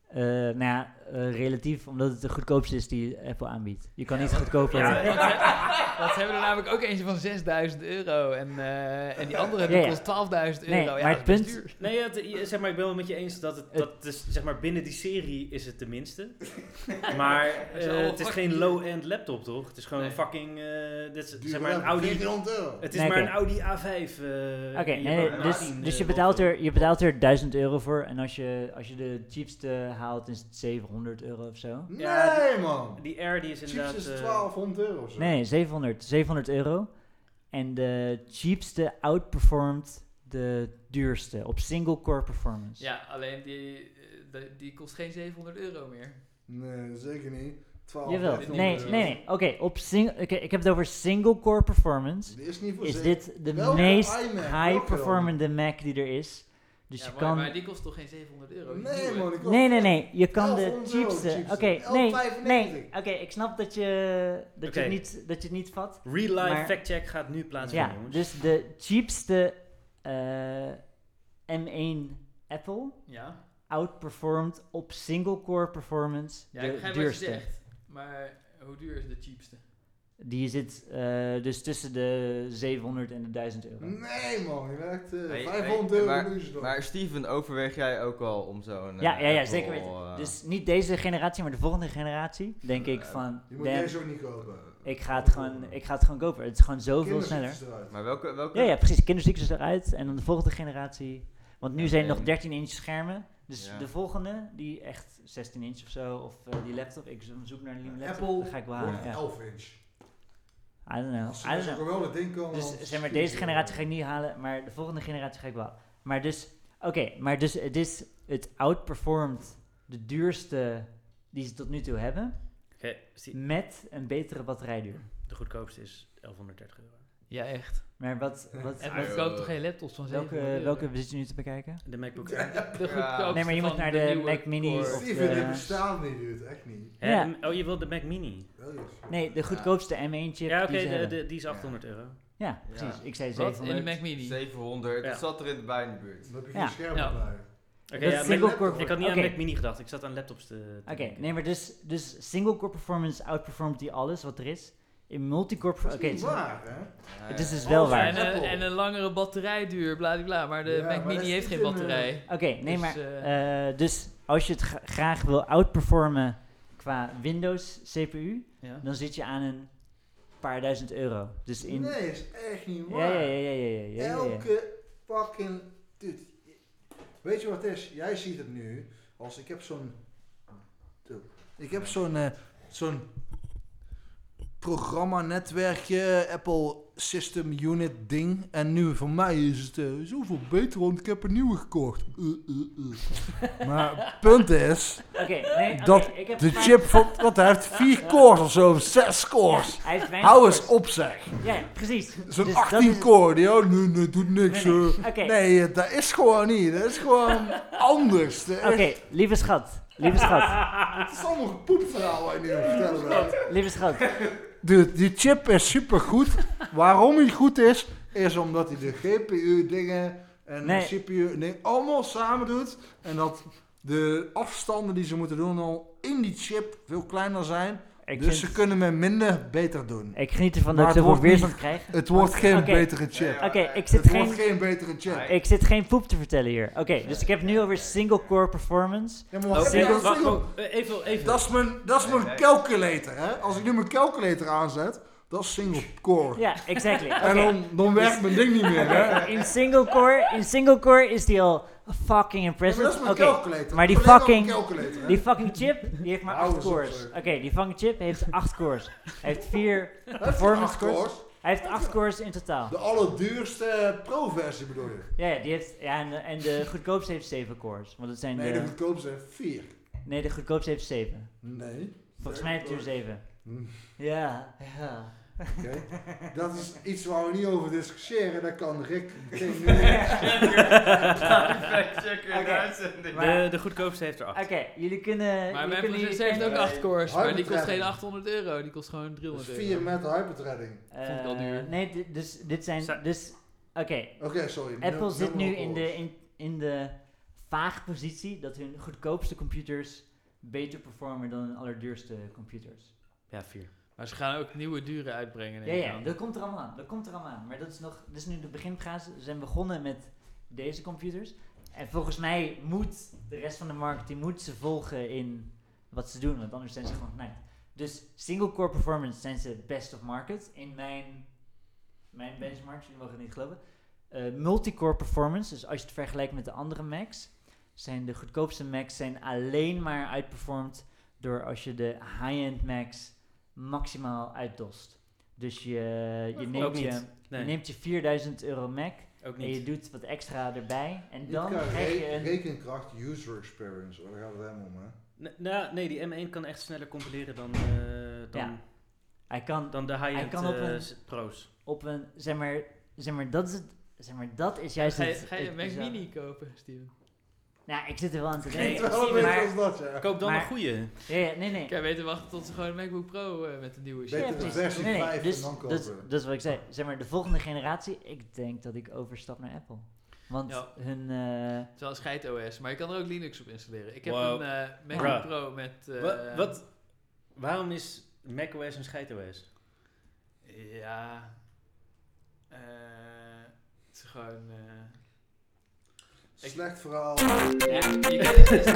Eh, nou ja, eh, relatief, omdat het de goedkoopste is die Apple aanbiedt. Je kan niet goedkoper.
Ja, [LAUGHS] want- want ze hebben er namelijk ook eentje van 6000 euro. En, eh, en die andere die
Ja, ja.
kost 12.000 euro.
Nee,
ja,
maar
dat
het
is
punt-
duur.
Nee, ja, het- je- zeg maar, ik ben wel met je eens dat het,
Het-
dat is, zeg maar, binnen die serie is het de minste.
[LAUGHS]
maar
is
eh,
wel
het is
fucking
geen
duur.
low-end laptop, toch? Het is gewoon
Nee.
een fucking, eh, dit is,
Duur
zeg maar, een
wel,
Audi.
1400 euro.
Het is
Nee,
maar
oké.
een Audi A5. eh,
Oké,
en je
nee,
hebt
nee,
een
dus,
18,
dus
eh,
je, betaalt
laptop.
er, je betaalt er 1000 euro voor. En als je, als je de cheapste haalt, is het 700 euro of zo.
Nee,
Ja,
man.
Die R die is
Chips
inderdaad...
is
eh,
1200 euro. of Zo.
Nee, 700, 700 euro. En de cheapste outperformt de duurste op single core performance.
Ja, alleen die, eh, die, die kost geen 700 euro meer.
Nee, zeker Oh, niet. 12,
Jawel, nee,
1300
nee,
euro.
nee. Oké, op sing- oké, ik heb het over single core performance.
Dit is niet voor
Is
zeker.
dit de
Welke
meest
iMac?
high
Welke
performende Mac die er is? Dus
Ja,
je
maar,
kan...
maar die kost toch geen 700 euro? Die
Nee,
nieuwe.
man. ik
Nee,
wil-
nee, nee. Je kan de
1100 euro
cheapste. Oké,
cheapste.
nee.
1195.
Nee, oké, ik snap dat je, dat,
Oké.
je het niet, dat je het niet vat.
Real life
Maar-
factcheck gaat nu plaatsvinden,
Ja,
jongens.
dus de cheapste eh, M1 Apple
Ja,
outperformed op single core performance
ja
de
ik begrijp wat je
duurste.
zegt. Maar hoe duur is de cheapste?
Die zit eh, dus tussen de 700 en de 1000
Mm.
euro.
Nee, man. Je werkt eh,
Hey,
500
hey,
euro
maar-
nu zo.
Maar Steven, overweeg jij ook al om zo'n... eh,
Ja, ja, ja,
Apple,
zeker weten.
eh,
Dus niet deze generatie, maar de volgende generatie, denk ik
Eh,
van,
Je moet
damn,
deze eh, ook niet kopen.
ik, ga het gewoon, ik ga het gewoon kopen. Het is gewoon zoveel sneller.
Kinderziektes eruit.
Maar welke... welke
Ja, ja, precies. Kinderziektes eruit en dan de volgende generatie. Want nu
Ja,
zijn
en-
nog 13 inch schermen. Dus
Ja.
de volgende, die echt 16 inch of zo, of eh, die laptop. Ik zoek naar een nieuwe laptop.
Apple
dat ga ik wel halen.
Wordt
Ah, Ja.
11 inch.
I don't know.
Als
I don't
ze
know.
wel het ding komen.
Dus
dan
zeg maar,
schiet
deze
je
generatie ga
erin.
ik niet halen, maar de volgende generatie ga ik wel. halen. Maar dus, oké, maar dus het is, het outperformt de duurste die ze tot nu toe hebben,
Oké, dus die-
met een betere batterijduur.
de goedkoopste is 1130 euro.
Ja, echt.
Maar wat, wat,
En
Ah,
we
joh.
wat-
verkopen toch geen laptops van 700
welke,
euro?
welke zit je nu te bekijken?
De MacBook Air.
De goedkoopste
Nee, maar je moet
van
naar de
nieuwe
Mac Mini
core.
of-
Steven,
eh,
dit bestaat niet, dude. Echt niet.
Hè,
Ja.
de- Oh, je wilt de Mac Mini?
Wel, joh.
Nee, de goedkoopste M1-chip.
Ja, oké,
die ze
de-
hebben.
de- die is
Ja.
800 euro.
ja, precies.
Ja.
Ik zei
Wat? In de
700.
Mac Mini?
700,
Ja.
het zat er in de bij in de buurt.
Dan heb je
Ja.
geen scherm
Ja.
erbij.
Oké,
Dat
ja,
is
Mac-
single core.
ik had niet
Oké.
aan Mac Mini gedacht. Ik zat aan laptops te... te
Oké,
denken.
nee, maar dus, dus single core performance outperformt die alles wat er is. In multicore
Dat is
performance.
niet waar, hè?
Het is dus
[LAUGHS]
Oh,
wel
ja,
waar.
En, eh,
Apple.
en een langere batterijduur, bla bla, bla. Maar de
Ja,
Mac
maar dat
Mini
is
heeft
niet
geen
een, eh,
batterijduur.
Oké, nee,
Dus,
maar.
eh,
eh, dus als je het gra- graag wil outperformen qua Windows CPU,
Ja.
dan zit je aan een paar duizend euro. Dus in.
Nee, is echt niet
ja, ja,
waar.
ja, ja, ja, ja, ja, ja.
Elke fucking... Dude, weet je wat het is? Jij ziet het nu als ik heb zo'n... Ik heb zo'n... eh, zo'n programma-netwerkje, Apple System Unit ding. En nu voor mij is het eh, zoveel beter, want ik heb een nieuwe gekocht. Eh, eh, eh. maar het punt is,
Oké, nee, oké,
Dat-
ik heb [LAUGHS]
de
vaak-
chip van... Wat, hij heeft vier cores of zo, of zes
Ja,
cores.
hij heeft weinig
Hou eens
cores.
op, zeg.
Ja, ja, precies.
Zo'n
Dus dat
18
is-
core, die oh, nee, nee, doet niks.
Nee, nee.
eh.
Oké, [LAUGHS]
Nee, eh, dat is gewoon niet. Dat is gewoon anders. Dat is-
Oké, lieve schat. Lieve schat,
Het is allemaal gepoept verhaal waar je nu aan het vertellen bent.
lieve schat.
Dude, die chip is supergoed. Waarom hij goed is, is omdat hij de GPU-dingen en
Nee.
de CPU-dingen allemaal samen doet. En dat de afstanden die ze moeten doen al in die chip veel kleiner zijn.
Ik,
dus
vind-
ze kunnen met minder beter doen.
ik geniet ervan
Maar
dat ik
het
zoveel
wordt niet-
weerstand krijg.
Het wordt geen
Oké.
betere chip.
Oké, ik
Het
zit
wordt
geen...
geen betere chip.
Ik zit geen poep te vertellen hier. Oké, dus ik heb nu alweer single core performance.
Ja, maar
Oké,
wacht,
Single-
dat is
Oh, wacht,
Oh, single-
wacht, eh, even, even.
Dat is mijn, dat is mijn
Nee, nee.
calculator, hè? Als ik nu mijn calculator aanzet, dat is single core.
Ja, exactly. Oké.
En dan, dan werkt mijn ding niet meer, hè? [LAUGHS] Ja,
In single core, in single core is die al fucking
maar dat
impressive.
is
Oké,
mijn calculator.
maar die
Alleen maar
fucking-
mijn calculator, hè?
die fucking chip, die heeft maar
Hou
8
eens op,
cores.
zeg.
Oké, die fucking chip heeft 8 cores. Hij heeft 4
Heeft die
performance
acht
cores. Hij heeft 8 cores in totaal.
De allerduurste pro-versie bedoel je?
Ja, ja, die heeft, ja en, de- en de goedkoopste heeft 7 cores. Want dat zijn
Nee, de
de,
goedkoopste heeft vier.
nee, de goedkoopste heeft 7.
Nee.
Volgens mij heeft hij er 7.
Hmm,
Ja, ja.
Oké. Dat is iets waar we niet over discussiëren. Daar kan Rick [LAUGHS] geen...
[LAUGHS]
Check in
Oké.
de uitzending.
De, de goedkoopste heeft er
Oké,
acht.
jullie kunnen...
Maar dus
jullie
mijn
kunnen
processor heeft ook
Nee.
8 cores, maar die kost
Hyperthreading.
geen 800 euro, die kost gewoon
Dat is
300
vier
euro.
met hyperthreading.
eh,
Vond ik wel duur.
nee, dit- dus dit zijn...
Zijn-
Dus, oké,
Oké, sorry.
Apple
num-
zit
nummer
nu in
cores.
de, in, in de vaag positie dat hun goedkoopste computers beter performen dan hun allerduurste computers.
Ja, vier.
Maar ze gaan ook nieuwe dure uitbrengen.
Ja,
neem ik
ja,
aan.
dat komt er allemaal aan. Dat komt er allemaal aan. Maar dat is nog, dat is nu de beginfase. Ze zijn begonnen met deze computers. En volgens mij moet de rest van de markt, die moet ze volgen in wat ze doen, want anders zijn ze gewoon knijpt. Dus single core performance zijn ze best of market in mijn, mijn benchmarks, jullie mogen het niet geloven. Eh multicore performance, dus als je het vergelijkt met de andere Macs, zijn de goedkoopste Macs zijn alleen maar uitperformed door als je de high-end Macs maximaal uitdost. Dus je, je,
Ook
neemt, je,
niet. Nee,
je neemt je 4000 euro Mac
ook
en je
niet.
doet wat extra erbij en
Dit
dan
kan
krijg
re-
je een...
Rekenkracht user experience, hoor, daar gaat het helemaal om, hè?
Nee, nou, nee, die M1 kan echt sneller compileren dan, eh, dan,
Ja. Hij kan
dan de
Hij
high-end
kan op
eh,
een-
s- pro's.
op een, zeg maar, zeg maar, dat is het, zeg maar, dat is juist
Ga je,
het...
ga je een
het
Mac
bizarre.
Mini kopen, Steven?
Nou, ik zit er wel aan te
Nee,
denken.
Het [LAUGHS] is wel een
maar-
beetje als dat, ja.
Koop dan
Maar-
een goede.
Ja, ja, nee, nee.
Ik kan beter wachten tot ze gewoon een MacBook Pro eh, met de nieuwe
Beter
Ja,
de
precies.
shit.
versie
Nee, nee,
vijf en
dus,
dan
dat,
kopen.
dat is wat ik zei. Zeg maar, de volgende generatie, ik denk dat ik overstap naar Apple. Want
Ja.
hun... eh,
Het is wel een scheid OS, maar je kan er ook Linux op installeren. Ik heb
Wow.
een eh, MacBook
Bruh.
Pro met... eh,
Wa- wat, waarom is macOS een scheidOS?
Ja... Eh, het is gewoon... eh, Ik-
Slecht verhaal.
ja,
[LAUGHS]
je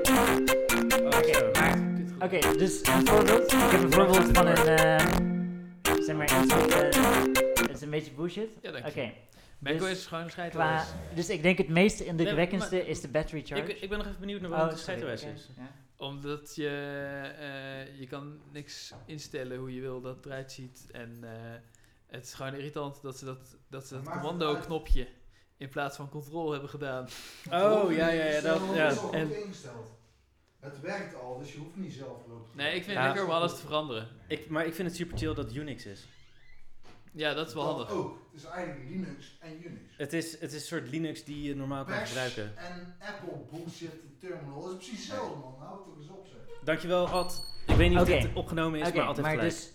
Oké, maar...
kan-
Oké, dus een voorbeeld. Ik heb een voorbeeld van een... eh, zeg maar, iets wat... eh, het is een beetje bullshit.
Ja, dank
Oké,
je. MacOS
dus
is gewoon een scheid
qua...
OS.
Dus ik denk het meest indrukwekkendste
Nee, maar-
is de battery charge.
Ik, ik ben nog even benieuwd naar
Oh,
waarom het
sorry,
scheidOS
oké,
is.
ja.
Omdat je, eh, je kan niks instellen hoe je wil dat het eruit ziet. En eh, het is gewoon irritant dat ze dat, dat, ze dat
Maar maakt het
commando-knopje in plaats van control hebben gedaan.
Oh, ja, ja, ja. Dat,
Het is
ja.
al
En
goed ingesteld. Het werkt al, dus je hoeft niet zelf te lopen.
Nee, ik vind
Ja.
het lekker om alles te veranderen.
ik, maar ik vind het super chill dat Unix is.
Ja, dat is wel handig.
Oh, het is eigenlijk Linux en Unix.
Het is, het is een soort Linux die je normaal kan
Bash
gebruiken.
En Apple bullshit terminal. Dat is precies hetzelfde, man. Hou het toch eens op, zeg.
Dankjewel, Ad. Ik weet niet
Oké.
of dit opgenomen is,
Oké,
maar altijd
maar
gelijk.
dus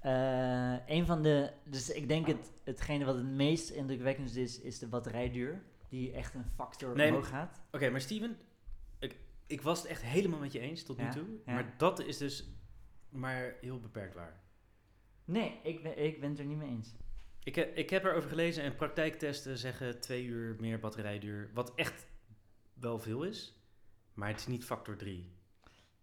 eh, een van de, dus ik denk het, hetgene wat het meest indrukwekkend is, is de batterijduur die echt een factor
Nee,
omhoog gaat.
Oké, maar Steven, ik, ik was het echt helemaal met je eens tot
Ja,
nu toe.
ja.
Maar dat is dus maar heel beperkt waar.
Nee, ik ben, ik ben het er niet mee eens.
Ik, he- ik heb erover gelezen en praktijktesten zeggen twee uur meer batterijduur. Wat echt wel veel is, maar het is niet factor 3.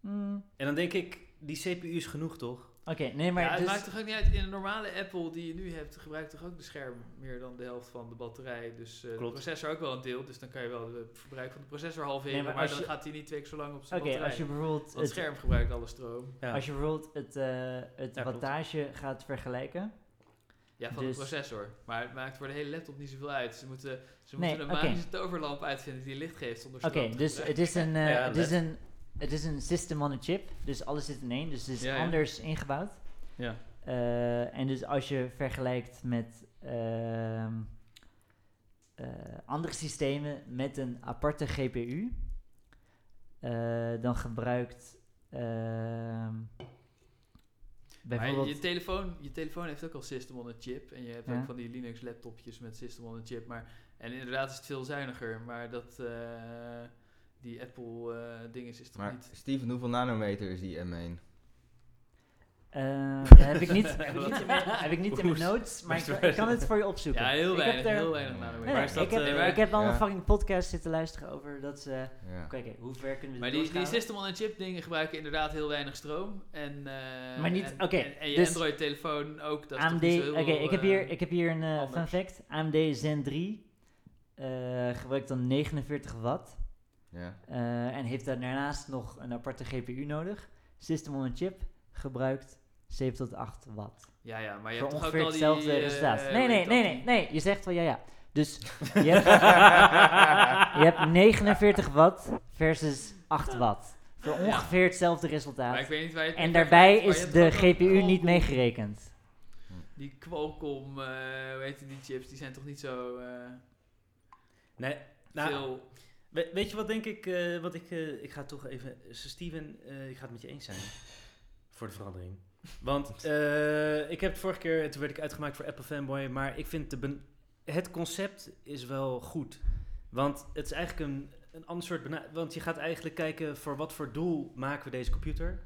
Mm,
En dan denk ik, die CPU is genoeg toch?
Oké, nee, maar
ja, het
dus,
maakt toch ook niet uit. In een normale Apple die je nu hebt, gebruikt toch ook de scherm meer dan de helft van de batterij. Dus eh, de
Klopt.
processor ook wel een deel. Dus dan kan je wel het verbruik van de processor halveren.
Nee, maar
maar
als
dan
je-
gaat hij niet twee keer zo lang op
oké,
zijn batterij.
als je bijvoorbeeld
Want het
het,
scherm gebruikt alle stroom.
Ja.
als je bijvoorbeeld het, eh, het
Ja, klopt.
wattage gaat vergelijken.
Ja, van
Dus-
de processor. Maar het maakt voor de hele laptop niet zoveel uit. Ze moeten, ze
Nee,
moeten een
oké.
magische toverlamp uitvinden die licht geeft zonder
Oké, dus
[LAUGHS]
het is een, eh,
Ja,
het is een, het is een system on a chip, dus alles zit in één, dus het is
Ja, ja.
anders ingebouwd.
Ja.
Eh, en dus als je vergelijkt met ehm, eh, andere systemen met een aparte GPU, eh, dan gebruikt. ehm,
Maar je-
bijvoorbeeld.
je, telefoon, je telefoon heeft ook al System on a Chip. En je hebt
Ja.
ook van die Linux laptopjes met System on a Chip. Maar, en inderdaad is het veel zuiniger. Maar dat, eh, die Apple eh dinges is toch
Maar
niet...
Steven, hoeveel nanometer is die M1?
eh,
[LAUGHS]
heb ik niet, heb ik niet in mijn, heb ik niet in mijn
Oeh,
notes, maar ik, ik kan het voor je opzoeken.
Ja, heel
Ik heb
weinig.
daar-
Heel weinig
Nee,
nanometer.
Nee,
Maar
nee,
is dat,
ik, heb,
eh,
ik heb wel
ja.
een fucking podcast zitten luisteren over dat ze.
Ja.
Oké, oké, hoe ver kunnen we
Maar
dit
die, die
doorschalen?
system on a chip dingen gebruiken inderdaad heel weinig stroom. En, eh,
Maar niet-
en-
oké,
En, en je
dus-
Android telefoon ook. Dat is toch
AMD,
niet zo
oké,
heel veel,
ik, heb
eh,
hier- ik heb hier een eh, fun
anders.
fact. AMD Zen 3 eh, gebruikt dan 49 watt
Ja.
eh, en heeft daar daarnaast nog een aparte GPU nodig. System on a chip gebruikt 7 tot 8 watt.
Ja, ja, maar je
Voor
hebt toch ook
ongeveer
al die...
hetzelfde
eh,
resultaat.
hoe
nee,
heet
nee,
dat?
nee, nee, nee, je zegt wel ja, ja. Dus je hebt, je hebt 49 watt versus 8 watt. Voor
Ja.
ongeveer hetzelfde resultaat.
Maar ik weet niet waar je het
En
over
daarbij
hebt, maar je
is
hebt
de
toch ook
GPU
Qualcomm-
niet meegerekend.
Die Qualcomm, eh hoe heet die chips, die zijn toch niet zo eh,
Nee, nou,
veel...
we- weet je wat denk ik, eh, wat ik, eh, ik ga toch even, Steven, eh, ik ga het met je eens zijn. Voor de verandering. Want eh, ik heb het vorige keer, toen werd ik uitgemaakt voor Apple Fanboy, maar ik vind de ben- het concept is wel goed. Want het is eigenlijk een, een ander soort bena- Want je gaat eigenlijk kijken voor wat voor doel maken we deze computer.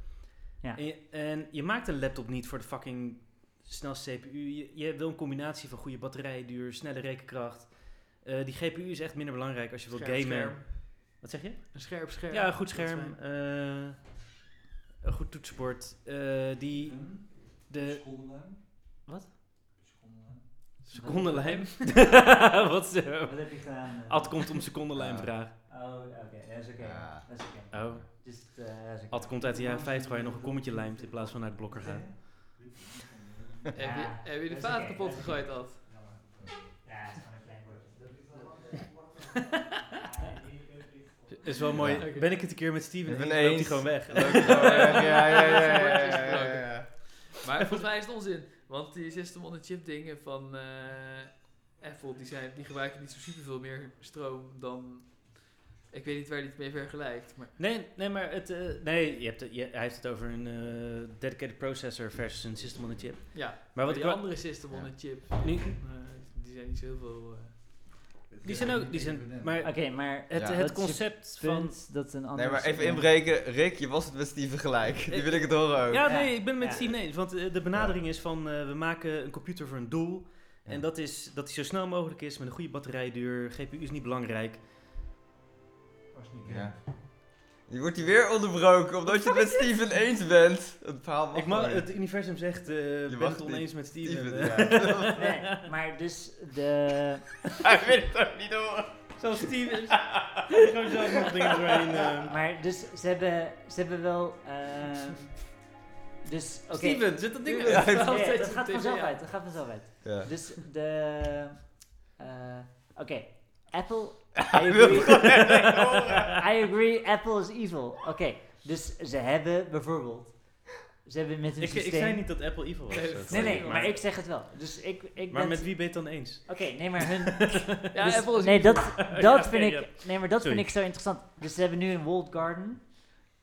Ja.
En, je, en je maakt een laptop niet voor de fucking snelste CPU. Je, je wil een combinatie van goede batterijduur, snelle rekenkracht. Eh, die GPU is echt minder belangrijk als je wilt gamen.
scherm.
Wat zeg je?
Een scherp scherm.
Ja, een goed
Dat is
scherm.
fijn.
eh, een goed toetsenbord. eh, die,
Hm?
de Wat? secondenlijm. [LAUGHS] Wat is eh,
heb je gedaan?
Ad komt om secondenlijm
Ah.
vragen.
Oh, oké, dat is oké.
Ja.
Dat is oké.
Oh.
Dus, eh, dat is oké.
Ad komt uit de jaren 50 waar je nog een kommetje lijmt in plaats van naar de blokker gaat.
Heb, je, heb je de
dat is
vaat
oké,
kapot
dat is
gegooid, Ad?
Ja, dat is gewoon een klein
Is wel mooi.
Ja.
Ben ik het een keer met Steven?
Ik
eens,
ben
loopt hij
eens.
gewoon
[LAUGHS]
weg.
Leuk. ja, ja, ja, ja, ja, ja, ja.
Maar volgens mij is het onzin. Want die system on the chip dingen van eh, Apple, die, zijn, die gebruiken niet zo superveel meer stroom dan... Ik weet niet waar die het mee vergelijkt, maar...
Nee, nee, maar het, eh, nee, je hebt, het- je, hij heeft het over een eh, dedicated processor versus een system on a chip.
Ja,
Maar
maar
wat
die
ik wel-
andere system on the chip,
Nu-
eh, die zijn niet zo heel veel... eh,
die zijn ook, die zijn, maar
Oké,
het,
maar
Ja.
het
Dat is je
concept van...
punt dat een ander...
Nee, maar even inbreken. Rick, je was het met Steven gelijk. Die wil ik het horen ook.
Ja,
Ja.
nee, ik ben het met
Ja.
Steven eens, want eh, de benadering is van eh, we maken een computer voor een doel.
Ja.
En dat is dat die zo snel mogelijk is met een goede batterijduur. GPU is niet belangrijk.
Ja. Je wordt hier weer onderbroken omdat je het met Steven eens bent. Het verhaal mag
Ik mag,
gewoon niet.
het universum zegt, eh ik ben
mag
het
niet.
oneens met Steven.
Steven,
Eh,
ja.
Nee, maar dus de...
Hij wil het ook niet horen.
Zelfs Steven is gewoon zelf nog dingen doorheen. eh.
Maar dus ze hebben, ze hebben wel... ehm, dus, oké.
Steven, zit dat ding
Ja, hij
Ja,
[LAUGHS] Altijd
ja,
op
dat gaat
tv,
vanzelf
ja.
uit, dat gaat vanzelf uit.
Ja.
Dus de... eh, Oké, Apple...
Hij [LAUGHS] wil het gewoon niet horen.
I agree, Apple is evil. Oké, dus ze hebben bijvoorbeeld... Ze hebben met hun
Ik, ik
systeem...
zei niet dat Apple evil was.
Nee,
eh,
Nee, nee,
maar-
maar ik zeg het wel. Dus ik, ik
Maar
ben...
met wie ben je het dan eens?
Oké, nee, maar hun...
Ja,
dus-
Apple is
nee,
evil.
dat, dat
[LAUGHS] Ja,
vind
nee,
ik... Nee, maar dat
Sorry.
vind ik zo interessant. Dus ze hebben nu een walled garden.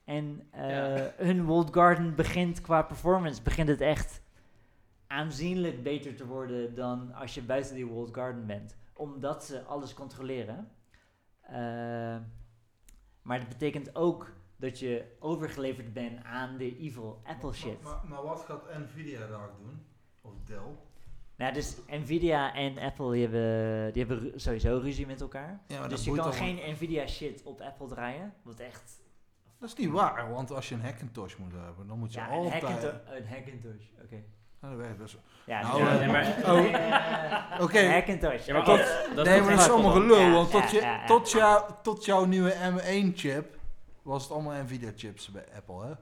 En eh,
Ja.
hun walled garden begint qua performance... begint het echt aanzienlijk beter te worden... dan als je buiten die walled garden bent. Omdat ze alles controleren. Eh, maar dat betekent ook dat je overgeleverd bent aan de evil Apple shit.
Maar, maar, maar wat gaat Nvidia daar doen? Of Dell?
Nou, dus Nvidia en Apple die hebben, die hebben ru- sowieso ruzie met elkaar.
Ja, maar
dus je kan geen Nvidia shit op Apple draaien. Want echt.
Dat is niet waar, want als je een Hackintosh moet hebben, dan moet je
Ja, een
altijd...
Hackintosh. Een Hackintosh, oké.
Ja, dat werkt best-
Ja,
Nou,
dus-
eh,
nee,
[LAUGHS]
maar-
oh.
Eh,
Oké.
een Hackintosh.
Ja, maar
oké.
dat, dat
nee, maar dat is dus allemaal gelul,
Ja,
want
ja,
tot, je,
ja, ja.
Tot, jou, tot jouw nieuwe M1-chip was het allemaal Nvidia-chips bij Apple,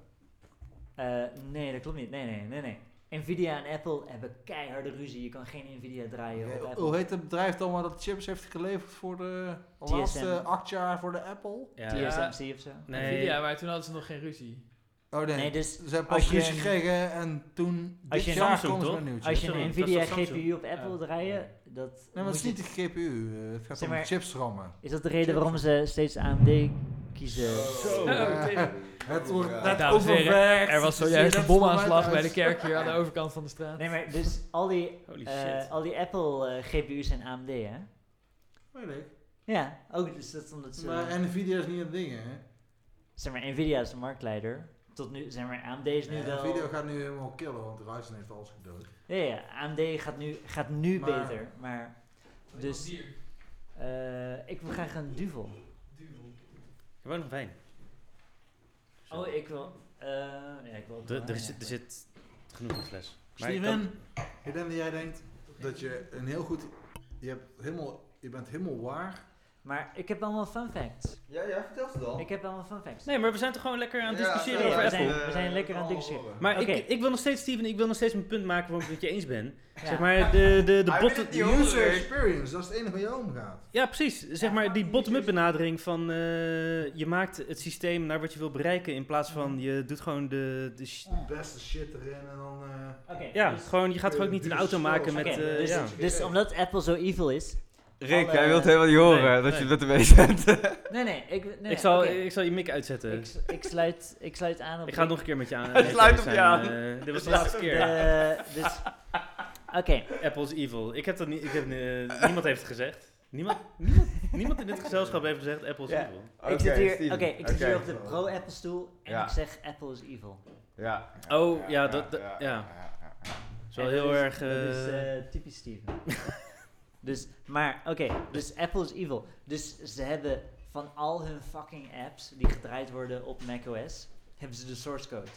hè?
Eh, nee, dat klopt niet. Nee, nee, nee, nee. Nvidia en Apple hebben keiharde ruzie. Je kan geen Nvidia draaien op
Hoe-
Apple.
Hoe heet het bedrijf dan waar dat chips heeft geleverd voor de
TSM.
laatste acht jaar voor de Apple?
Ja.
TSMC Eh, of zo.
Nee.
Nvidia, maar toen hadden ze nog geen ruzie.
Oh nee,
Nee, dus
ze hebben
als
pas
je
ruzie
een-
gekregen en toen
als
dit
je een
jaar
Samsung,
komen ze
toch?
met een nieuwe chip.
Als je
Sorry,
een
dat is
Nvidia
toch Samsung?
GPU op Apple
Oh.
draaien, dat.
Nee, maar
moet
het is
je-
niet de GPU, eh, het gaat
Zeg
om
maar-
de chipsrammen.
Is dat de reden waarom ze steeds AMD kiezen.
Zo.
Oh, tegen-
Het wordt
Ja.
net
Oh, Dames en heren,
overwerkt.
Er was
Zie je
zojuist
dat
een
voor mij
bomaanslag bij
thuis?
de kerk hier aan de overkant van de straat.
Nee, maar dus al die,
Holy
eh,
shit.
al die Apple eh, GPU's zijn AMD, hè?
Weet ik.
Ja, ook dus dat is omdat ze...
Maar Nvidia is niet het ding, hè?
Zeg maar, Nvidia is de marktleider. Tot nu, zeg maar, AMD is nu
Ja,
wel...
Nvidia gaat nu helemaal killen, want Ryzen heeft alles gedood.
Ja, ja, AMD gaat nu, gaat nu
Maar-
beter, maar... Dus, eh, ik wil graag een duvel.
Gewoon nog wijn. Zo.
Oh, ik wil... eh, Ah, ja, ik wil...
Er- er, zit, er zit genoeg in de fles. Maar ik kan-
Steven, ik denk dat jij denkt dat je een heel goed... Je, hebt helemaal, je bent helemaal waar.
Maar ik heb allemaal fun facts.
Ja, ja, vertel ze dan.
Ik heb allemaal fun facts.
Nee, maar we zijn toch gewoon lekker aan het
Ja,
discussiëren
sorry,
over
we
Apple.
zijn-
eh,
we zijn lekker aan
allemaal
het
eh.
discussiëren.
horen.
Maar
Oké.
ik, ik wil nog steeds, Steven, ik wil nog steeds mijn punt maken waarom ik het met je eens ben.
Ja.
Zeg maar, de, de, de
Hij
botten...
wil het Die
Die
horen
user
we.
experience, dat is het enige waar jou om gaat.
Ja, precies. Zeg maar die bottom-up benadering van eh, je maakt het systeem naar wat je wil bereiken in plaats van je doet gewoon de... de sh-
Beste shit erin en dan... eh,
Oké,
ja,
dus-
gewoon, je gaat gewoon niet een auto maken met...
Oké,
eh,
dus,
ja.
dus omdat Apple zo evil is...
Rick,
alle-
hij wil het helemaal niet horen
Nee,
dat
nee.
je dat ermee zet.
Nee, nee, ik... nee, nee,
ik, zal,
oké.
ik zal je mic uitzetten.
Ik,
Ik,
s- ik sluit, ik sluit aan op...
ga het nog een keer met je aan.
[LAUGHS] Het sluit op je aan.
eh, dit was de laatste keer.
Eh, dus, oké.
Apple is evil. Ik heb dat niet... Ik heb, eh, niemand heeft het gezegd. Niemand, niemand, niemand in dit gezelschap heeft gezegd Apple is
Ja.
evil.
ik zit hier,
Steven.
oké, ik zit
Oké.
hier op de pro-Apple stoel en
Ja.
ik zeg Apple is evil.
Ja.
Oh, ja, dat- dat- ja. Het is wel
En
heel
dat is-
erg...
Dat is
eh,
eh, typisch Steven. [LAUGHS] dus, maar, oké, dus Apple is evil. Dus ze hebben van al hun fucking apps die gedraaid worden op macOS, hebben ze de source code.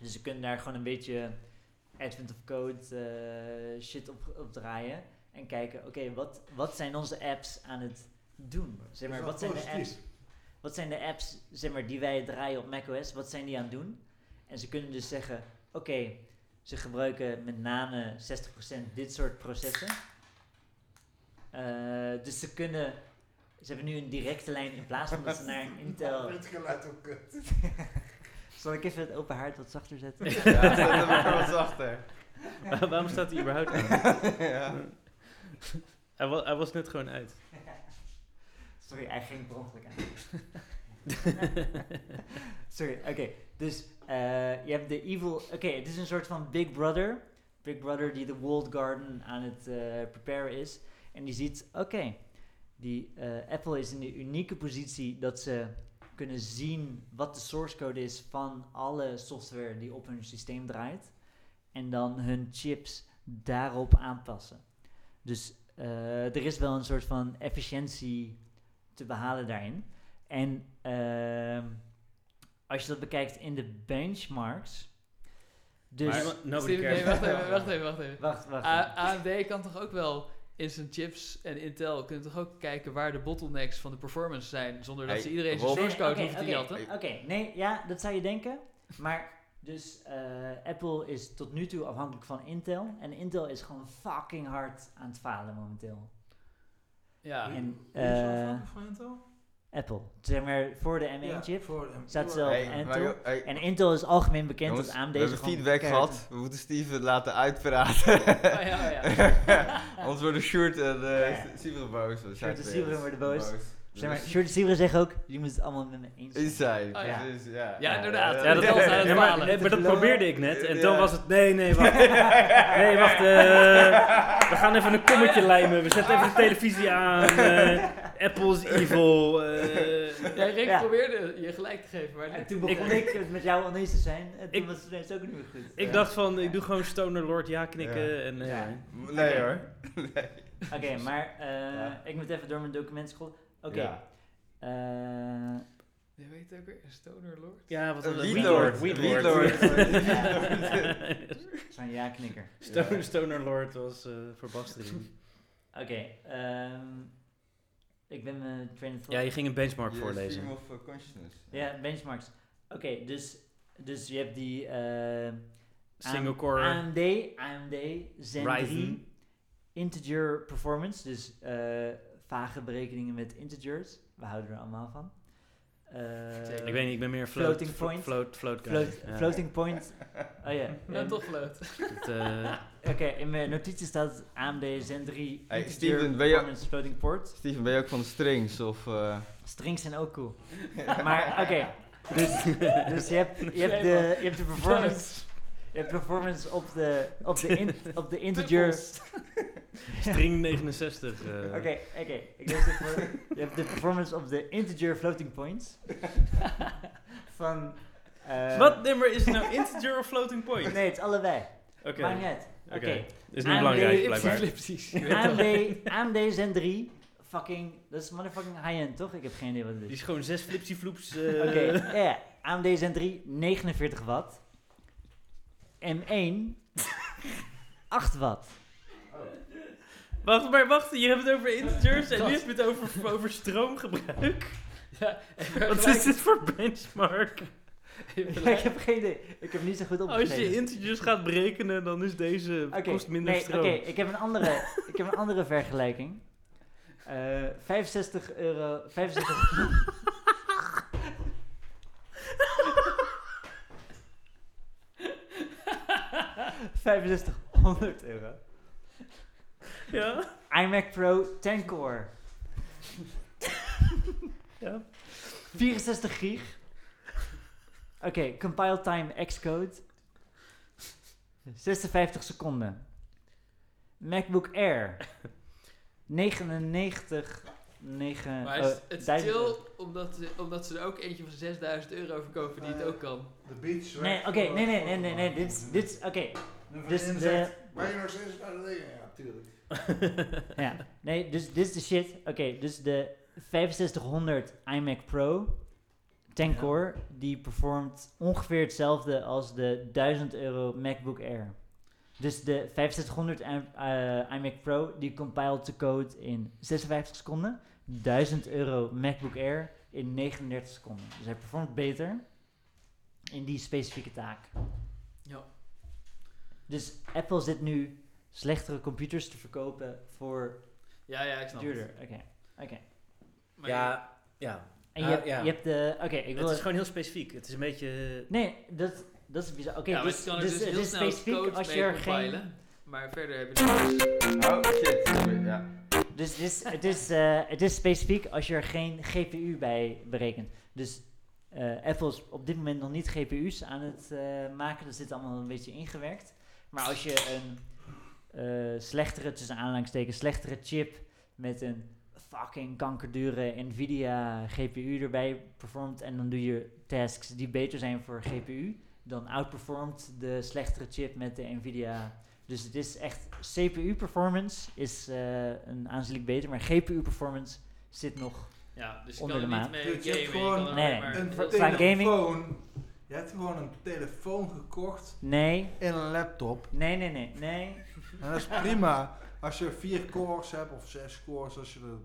Dus ze kunnen daar gewoon een beetje advent of code eh, shit op, op draaien. En kijken, oké, wat, wat zijn onze apps aan het doen? Zeg maar,
is
wat
wel
zijn de
positief.
apps wat zijn de apps zeg maar, die wij draaien op macOS? Wat zijn die aan het doen? En ze kunnen dus zeggen: oké, ze gebruiken met name 60% dit soort processen. Eh, dus ze kunnen. Ze hebben nu een directe lijn in plaats van dat ze naar Intel.
Het geluid ook eh, kut.
Zal ik even het open haard wat zachter zetten? [LAUGHS]
Ja, dat heb ik wel wat zachter.
Waar- [LAUGHS] Waarom staat hij überhaupt aan?
Ja.
Hij was, hij was net gewoon uit.
Sorry, hij ging per ongeluk aan. [LAUGHS] Sorry, oké. Dus eh, je hebt de evil... Oké, het is een soort van Big Brother. Big Brother die de World Garden aan het eh, preparen is. En die ziet, oké, die eh, Apple is in de unieke positie dat ze kunnen zien wat de source code is van alle software die op hun systeem draait. En dan hun chips daarop aanpassen. Dus eh, er is wel een soort van efficiëntie te behalen daarin. En ehm, als je dat bekijkt in de benchmarks. Dus.
Maar nobody
Steven, nee,
cares.
wacht even, wacht even, wacht even.
wacht, wacht.
A- AMD kan toch ook wel in zijn chips en Intel kunnen toch ook kijken waar de bottlenecks van de performance zijn zonder dat
Hey,
ze iedereen zijn
Wolf.
source code
oké,
hoeven te
oké,
jatten.
Oké, nee, ja, dat zou je denken. Maar dus eh, Apple is tot nu toe afhankelijk van Intel. En Intel is gewoon fucking hard aan het falen momenteel. [LAUGHS]
Ja. Oh,
En
Is dat
eh,
van- van Intel?
Apple. Zeg maar voor de
Ja,
M1-chip.
voor de M1.
staat zelf-
Hey,
en
maar
toe?
joh, hey,
En Intel is algemeen bekend
jongens,
als AMD.
we
is
hebben
gewoon
feedback
keihard-
gehad. We moeten Steven laten
[LAUGHS]
uitpraten.
Oh ja, oh ja.
Anders worden Sjoerd en eh
Ja.
Sieveren boos. We zijn
en
weer
Sieveren worden boos. Zeg maar,
Dus-
Short Siever zegt ook, jullie moeten het allemaal met me eens zijn.
Is zij.
Oh, ja.
precies, ja.
Ja, inderdaad.
[LAUGHS] Ja, dat,
Intel is aan het
ja, maar,
falen.
nee, maar dat probeerde ik net. En toen
Ja.
was het. Nee, nee,
[LAUGHS]
wacht. Nee, wacht. eh,
eh,
we gaan even een kommetje lijmen. We zetten even de televisie aan. eh, Apple is evil. eh.
Ja, Rick
Ja.
probeerde je gelijk te geven, maar
En
dit-
toen begon
Ik-
ik, het met jou oneens te zijn. En toen
Ik-
was het ineens ook niet meer goed.
ik dacht van, ik doe gewoon Stoner Lord ja knikken.
Ja.
En, eh,
Ja.
[LAUGHS] Nee hoor.
Oké, maar eh,
Ja.
ik moet even door mijn documenten scrollen. Oké.
Ja.
eh, [LAUGHS]
Je weet ook weer, Stoner Lord.
ja, wat was
Een
het?
Weedlord.
Weedlord.
Een
Weedlord.
Zo'n ja-knikker.
[LAUGHS] Stoner, Stoner Lord was eh voor Bastering.
Oké, ehm, ik ben mijn train of thought.
Ja, je ging een benchmark
Yes,
voorlezen.
Stream of eh, consciousness.
Ja, benchmarks. Oké, dus, dus je hebt die eh,
Single
AM-
core.
AMD, AMD Zen
Ryzen.
3 Integer Performance, dus eh, vage berekeningen met integers. We houden er allemaal van. Eh,
Zeker.
ik weet niet, ik ben meer float,
Floating point.
Float, float guy. [LAUGHS]
float-
Ja.
Floating point. Oh ja.
Nou,
ehm,
toch leuk.
[LAUGHS]
Het, eh,
eh, Oké, in mijn notities staat AMD Zen 3
Hey,
integer
Steven, ben je-
performance floating port.
Steven, ben je ook van de strings? Of, eh,
Strings zijn ook cool. maar oké, dus, dus je, hebt, je, hebt de, je hebt de performance... Je hebt performance op de, op de, in, op de integer...
String 69. eh.
Oké, oké. Ik lees het voor. Je hebt de performance op de integer floating points. van... eh,
Wat nummer is het nou? [LAUGHS] Integer of floating point?
Nee, Ah, het is allebei.
Oké.
Maakt niet uit. Oké.
Oké. Is
AMD
niet belangrijk,
[LAUGHS]
blijkbaar.
[LAUGHS]
Precies. Ik weet het wel.
AMD, AMD Zen 3, fucking, dat is motherfucking high-end, toch? Ik heb geen idee wat het
Die
is.
is gewoon zes eh. flipsy floeps.
Oké, ja, ja. AMD Zen 3, 49 watt. [LAUGHS] M1, 8 watt.
[LAUGHS] Wacht, maar wacht, je hebt het over integers en
Gast.
nu heb je het over, over
[LAUGHS]
stroomgebruik.
Ja, en
Wat is dit voor benchmark?
[LAUGHS] ik
vergelijk-
heb geen idee, ik heb niet zo goed
Als je
opgeschreven.
integers gaat berekenen, dan is deze
Oké,
kost minder
nee, Oké,
stroom.
ik, heb een andere, ik heb een andere vergelijking. Eh 65 euro,
[LAUGHS]
65... ...6500 euro.
Ja?
iMac Pro 10 core.
Ja.
64 gig. Oké, compile time Xcode. 56 seconden. MacBook Air. 99... 9,
Maar het is- het is chill omdat, ze- omdat ze er ook eentje van 6000 euro verkopen
Eh,
die het ook kan.
De beach.
Nee, oké, nee, nee, nee, nee, nee, dit is, dit is, oké, dus de-
Ben je nog steeds aan het leven? Ja, tuurlijk.
ja. Nee, dus dit is de shit. Oké, dus de 6500 iMac Pro 10 core, die performt ongeveer hetzelfde als de 1000 euro MacBook Air. Dus de 6500 i- eh, iMac Pro, die compiled de code in 56 seconden. 1000 euro MacBook Air in 39 seconden. Dus hij performt beter in die specifieke taak.
Ja.
Dus Apple zit nu slechtere computers te verkopen voor
Ja, ja, ik snap het.
Duurder, oké. Oké.
Maar
Ja, ja.
En je,
Ah,
hebt,
ja.
je hebt de... Oké, ik wil...
Het is gewoon heel specifiek. Het is een beetje...
Nee, dat, dat is bizar. Oké,
ja, maar
dus,
je kan er
dus,
dus,
het
heel
is
snel
specifiek
code
als
mee
je er geen...
compilen. Maar verder heb je dus...
Oh, shit. Sorry, ja.
Dus het is, het, is, eh, het is specifiek als je er geen GPU bij berekent. Dus eh, Apple is op dit moment nog niet GPU's aan het eh, maken. Dat zit allemaal een beetje ingewerkt. Maar als je een eh, slechtere, tussen aanhalingstekens, slechtere chip met een fucking kankerdure Nvidia GPU erbij performt en dan doe je tasks die beter zijn voor GPU, dan outperformt de slechtere chip met de Nvidia dus het is echt CPU-performance is eh, een aanzienlijk beter, maar GPU-performance zit nog.
Ja, dus je
Onder
kan er
de
niet
maat.
mee
Dude,
gamen.
je hebt
je
gewoon
kan er
Nee.
alleen maar-
Een
heel-
is aan gaming.
telefoon. Je hebt gewoon een telefoon gekocht
Nee,
en een laptop.
nee, nee, nee, nee.
En dat is prima als je vier cores hebt of zes cores als je de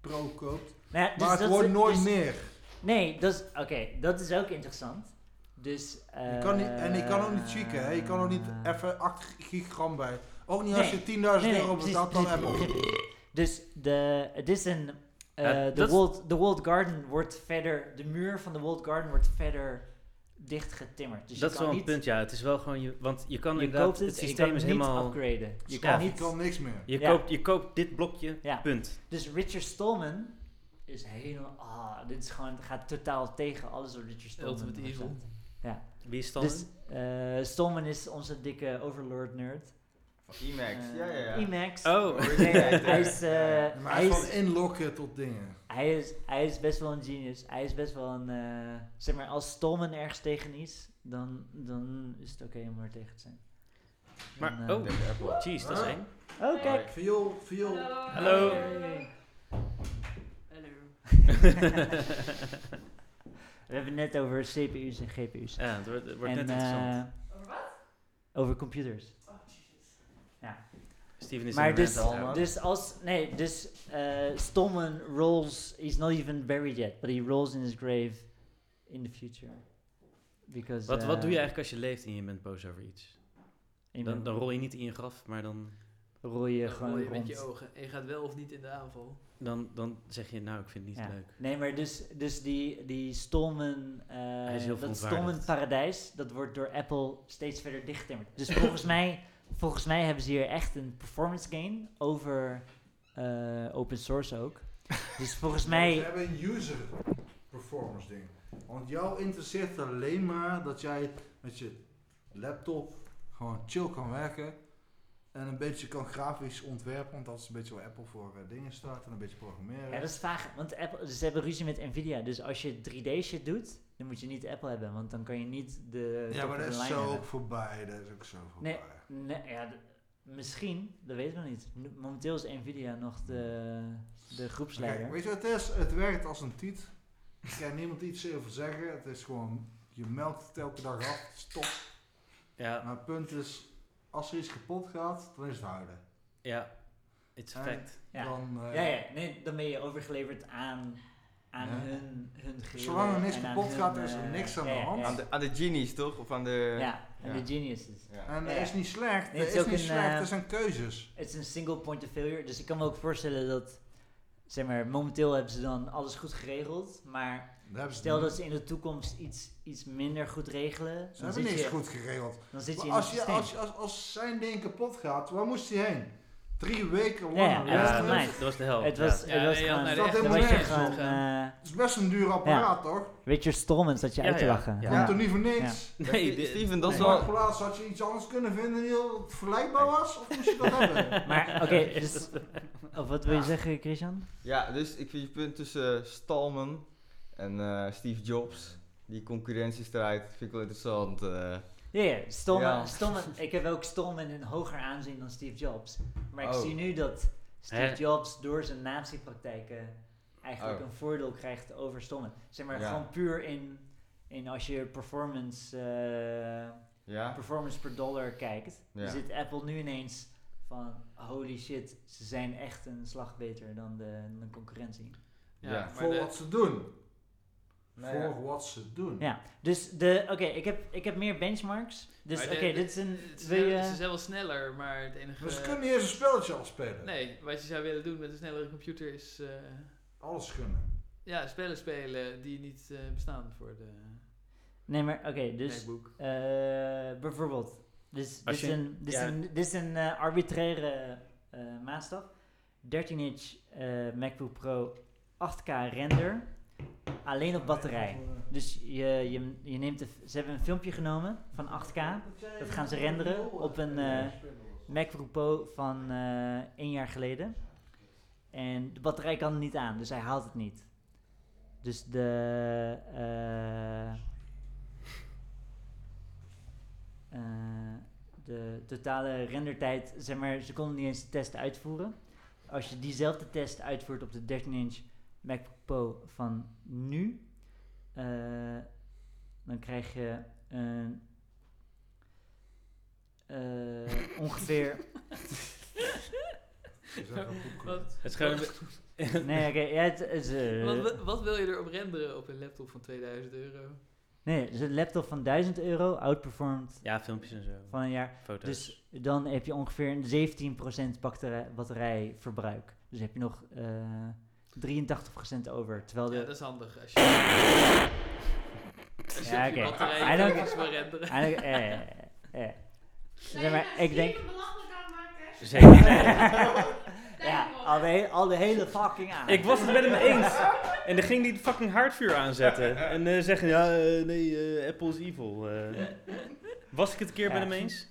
pro koopt.
Nou ja, dus
Maar
dat
het
is-
wordt nooit
dus-
meer.
Nee, dat is oké. dat is ook interessant. Dus.
Je kan niet, en je kan ook
Eh,
niet cheeken, hè? je kan ook niet even 8 gigram bij. Ook niet als je 10.000 euro betaalt dan Apple.
[LAUGHS] Dus de, het is een. eh,
Ja, dat
de,
is-
walled, de walled garden wordt verder. De muur van de walled garden wordt verder dichtgetimmerd. Dus
dat
je
is
kan
wel een
niet,
punt, ja. Het is wel gewoon... Je, want je kan
Je
inderdaad...
koopt het,
het
en je
systeem
kan
is
niet
helemaal...
upgraden. Je
Ja.
kan
Je
niet
kan niks meer.
Je,
Ja.
koopt, je koopt dit blokje,
Ja.
punt.
Dus Richard Stallman is helemaal. Ah, dit is gewoon, gaat totaal tegen alles wat Richard Stallman
Ultimate
heeft
evil.
gedaan.
Wie is dan?
Dus eh, Stallman is onze dikke Overlord nerd.
Van IMAX.
Eh,
Ja, ja, ja.
IMAX.
oh,
Nee, hij, is, eh,
Maar
hij,
hij is
is,
van inlokken tot dingen.
hij, is, hij is best wel een genius. Hij is best wel een. eh, zeg maar, als Stallman ergens tegen is, dan, dan is het oké om er tegen te zijn.
Maar-
Dan, eh,
oh.
Ik denk Apple.
jeez, dat is
[LAUGHS]
eng.
Oh, kijk.
Viool, viool.
Hallo.
[LAUGHS] We hebben het net over CPU's en GPU's.
Ja, het wordt, het wordt
En,
net interessant.
eh, Over computers.
Steven is
Maar
maar
dus,
aan het houden.
dus als, nee, dus eh Stallman rolls, he's not even buried yet, but he rolls in his grave in the future. Because,
Wat, wat
eh,
doe je eigenlijk als je leeft en je bent boos over iets?
in-
Dan, dan rol je niet in je graf, maar dan,
rol je
Dan
gewoon
rol je
rond.
met je ogen. En je gaat wel of niet in de aanval.
dan, dan zeg je, nou, ik vind het niet
Ja.
leuk.
Nee, maar dus, dus die, die Stallman, eh,
is heel
dat
verontwaardigd. [LAUGHS]
Stallman paradijs, dat wordt door Apple steeds verder dichtgetimmerd. Dus volgens mij, volgens mij hebben ze hier echt een performance gain over eh, open source ook. Dus volgens
[LAUGHS] We
mij,
hebben een user performance ding. Want jou interesseert alleen maar dat jij met je laptop gewoon chill kan werken. En een beetje kan grafisch ontwerpen, want dat is een beetje waar Apple voor eh, dingen staat. En een beetje programmeren.
ja, dat is vaag, want Apple, ze hebben ruzie met Nvidia. Dus als je 3D shit doet, dan moet je niet Apple hebben, want dan kan je niet de.
Ja,
top
maar
of
dat
the
is
line
zo
hebben.
ook voorbij. Dat is ook zo voorbij.
Nee. Nee, ja, d- misschien, dat weten we niet. Nu- Momenteel is Nvidia nog de, de
Oké,
groepsleider.
weet je wat het is? Het werkt als een tiet. Je kan niemand iets over zeggen. Het is gewoon, je meldt het elke dag af. Het is top.
Ja,
Maar het punt is, als er iets kapot gaat, dan is het huilen.
ja. It's a
Ah.
En-
fact.
Ja.
Dan, eh,
ja, ja, nee, dan ben je overgeleverd aan, aan
Ja.
hun, hun grillen
Zolang er niks
en aan
kapot gaat,
hun,
is er
eh,
niks aan de
ja, ja,
hand.
ja.
Aan de, aan de genies, toch? Of aan de...
Ja, en
Ja.
de geniuses.
Ja.
En dat
Ja.
is niet slecht.
Nee,
dat
het
is,
is ook
niet
een,
slecht.
eh,
Dat zijn keuzes.
Het is een single point of failure, dus ik kan me ook voorstellen dat, zeg maar, momenteel hebben ze dan alles goed geregeld, maar
Daar hebben ze
stel
het
dat
niet.
ze in de toekomst iets, iets minder goed regelen,
Ze
dan
hebben
zit,
niks
je,
goed geregeld.
dan zit je in
Maar als,
het
je,
systeem.
als, als, als zijn ding kapot gaat, waar moest hij heen? Drie weken lang.
Ja, ja,
een
hij was
rest-
Ja,
online.
dat was de hel.
het
Oh, ja.
was,
Ja,
het was
nee, ja,
gewoon,
nee,
dat
dan
is
was je
helemaal
gewoon
nergens.
eh
Het is best een duur apparaat, toch?
Richard Stallman zat je
Ja,
uit te
ja,
lachen.
ja.
Komt er niet voor niks.
Nee,
[LAUGHS]
Ste-
dit-
Steven, dat is
Op
wel...
Marktplaats had je iets anders kunnen vinden die heel vergelijkbaar was? Of moest je
[LAUGHS]
dat hebben?
Maar oké,
[LAUGHS]
dus, of wat wil je zeggen, Christian?
Ja, dus ik vind je punt tussen Stallman en eh, Steve Jobs, die concurrentiestrijd, vind ik wel interessant. eh.
Ja, ja, Stallman,
Ja.
Stallman- ik heb ook Stallman in hoger aanzien dan Steve Jobs. Maar ik
Oh.
zie nu dat Steve
Hè?
Jobs door zijn nazi-praktijken eigenlijk
Oh.
een voordeel krijgt over Stallman. Zeg maar,
Ja.
gewoon puur in, in als je performance, eh,
ja?
performance per dollar kijkt,
Ja.
dan zit Apple nu ineens van holy shit, ze zijn echt een slag beter dan de, dan de concurrentie.
Ja,
Ja.
maar
Voor
de-
wat ze doen.
Nou ja.
Voor wat ze doen.
Ja, dus de, oké, ik, heb, ik heb meer benchmarks. Dus
Maar
oké,
de- de-
dit is een... eh,
het is
wil
wel-
je-
Ze zijn wel sneller, maar het enige...
Maar Dus ze kunnen niet eens een spelletje afspelen.
Nee, wat je zou willen doen met een snellere computer is... eh,
Alles kunnen.
ja, spellen spelen die niet eh, bestaan voor de
Nee, maar oké, dus...
MacBook.
Eh, bijvoorbeeld, dus, dit,
Als
is
je-
een, dit, is
ja.
een, dit is een eh, arbitraire eh, maatstaf. 13 inch eh, MacBook Pro 8K render, alleen op
Oh,
batterij. Dus je, je, je neemt de, ze hebben een filmpje genomen van 8K, dat gaan ze renderen op een eh, MacBook Pro van eh één jaar geleden. En de batterij kan er niet aan, dus hij haalt het niet. Dus de. eh, eh, de totale rendertijd, zeg maar, ze konden niet eens de test uitvoeren. Als je diezelfde test uitvoert op de 13-inch MacBook Pro van nu, eh, dan krijg je een. eh, ongeveer
Wat,
Het is gewoon... [LAUGHS]
Nee, oké. ja, het is, eh,
wat, wat wil je erop renderen op een laptop van 2000 euro?
nee, het is een laptop van 1000 euro, outperformed
Ja, filmpjes en zo.
van een jaar.
Foto's.
Dus dan heb je ongeveer een 17% batterij, batterijverbruik. Dus heb je nog eh 83% over. Terwijl de.
Ja, dat is handig als je... Als je
Ja,
op je
oké.
batterij
Hij
je
dan-
[LAUGHS] filmpjes wil renderen.
Eigenlijk, eh, eh, eh. Zeg maar, ik [LAUGHS] denk. [LAUGHS] ja, al de, he- al de hele fucking aan.
Ik was het met hem eens. En dan ging die het fucking haardvuur aanzetten. En eh, zeggen, ja, eh, nee, eh, Apple is evil. eh. was ik het een keer met
Ja.
hem eens?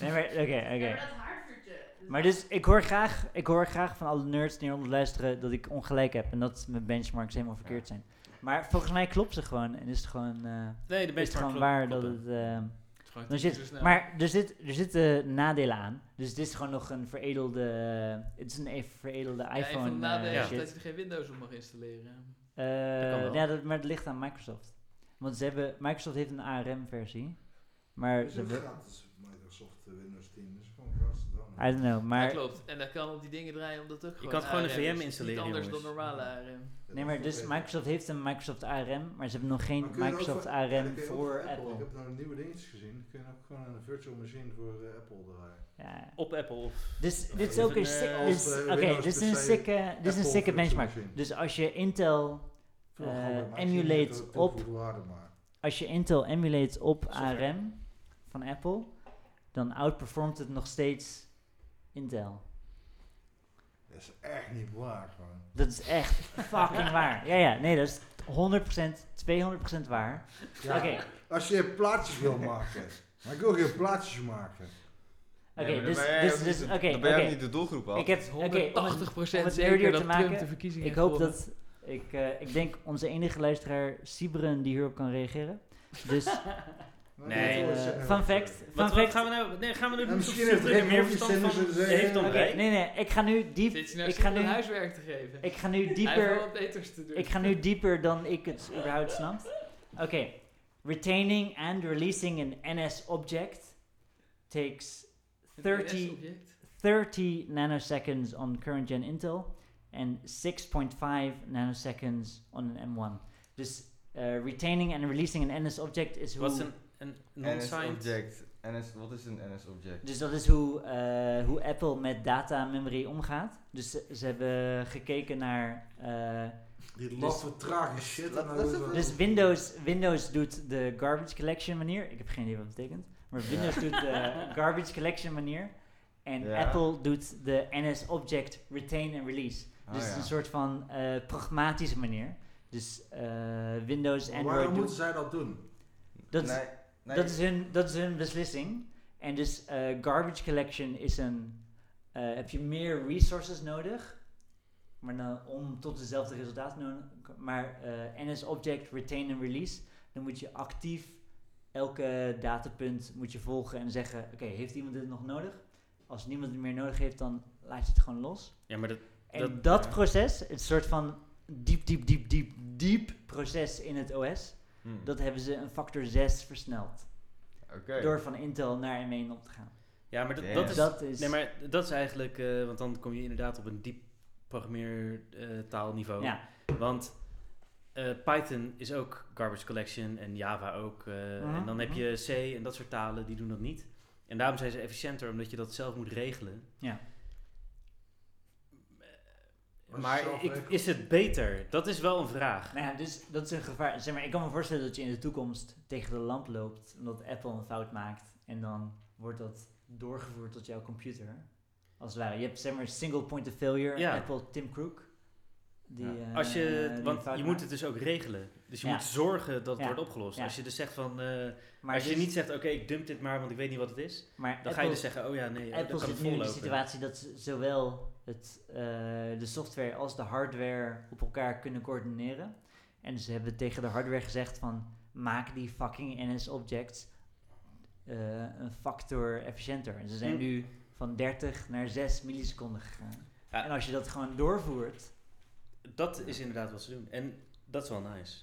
Nee, maar oké, oké.
Ja, maar dat haarvuurtje.
Maar dus, ik hoor, graag, ik hoor graag van alle nerds die hieronder luisteren dat ik ongelijk heb en dat mijn benchmarks helemaal verkeerd zijn. Maar volgens mij klopt ze gewoon en is het gewoon, eh,
Nee, de
is het gewoon waar dat het... eh,
Het is dus nou- gewoon
dan
tien
zit-
keer zo snel.
maar er, zit, er zitten nadelen aan, dus het is gewoon nog een veredelde... eh, het is een even veredelde
Ja, een van de
iPhone eh,
nadelen is dat
shit.
je er geen Windows op mag installeren.
Eh,
kan wel.
ja, dat, maar dat ligt aan Microsoft. Want ze hebben, Microsoft heeft een ARM-versie, maar...
Het
Ze
is
hebben,
gratis. Microsoft eh, Windows 10. Dus gewoon gratis
I
downloaden.
don't know,
Maar,
maar...
klopt. En dat kan op die dingen draaien omdat het ook gewoon
kan het gewoon een
ARM
VM
is. Niet
installeren,
anders
jongens.
dan normale ARM.
Nee, maar dus Microsoft heeft een Microsoft ARM, maar ze hebben nog geen
Maar kun je er ook
Microsoft
voor-
ARM
Dan kun je ook
voor
Ik
Apple.
heb nou nieuwe dingetjes gezien. Dan kun je ook gewoon een virtual machine voor eh, Apple draaien.
Ja.
Op Apple. Of...
Dus dit is
Of
ook
een,
een sick-
eh,
dit is-
als, eh,
Oké,
Windows
dit is een
PC
sikke, dit is een sikke
Apple virtual
benchmark.
machine.
Dus als je Intel,
Vul
Eh,
gewoon bij
emulate
Machine met eh, de
op.
toegevoegde waarde maar.
als je Intel emulate op
Software.
ARM van Apple, dan outperformt het nog steeds Intel.
Dat is echt niet waar, gewoon.
Dat is echt
[LAUGHS]
fucking waar. Ja, ja, nee, dat is 100%, 200% waar.
Ja,
Oké,
Als je plaatjes wil
[LAUGHS]
maken. Maar ik wil geen plaatjes maken.
oké,
Nee, maar
dus,
dan ben jij
dus,
ook
dus,
niet de-
oké,
Dan ben jij ook
oké.
niet de doelgroep al.
Ik heb, oké, om het-
180
om het
zeker
nerdier
dat
te
Trump de
maken,
verkiezingen
Ik
heeft
hoop
gewonnen.
dat. Ik, eh, ik denk onze enige luisteraar, Sibren, die hierop kan reageren. [LAUGHS] Dus,
Nee.
eh, fun fact. Fun
Wat, wat
fact.
gaan we nou... Nee, gaan we nu...
En misschien
Sibren
heeft Rick
er meer
nog iets
verstand
zinnigs
van.
te zeggen.
Heeft dan
Oké,
wij.
nee, nee, ik ga nu diep.
Zit je nou
Ik ga
zitten
nu-
huiswerk te geven?
Ik ga nu
Hij heeft wel
dieper.
wat beters te doen.
Ik ga nu dieper dan ik het überhaupt snap. Oké. Retaining and releasing an NS object takes
Een
30
NS-object.
30 nanoseconds on current gen Intel and 6.5 nanoseconds on an M1. Dus eh, retaining and releasing an NS object is hoe.
Wat is een... een
NS
non-signed...
object. NS, wat is een NS object?
Dus dat is hoe, eh, hoe Apple met data en memory omgaat. Dus ze, ze hebben gekeken naar. eh,
Die laffe, trage shit. en dan
dat is
doen we-
dus Windows, Windows doet de garbage collection manier. Ik heb geen idee wat dat betekent. Maar Windows doet de garbage collection manier. En
Ja.
Apple doet de NS object retain and release.
Ah,
Dus het is
ja.
een soort van eh, pragmatische manier. Dus eh, Windows,
Maar
Android.
Waarom
doet-
moeten zij dat doen?
dat, is-
Nee, nee.
Dat, is hun, dat is hun beslissing. En dus eh, garbage collection is een. eh, heb je meer resources nodig? Maar nou, om tot dezelfde resultaten te komen. Maar eh, NS Object Retain and Release. Dan moet je actief elke datapunt moet je volgen en zeggen: Oké, heeft iemand dit nog nodig? Als niemand het meer nodig heeft, dan laat je het gewoon los.
Ja, maar dat...
En dat,
Dat- ja.
proces, het soort van diep, diep, diep, diep, diep proces in het OS,
Hm,
dat hebben ze een factor 6 versneld.
Oké.
Door van Intel naar M1 op te gaan.
Ja, maar dat,
Ja.
dat is...
dat is.
Nee, maar dat is eigenlijk... eh, want dan kom je inderdaad op een diep programmeertaalniveau.
ja.
Want eh, Python is ook garbage collection en Java ook. eh,
Mhm,
En dan heb
mhm.
je C en dat soort talen, die doen dat niet. En daarom zijn ze efficiënter, omdat je dat zelf moet regelen.
Ja.
Als je
Maar
zelf
ik,
regelt.
is het beter? Dat is wel een vraag.
Nou ja, dus dat is een gevaar. Zeg maar, ik kan me voorstellen dat je in de toekomst tegen de lamp loopt. omdat Apple een fout maakt. En dan wordt dat doorgevoerd tot jouw computer. Als het ware. Je hebt zeg maar single point of failure.
Ja.
Apple Tim Crook. Die,
Ja.
eh,
Als je,
die
want
fout
je
maakt.
moet het dus ook regelen. Dus je
Ja.
moet zorgen dat het
Ja.
wordt opgelost.
Ja.
Als je dus zegt van... eh,
Maar,
als je
dus-
niet zegt, oké, ik dump dit maar, want ik weet niet wat het is. Dan
maar
ga je
Apple-
dus zeggen, oh ja, nee, oh,
Apple
dat kan het
zit nu in de
vollopen.
situatie dat ze zowel het, eh, de software als de hardware op elkaar kunnen coördineren. En ze hebben tegen de hardware gezegd van maak die fucking NS objects eh, een factor efficiënter. En ze zijn
Hm.
nu van 30 naar 6 milliseconden gegaan.
Ja.
En als je dat gewoon doorvoert,
Dat is inderdaad wat ze doen. En dat is wel nice.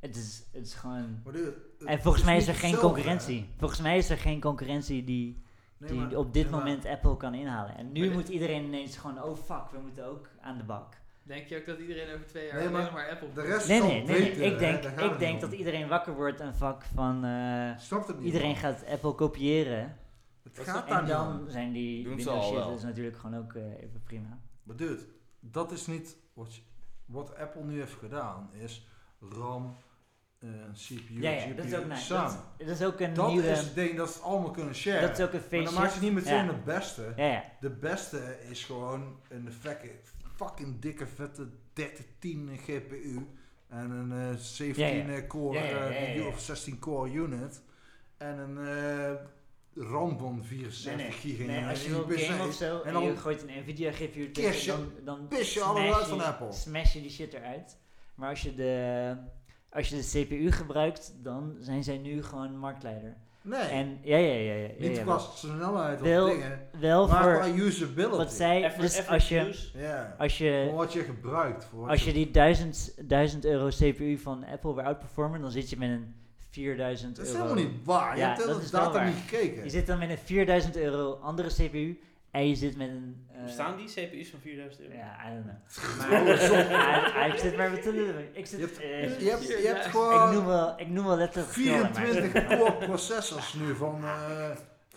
het is, het is gewoon...
Maar dude, het
En volgens mij
niet
is er geen
hetzelfde,
concurrentie. Volgens mij is er geen concurrentie die
hè? Nee,
die
maar-
op dit
nee, maar-
moment Apple kan inhalen. En nu
Maar dit-
moet iedereen ineens gewoon, oh fuck, we moeten ook aan de bak.
Denk je ook dat iedereen over twee jaar
Nee, maar
alleen nog maar Apple...
De rest
Nee,
zal
nee, nee, nee.
weten,
Ik
hè,
denk,
daar gaat
ik
het
denk
niet om.
dat iedereen wakker wordt en vak van, eh,
Snapt het niet?
iedereen
man.
gaat Apple kopiëren.
Het gaat daar
En
niet om.
dan zijn die
Doen ze
Windows
al
shit
wel.
dus natuurlijk gewoon ook eh, even prima.
Maar dude, dat is niet wat, je- wat Apple nu heeft gedaan, is RAM, eh, CPU,
Ja, ja,
GPU
dat is ook nice. Dat,
samen.
is- dat is ook een
Dat
nieuwe...
is het ding dat ze het allemaal kunnen share.
dat is ook een
maar
feestje.
dan maak je niet meteen
Ja.
het beste.
Ja, ja.
De beste is gewoon een fucking, fucking dikke vette 3010 GPU en een eh, 17
Ja, ja.
eh, core
Ja, ja, ja,
eh,
ja, ja.
of 16 core unit en een eh, RAM van 64 gig. Dus en
Nee,
een
als je wil
USB-C.
game of zo en,
en dan
je gooit een Nvidia GPU
Kiss je-
tegen, dan, dan
pis je
smash
allemaal uit
je-
van Apple.
Smash je die shit eruit. Maar als je de, als je de CPU gebruikt, dan zijn zij nu gewoon marktleider.
Nee,
En ja, ja, ja, ja. ja,
niet
ja,
qua snelheid of
Wel-
dingen,
wel
maar
voor
qua usability.
wat zij.
Even-
Dus
even
als je,
nieuws.
Ja.
als
Voor
je,
wat je gebruikt. Voor wat
als je die 1000, 1000 euro CPU van Apple weer outperformen, dan zit je met een 4000
Dat is
euro.
helemaal niet waar. Je
Ja,
hebt
dat
heel de
is wel
data
waar.
niet gekeken.
Je zit dan met een 4000 euro andere CPU en je zit met een. eh,
Staan die CPU's van 4000 euro?
Ja, I don't
[LAUGHS]
know. Maar [LAUGHS] hij, hij zit maar met te lullen. Ik zit...
Je hebt-
eh,
Je hebt, je hebt
Ik
ik noem
gewoon
wel, ik noem wel letterlijk getallen, maar-
24 core processors nu van eh,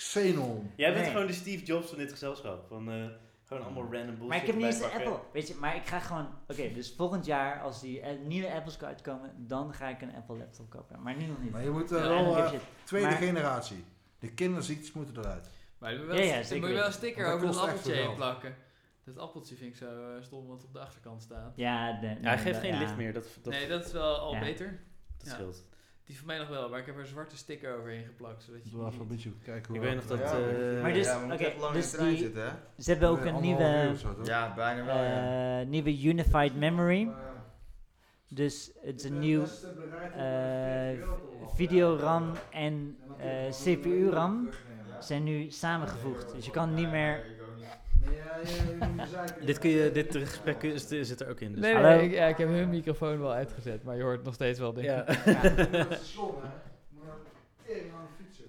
Xenon.
Jij bent
Nee.
gewoon de Steve Jobs van dit gezelschap. Van, eh, gewoon allemaal random bullshit.
Maar ik heb niet eens een
erbij pakken.
Apple. Weet je, maar ik ga gewoon... Oké,
[LAUGHS]
dus volgend jaar als die eh, nieuwe Apples uitkomen, dan ga ik een Apple laptop kopen. Maar nu nog niet.
Maar je moet
I
er
don't
wel
give
eh,
shit.
tweede
Maar-
generatie. De kinderziektes moeten eruit.
Maar je moet
Ja,
wel,
ja,
een-
zeker
moet je wel een
weten.
sticker
Want
over
dat
dat
kost echt
appeltje heen
wel.
plakken. Dat appeltje vind ik zo eh, stom wat op de achterkant staat.
Ja, de-
Ja, hij
nee,
geeft
dat-
geen
ja.
licht meer, dat, dat,
nee, dat is wel al
ja.
beter.
dat
ja.
scheelt.
Die van mij nog wel, maar ik heb er een zwarte sticker overheen geplakt. Zodat je
Doe
die
even een
niet-
beetje kijken hoe
Ik weet nog
hard-
dat...
Ja,
eh,
Maar dus-
ja, we moeten
oké,
echt lang
dus
in de trein
die-
zitten, hè?
Ze hebben ook
Nee,
een
anderhalf uur
nieuwe,
of zo, toch?
Ja, bijna wel, ja.
eh, nieuwe Unified Memory.
Maar, eh,
Dus het is
Ik
een
ben
nieuw
best bereid
eh,
om, 40 euro te lappen.
videoram en
Ja, maar
eh,
natuurlijk, dan moet je wel
CPU-ram
terugnemen.
zijn nu samengevoegd. Dus je kan niet
ja,
meer...
ik ook niet.
Nee, ja, ja, jullie moeten zeiken.
dit, kun je, dit gesprek is, zit er ook in. Dus.
Nee,
Hallo?
nee ik, ja, ik heb hun microfoon wel uitgezet, maar je hoort nog steeds wel dingen.
Ja.
Ja, dat is het station, hè. Maar, eh, maar een fietsen.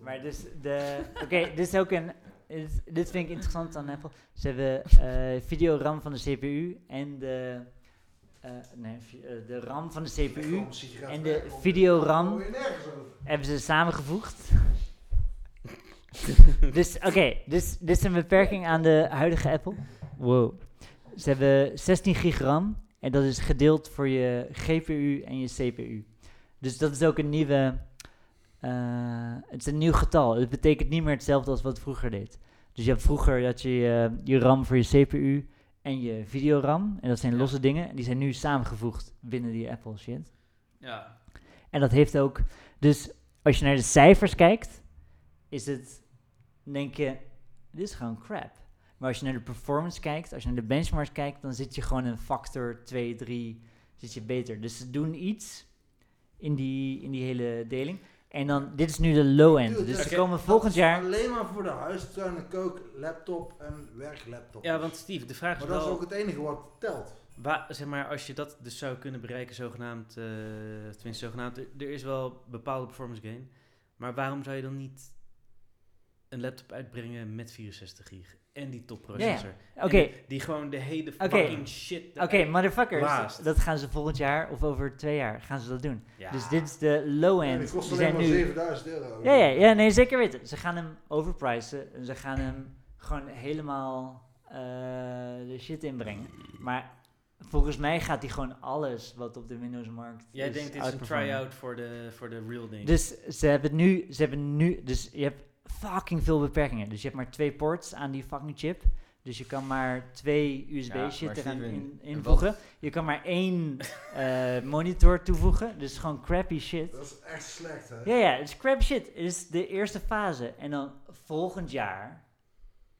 Maar dus de... Oké, dit is ook een... Dit, dit vind ik interessant aan Apple. Ze hebben eh videoram van de CPU en de... eh, nee, vi- eh, de RAM van de CPU en de videoram.
Hoor je nergens over.
hebben ze samengevoegd. dus oké, dus dit is een beperking aan de huidige Apple. Wow. Ze hebben 16 gig RAM en dat is gedeeld voor je GPU en je CPU. Dus dat is ook een nieuwe. eh, het is een nieuw getal. Het betekent niet meer hetzelfde als wat het vroeger deed. Dus je hebt vroeger dat je eh, je RAM voor je CPU en je videoram. En dat zijn
Ja.
losse dingen. En die zijn nu samengevoegd binnen die Apple shit.
Ja.
En dat heeft ook. Dus als je naar de cijfers kijkt, is het. Denk je, dit is gewoon crap. Maar als je naar de performance kijkt, als je naar de benchmarks kijkt, dan zit je gewoon een factor 2, 3. Zit je beter. Dus ze doen iets in die, in die hele deling. En dan, dit is nu de low end.
Dude,
Dus ze
oké.
komen volgend jaar.
Alleen maar voor de huistuin en kook, laptop en werklaptop.
Ja, want Steve, de vraag is
maar dat is
wel...
ook het enige wat telt.
Wa- zeg maar, als je dat dus zou kunnen bereiken, zogenaamd, eh tenminste zogenaamd, er, er is wel bepaalde performance gain, maar waarom zou je dan niet een laptop uitbrengen met 64 gig en die topprocessor?
Oké,
En Die, die gewoon de hele
Oké.
fucking shit...
oké, motherfuckers.
Blaast.
Dat gaan ze volgend jaar of over twee jaar gaan ze dat doen.
Ja.
Dus dit is de low
En
end.
die kost
Ze
alleen
zijn
maar
nu
7000 euro.
Ja, ja, ja, nee, zeker weten. Ze gaan hem overpricen. en Ze gaan hem gewoon helemaal eh, de shit inbrengen. Maar volgens mij gaat hij gewoon alles wat op de Windows-markt
Jij
is
denkt dit is een
outperformen.
try-out voor de, voor de real ding. [LAUGHS]
Dus ze hebben, nu, ze hebben nu... Dus je hebt fucking veel beperkingen. Dus je hebt maar twee ports aan die fucking chip. Dus je kan maar twee USB-shit
maar
eraan
Steven,
in,
wat-
invoegen. Je kan maar één eh, monitor toevoegen. Dus gewoon crappy shit.
Dat is echt slecht, hè?
Ja, ja, het is crap shit. Het is de eerste fase. En dan volgend jaar.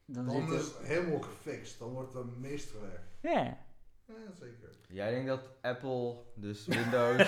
Dan,
Dan
zit
is
het.
het helemaal gefixt. Dan wordt het een meesterwerk.
Ja.
Ja, zeker.
Jij denkt dat Apple dus
[LAUGHS]
Windows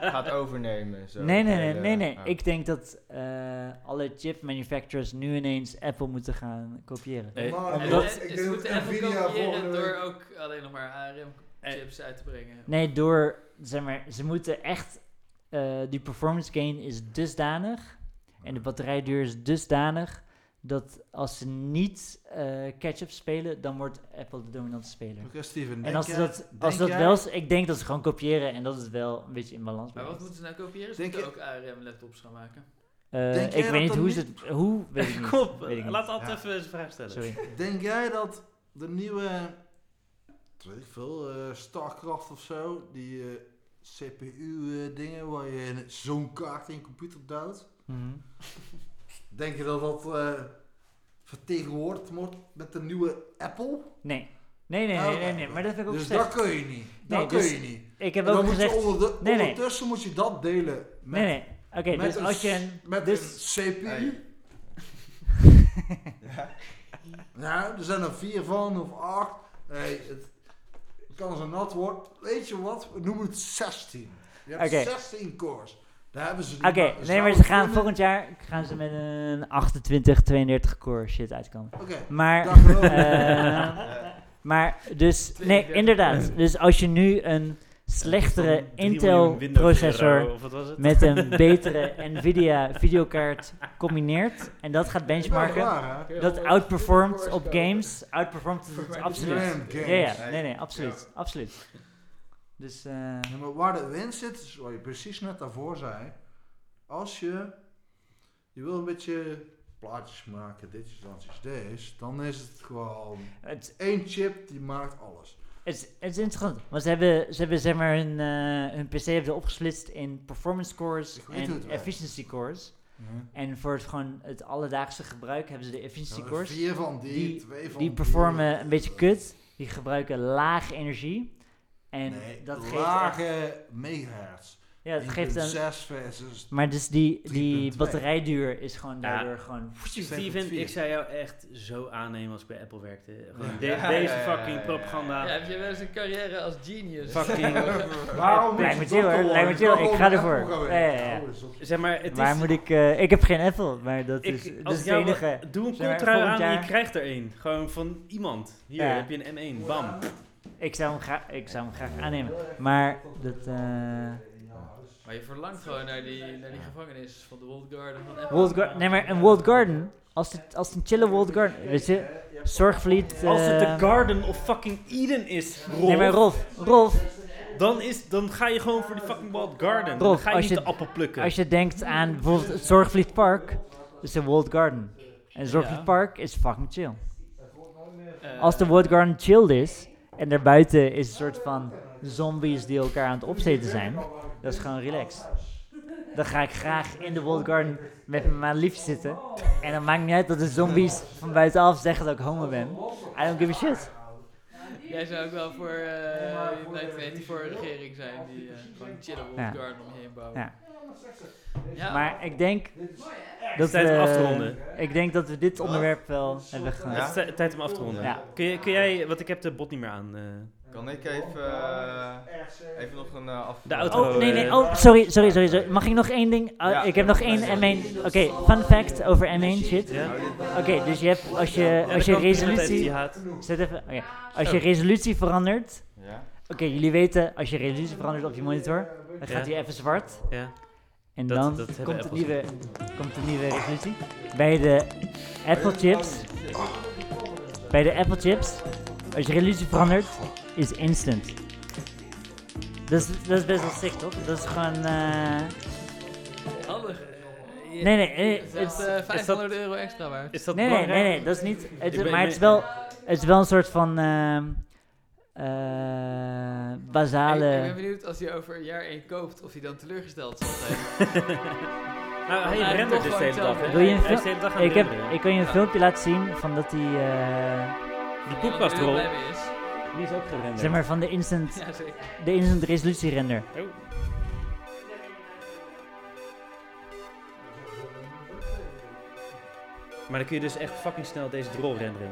gaat overnemen? Zo,
Nee, nee, nee,
Hele-
nee. nee.
Oh.
Ik denk dat eh, alle chip manufacturers nu ineens Apple moeten gaan kopiëren.
Eh,
Maar
en
ik
dat-
denk-
ze
ik denk dat
moeten Apple
Nvidia
kopiëren
volgende
door
week...
ook alleen nog maar ARM-chips uit te brengen.
Nee, door, zeg maar, ze moeten echt, eh, die performance gain is dusdanig en de batterijduur is dusdanig dat als ze niet eh, catch-up spelen, dan wordt Apple de dominante speler.
Oké, Steven,
En
denk
als ze
jij-
dat,
denk
als ze dat
jij-
wel, is- ik denk dat ze gewoon kopiëren en dat is wel een beetje in balans.
Maar wat
blijft.
moeten ze nou kopiëren? Ze
Denk
moeten ook ARM-laptops gaan maken.
Eh,
Denk jij
ik weet
dat
niet
dat
hoe
niet-
ze het. Hoe? Weet
[LAUGHS]
ik niet.
Kom op,
Weet ik niet.
laat altijd
Ja.
even zijn vraag stellen.
Sorry.
Denk jij dat de nieuwe, weet ik veel, eh, Starcraft of zo, die eh, CPU-dingen waar je een- zo'n kaart in je computer duwt,
Mhm.
denk je dat dat eh, vertegenwoordigd wordt met de nieuwe Apple?
Nee. Nee, nee,
Oh,
nee, nee, nee, maar dat heb ik ook
Dus
gezegd.
dat kun je niet. Dat
Nee,
kun
dus
je niet.
Ik heb
En dan
ook
moet
gezegd.
je onder-
Nee, nee.
ondertussen moet je dat delen met,
nee, nee. Oké,
met
dus
een,
als je
s-
een.
met
dus,
een CPU. Ja, Nou, er zijn er vier van of acht. Nee, het kan zo nat worden. Weet je wat? We noemen het 16. Je hebt
Oké.
16 cores. Daar hebben ze
Oké, nee, maar ze gaan volgend jaar gaan ze met een 28, 32 core shit uitkomen.
Oké,
Maar.
daar geloof ik.
eh, [LAUGHS] maar dus. Nee,
32.
inderdaad. Dus als je nu een slechtere
Van 3
Intel
miljoen Windows
processor
euro, of wat was het?
met een betere Nvidia videokaart combineert en dat gaat benchmarken.
Ja,
dat outperformt op games, outperformt
Voor
het
mij
absoluut.
Slam
Ja,
games.
ja, nee, nee, absoluut, absoluut. Dus, eh
Ja, maar waar de winst zit, is wat je precies net daarvoor zei. Als je, je wil een beetje plaatjes maken, ditjes, datjes, deze, dan is het gewoon
het,
één chip die maakt alles.
het, is, het is interessant, want ze hebben, ze hebben zeg maar hun, eh, hun PC hebben ze opgesplitst in performance cores
Ik weet hoe het
en
werkt.
efficiency cores. En voor het, gewoon het alledaagse gebruik hebben ze de efficiency
Ja,
cores.
Vier van die, Eh,
die-
twee van
Die performen een beetje kut. Die gebruiken laag energie. En
nee,
dat geeft. echt-
lage megahertz.
ja, dat geeft een.
6 versus...
Maar dus die, die
3,2.
batterijduur is gewoon
Ja.
daardoor gewoon.
Steven,
7.4.
ik zou jou echt zo aannemen als ik bij Apple werkte. Gewoon
Ja.
de-
Ja,
deze
ja, ja, ja,
fucking
ja.
propaganda.
Ja, heb je wel eens een carrière als genius?
Fucking.
[LAUGHS]
Waarom
Lijkt
moet
me chill,
dat
hoor.
dan
Lijkt me chill.
worden?
Ik
wil
ga
gewoon
ervoor.
Apple gaan
Ja,
werken.
ja, ja.
Nou, is dat-
Zeg maar, het
Waar
is,
moet ik. eh, ik heb geen Apple, maar dat
ik-
is, dat
als
is
ik
het
jou-
enige.
Doe een
Zeg maar,
contra
volgend
aan en je
jaar-
krijgt er een. Gewoon van iemand. Hier
Ja.
heb je een M1. Bam.
Ik zou hem, gra- ik zou hem graag aannemen. Maar dat. eh
Maar je verlangt gewoon naar die, naar die gevangenis van de World Garden van Apple.
World Garden. Nee, maar een World Garden. Als het, als het een chille World Garden. Weet je, Zorgvliet.
Als het de
eh,
Garden of fucking Eden is, Rolf,
Nee, maar Rolf, Rolf,
dan, is, dan ga je gewoon voor die fucking Wild Garden. dan
Rolf,
ga je
als
niet
je-
de appel plukken.
als je denkt aan bijvoorbeeld het Zorgvliet Park, is een World Garden. En Zorgvliet
Ja.
Park is fucking chill.
Eh,
Als de World Garden chilled is, en daarbuiten is een soort van zombies die elkaar aan het opsteken zijn, dat is gewoon relaxed. Dan ga ik graag in de World Garden met mijn lief zitten. En dan maakt niet uit dat de zombies van buitenaf zeggen dat ik homo ben. I don't give a shit.
Jij zou ook wel voor eh die voor een regering zijn die eh, gewoon chillen World
Ja.
Garden om je heen bouwen.
Ja.
Ja,
Maar ik denk dat
tijd om
we-
af te ronden.
Ik denk dat we dit onderwerp wel hebben gehad.
Ja?
Het is tij- tijd om af te ronden.
Ja.
Kun, je, kun jij, want ik heb de bot niet meer aan. eh.
Kan ik even, eh, even nog een eh af...
De auto.
Oh, nee, nee.
eh,
Oh, sorry, sorry, sorry. sorry. Mag ik nog één ding? Oh,
Ja.
ik heb nog één M1. Oké, fun fact over M1 shit.
Ja?
Oké, dus je hebt, als je,
Ja,
als
dan kan
je
ik iemand even
resolutie...
die haat.
Zet even... oké. Als je resolutie verandert...
Ja?
Oké, jullie weten, als je resolutie verandert op je monitor, dan gaat
Ja.
hij even zwart.
Ja.
En
Dat-
dan
dat hebben
komt, de
Apple's
nieuwe, komt de nieuwe resolutie. Bij de Apple chips. Bij de Apple chips. Als je resolutie verandert, is instant. Dat is, dat is best wel sick, toch? Dat is gewoon. eh,
handig. Eh, je-
Nee, nee, nee,
Het
het-
is eh, 500 euro extra waard.
Is dat
Nee, nee,
belangrijk?
nee, nee, dat is niet. Het,
Ik ben-
maar het is, wel, het is wel een soort van. ehm, eh,
Ik, ik ben
basale.
benieuwd als hij over een jaar één koopt of hij dan teleurgesteld zal zijn.
[LAUGHS] Nou,
Ja,
hij
toch
rendert dus de hele
gewoon
dag.
zelf,
hè?
Wil je een
Hij is
fil-
de hele dag aan het
Ik, heb,
renderen.
ik kan je een filmpje laten zien van dat die. eh,
Die
Ik er heel
podcastbron,
blij mee is.
die is ook gerenderd.
zeg maar van de instant,
Ja, zeker.
de instant resolutie render.
Oh, Maar dan kun je dus echt fucking snel deze drol renderen.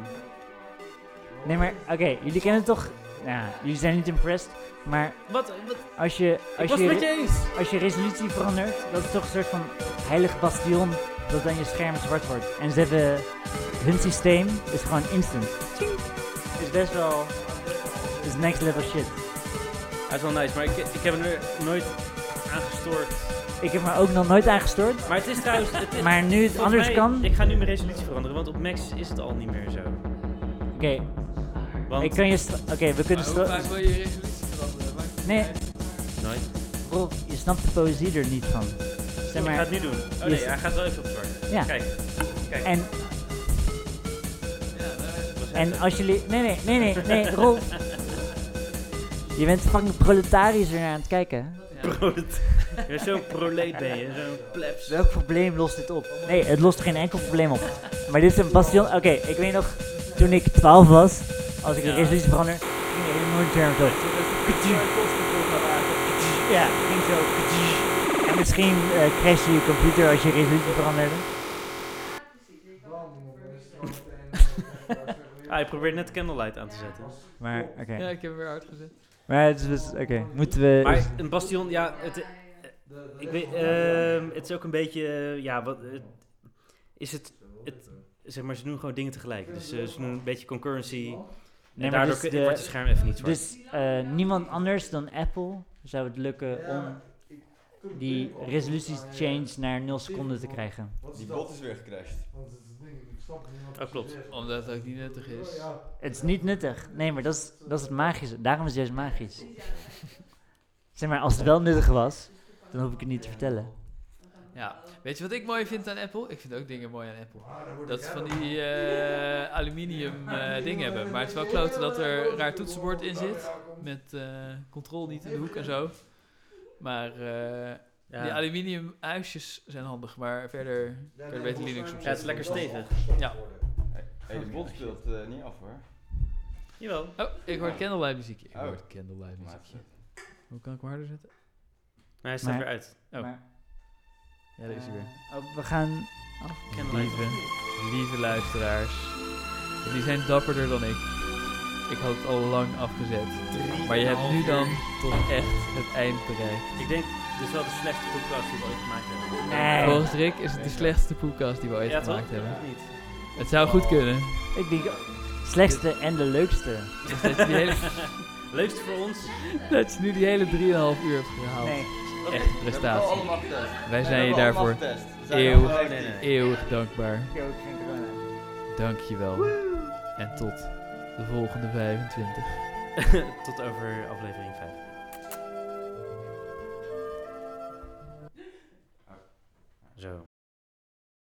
Nee, maar oké, jullie kennen toch. Nou, jullie zijn niet impressed. Maar
Wat? wat
als je,
ik
als,
was het met
je,
je eens.
als je resolutie verandert, dat is toch een soort van heilig bastion dat dan je scherm zwart wordt. En ze hebben. Hun systeem is gewoon instant. Tjing. Is best wel. Is next level shit.
Hij is wel nice, maar ik, ik heb hem er nooit aangestoord.
Ik heb me ook nog nooit aangestoord.
Maar het is trouwens... Het is,
Maar nu het
volgens
anders
mij-
kan.
Ik ga nu mijn resolutie veranderen, want op Max is het al niet meer zo.
Oké,
Want
ik kan je. stra- Oké, we
Maar
kunnen.
Ah, hoe
stra-
vaak wil je resolutie veranderen? Maakt het
Nee.
niet uit.
Nooit.
Rolf, je snapt de poëzie er niet van. Zeg
Ik ga
maar.
het nu doen. Oh
Yes.
nee, hij gaat wel even op zwart.
Ja.
Kijk. Kijk.
En
Ja, eh, daar-
dat was het.
En als jullie. Nee, nee, nee, nee, nee, Rolf. Je bent fucking proletarisch weer naar aan het kijken.
Prolet. [LAUGHS] Je bent zo'n proleet ben je, zo'n plebs.
Welk probleem lost dit op? Nee, het lost geen enkel probleem op. Maar dit is een bastion. Oké, ik weet nog, toen ik 12 was, als ik
Ja.
een resolutie verander, ging er een monitor zo. Ja, ging zo. En misschien eh crash je je computer als je resolutie veranderde.
Ah, je probeert net candlelight aan te zetten.
Maar, oké.
Ja, ik heb hem weer hard gezet.
Maar het is dus. Oké, moeten we.
Maar een bastion, ja, het, eh, ik weet, ehm, het is ook een beetje, eh, ja, wat, eh, is het, het, zeg maar, ze doen gewoon dingen tegelijk. Dus eh, ze doen een beetje concurrency
Nee,
en
maar
daardoor
dus
kun-
de-
wordt je scherm even niet zwart.
Dus eh, niemand anders dan Apple zou het lukken om die resoluties change naar 0 seconden te krijgen.
Die bot is weer gecrashed.
Oh, klopt.
Omdat het ook niet nuttig is.
Het is niet nuttig. Nee, maar dat is, dat is het magische. Daarom is het juist magisch. [LAUGHS] zeg maar, als het wel nuttig was, dan hoef ik het niet te vertellen.
Ja, weet je wat ik mooi vind aan Apple? Ik vind ook dingen mooi aan Apple. Dat ze van die eh, aluminium eh dingen hebben. Maar het is wel kloten dat er raar toetsenbord in zit. Met eh, control niet in de hoek en zo. Maar eh,
Ja.
Die aluminium huisjes zijn handig, maar verder, verder weet Linux op
Ja, het is lekker stevig.
Ja.
Hey, de bot speelt eh, niet af hoor.
Jawel.
Oh, ik hoor candlelight muziek. Ik
Oh.
hoor candlelight
Maar
muziekje. Hoe kan ik hem harder zetten?
Maar hij staat
Maar-
weer uit.
Oh.
Maar,
Ja, daar is hij weer.
eh, oh, we gaan...
Lieve, lieve luisteraars. Jullie zijn dapperder dan ik. Ik had het al lang afgezet. Maar je hebt nu dan toch echt het eind bereikt.
Ik denk, dit is wel de slechtste podcast die we ooit gemaakt hebben.
Nee.
Volgens Rick is het de slechtste podcast die we ooit
Ja, toch?
gemaakt hebben.
Of niet? [LAUGHS]
Het zou goed kunnen.
Ik denk... Slechtste en de leukste.
Dus dat, je die hele,
Leukste voor ons. [LAUGHS]
dat je nu die hele 3,5 uur hebt gehaald.
Nee.
Echt
We hebben wel
prestatie.
allemaal getest.
Wij
We
zijn je
hebben allemaal
daarvoor
getest. We zijn
eeuwig-
allemaal
Oh, nee, nee.
actief.
eeuwig dankbaar.
Ik ook geen corona.
Dankjewel. En tot de volgende 25.
Tot over aflevering 5. Zo.